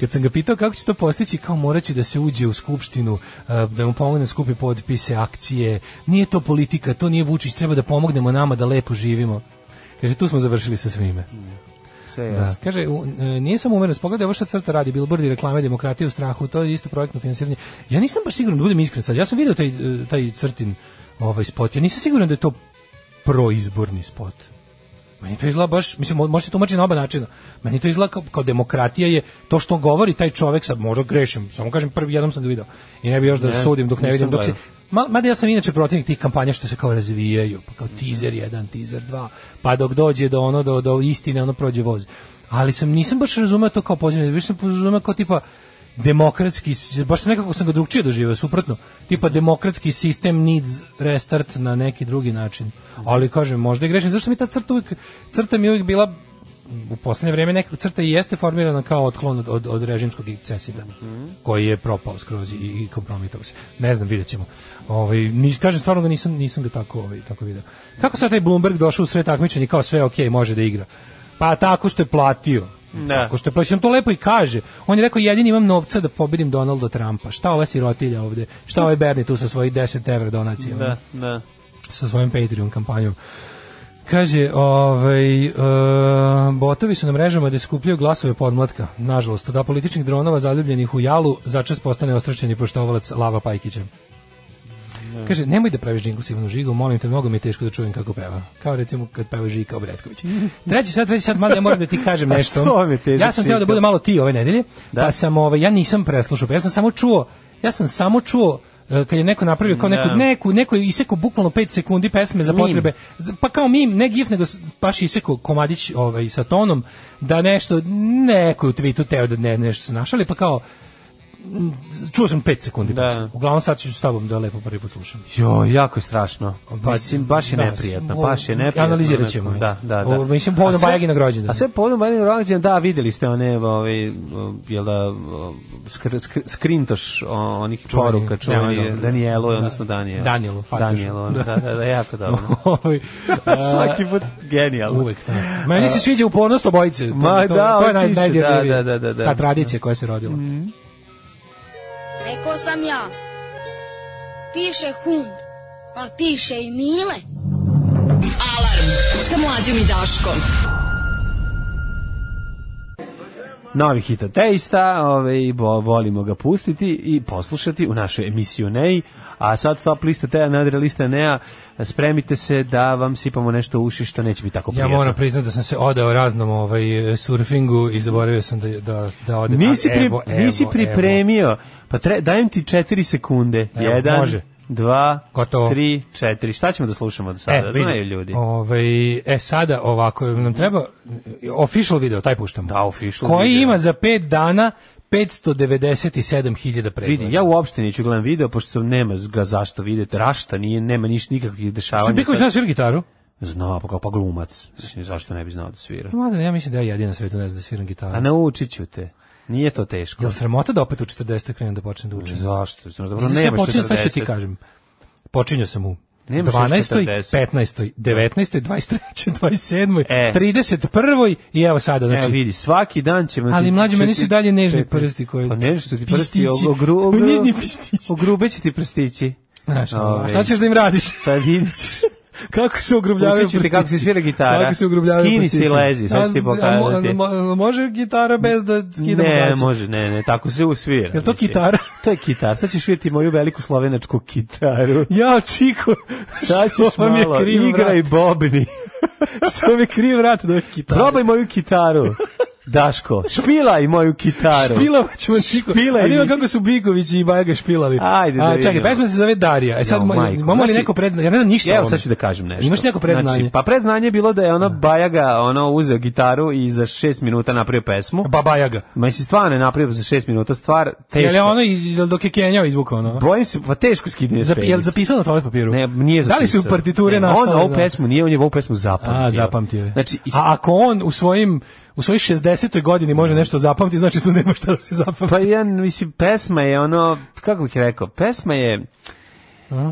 [SPEAKER 7] Kad sam ga pitao kako će to postići, kao moraće da se uđe u skupštinu, eh, da mu pomogne da skupi potpise, akcije. Nije to politika, to nije Vučić, treba da pomognemo nama da lepo živimo. Kaže, tu smo završili sa svime.
[SPEAKER 8] Sve
[SPEAKER 7] Da.
[SPEAKER 8] jasno.
[SPEAKER 7] Kaže, u, e, nije samo umerenost, pogledaj ovo što crta radi, bilbordi, reklame, demokratije u strahu, to je isto projektno finansiranje. Ja nisam baš siguran, da budem iskren sad, ja sam video taj, e, taj crtin ovaj spot, ja nisam siguran da je to proizborni spot. Meni to izgleda baš, mislim, mo- može se tumačiti na oba načina. Meni to izgleda kao, kao demokratija je to što govori taj čovek, sad možda grešim, samo kažem, prvi jednom sam ga video. I ne bi još da
[SPEAKER 8] Ne,
[SPEAKER 7] sudim dok ne
[SPEAKER 8] nisam
[SPEAKER 7] vidim, dok se,
[SPEAKER 8] gledao.
[SPEAKER 7] Ma, mada ja sam inače protivnik tih kampanja što se kao razvijaju, pa kao teaser 1, teaser 2, pa dok dođe do ono, do, do istine, ono prođe voz. Ali sam, nisam baš razumeo to kao pozitivno, više sam razumeo kao tipa demokratski, s- baš sam nekako sam ga drugčije doživio, suprotno, tipa demokratski sistem needs restart na neki drugi način. Ali kažem, možda je grešim, zašto mi ta crta uvijek, crta mi je uvijek bila u poslednje vreme nekako crta i jeste formirana kao otklon od, od, od režimskog ekscesida koji je propao skroz i, i kompromitovao se. Ne znam, vidjet ćemo. Ovaj, ni, kažem, stvarno ga nisam, nisam ga tako, ovaj, tako video. Kako sad taj Bloomberg došao u sred takmičenja i kao sve ok, može da igra? Pa tako što je platio.
[SPEAKER 8] Da.
[SPEAKER 7] Tako što je platio. On to lepo i kaže. On je rekao, jedini imam novca da pobedim Donalda Trumpa. Šta ova sirotilja ovde? Šta ovaj Bernie tu sa svojih 10 evra donacija? ono?
[SPEAKER 8] Da, da.
[SPEAKER 7] sa svojom Patreon kampanjom. Kaže, ovaj, e, botovi su na mrežama da skupljaju glasove podmlatka. Nažalost, da političnih dronova zaljubljenih u jalu začas postane ostračeni poštovalac Lava Pajkića. Kaže, nemoj da praviš džingl s Ivanu Žigom, molim te, mnogo mi je teško da čujem kako peva. Kao recimo kad peva Žika Obretković. Treći sad, treći sad, mada ja moram da ti kažem
[SPEAKER 8] A
[SPEAKER 7] nešto.
[SPEAKER 8] što vam je težak
[SPEAKER 7] ja sam htio da
[SPEAKER 8] Žika?
[SPEAKER 7] budem malo ti ove nedelje,
[SPEAKER 8] Da.
[SPEAKER 7] pa sam, ovaj, ja nisam preslušao, pa ja sam samo čuo, ja sam samo čuo e, kad je neko napravio kao neku,
[SPEAKER 8] Da.
[SPEAKER 7] neku, neko je isekao bukvalno 5 sekundi pesme za
[SPEAKER 8] Mim.
[SPEAKER 7] potrebe za- pa kao mim, ne gif, nego s- baš isekao komadić ovaj, sa tonom, da nešto, neko je u tweetu teo da ne, nešto se našali, pa kao, m, čuo sam 5 sekundi.
[SPEAKER 8] Da.
[SPEAKER 7] pesme. Uglavnom sad ću s tobom da lepo prvi put slušam.
[SPEAKER 8] Jo, jako je strašno.
[SPEAKER 7] Pa,
[SPEAKER 8] mislim, baš je
[SPEAKER 7] da,
[SPEAKER 8] neprijatno,
[SPEAKER 7] o-
[SPEAKER 8] baš je neprijatno.
[SPEAKER 7] analizirat ćemo je.
[SPEAKER 8] Da, da, da.
[SPEAKER 7] O, mislim, povodom
[SPEAKER 8] A sve-
[SPEAKER 7] Bajaginog rođendana.
[SPEAKER 8] A sve povodom Bajaginog rođendana, da, videli ste one, ovaj, jel da, skr, skr, skrintoš o, onih
[SPEAKER 7] Čuveni,
[SPEAKER 8] poruka, čuveni
[SPEAKER 7] nema
[SPEAKER 8] Danielu,
[SPEAKER 7] ono dobro.
[SPEAKER 8] Danijelu,
[SPEAKER 7] Da.
[SPEAKER 8] odnosno Danijelu.
[SPEAKER 7] Danielu, Farkašu.
[SPEAKER 8] Danielu, da, da, da, jako dobro.
[SPEAKER 7] Ovaj,
[SPEAKER 8] Svaki put genijalno.
[SPEAKER 7] Uvek. Da. Meni se sviđa upornost obojice. To,
[SPEAKER 8] Ma
[SPEAKER 7] to,
[SPEAKER 8] da,
[SPEAKER 7] to je
[SPEAKER 8] on
[SPEAKER 7] naj,
[SPEAKER 8] piše,
[SPEAKER 7] najdirljivije.
[SPEAKER 8] da, da, da, da.
[SPEAKER 7] Ta tradicija koja se rodila.
[SPEAKER 11] Rekao sam ja. Piše hund, pa piše i mile. Alarm sa mlađom i Daškom.
[SPEAKER 8] Novi hit od Teista, ovaj, bo, volimo ga pustiti i poslušati u našoj emisiju NEI. A sad top lista Teja, nadre lista Nea, spremite se da vam sipamo nešto u uši što neće biti tako
[SPEAKER 7] Ja
[SPEAKER 8] prijedno.
[SPEAKER 7] moram priznati da sam se odao raznom ovaj surfingu i zaboravio sam da da da odem.
[SPEAKER 8] Nisi,
[SPEAKER 7] Ali
[SPEAKER 8] pri,
[SPEAKER 7] evo, evo,
[SPEAKER 8] nisi
[SPEAKER 7] evo.
[SPEAKER 8] pripremio. Pa tre, dajem ti četiri sekunde.
[SPEAKER 7] Evo,
[SPEAKER 8] Jedan,
[SPEAKER 7] može.
[SPEAKER 8] dva,
[SPEAKER 7] Gotovo.
[SPEAKER 8] tri, četiri. Šta ćemo da slušamo do sada?
[SPEAKER 7] E, vidi.
[SPEAKER 8] Znaju ljudi.
[SPEAKER 7] Ovaj, e, sada ovako, nam treba official video, taj puštamo.
[SPEAKER 8] Da, official
[SPEAKER 7] Koji
[SPEAKER 8] video.
[SPEAKER 7] ima za 5 dana 597.000 pregleda.
[SPEAKER 8] Vidi, ja uopšte neću gledam video, pošto sam- nema ga zašto vidite, rašta nije, nema niš nikakvih
[SPEAKER 7] Što
[SPEAKER 8] dešavanja.
[SPEAKER 7] Biković
[SPEAKER 8] Sad-
[SPEAKER 7] zna svira gitaru?
[SPEAKER 8] Zna, pa kao pa glumac. Mislim, zašto ne bi znao da svira?
[SPEAKER 7] Mada, ja mislim da ja jedina na svetu ne znam da sviram gitaru.
[SPEAKER 8] A naučit ću te. Nije to teško.
[SPEAKER 7] Jel sramota da opet u 40. krenem da počnem da učim?
[SPEAKER 8] Zašto? Znaš, dobro,
[SPEAKER 7] Znači, ja
[SPEAKER 8] nemaš
[SPEAKER 7] počinjam, sad ću
[SPEAKER 8] 40.
[SPEAKER 7] ti kažem. Počinjao sam u
[SPEAKER 8] Nemaš još
[SPEAKER 7] 12.,
[SPEAKER 8] 40.
[SPEAKER 7] 15., 19., 23., 27.,
[SPEAKER 8] E.
[SPEAKER 7] 31. i evo sada,
[SPEAKER 8] Evo
[SPEAKER 7] znači,
[SPEAKER 8] vidi, svaki dan ćemo...
[SPEAKER 7] Ali,
[SPEAKER 8] ti-
[SPEAKER 7] mlađe,
[SPEAKER 8] ću
[SPEAKER 7] meni
[SPEAKER 8] ti-
[SPEAKER 7] su i dalje nežni
[SPEAKER 8] čekaj.
[SPEAKER 7] prsti koji-
[SPEAKER 8] Pa nežni su ti prsti,
[SPEAKER 7] Pistići.
[SPEAKER 8] ogru... ogru
[SPEAKER 7] Nižni pistići.
[SPEAKER 8] Ogrube će ti prstići.
[SPEAKER 7] znaš, ono, a
[SPEAKER 8] Ovaj,
[SPEAKER 7] šta ćeš da im radiš?
[SPEAKER 8] Pa vidit ćeš.
[SPEAKER 7] kako se ugrubljavaju
[SPEAKER 8] Učit ću ti kako se svira gitara.
[SPEAKER 7] Kako se ugrubljavaju
[SPEAKER 8] Skini se i
[SPEAKER 7] prstići.
[SPEAKER 8] lezi, sad ću ti
[SPEAKER 7] A, a mo-
[SPEAKER 8] pokazati.
[SPEAKER 7] a mo- Može gitara bez da skidamo
[SPEAKER 8] ne,
[SPEAKER 7] gaće?
[SPEAKER 8] može, ne, ne, tako se usvira.
[SPEAKER 7] Jel to
[SPEAKER 8] mislim.
[SPEAKER 7] kitara?
[SPEAKER 8] To je kitar. Sad ćeš vidjeti moju veliku slovenačku kitaru.
[SPEAKER 7] Ja, Čiko,
[SPEAKER 8] Sad
[SPEAKER 7] što
[SPEAKER 8] ćeš
[SPEAKER 7] vam je
[SPEAKER 8] malo,
[SPEAKER 7] kriv
[SPEAKER 8] igraj
[SPEAKER 7] vrat?
[SPEAKER 8] bobni.
[SPEAKER 7] što mi kriv vrat da je gitara.
[SPEAKER 8] Probaj moju kitaru. Daško, špilaj moju kitaru.
[SPEAKER 7] Špilovat ćemo Čiko.
[SPEAKER 8] Špilaj
[SPEAKER 7] A nema
[SPEAKER 8] mi.
[SPEAKER 7] kako su Biković i Bajaga špilali.
[SPEAKER 8] Ajde da
[SPEAKER 7] A, Čekaj,
[SPEAKER 8] vidimo.
[SPEAKER 7] pesma se zove Darija. E sad,
[SPEAKER 8] Jo,
[SPEAKER 7] mo-
[SPEAKER 8] majko.
[SPEAKER 7] imamo li
[SPEAKER 8] Znači-
[SPEAKER 7] neko predznanje? Ja ne znam ništa o
[SPEAKER 8] Evo
[SPEAKER 7] ovome.
[SPEAKER 8] sad ću da kažem nešto.
[SPEAKER 7] Imaš neko predznanje?
[SPEAKER 8] Znači, pa predznanje je bilo da je ona Bajaga ono, uzeo gitaru i za šest minuta napravio pesmu.
[SPEAKER 7] Babajaga.
[SPEAKER 8] Ma si stvarno je napravio za šest minuta stvar
[SPEAKER 7] Jel je
[SPEAKER 8] teško.
[SPEAKER 7] ono, iz- jel dok je Kenjao izvukao ono?
[SPEAKER 8] Bojim se, pa teško skidanje
[SPEAKER 7] Zap, jel zapisao na toalet papiru?
[SPEAKER 8] Ne, nije
[SPEAKER 7] Da li su
[SPEAKER 8] zapisao.
[SPEAKER 7] partiture
[SPEAKER 8] ne,
[SPEAKER 7] nastale?
[SPEAKER 8] On ovu
[SPEAKER 7] da?
[SPEAKER 8] pesmu nije, on je ovu pesmu zapamtio.
[SPEAKER 7] A, zapamtio je.
[SPEAKER 8] Znači, is...
[SPEAKER 7] A ako on u svojim u svojoj 60. godini može nešto zapamti, znači tu nema šta da se zapamti.
[SPEAKER 8] pa ja, mislim, pesma je ono, kako bih rekao, pesma je,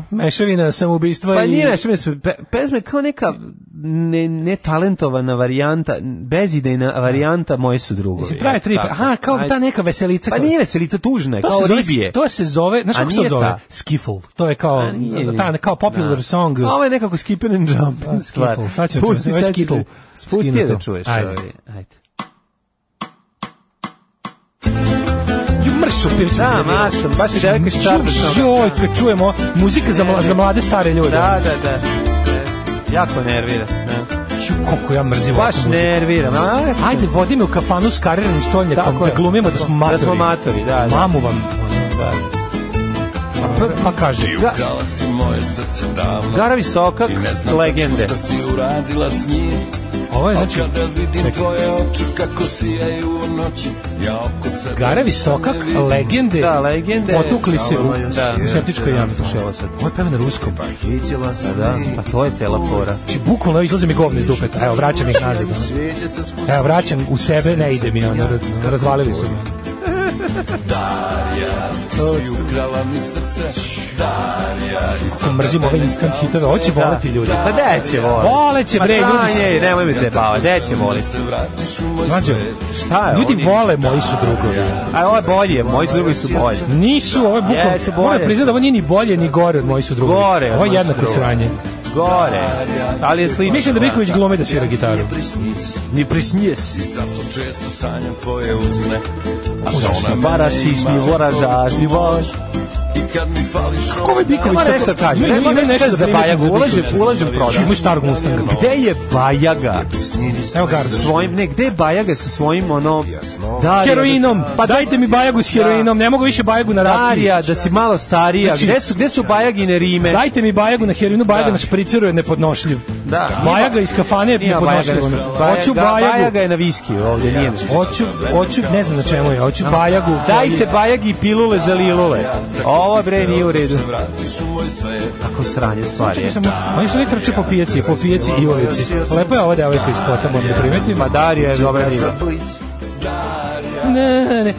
[SPEAKER 7] Mešavina samoubistva
[SPEAKER 8] pa
[SPEAKER 7] i...
[SPEAKER 8] nije nešto, mislim, pe, pesma je kao neka ne, netalentovana varijanta, bezidejna varijanta moje su drugovi.
[SPEAKER 7] Mislim, traje tri...
[SPEAKER 8] Tako.
[SPEAKER 7] Aha, kao
[SPEAKER 8] Ajde.
[SPEAKER 7] ta neka veselica.
[SPEAKER 8] Pa
[SPEAKER 7] koja-
[SPEAKER 8] nije veselica tužna, je,
[SPEAKER 7] To
[SPEAKER 8] kao
[SPEAKER 7] se, zove,
[SPEAKER 8] ribije.
[SPEAKER 7] to se zove, znaš
[SPEAKER 8] A
[SPEAKER 7] kako se to
[SPEAKER 8] nije
[SPEAKER 7] zove?
[SPEAKER 8] ta.
[SPEAKER 7] Skiffle. To je kao,
[SPEAKER 8] A nije.
[SPEAKER 7] ta, kao popular
[SPEAKER 8] Da.
[SPEAKER 7] song.
[SPEAKER 8] A Ovo je nekako skip and jump.
[SPEAKER 7] A,
[SPEAKER 8] stvar.
[SPEAKER 7] skiffle, sad ću da
[SPEAKER 8] Pusti,
[SPEAKER 7] čujem, ovo je
[SPEAKER 8] sad ću-
[SPEAKER 7] skittle.
[SPEAKER 8] Pusti je
[SPEAKER 7] Skinuto.
[SPEAKER 8] da čuješ.
[SPEAKER 7] Ajde.
[SPEAKER 8] ovaj, Ajde.
[SPEAKER 7] Ju mršu, piriću.
[SPEAKER 8] Da, Maršan, baš je devojka iz Čardašnog.
[SPEAKER 7] Znači, Joj, kad čujemo muzika za, mla- za mlade stare ljude.
[SPEAKER 8] ono. Da, da, da. E, Jako nervira. Da.
[SPEAKER 7] Ju, koliko ja mrzim
[SPEAKER 8] Baš
[SPEAKER 7] ovakvu muziku.
[SPEAKER 8] nerviram. A,
[SPEAKER 7] Ajde, vodi me u kafanu s karirnim stolnjakom,
[SPEAKER 8] Tako
[SPEAKER 7] da
[SPEAKER 8] je.
[SPEAKER 7] glumimo da smo matori.
[SPEAKER 8] Da smo matori, da, da.
[SPEAKER 7] Mamu vam.
[SPEAKER 8] Da.
[SPEAKER 7] Pa, pa kaže.
[SPEAKER 8] Ga-
[SPEAKER 1] si moje srce davno
[SPEAKER 8] Garavi Sokak,
[SPEAKER 1] I ne znam
[SPEAKER 8] legende.
[SPEAKER 1] tačno šta si uradila s njim
[SPEAKER 7] Ovo je,
[SPEAKER 1] Al
[SPEAKER 7] znači,
[SPEAKER 1] kada vidim
[SPEAKER 7] čekaj.
[SPEAKER 1] tvoje oči kako sijaju u noći Ja oko sebe
[SPEAKER 7] Garavi Sokak, legende.
[SPEAKER 8] Da, legende.
[SPEAKER 7] Potukli se u
[SPEAKER 8] Da.
[SPEAKER 7] u septičkoj jami. Slušaj ovo sad. Ovo je peva na ruskom.
[SPEAKER 1] Pa Vidjela
[SPEAKER 8] Da, da. Pa to je cela fora.
[SPEAKER 7] Znači, bukvalno evo, izlazi mi govno iz dupeta. Evo, vraćam ih nazad. ono.
[SPEAKER 1] Svjećeca s
[SPEAKER 7] Evo, vraćam u sebe, ne ide mi. Ono, raz- razvalili su me.
[SPEAKER 1] si ukrala mi srce Darija i
[SPEAKER 7] Kako mrzim ove instant hitove. Ovo će voleti ljudi.
[SPEAKER 8] Pa da će voliti.
[SPEAKER 7] Voleće, bre,
[SPEAKER 8] Pa
[SPEAKER 7] ljudi su-
[SPEAKER 8] sranje, nemoj mi se bavati, da će voliti.
[SPEAKER 1] se vratiš u moj
[SPEAKER 7] Mlađo,
[SPEAKER 8] Šta je?
[SPEAKER 7] ljudi
[SPEAKER 8] oni-
[SPEAKER 7] vole moji su drugovi.
[SPEAKER 8] A ovo je bolje, moji su drugi su bolji.
[SPEAKER 7] Nisu, ovo je bukvalno.
[SPEAKER 8] Jesu bolje.
[SPEAKER 7] Moram priznati da ovo nije ni bolje ni gore od moji su drugovi.
[SPEAKER 8] Gore,
[SPEAKER 7] Ovo je
[SPEAKER 8] moji su
[SPEAKER 7] jednako
[SPEAKER 8] drugovi.
[SPEAKER 7] sranje.
[SPEAKER 8] Gore. Ali je slično.
[SPEAKER 7] Mislim da Biković glume da svira gitaru.
[SPEAKER 8] Ni prisnije si.
[SPEAKER 1] Zato često sanjam tvoje usne A
[SPEAKER 8] Uzaš
[SPEAKER 1] ona
[SPEAKER 8] ni
[SPEAKER 1] mene
[SPEAKER 8] barašiš,
[SPEAKER 1] ima
[SPEAKER 8] ni voražaš,
[SPEAKER 1] što
[SPEAKER 8] ni voš.
[SPEAKER 1] I kad mi fališ
[SPEAKER 7] Kako ovaj Biković
[SPEAKER 8] Nema nešto
[SPEAKER 7] tako-
[SPEAKER 8] kaže,
[SPEAKER 7] Ima-
[SPEAKER 8] nema
[SPEAKER 7] ima
[SPEAKER 8] nešto
[SPEAKER 7] nešto
[SPEAKER 8] za
[SPEAKER 7] da primetim
[SPEAKER 8] Bajagu, ulažem-
[SPEAKER 7] Bikovića.
[SPEAKER 8] ulažem prodaj.
[SPEAKER 7] Čim je starog Mustanga.
[SPEAKER 8] Gde je Bajaga?
[SPEAKER 7] Evo Garda.
[SPEAKER 8] Svojim, ne, gde je Bajaga sa svojim, ono... Da,
[SPEAKER 7] Heroinom. Pa dajte mi Bajagu s heroinom. Ne mogu više Bajagu na rakiju.
[SPEAKER 8] Darija, da si malo starija.
[SPEAKER 7] Znači-
[SPEAKER 8] gde su, gde su Bajagine rime?
[SPEAKER 7] Dajte mi Bajagu na heroinu, Bajaga na špriceru je nepodnošljiv.
[SPEAKER 8] Da.
[SPEAKER 7] Bajaga iz kafane je
[SPEAKER 8] Nije Bajaga.
[SPEAKER 7] nepodnošljiv. ono.
[SPEAKER 8] Bajaga-
[SPEAKER 7] Hoću Bajagu.
[SPEAKER 8] Bajaga je na viskiju ovdje, nije na viskiju.
[SPEAKER 7] Hoću, hoću, ne znam na čemu je, hoću Bajagu.
[SPEAKER 8] Dajte Bajagi i pilule za lilule. Ovo bre nije u redu. Kako sranje stvari je.
[SPEAKER 7] Čekaj samo, Oni su uvijek trče po pijaci, po pijaci i ulici. Lepo je ova devojka iz kota, moram da primetim.
[SPEAKER 8] Ma Darija je dobra riba.
[SPEAKER 7] Ne, ne, ne.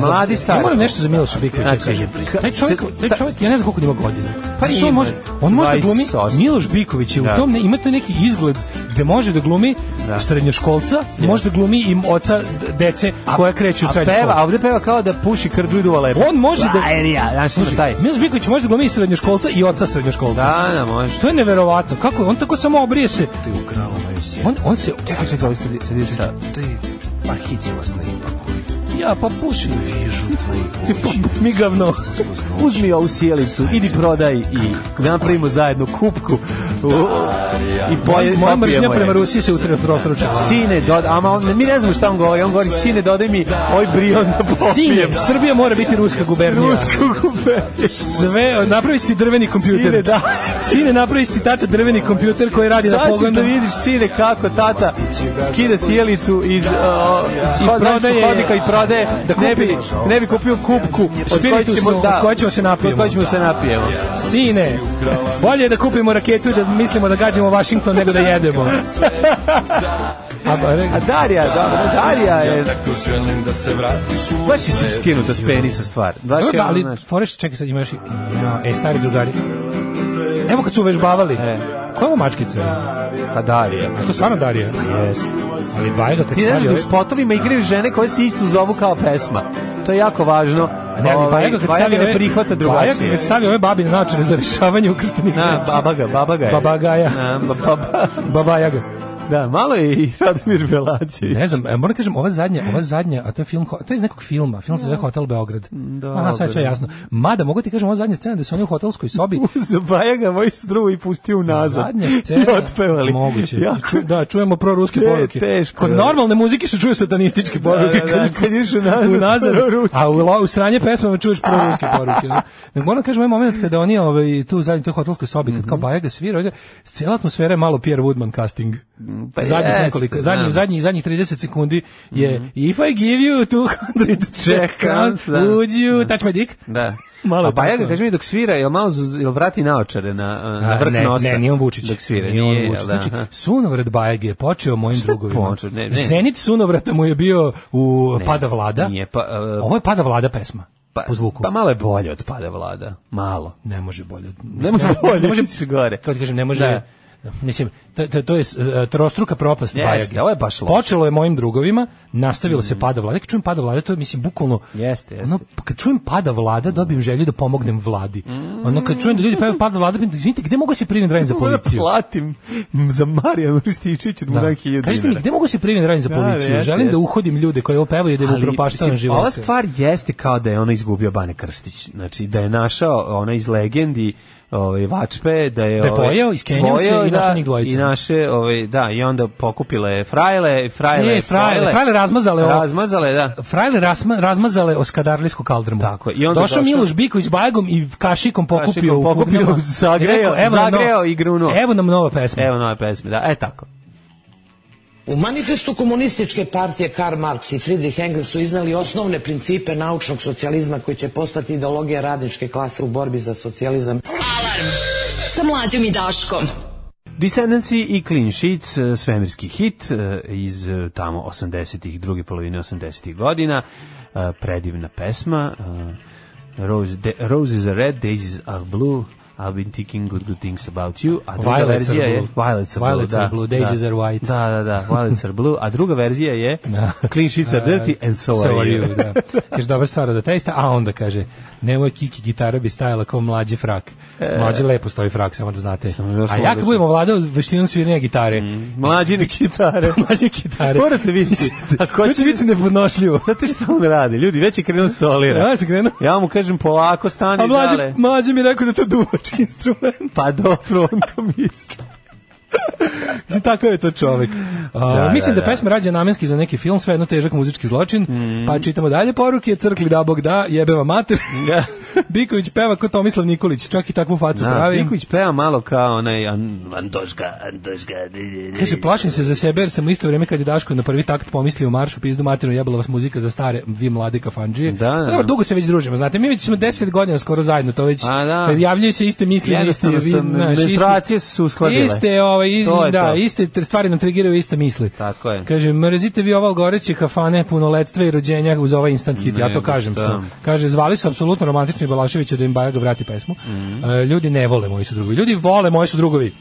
[SPEAKER 8] Mladi
[SPEAKER 7] Ja moram
[SPEAKER 8] stari.
[SPEAKER 7] nešto za Miloša Bikovića da kažem.
[SPEAKER 8] Ka-
[SPEAKER 7] Znači, Taj čovjek, taj
[SPEAKER 8] ta-
[SPEAKER 7] čovjek, ja ne znam koliko ima godina.
[SPEAKER 8] Pa
[SPEAKER 7] Znaš,
[SPEAKER 8] ima.
[SPEAKER 7] on može, on može da glumi
[SPEAKER 8] 28.
[SPEAKER 7] Miloš Biković je u
[SPEAKER 8] Da.
[SPEAKER 7] tom, ne, ima taj neki izgled gde može da glumi
[SPEAKER 8] Da.
[SPEAKER 7] srednjoškolca, može da glumi i oca d- dece koja kreću u
[SPEAKER 8] A
[SPEAKER 7] srednju
[SPEAKER 8] peva,
[SPEAKER 7] školu.
[SPEAKER 8] a ovde peva kao da puši krđu i duva lepo.
[SPEAKER 7] On može da-
[SPEAKER 8] Darija, znaš ima
[SPEAKER 7] Slušaj,
[SPEAKER 8] taj.
[SPEAKER 7] Miloš Biković može da glumi i srednjoškolca i oca srednjoškolca.
[SPEAKER 8] Da, da, može.
[SPEAKER 7] To je neverovatno. Kako on tako samo obrije se? On, on se
[SPEAKER 8] Čekaj, čekaj, ovi sad sad ide sa...
[SPEAKER 7] Ja pa pušim.
[SPEAKER 8] E,
[SPEAKER 7] Ti pa mi gavno.
[SPEAKER 8] Uzmi ovu sjelicu, idi prodaj i da napravimo zajedno kupku u- i poje,
[SPEAKER 7] Moja mržnja
[SPEAKER 8] popijemo
[SPEAKER 7] prema
[SPEAKER 8] je.
[SPEAKER 7] Rusiji se utre prostručava.
[SPEAKER 8] Sine, dod, ama on, mi ne znamo šta on govori, on govori, sine, dodaj mi ovaj brion da
[SPEAKER 7] Sine,
[SPEAKER 8] popijem.
[SPEAKER 7] Srbija mora biti ruska gubernija.
[SPEAKER 8] Rusko kupe.
[SPEAKER 7] Sve, napravi si ti drveni kompjuter.
[SPEAKER 8] Sine, da.
[SPEAKER 7] Sine, napravi si ti tata drveni kompjuter koji radi na
[SPEAKER 8] Sad ćeš da
[SPEAKER 7] pogonu.
[SPEAKER 8] vidiš sine kako tata skida sjelicu iz
[SPEAKER 7] I
[SPEAKER 8] uh,
[SPEAKER 7] prodaje-
[SPEAKER 8] hodnika i prodaje da ne bi, ne bi kupio kupku od koje ćemo,
[SPEAKER 7] Spiritusnu,
[SPEAKER 8] da,
[SPEAKER 7] od koje ćemo se napijemo.
[SPEAKER 8] od koje ćemo se napijemo.
[SPEAKER 7] Sine, bolje je da kupimo raketu i da mislimo da gađamo Washington nego da jedemo. A, ba, re-
[SPEAKER 8] A Darija, da, Darija je
[SPEAKER 1] Tako želim da se vratiš u
[SPEAKER 8] baš je si skinuta s penisa stvar. Baš
[SPEAKER 7] Dobro,
[SPEAKER 8] je
[SPEAKER 7] da,
[SPEAKER 8] ono,
[SPEAKER 7] ali
[SPEAKER 8] znaš.
[SPEAKER 7] foreš, čekaj sad, imaš i... Ja, e, stari drugari. Evo kad su uvežbavali.
[SPEAKER 8] E.
[SPEAKER 7] Koja je ovo mačkica? Je
[SPEAKER 8] Pa Darija.
[SPEAKER 7] To stvarno Darija.
[SPEAKER 8] Jeste.
[SPEAKER 7] Ali Bajega kad
[SPEAKER 8] Ti znaš
[SPEAKER 7] stavi
[SPEAKER 8] da u
[SPEAKER 7] ove...
[SPEAKER 8] spotovima igraju žene koje se isto zovu kao pesma. To je jako važno.
[SPEAKER 7] Ne,
[SPEAKER 8] Ovaj,
[SPEAKER 7] Bajaga kad
[SPEAKER 8] Bajaga
[SPEAKER 7] stavi
[SPEAKER 8] ne
[SPEAKER 7] ove,
[SPEAKER 8] prihvata
[SPEAKER 7] Bajaga
[SPEAKER 8] drugačije.
[SPEAKER 7] kad stavi ove babine naočare za rešavanje ukrštenih
[SPEAKER 8] Na,
[SPEAKER 7] reči.
[SPEAKER 8] babaga,
[SPEAKER 7] E,
[SPEAKER 8] babaga je.
[SPEAKER 7] Babagaja.
[SPEAKER 8] Na, ba- baba-
[SPEAKER 7] Babajaga.
[SPEAKER 8] Da, malo je i Radomir Belačević.
[SPEAKER 7] Ne znam, e, moram kažem, ova zadnja, ova zadnja, a to je film, ko- to je iz nekog filma, film se zove Hotel Beograd. Aha, sad je sve
[SPEAKER 8] dobro.
[SPEAKER 7] jasno. Mada, mogu ti kažem, ova zadnja scena da su oni u hotelskoj sobi,
[SPEAKER 8] Za Bajaga moj struvu i pustio nazad.
[SPEAKER 7] Zadnja scena.
[SPEAKER 8] I otpevali.
[SPEAKER 7] Moguće.
[SPEAKER 8] Jako,
[SPEAKER 7] Ču- da, čujemo proruske
[SPEAKER 8] Te-
[SPEAKER 7] poruke.
[SPEAKER 8] teško,
[SPEAKER 7] Kod
[SPEAKER 8] da.
[SPEAKER 7] normalne muzike se čuje satanističke poruke.
[SPEAKER 8] da, da, kad ideš unazad,
[SPEAKER 7] unazad,
[SPEAKER 8] proruske.
[SPEAKER 7] A u, lo- u sranje pesmama čuješ proruske poruke. Da. Nego moram kažem, ovaj moment kada oni ovaj, tu u zadnjoj toj hotelskoj sobi,
[SPEAKER 8] Mhm.
[SPEAKER 7] kad kao Bajaga svira, ovaj, cijela atmosfera je malo Pierre Woodman casting.
[SPEAKER 8] pa
[SPEAKER 7] zadnjih
[SPEAKER 8] jeste,
[SPEAKER 7] nekoliko,
[SPEAKER 8] znam.
[SPEAKER 7] zadnjih, zadnjih, zadnjih 30 sekundi je If I give you 200
[SPEAKER 8] Check counts,
[SPEAKER 7] check
[SPEAKER 8] da.
[SPEAKER 7] would you touch my dick?
[SPEAKER 8] Da.
[SPEAKER 7] Malo
[SPEAKER 8] A pa
[SPEAKER 7] je
[SPEAKER 8] Bajaga,
[SPEAKER 7] tako.
[SPEAKER 8] kaži mi, dok svira, jel malo, z- jel vrati naočare na, na
[SPEAKER 7] A,
[SPEAKER 8] vrh
[SPEAKER 7] ne,
[SPEAKER 8] nosa?
[SPEAKER 7] Ne, nije on Vučić.
[SPEAKER 8] Dok svira,
[SPEAKER 7] nije, on
[SPEAKER 8] jel
[SPEAKER 7] Vučić.
[SPEAKER 8] da,
[SPEAKER 7] znači,
[SPEAKER 8] aha.
[SPEAKER 7] sunovrat Bajeg je počeo mojim
[SPEAKER 8] Šta je
[SPEAKER 7] drugovima.
[SPEAKER 8] počeo? Ne, ne.
[SPEAKER 7] Zenit sunovrata mu je bio u Pada vlada.
[SPEAKER 8] Nije, pa, e,
[SPEAKER 7] Ovo je Pada vlada pesma.
[SPEAKER 8] pa,
[SPEAKER 7] po zvuku.
[SPEAKER 8] Pa malo je bolje od pada vlada. Malo.
[SPEAKER 7] ne može bolje.
[SPEAKER 8] Ne može bolje, misliš gore.
[SPEAKER 7] Kako ti kažem, ne može... Mislim, to, to, to je e, trostruka propast
[SPEAKER 8] Jeste,
[SPEAKER 7] Bajage.
[SPEAKER 8] ovo je baš loše. Mm.
[SPEAKER 7] Počelo je mojim drugovima, nastavilo se pada vlada. Kad čujem pada vlada, to je, mislim, bukvalno...
[SPEAKER 8] Jeste, jeste.
[SPEAKER 7] Ono, kad čujem pada vlada, dobijem želju da pomognem vladi. Ono, kad čujem da ljudi pevaju pada vlada, pitam, izvinite, gde mogu se primiti da radim za
[SPEAKER 8] Mogu Da
[SPEAKER 7] policiju?
[SPEAKER 8] platim za Marijanu Rističić od
[SPEAKER 7] Da.
[SPEAKER 8] Mudan 1000 dinara.
[SPEAKER 7] Kažite mi, gde mogu se primiti da radim za
[SPEAKER 8] Da,
[SPEAKER 7] policiju?
[SPEAKER 8] jeste,
[SPEAKER 7] Želim
[SPEAKER 8] jeste.
[SPEAKER 7] da uhodim ljude koji ovo pevaju i da im upropaštavam
[SPEAKER 8] mislim,
[SPEAKER 7] živote.
[SPEAKER 8] Ova stvar jeste kao da je ona izgubio Bane Krstić. Znači, da je našao ona iz legendi ovaj Vačpe da je
[SPEAKER 7] Da je
[SPEAKER 8] ovaj,
[SPEAKER 7] pojeo, iskenjao se
[SPEAKER 8] pojeo,
[SPEAKER 7] i našao
[SPEAKER 8] da,
[SPEAKER 7] njih dvojicu.
[SPEAKER 8] i naše ovaj da i onda pokupila je frajle frajle
[SPEAKER 7] Ne, frajle, frajle razmazale ovo.
[SPEAKER 8] razmazale da
[SPEAKER 7] Frajle rasma, razmazale oskadarlijsku kaldrmu.
[SPEAKER 8] Tako je, i onda
[SPEAKER 7] došao
[SPEAKER 8] došao-
[SPEAKER 7] Miloš Biković bajgom i kašikom pokupio
[SPEAKER 8] Kašikom
[SPEAKER 7] u
[SPEAKER 8] pokupio,
[SPEAKER 7] fugnama.
[SPEAKER 8] zagreo,
[SPEAKER 7] I "Evo nam
[SPEAKER 8] zagreo
[SPEAKER 7] nova-
[SPEAKER 8] i grunuo."
[SPEAKER 7] Evo nam nova pesma.
[SPEAKER 8] evo nove pesme da e tako
[SPEAKER 12] U manifestu komunističke partije Karl Marx i Friedrich Engels su iznali osnovne principe naučnog socijalizma koji će postati ideologija radničke klase u borbi za socijalizam.
[SPEAKER 5] Alarm sa mlađom i Daškom.
[SPEAKER 8] Descendancy i Clean Sheets, e, svemirski hit e, iz e, tamo 80-ih, druge polovine 80-ih godina. E, Predivna pesma. e, Rose, de, Roses are red, daisies are blue. I've been thinking good good things about you. A druga
[SPEAKER 7] Violets are
[SPEAKER 8] verzija je
[SPEAKER 7] blue.
[SPEAKER 8] Violets are
[SPEAKER 7] Violets
[SPEAKER 8] blue,
[SPEAKER 7] are
[SPEAKER 8] da,
[SPEAKER 7] blue, daisies
[SPEAKER 8] da.
[SPEAKER 7] are white.
[SPEAKER 8] Da, da, da, Violets are blue. A druga verzija je Clean Sheets are dirty and so, are you.
[SPEAKER 7] da. Kaže, dobra stvar da testa, a onda kaže, nemoj kiki gitara bi stajala kao mlađi frak. Mlađi lepo stoji frak, samo da znate.
[SPEAKER 8] E. Samo da Mm.
[SPEAKER 7] a ja
[SPEAKER 8] slobodno.
[SPEAKER 7] kad budemo vladao veštinom sviranja gitare,
[SPEAKER 8] Mlađine gitare.
[SPEAKER 7] mlađe gitare.
[SPEAKER 8] Morate vidjeti. A ko
[SPEAKER 7] To će biti nepodnošljivo.
[SPEAKER 8] Znate šta on radi? Ljudi, već je krenuo solira.
[SPEAKER 7] Ja sam krenuo.
[SPEAKER 8] Ja mu kažem polako stani
[SPEAKER 7] A mlađe,
[SPEAKER 8] dale.
[SPEAKER 7] mlađe mi je rekao da je to duvački instrument.
[SPEAKER 8] Pa dobro, on to misli.
[SPEAKER 7] Mislim, Takav je to čovek. A,
[SPEAKER 8] Da,
[SPEAKER 7] mislim
[SPEAKER 8] da,
[SPEAKER 7] da,
[SPEAKER 8] da. Mm.
[SPEAKER 7] pesma rađa namenski za neki film, sve jedno težak muzički zločin. Pa čitamo dalje poruke, crkli da bog da, jebe vam mater.
[SPEAKER 8] Da.
[SPEAKER 7] Biković peva ko Tomislav Nikolić, čak i takvu facu
[SPEAKER 8] Na,
[SPEAKER 7] pravi.
[SPEAKER 8] Piković peva malo kao onaj an, Andoška, Andoška.
[SPEAKER 7] Kaže, plašim se za sebe jer sam u isto vrijeme kad je Daško na prvi takt pomislio u maršu pizdu materinu jebala vas muzika za stare, vi mlade kafanđije. Pa
[SPEAKER 8] Da, da, da.
[SPEAKER 7] Dobro, dugo se već družimo, znate, mi već smo 10 godina skoro zajedno, to već
[SPEAKER 8] A, da.
[SPEAKER 7] javljaju se iste misli, iste,
[SPEAKER 8] Jednostavno su menstruacije su se uskladile.
[SPEAKER 7] Iste, ovaj, i-
[SPEAKER 8] To je
[SPEAKER 7] da,
[SPEAKER 8] to.
[SPEAKER 7] iste tr- stvari nam trigiraju iste misli.
[SPEAKER 8] Tako je.
[SPEAKER 7] Kaže, mrzite vi ovo goreće kafane punoletstva i rođenja uz ovaj instant hit, ja to
[SPEAKER 8] Nego
[SPEAKER 7] kažem.
[SPEAKER 8] šta.
[SPEAKER 7] što- Kaže, zvali su apsolutno romantični Balaševića da im Bajaga vrati pesmu.
[SPEAKER 8] Mhm.
[SPEAKER 7] E, ljudi ne vole moji su drugovi. Ljudi vole moji su drugovi.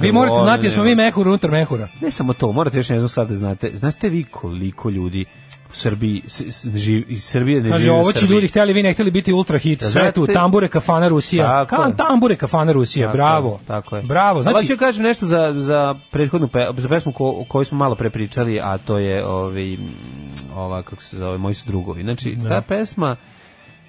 [SPEAKER 7] Vi morate znati da smo mi mehur unutar mehura.
[SPEAKER 8] Ne samo to, morate još jednu stvar da znate. Znate vi koliko ljudi u Srbiji, s, s, živ, iz Srbije ne
[SPEAKER 7] Kaže,
[SPEAKER 8] živi
[SPEAKER 7] ovo
[SPEAKER 8] u
[SPEAKER 7] će
[SPEAKER 8] Srbiji.
[SPEAKER 7] ljudi hteli, vi ne hteli biti ultra hit. Sve
[SPEAKER 8] Znate-
[SPEAKER 7] tu, tambure, kafana Rusija.
[SPEAKER 8] Tako
[SPEAKER 7] Kan,
[SPEAKER 8] je.
[SPEAKER 7] tambure, kafana Rusija,
[SPEAKER 8] Tako je,
[SPEAKER 7] bravo.
[SPEAKER 8] Tako je.
[SPEAKER 7] Bravo,
[SPEAKER 8] Znači,
[SPEAKER 7] znači...
[SPEAKER 8] hoću da kažem nešto za, za prethodnu pe, za pesmu ko, o kojoj smo malo pre pričali, a to je ovaj, m, ova, kako se zove, Moji su drugovi. Znači, ta pesma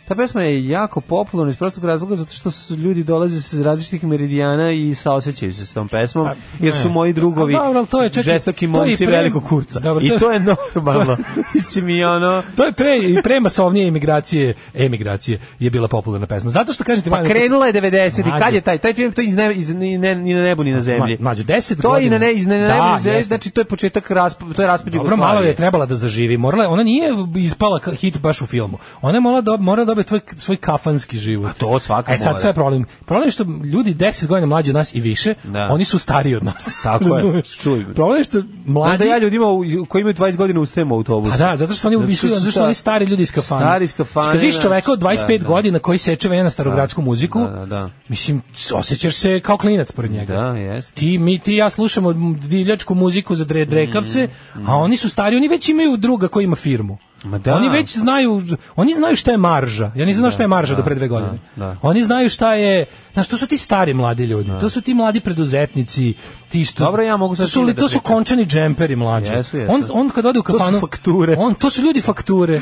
[SPEAKER 8] Ta pesma je jako popularna iz prostog razloga zato što su ljudi dolaze sa različitih meridijana i saosećaju se s tom pesmom,
[SPEAKER 7] A,
[SPEAKER 8] jer su
[SPEAKER 7] Pa, ne.
[SPEAKER 8] moji drugovi
[SPEAKER 7] A, dobro, ali to je, čekaj,
[SPEAKER 8] žestoki
[SPEAKER 7] to je i
[SPEAKER 8] momci
[SPEAKER 7] pre-
[SPEAKER 8] velikog kurca.
[SPEAKER 7] Dobro,
[SPEAKER 8] I
[SPEAKER 7] to je-
[SPEAKER 8] to je normalno. Mislim i ono...
[SPEAKER 7] To je pre i pre masovnije imigracije, emigracije je bila popularna pesma. Zato što kažete
[SPEAKER 8] Pa
[SPEAKER 7] Vanja,
[SPEAKER 8] krenula je 90 i
[SPEAKER 7] Mlađe.
[SPEAKER 8] kad je taj taj film to je iz ne, iz ni, ne, ni na nebu ni na zemlji.
[SPEAKER 7] Ma- mlađe, 10
[SPEAKER 8] To je i na ne iz ne, na
[SPEAKER 7] godina.
[SPEAKER 8] nebu
[SPEAKER 7] Da,
[SPEAKER 8] ni na zemlji,
[SPEAKER 7] jeste.
[SPEAKER 8] znači to je početak rasp, to je raspad
[SPEAKER 7] Dobro,
[SPEAKER 8] Jugoslavije.
[SPEAKER 7] malo je trebala da zaživi. Morala, je- ona nije ispala ka- hit baš u filmu. Ona je morala, do, morala dobiti tvoj, svoj kafanski život. A
[SPEAKER 8] to svaka
[SPEAKER 7] E sad
[SPEAKER 8] mora.
[SPEAKER 7] sve je problem. Problem je što ljudi 10 godina mlađi od nas i više,
[SPEAKER 8] Da.
[SPEAKER 7] oni su stariji od nas.
[SPEAKER 8] Tako je.
[SPEAKER 7] Razumeš?
[SPEAKER 8] Čuj.
[SPEAKER 7] Problem je što
[SPEAKER 8] Znaš
[SPEAKER 7] mladi...
[SPEAKER 8] da ja ljudima u- koji imaju 20 godina ustajem u autobusu.
[SPEAKER 7] Pa da, zato što oni
[SPEAKER 8] Zato
[SPEAKER 7] ubišli,
[SPEAKER 8] su
[SPEAKER 7] zato što
[SPEAKER 8] sta-
[SPEAKER 7] oni stari ljudi iz kafane.
[SPEAKER 8] Stari iz kafane,
[SPEAKER 7] Kad vidiš
[SPEAKER 8] da.
[SPEAKER 7] čoveka od 25
[SPEAKER 8] Da, da.
[SPEAKER 7] godina koji seče venja na starogradsku muziku,
[SPEAKER 8] Da, da, da.
[SPEAKER 7] mislim, osjećaš se kao klinac pored njega.
[SPEAKER 8] Da, jeste.
[SPEAKER 7] Ti, mi, ti i ja slušamo divljačku muziku za dre, drekavce, a oni su stari, oni već imaju druga koji ima firmu. Da. Oni već znaju, oni znaju šta je marža. Ja nisam znao šta je marža do pre dve godine. Oni znaju šta je, znaš, to su ti stari mladi ljudi, to su ti mladi preduzetnici, ti što
[SPEAKER 8] Dobro, ja mogu sad
[SPEAKER 7] to su,
[SPEAKER 8] s time
[SPEAKER 7] li,
[SPEAKER 8] da
[SPEAKER 7] to su
[SPEAKER 8] pričam.
[SPEAKER 7] končani džemperi mlađi.
[SPEAKER 8] Jesu, jesu.
[SPEAKER 7] On on kad ode u
[SPEAKER 8] To su
[SPEAKER 7] kafanu,
[SPEAKER 8] fakture.
[SPEAKER 7] On to su ljudi fakture.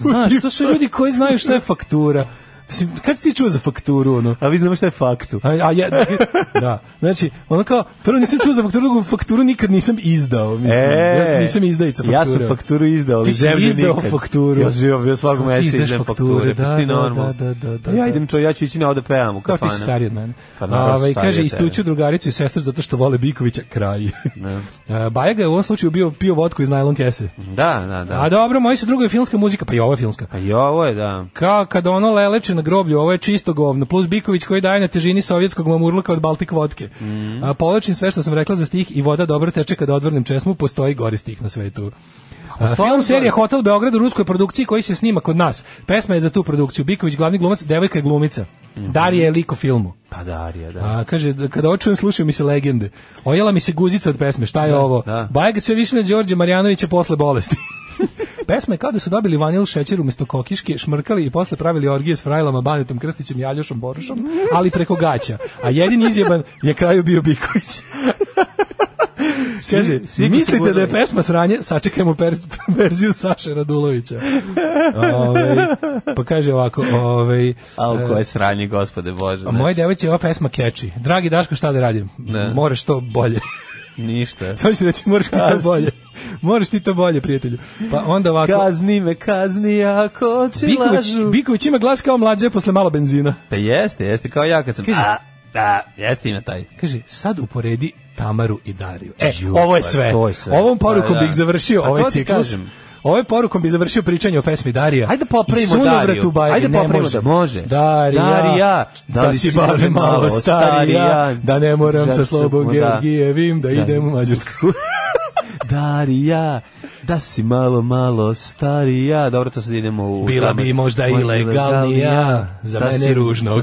[SPEAKER 7] Znaš, to su ljudi koji znaju šta je faktura. Mislim, kad si ti čuo za fakturu, ono?
[SPEAKER 8] A vi znamo šta je faktu.
[SPEAKER 7] A, a ja, da, znači, ono kao, prvo nisam čuo za fakturu, drugo fakturu nikad nisam izdao, mislim. ja nisam izdajica fakture.
[SPEAKER 8] E, Ja sam fakturu izdao, ali
[SPEAKER 7] Ti si
[SPEAKER 8] zemlju
[SPEAKER 7] izdao
[SPEAKER 8] nikad.
[SPEAKER 7] fakturu.
[SPEAKER 8] Ja sam ja svakog
[SPEAKER 7] Ti
[SPEAKER 8] meseca
[SPEAKER 7] izdaš
[SPEAKER 8] izdam
[SPEAKER 7] fakture,
[SPEAKER 8] fakture,
[SPEAKER 7] da,
[SPEAKER 8] pa ti
[SPEAKER 7] da,
[SPEAKER 8] normalno.
[SPEAKER 7] da, da, da,
[SPEAKER 8] Pa Ja
[SPEAKER 7] da.
[SPEAKER 8] idem čo, ja ću ići na ovde pevam u
[SPEAKER 7] Kao ti
[SPEAKER 8] kafanu.
[SPEAKER 7] si stariji od mene.
[SPEAKER 8] Pa naravno,
[SPEAKER 7] Ovaj,
[SPEAKER 8] stariji
[SPEAKER 7] kaže,
[SPEAKER 8] od tebe.
[SPEAKER 7] istuću drugaricu i sestru zato što vole Bikovića kraj. E, Bajaga je u ovom slučaju bio pio vodku iz najlon kese.
[SPEAKER 8] Da, da, da.
[SPEAKER 7] A dobro, moji su drugo je filmska muzika, pa i ovo je filmska.
[SPEAKER 8] Pa i ovo je, da.
[SPEAKER 7] Kao kad ono leleče na groblju, ovo je čisto govno, plus Biković koji daje na težini sovjetskog mamurluka od Baltik vodke. A, povlačim sve što sam rekla za stih i voda dobro teče kada odvrnem česmu, postoji gori stih na svetu. A, film serija Hotel Beograd u ruskoj produkciji koji se snima kod nas. Pesma je za tu produkciju. Biković glavni glumac, devojka je glumica. Darija je lik u filmu.
[SPEAKER 8] Pa Darija, da.
[SPEAKER 7] A, kaže, da kada očujem, slušaju mi se legende. Ojela mi se guzica od pesme, šta je ovo?
[SPEAKER 8] da.
[SPEAKER 7] Bajega sve više na Đorđe Marjanovića posle bolesti. Pesma je kao da su dobili vanil šećer umjesto kokiške, šmrkali i posle pravili orgije s frajlama, Banetom, Krstićem,Jaljošom, Borušom, ali preko gaća. A jedin izjeban je kraju bio Biković. Kaže,
[SPEAKER 8] svi koji su
[SPEAKER 7] mislite da je
[SPEAKER 8] gurali.
[SPEAKER 7] pesma sranje, sačekajmo pers- verziju Saše Radulovića. Ovaj, pa kaže ovako, ovaj,
[SPEAKER 8] Al
[SPEAKER 7] e,
[SPEAKER 8] ko je sranje, gospode Bože.
[SPEAKER 7] a Pa moje devojče ova pesma keči. Dragi Daško, šta da radim?
[SPEAKER 8] Ne.
[SPEAKER 7] Moraš to bolje.
[SPEAKER 8] Ništa.
[SPEAKER 7] Samo ću reći, moraš ti to
[SPEAKER 8] Kazni.
[SPEAKER 7] bolje. Moraš ti to bolje, prijatelju. Pa onda ovako...
[SPEAKER 8] Kazni me, kazni ako ti
[SPEAKER 7] Biković,
[SPEAKER 8] lažu.
[SPEAKER 7] Biković ima glas kao mlađe posle malo benzina.
[SPEAKER 8] Pa jeste, jeste, kao ja kad sam...
[SPEAKER 7] Kaže-
[SPEAKER 8] A, da, jeste ima taj.
[SPEAKER 7] Kaže, sad uporedi Tamaru i Dariju. E,
[SPEAKER 8] Ju,
[SPEAKER 7] ovo je
[SPEAKER 8] pa
[SPEAKER 7] sve.
[SPEAKER 8] to je sve.
[SPEAKER 7] Ovom porukom
[SPEAKER 8] Pa, da.
[SPEAKER 7] bih završio
[SPEAKER 8] Pa to
[SPEAKER 7] ovaj
[SPEAKER 8] ti
[SPEAKER 7] ciklus.
[SPEAKER 8] kažem.
[SPEAKER 7] Ove porukom bih završio pričanje o pesmi Darija.
[SPEAKER 8] Ajde da popravimo
[SPEAKER 7] I sunovrat
[SPEAKER 8] Dariju.
[SPEAKER 7] u bajagi,
[SPEAKER 8] Ajde
[SPEAKER 7] ne
[SPEAKER 8] popravimo
[SPEAKER 7] može.
[SPEAKER 8] da- može.
[SPEAKER 7] Darija,
[SPEAKER 8] Darija,
[SPEAKER 7] da, li si baš malo starija, da ne moram sa Slobom
[SPEAKER 8] Da.
[SPEAKER 7] Georgijevim da,
[SPEAKER 8] Da.
[SPEAKER 7] idem u Mađarsku.
[SPEAKER 8] Darija, da si malo, malo starija. Dobro, to sad idemo u...
[SPEAKER 7] Bila bi možda ilegalnija, za
[SPEAKER 8] Da
[SPEAKER 7] mene
[SPEAKER 8] si- Pa
[SPEAKER 7] ružnog.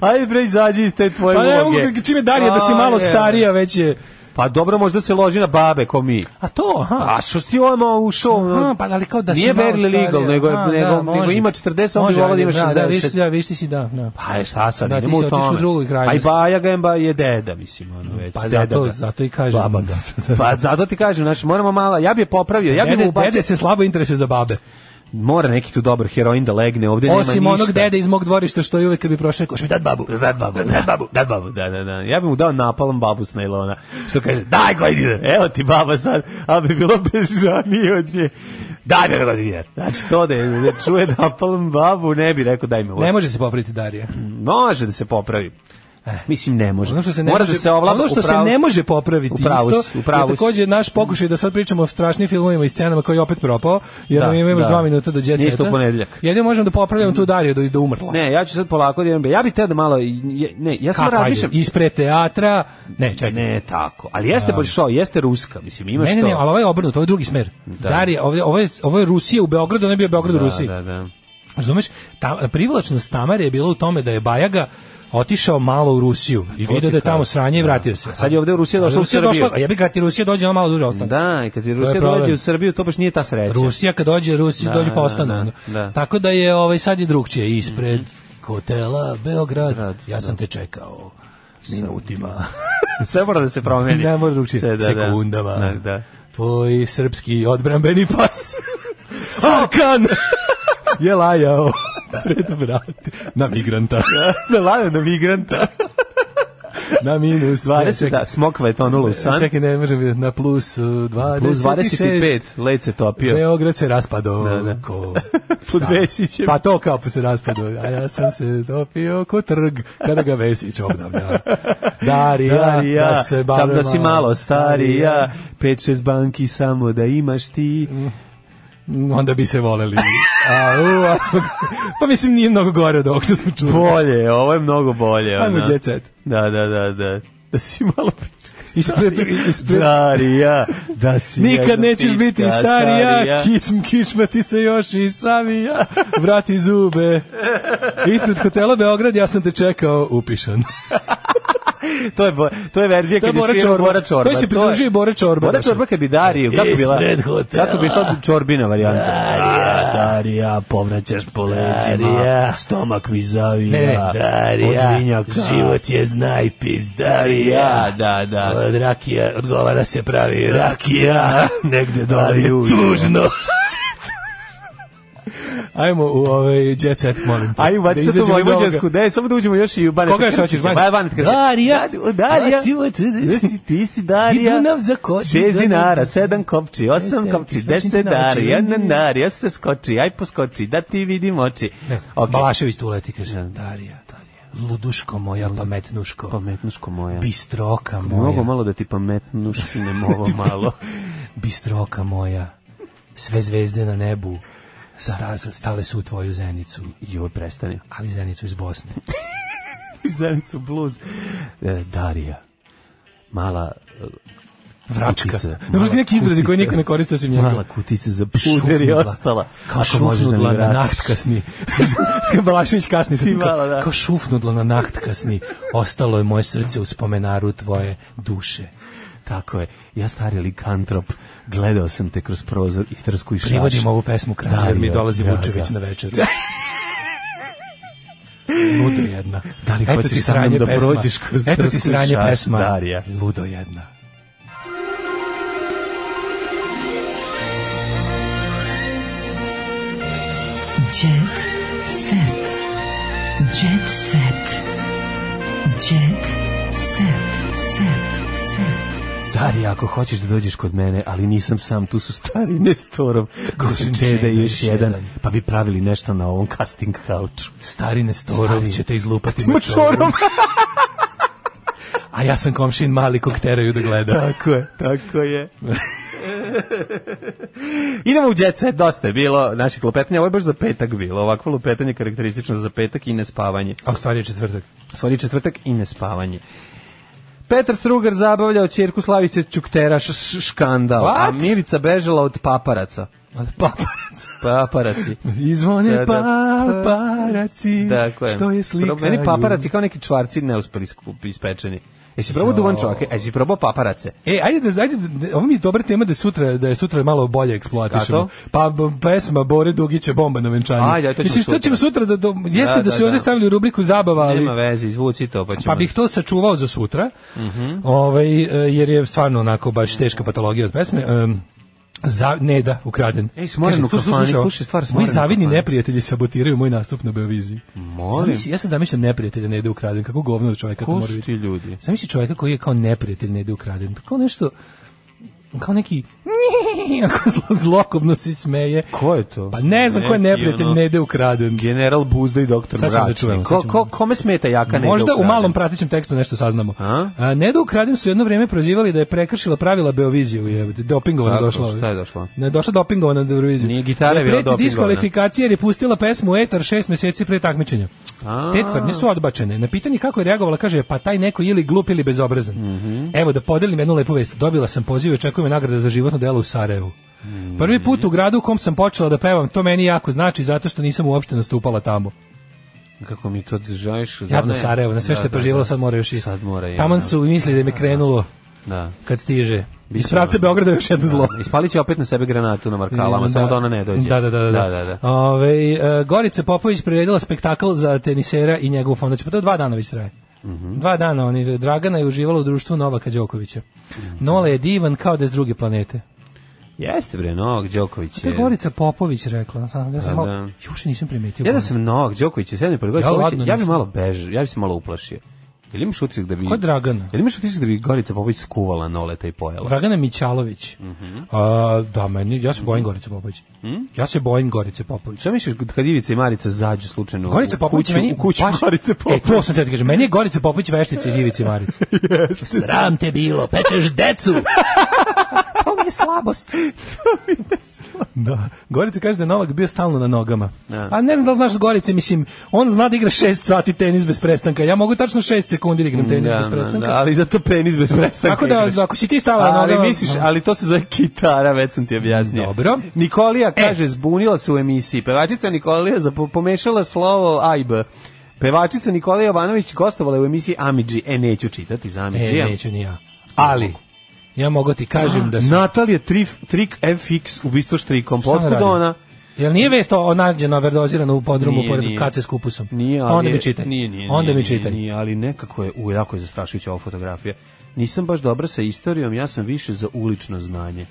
[SPEAKER 8] Ajde bre, izađi iz te tvoje
[SPEAKER 7] Pa ne mogu,
[SPEAKER 8] uloge.
[SPEAKER 7] čime Darija da si
[SPEAKER 8] A,
[SPEAKER 7] malo
[SPEAKER 8] je.
[SPEAKER 7] starija već je...
[SPEAKER 8] Pa dobro, možda se loži na babe, ko mi.
[SPEAKER 7] A to, aha.
[SPEAKER 8] A što si ti ovamo ušao?
[SPEAKER 7] Aha, pa ali kao da si
[SPEAKER 8] Nije
[SPEAKER 7] malo
[SPEAKER 8] barely legal,
[SPEAKER 7] starija.
[SPEAKER 8] nego je-
[SPEAKER 7] A, da,
[SPEAKER 8] nego-
[SPEAKER 7] može.
[SPEAKER 8] nego ima 40, on bi
[SPEAKER 7] Može,
[SPEAKER 8] volao
[SPEAKER 7] ali
[SPEAKER 8] da ima
[SPEAKER 7] Da, da,
[SPEAKER 8] 60.
[SPEAKER 7] viš, da, viš ti si, da. da.
[SPEAKER 8] Pa je šta sad,
[SPEAKER 7] Da, ti
[SPEAKER 8] idemo
[SPEAKER 7] si
[SPEAKER 8] u tome.
[SPEAKER 7] otišao u drugu
[SPEAKER 8] Pa i
[SPEAKER 7] krajnost.
[SPEAKER 8] Baja Gemba je deda, mislim, ono već.
[SPEAKER 7] Pa
[SPEAKER 8] deda
[SPEAKER 7] zato,
[SPEAKER 8] ga.
[SPEAKER 7] zato i kažem.
[SPEAKER 8] Baba ga. Pa zato ti kažem, znači, moramo mala, ja bi je popravio, ja bi mu
[SPEAKER 7] Dede,
[SPEAKER 8] ubacio,
[SPEAKER 7] dede se slabo interesuje za babe.
[SPEAKER 8] mora neki tu dobar heroin da legne, ovdje nema ništa.
[SPEAKER 7] Osim onog dede iz mog dvorišta što je uvek kad bi prošao, koš mi dat babu.
[SPEAKER 8] Zad babu, zad babu, zad babu, da, da, da. Ja bi mu dao napalan babu s najlona, što kaže, daj koji dinar, evo ti baba sad, a bi bilo bežanije od nje. Daj mi koji dinar. Znači, to da, je, da čuje napalan babu, ne bi rekao daj mi ovo.
[SPEAKER 7] Ne može se popraviti Darija.
[SPEAKER 8] Može da se popravi. Mislim, ne može.
[SPEAKER 7] Ono što se ne
[SPEAKER 8] Mora
[SPEAKER 7] može,
[SPEAKER 8] da se ovlada
[SPEAKER 7] ono što se
[SPEAKER 8] upravo-
[SPEAKER 7] ne može popraviti
[SPEAKER 8] Upravo si,
[SPEAKER 7] isto.
[SPEAKER 8] upravo si.
[SPEAKER 7] je takođe naš pokušaj da sad pričamo o strašnim filmovima i scenama koji je opet propao, jer
[SPEAKER 8] Da,
[SPEAKER 7] nam ima još
[SPEAKER 8] da.
[SPEAKER 7] dva minuta do djece.
[SPEAKER 8] Ništa u ponedeljak.
[SPEAKER 7] Jedino možemo da popravljamo tu Dariju da, da umrla.
[SPEAKER 8] Ne, ja ću sad polako da idem. Ja bih teo da malo... je- Ne, ja sam
[SPEAKER 7] Kako ajde,
[SPEAKER 8] razmišljam...
[SPEAKER 7] ispred teatra, ne, čekaj.
[SPEAKER 8] Ne, tako. Ali jeste bolšo, jeste ruska. Mislim, imaš
[SPEAKER 7] Ne, ne, ne,
[SPEAKER 8] to.
[SPEAKER 7] ali ovo je obrnuto, ovo je drugi smer. Darija, ovo je, ovo je, ovo je Rusija u Beogradu, ono je bio Beograd u Rusiji.
[SPEAKER 8] Da, da, da.
[SPEAKER 7] Razumeš? Ta, privlačnost Tamare je bila u tome da je Bajaga otišao malo u Rusiju i
[SPEAKER 8] To
[SPEAKER 7] vidio
[SPEAKER 8] ti
[SPEAKER 7] da je tamo
[SPEAKER 8] kažem.
[SPEAKER 7] sanje i vratio se.
[SPEAKER 8] A sad je ovde Rusija
[SPEAKER 7] A
[SPEAKER 8] došla u
[SPEAKER 7] Rusija
[SPEAKER 8] Srbiju.
[SPEAKER 7] došla, a jebi ga, ti Rusija dođe, ona malo duže ostane.
[SPEAKER 8] Da, i kad je Rusija
[SPEAKER 7] Pa problem.
[SPEAKER 8] dođe u Srbiju, to baš nije ta sreća.
[SPEAKER 7] Rusija kad dođe, Rusija
[SPEAKER 8] Da,
[SPEAKER 7] dođe pa
[SPEAKER 8] da,
[SPEAKER 7] ostane.
[SPEAKER 8] da,
[SPEAKER 7] ono.
[SPEAKER 8] da. Mhm.
[SPEAKER 7] Tako da je ovaj sad je drugčije ispred hotela Beograd. ja sam te čekao minutima.
[SPEAKER 8] Sve mora da se promeni.
[SPEAKER 7] ne može drugčije.
[SPEAKER 8] Sve, da, da.
[SPEAKER 7] Sekundama.
[SPEAKER 8] Da, da.
[SPEAKER 7] Tvoj srpski odbrambeni pas. Sarkan je lajao pred vrat na migranta.
[SPEAKER 8] Da lave na migranta.
[SPEAKER 7] Na minus. ne,
[SPEAKER 8] 20,
[SPEAKER 7] čekaj.
[SPEAKER 8] da, smokva je tonula u san.
[SPEAKER 7] Čekaj, ne možem vidjeti, na plus uh, 26.
[SPEAKER 8] Plus 25, led se topio.
[SPEAKER 7] Beograd se raspadao.
[SPEAKER 8] Da, da.
[SPEAKER 7] Ko,
[SPEAKER 8] Pod
[SPEAKER 7] šta?
[SPEAKER 8] Vesićem.
[SPEAKER 7] Pa to kao se raspadao. A ja sam se topio ko trg kada ga Vesić obnavlja. Darija,
[SPEAKER 8] Starija,
[SPEAKER 7] da se Pa
[SPEAKER 8] sam
[SPEAKER 7] bavim
[SPEAKER 8] da si malo starija, pet, šest banki samo da imaš ti.
[SPEAKER 7] Mhm. Mm, Onda bi se voleli. A, u, a smo- pa mislim nije mnogo gore od ovog što smo čuli.
[SPEAKER 8] Bolje, ovo je mnogo bolje.
[SPEAKER 7] Ajmo
[SPEAKER 8] ono.
[SPEAKER 7] jet set.
[SPEAKER 8] Da, da, da, da. Da si malo pička.
[SPEAKER 7] Ispred, ispred,
[SPEAKER 8] Starija, da si
[SPEAKER 7] Nikad
[SPEAKER 8] jedna
[SPEAKER 7] nećeš
[SPEAKER 8] pitka,
[SPEAKER 7] biti starija, kicm kičma ti se još i savija, vrati zube. Ispred hotela Beograd ja sam te čekao upišan.
[SPEAKER 8] to je bo, to je verzija
[SPEAKER 7] To je
[SPEAKER 8] kad je
[SPEAKER 7] Bora
[SPEAKER 8] svirao
[SPEAKER 7] Čorba.
[SPEAKER 8] Bora Čorba.
[SPEAKER 7] To se pridružio i Bora Čorba.
[SPEAKER 8] Bora Čorba kad bi Dariju, kako bila?
[SPEAKER 7] Ispred hotela.
[SPEAKER 8] Kako bi šla Čorbina varijanta? Darija, Darija, povraćaš po leđima.
[SPEAKER 7] Darija.
[SPEAKER 8] Stomak mi zavija.
[SPEAKER 7] Ne, ne, Darija,
[SPEAKER 8] od vinjaka.
[SPEAKER 7] život je znajpis, Darija.
[SPEAKER 8] Da, da.
[SPEAKER 7] Od rakija, od govara se pravi rakija.
[SPEAKER 8] Negde
[SPEAKER 7] Ali
[SPEAKER 8] doli
[SPEAKER 7] je
[SPEAKER 8] uđe.
[SPEAKER 7] tužno. Ajmo u ovaj jet set, molim. te.
[SPEAKER 8] Aj, baci
[SPEAKER 7] Da
[SPEAKER 8] sad u
[SPEAKER 7] izađemo iz ovoga.
[SPEAKER 8] Vojvođansku, daj, samo da uđemo još i u Baneta
[SPEAKER 7] Koga još hoćeš, Baneta?
[SPEAKER 8] Ba- Baneta Krstića.
[SPEAKER 7] Darija,
[SPEAKER 8] Da, Darija,
[SPEAKER 7] a si u-
[SPEAKER 8] Da si- ti si Darija.
[SPEAKER 7] Idu nam za koči,
[SPEAKER 8] Šest
[SPEAKER 7] za-
[SPEAKER 8] dinara, sedam kopči, osam
[SPEAKER 7] Jeste,
[SPEAKER 8] kopči,
[SPEAKER 7] ti skoči
[SPEAKER 8] deset
[SPEAKER 7] na oči.
[SPEAKER 8] dari, jedan dar, ja se skoči, aj poskoči, da ti vidim oči. Ok.
[SPEAKER 7] Balašević tu uleti, kaže. Darija, Darija. Luduško moja, pametnuško.
[SPEAKER 8] Pametnuško moja.
[SPEAKER 7] Bistroka moja.
[SPEAKER 8] Mogu malo da ti pametnuškinem ovo malo.
[SPEAKER 7] Bistroka moja, sve zvezde na nebu, sta, stale su u tvoju zenicu,
[SPEAKER 8] Joj, prestani.
[SPEAKER 7] ali zenicu iz Bosne.
[SPEAKER 8] Zenicu bluz. E, Darija. Mala e,
[SPEAKER 7] Vračka.
[SPEAKER 8] kutica,
[SPEAKER 7] Ne,
[SPEAKER 8] mala
[SPEAKER 7] možda neki izrazi koji
[SPEAKER 8] kutica.
[SPEAKER 7] niko ne koriste osim njega.
[SPEAKER 8] Mala kutica za puder je ostala.
[SPEAKER 7] Kao
[SPEAKER 8] Kako možeš da mi
[SPEAKER 7] šufnudla na
[SPEAKER 8] vratiš?
[SPEAKER 7] naht kasni. Skabalašević kasni. sad
[SPEAKER 8] Ti
[SPEAKER 7] kao-
[SPEAKER 8] malo, da.
[SPEAKER 7] Kao šufnudla na naht kasni. Ostalo je moje srce u spomenaru tvoje duše.
[SPEAKER 8] Tako je. Ja stari likantrop, gledao sam te kroz prozor i trsku i šaš.
[SPEAKER 7] Privodim ovu pesmu kraju, jer mi
[SPEAKER 8] Darija,
[SPEAKER 7] dolazi
[SPEAKER 8] draga.
[SPEAKER 7] Vučević na večer. Ludo jedna.
[SPEAKER 8] Da li
[SPEAKER 7] Eto
[SPEAKER 8] hoćeš
[SPEAKER 7] ti
[SPEAKER 8] sa mnom
[SPEAKER 7] sranje
[SPEAKER 8] da
[SPEAKER 7] pesma.
[SPEAKER 8] prođeš kroz
[SPEAKER 7] Eto
[SPEAKER 8] trsku
[SPEAKER 7] ti
[SPEAKER 8] i
[SPEAKER 7] sranje
[SPEAKER 8] šaš,
[SPEAKER 7] pesma.
[SPEAKER 8] Darija.
[SPEAKER 7] Ludo jedna.
[SPEAKER 5] Jet set. Jet set. Jet set. Set. Set.
[SPEAKER 8] Darija, ako hoćeš da dođeš kod mene, ali nisam sam, tu su stari Nestorov,
[SPEAKER 7] Mislim,
[SPEAKER 8] Košinčeda i još
[SPEAKER 7] jedan.
[SPEAKER 8] jedan, pa bi pravili nešto na ovom casting kauču.
[SPEAKER 7] Stari Nestorov
[SPEAKER 8] Stari.
[SPEAKER 7] će te izlupati
[SPEAKER 8] Mačorom.
[SPEAKER 7] mačorom. A ja sam komšin mali kog teraju da gleda.
[SPEAKER 8] Tako je, tako je. Idemo u jet set, dosta je bilo naše lupetanje, ovo je baš za petak bilo, ovakvo lupetanje je karakteristično za petak i nespavanje.
[SPEAKER 7] A u stvari je četvrtak.
[SPEAKER 8] Svodi četvrtak i nespavanje. Petar Strugar zabavljao ćerku Slavice Ćukteraš š- škandal, a
[SPEAKER 7] What?
[SPEAKER 8] Milica bežala od paparaca.
[SPEAKER 7] Pa, Paparac.
[SPEAKER 8] Paparaci.
[SPEAKER 7] Izvone
[SPEAKER 8] Da, da.
[SPEAKER 7] paparaci.
[SPEAKER 8] Tako je.
[SPEAKER 7] Što je slika?
[SPEAKER 8] Pro- Meni paparaci kao neki čvarci neuspeli skupi ispečeni. Jesi probao
[SPEAKER 7] Jo.
[SPEAKER 8] duvan čovake? Jesi probao paparace?
[SPEAKER 7] E, ajde da, ajde, da, ovo mi je dobra tema da sutra, da je sutra malo bolje eksploatišemo.
[SPEAKER 8] Kako?
[SPEAKER 7] Pa b- pesma Bore Dugića bomba na venčanju.
[SPEAKER 8] Ajde, to ćemo
[SPEAKER 7] Mislim, što
[SPEAKER 8] sutra.
[SPEAKER 7] ćemo sutra da, do, jeste
[SPEAKER 8] Da,
[SPEAKER 7] da,
[SPEAKER 8] da,
[SPEAKER 7] su
[SPEAKER 8] da.
[SPEAKER 7] ovdje stavili u rubriku zabava, ali...
[SPEAKER 8] Nema veze, izvuci to pa ćemo. Mhm.
[SPEAKER 7] Pa bih to sačuvao za sutra, ovaj, e, jer je stvarno onako baš teška patologija od pesme. Em, za, ne da, ukraden.
[SPEAKER 8] Ej, smoren
[SPEAKER 7] Kaže,
[SPEAKER 8] u
[SPEAKER 7] slušaj,
[SPEAKER 8] kafani,
[SPEAKER 7] ovo.
[SPEAKER 8] slušaj stvar,
[SPEAKER 7] Moji
[SPEAKER 8] smoren u
[SPEAKER 7] zavidni
[SPEAKER 8] kafani.
[SPEAKER 7] neprijatelji sabotiraju moj nastup na Beoviziji.
[SPEAKER 8] Molim.
[SPEAKER 7] Zamisli, ja sad zamišljam neprijatelja ne ide ukraden, kako govno od čovjeka to
[SPEAKER 8] Ko
[SPEAKER 7] mora
[SPEAKER 8] su ti
[SPEAKER 7] biti.
[SPEAKER 8] ljudi?
[SPEAKER 7] Zamisli čovjeka koji je kao neprijatelj ne ide ukraden, kao nešto, kao neki ako zlo, zlokobno se smeje.
[SPEAKER 8] Ko je to?
[SPEAKER 7] Pa ne znam ko je
[SPEAKER 8] Neki,
[SPEAKER 7] neprijatelj
[SPEAKER 8] ono,
[SPEAKER 7] ne ide ukraden.
[SPEAKER 8] General Buzda i doktor
[SPEAKER 7] Sad ćemo da čujemo, sad
[SPEAKER 8] Ko,
[SPEAKER 7] ćemo.
[SPEAKER 8] ko, kome smeta jaka ne
[SPEAKER 7] Možda u malom pratećem tekstu nešto saznamo.
[SPEAKER 8] A?
[SPEAKER 7] A, Neda Ukradim su jedno vrijeme prozivali da je prekršila pravila Beovizije, jebote, dopingovana
[SPEAKER 8] Kako?
[SPEAKER 7] došla.
[SPEAKER 8] Šta je došla?
[SPEAKER 7] Ne, došla dopingovana na Beoviziju.
[SPEAKER 8] Nije gitara
[SPEAKER 7] Da je
[SPEAKER 8] bila
[SPEAKER 7] preti
[SPEAKER 8] dopingovana.
[SPEAKER 7] diskvalifikacije jer je pustila pesmu u Etar šest mjeseci pre takmičenja.
[SPEAKER 8] A.
[SPEAKER 7] Te tvrdnje su odbačene. Na pitanje kako je reagovala, kaže, pa taj neko ili glup ili bezobrazan.
[SPEAKER 8] Mhm.
[SPEAKER 7] Evo da podelim jednu lepu vest. Dobila sam poziv i očekuje me nagrada za životno delo u Sarajevu.
[SPEAKER 8] Mhm.
[SPEAKER 7] Prvi put u gradu u kom sam počela da pevam, to meni jako znači zato što nisam uopšte nastupala tamo.
[SPEAKER 8] Kako mi to želiš?
[SPEAKER 7] Jadno Sarajevo, na sve što je preživjelo sad mora još i.
[SPEAKER 8] Sad mora i ono.
[SPEAKER 7] Taman su mislili da mi krenulo
[SPEAKER 8] Da.
[SPEAKER 7] kad stiže. Iz pravca Beograda još jedno zlo.
[SPEAKER 8] Ispalit će opet na sebe granatu na markalama, samo ono- da ona ne dođe.
[SPEAKER 7] Mm, Da, da, da. da.
[SPEAKER 8] da, da.
[SPEAKER 7] Ovaj, e, Gorica Popović priredila spektakl za tenisera i njegovu fondaciju. Pa to dva dana već traje.
[SPEAKER 8] Mhm.
[SPEAKER 7] Dva dana oni, Dragana je uživala u društvu Novaka Đokovića.
[SPEAKER 8] Mhm.
[SPEAKER 7] Nola je divan kao da je s druge planete.
[SPEAKER 8] Jeste bre, Novak Đoković
[SPEAKER 7] To je
[SPEAKER 8] je...
[SPEAKER 7] Gorica Popović rekla. Sam, ja sam
[SPEAKER 8] Pa
[SPEAKER 7] malo,
[SPEAKER 8] da.
[SPEAKER 7] juče nisam primetio.
[SPEAKER 8] Ja da sam Novak Đoković, je sedmi pored Gorica
[SPEAKER 7] Ja
[SPEAKER 8] Popovića,
[SPEAKER 7] ladno
[SPEAKER 8] ja bi
[SPEAKER 7] nisam.
[SPEAKER 8] malo bežao, ja bi se malo uplašio. Jel imaš utisak da bi...
[SPEAKER 7] Ko je Dragana?
[SPEAKER 8] Jel imaš utisak da bi Gorica Popović skuvala Noleta i pojela?
[SPEAKER 7] Dragana Mićalović.
[SPEAKER 8] Mhm.
[SPEAKER 7] A, da, meni, ja se bojim Gorice Popović. Ja se bojim Gorice Popović.
[SPEAKER 8] Šta misliš kad Ivica i Marica zađu slučajno u-
[SPEAKER 7] Gorica
[SPEAKER 8] u
[SPEAKER 7] Popović
[SPEAKER 8] kuću,
[SPEAKER 7] meni
[SPEAKER 8] u kuću
[SPEAKER 7] baš-
[SPEAKER 8] Marice Popović?
[SPEAKER 7] E, to sam te da kažem. Meni je Gorica Popović veštica iz Ivice Marice. Sram te bilo, pečeš decu. to mi je slabost. Da. Gorica kaže da je Novak bio stalno na nogama.
[SPEAKER 8] Da.
[SPEAKER 7] A ne znam da li znaš Gorice, mislim, on zna da igra 6 sati tenis bez prestanka. Ja mogu tačno 6 sekundi da igram tenis bez
[SPEAKER 8] da,
[SPEAKER 7] prestanka.
[SPEAKER 8] da, ali zato penis bez prestanka.
[SPEAKER 7] Tako da,
[SPEAKER 8] igraš.
[SPEAKER 7] ako si ti stala na
[SPEAKER 8] Ali
[SPEAKER 7] nogama-
[SPEAKER 8] misliš, ali to se zove kitara, već sam ti objasnio.
[SPEAKER 7] Dobro. E.
[SPEAKER 8] Nikolija kaže, zbunila se u emisiji. Pevačica Nikolija zapo- pomešala slovo A i B. Pevačica Nikola Jovanović gostovala je u emisiji Amidži. E, neću čitati za Amidži.
[SPEAKER 7] E, neću ni ja. Ali, ja mogu ti kažem da sam...
[SPEAKER 8] Natalija Trif, Trik FX ubistvo štrikom.
[SPEAKER 7] Šta ona
[SPEAKER 8] Potkud
[SPEAKER 7] radi?
[SPEAKER 8] ona?
[SPEAKER 7] Jel nije vest o nađena verdozirana u podrumu
[SPEAKER 8] Nije,
[SPEAKER 7] pored
[SPEAKER 8] nije.
[SPEAKER 7] kace s kupusom?
[SPEAKER 8] Nije,
[SPEAKER 7] Pa
[SPEAKER 8] ali...
[SPEAKER 7] Onda
[SPEAKER 8] je-
[SPEAKER 7] mi čitaj.
[SPEAKER 8] Nije, nije, nije,
[SPEAKER 7] Onda mi
[SPEAKER 8] nije,
[SPEAKER 7] čitaj.
[SPEAKER 8] Nije, ali nekako je, u, jako je zastrašujuća ova fotografija. Nisam baš dobra sa istorijom, ja sam više za ulično znanje.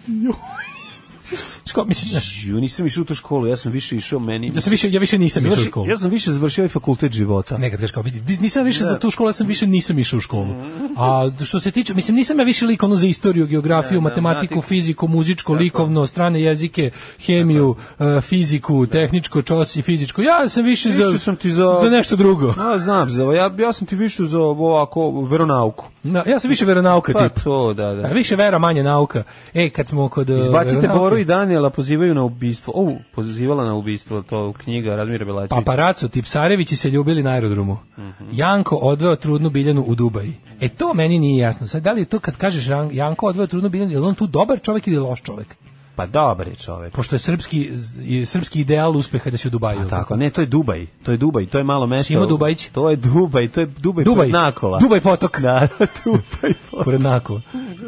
[SPEAKER 7] Ško, mislim, znaš,
[SPEAKER 8] Ju, nisam išao u tu školu, ja sam više išao meni...
[SPEAKER 7] ja, sam više, ja više nisam išao u
[SPEAKER 8] Završi-
[SPEAKER 7] školu.
[SPEAKER 8] Ja sam više završio ovaj fakultet života.
[SPEAKER 7] Nekad kažeš kao, vidi, vi- nisam više za tu školu, ja sam više nisam išao u školu. A što se tiče, mislim, nisam ja više lik ono za istoriju, geografiju, matematiku, fiziku, muzičko, likovno, strane jezike, hemiju, eh, fiziku, tehničko, čos i fizičko. Ja sam više,
[SPEAKER 8] Više
[SPEAKER 7] za,
[SPEAKER 8] sam ti za-
[SPEAKER 7] za nešto drugo.
[SPEAKER 8] A, znam, za, ovo, ja, ja sam ti više za ovo, ovako, veronauku.
[SPEAKER 7] Na- ja sam više veronauka
[SPEAKER 8] Pa
[SPEAKER 7] tip.
[SPEAKER 8] to, da, da.
[SPEAKER 7] A više vera, manje nauka. E, kad smo kod eh,
[SPEAKER 8] Izbacite
[SPEAKER 7] veronauke-
[SPEAKER 8] Boru i Daniela, pozivaju na ubistvo. O, pozivala na ubistvo, to knjiga Radmira Belačevića.
[SPEAKER 7] Paparaco, Tipsarevići se ljubili na aerodromu. Janko odveo trudnu biljanu u Dubaj. E to meni nije jasno. Sad, da li je to kad kažeš Jan- Janko odveo trudnu biljanu, je li on tu dobar čovjek ili loš čovjek?
[SPEAKER 8] Pa dobar je čovek.
[SPEAKER 7] Pošto je srpski, i srpski ideal uspeha da se u Dubaju.
[SPEAKER 8] Pa tako, ne, to je Dubaj. To je Dubaj, to je malo mesto.
[SPEAKER 7] Simo Dubajić.
[SPEAKER 8] To je Dubaj, to je Dubaj,
[SPEAKER 7] Dubaj.
[SPEAKER 8] pored Nakola.
[SPEAKER 7] Dubaj potok.
[SPEAKER 8] Da, Dubaj. pored-
[SPEAKER 7] Pored Nakova.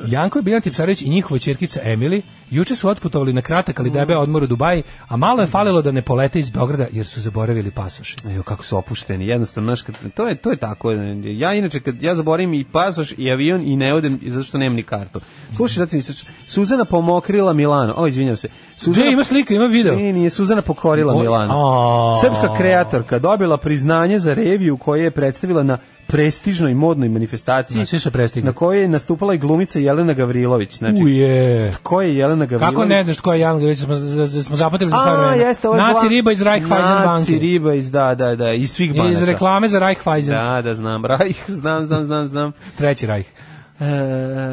[SPEAKER 7] Janko je Biljan Tipsarević i njihova ćerkica Emily juče su otputovali na kratak ali debeo odmor u Dubaji, a malo je falilo da ne polete iz Beograda jer su zaboravili pasoše.
[SPEAKER 8] Evo kako su opušteni. Jednostavno znaš, kad, to je to je tako. Ja inače kad ja zaboravim i pasoš i avion i ne odem zato što nemam ni kartu. Slušaj, da ti nisam- Suzana pomokrila Milano. O, izvinjavam se. Suzana
[SPEAKER 7] Gde E, ima slika, ima video.
[SPEAKER 8] Nije, nije Suzana pokorila
[SPEAKER 7] Oj,
[SPEAKER 8] Milano.
[SPEAKER 7] a.
[SPEAKER 8] Srpska kreatorka dobila priznanje za reviju koju je predstavila na prestižnoj modnoj manifestaciji
[SPEAKER 7] Na, svi su prestigli.
[SPEAKER 8] na kojoj je nastupala i glumica Jelena Gavrilović. Znači,
[SPEAKER 7] Uje.
[SPEAKER 8] ko je Jelena Gavrilović?
[SPEAKER 7] Kako ne znaš tko je Jan Gavrilović, smo, z- z- smo zapatili za stvar
[SPEAKER 8] A,
[SPEAKER 7] vremena.
[SPEAKER 8] jeste, ovo je
[SPEAKER 7] Naci
[SPEAKER 8] zla-
[SPEAKER 7] riba iz Raiffeisen
[SPEAKER 8] Naci
[SPEAKER 7] banke.
[SPEAKER 8] riba iz, da, da, da, iz svih banaka.
[SPEAKER 7] Iz reklame za Raiffeisen.
[SPEAKER 8] Da, da, znam, Rajh, znam, znam, znam, znam.
[SPEAKER 7] Treći Rajh.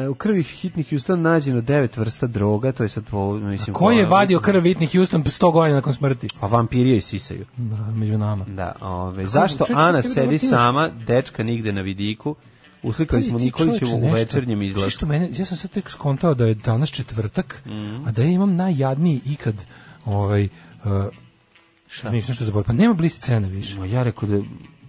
[SPEAKER 8] E, u krvi hitnih Houston nađeno devet vrsta droga, to je sad po, mislim...
[SPEAKER 7] Ko je
[SPEAKER 8] po-
[SPEAKER 7] vadio krv Whitney Houston 100 godina nakon smrti?
[SPEAKER 8] A vampiri joj sisaju.
[SPEAKER 7] Da, Među nama.
[SPEAKER 8] Da, ove, zašto
[SPEAKER 7] čekaj,
[SPEAKER 8] Ana
[SPEAKER 7] čekaj,
[SPEAKER 8] sedi
[SPEAKER 7] ti imaš-
[SPEAKER 8] sama, dečka nigde na vidiku, uslikali smo
[SPEAKER 7] Pazi ti,
[SPEAKER 8] Nikolićevu
[SPEAKER 7] čoveče,
[SPEAKER 8] u
[SPEAKER 7] nešto.
[SPEAKER 8] večernjem
[SPEAKER 7] Znaš
[SPEAKER 8] izlazu.
[SPEAKER 7] što mene, ja sam sad tek skontao da je danas četvrtak,
[SPEAKER 8] Mhm.
[SPEAKER 7] a da ja imam najjadniji ikad ovaj, uh, šta? Nisam što zaboravio. Pa nema blic cene više.
[SPEAKER 8] Ma, Ja rekao da...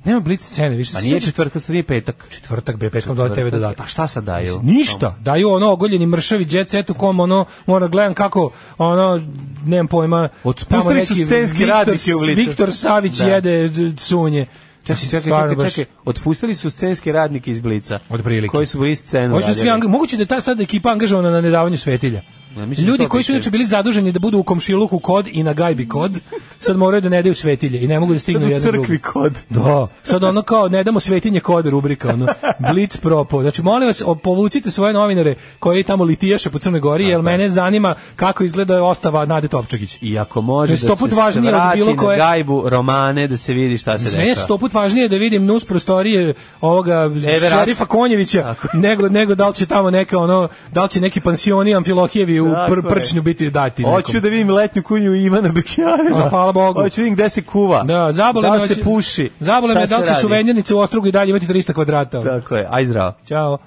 [SPEAKER 7] Nema blic cene više.
[SPEAKER 8] Pa nije
[SPEAKER 7] Sve-
[SPEAKER 8] četvrtka, to nije petak.
[SPEAKER 7] četvrtak, bre, petkom dole TV dodatak.
[SPEAKER 8] Pa šta sad daju?
[SPEAKER 7] Ništa, daju ono ogoljeni mršavi jet set u kom ono, mora gledam kako ono, nemam pojma
[SPEAKER 8] Otpustili
[SPEAKER 7] tamo neki
[SPEAKER 8] su scenske
[SPEAKER 7] Viktor-
[SPEAKER 8] radnike u Licu.
[SPEAKER 7] Viktor Savić
[SPEAKER 8] Da.
[SPEAKER 7] jede d- sunje
[SPEAKER 8] Čekaj,
[SPEAKER 7] Mislim,
[SPEAKER 8] Pa, čekaj,
[SPEAKER 7] stvarno
[SPEAKER 8] čekaj,
[SPEAKER 7] baš-
[SPEAKER 8] čekaj. Otpustili su scenske radnike iz Blica.
[SPEAKER 7] Od prilike.
[SPEAKER 8] Koji su bili scenu
[SPEAKER 7] Oni su svi
[SPEAKER 8] radili.
[SPEAKER 7] anga- moguće da je ta sad ekipa angažovana na nedavanju svetilja.
[SPEAKER 8] Ja, mislim da
[SPEAKER 7] Ljudi
[SPEAKER 8] to
[SPEAKER 7] koji su
[SPEAKER 8] biće.
[SPEAKER 7] inače bili zaduženi da budu u komšiluku kod i na gajbi kod, sad moraju da ne daju svetilje i ne mogu da
[SPEAKER 8] Sad
[SPEAKER 7] stignu
[SPEAKER 8] u
[SPEAKER 7] jedan
[SPEAKER 8] crkvi
[SPEAKER 7] drugi.
[SPEAKER 8] kod.
[SPEAKER 7] Da, sad ono kao ne damo svetinje kod rubrika, ono Blitz propo. Znači molim vas o- povucite svoje novinare koji tamo litijaše po Crnoj Gori, jer mene zanima kako izgleda ostava Nade Topčagić.
[SPEAKER 8] I ako
[SPEAKER 7] To
[SPEAKER 8] može
[SPEAKER 7] je
[SPEAKER 8] da
[SPEAKER 7] sto
[SPEAKER 8] se
[SPEAKER 7] put važnije od
[SPEAKER 8] svrati
[SPEAKER 7] bilo koje-
[SPEAKER 8] na gajbu romane, da se vidi šta se
[SPEAKER 7] Mislim, Znači, meni je
[SPEAKER 8] dešava.
[SPEAKER 7] sto put važnije da vidim nus prostorije ovoga
[SPEAKER 8] Everas.
[SPEAKER 7] šerifa Konjevića
[SPEAKER 8] E, Tako.
[SPEAKER 7] nego, nego da li će tamo neka ono, da li će neki pansioni Amfilohijevi u
[SPEAKER 8] Tako je.
[SPEAKER 7] pr, prčnju biti dati nekom.
[SPEAKER 8] Hoću da vidim letnju kunju Ivana Bekjarina.
[SPEAKER 7] A, hvala Bogu.
[SPEAKER 8] Hoću da vidim gde se kuva.
[SPEAKER 7] Da, zabole
[SPEAKER 8] da
[SPEAKER 7] me
[SPEAKER 8] li se
[SPEAKER 7] hoće-
[SPEAKER 8] puši.
[SPEAKER 7] Zabole
[SPEAKER 8] šta
[SPEAKER 7] me da li
[SPEAKER 8] se
[SPEAKER 7] će
[SPEAKER 8] radi.
[SPEAKER 7] suvenirnice u Ostrugu i dalje imati 300 kvadrata.
[SPEAKER 8] Tako je, aj zdravo.
[SPEAKER 7] Ćao.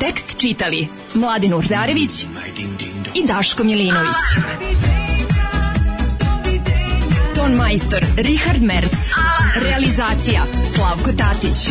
[SPEAKER 5] Tekst čitali Mladin Urdarević i Daško Milinović. Ton majstor Richard Merc. Realizacija Slavko Tatić.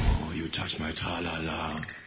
[SPEAKER 9] You touch my tra-la-la.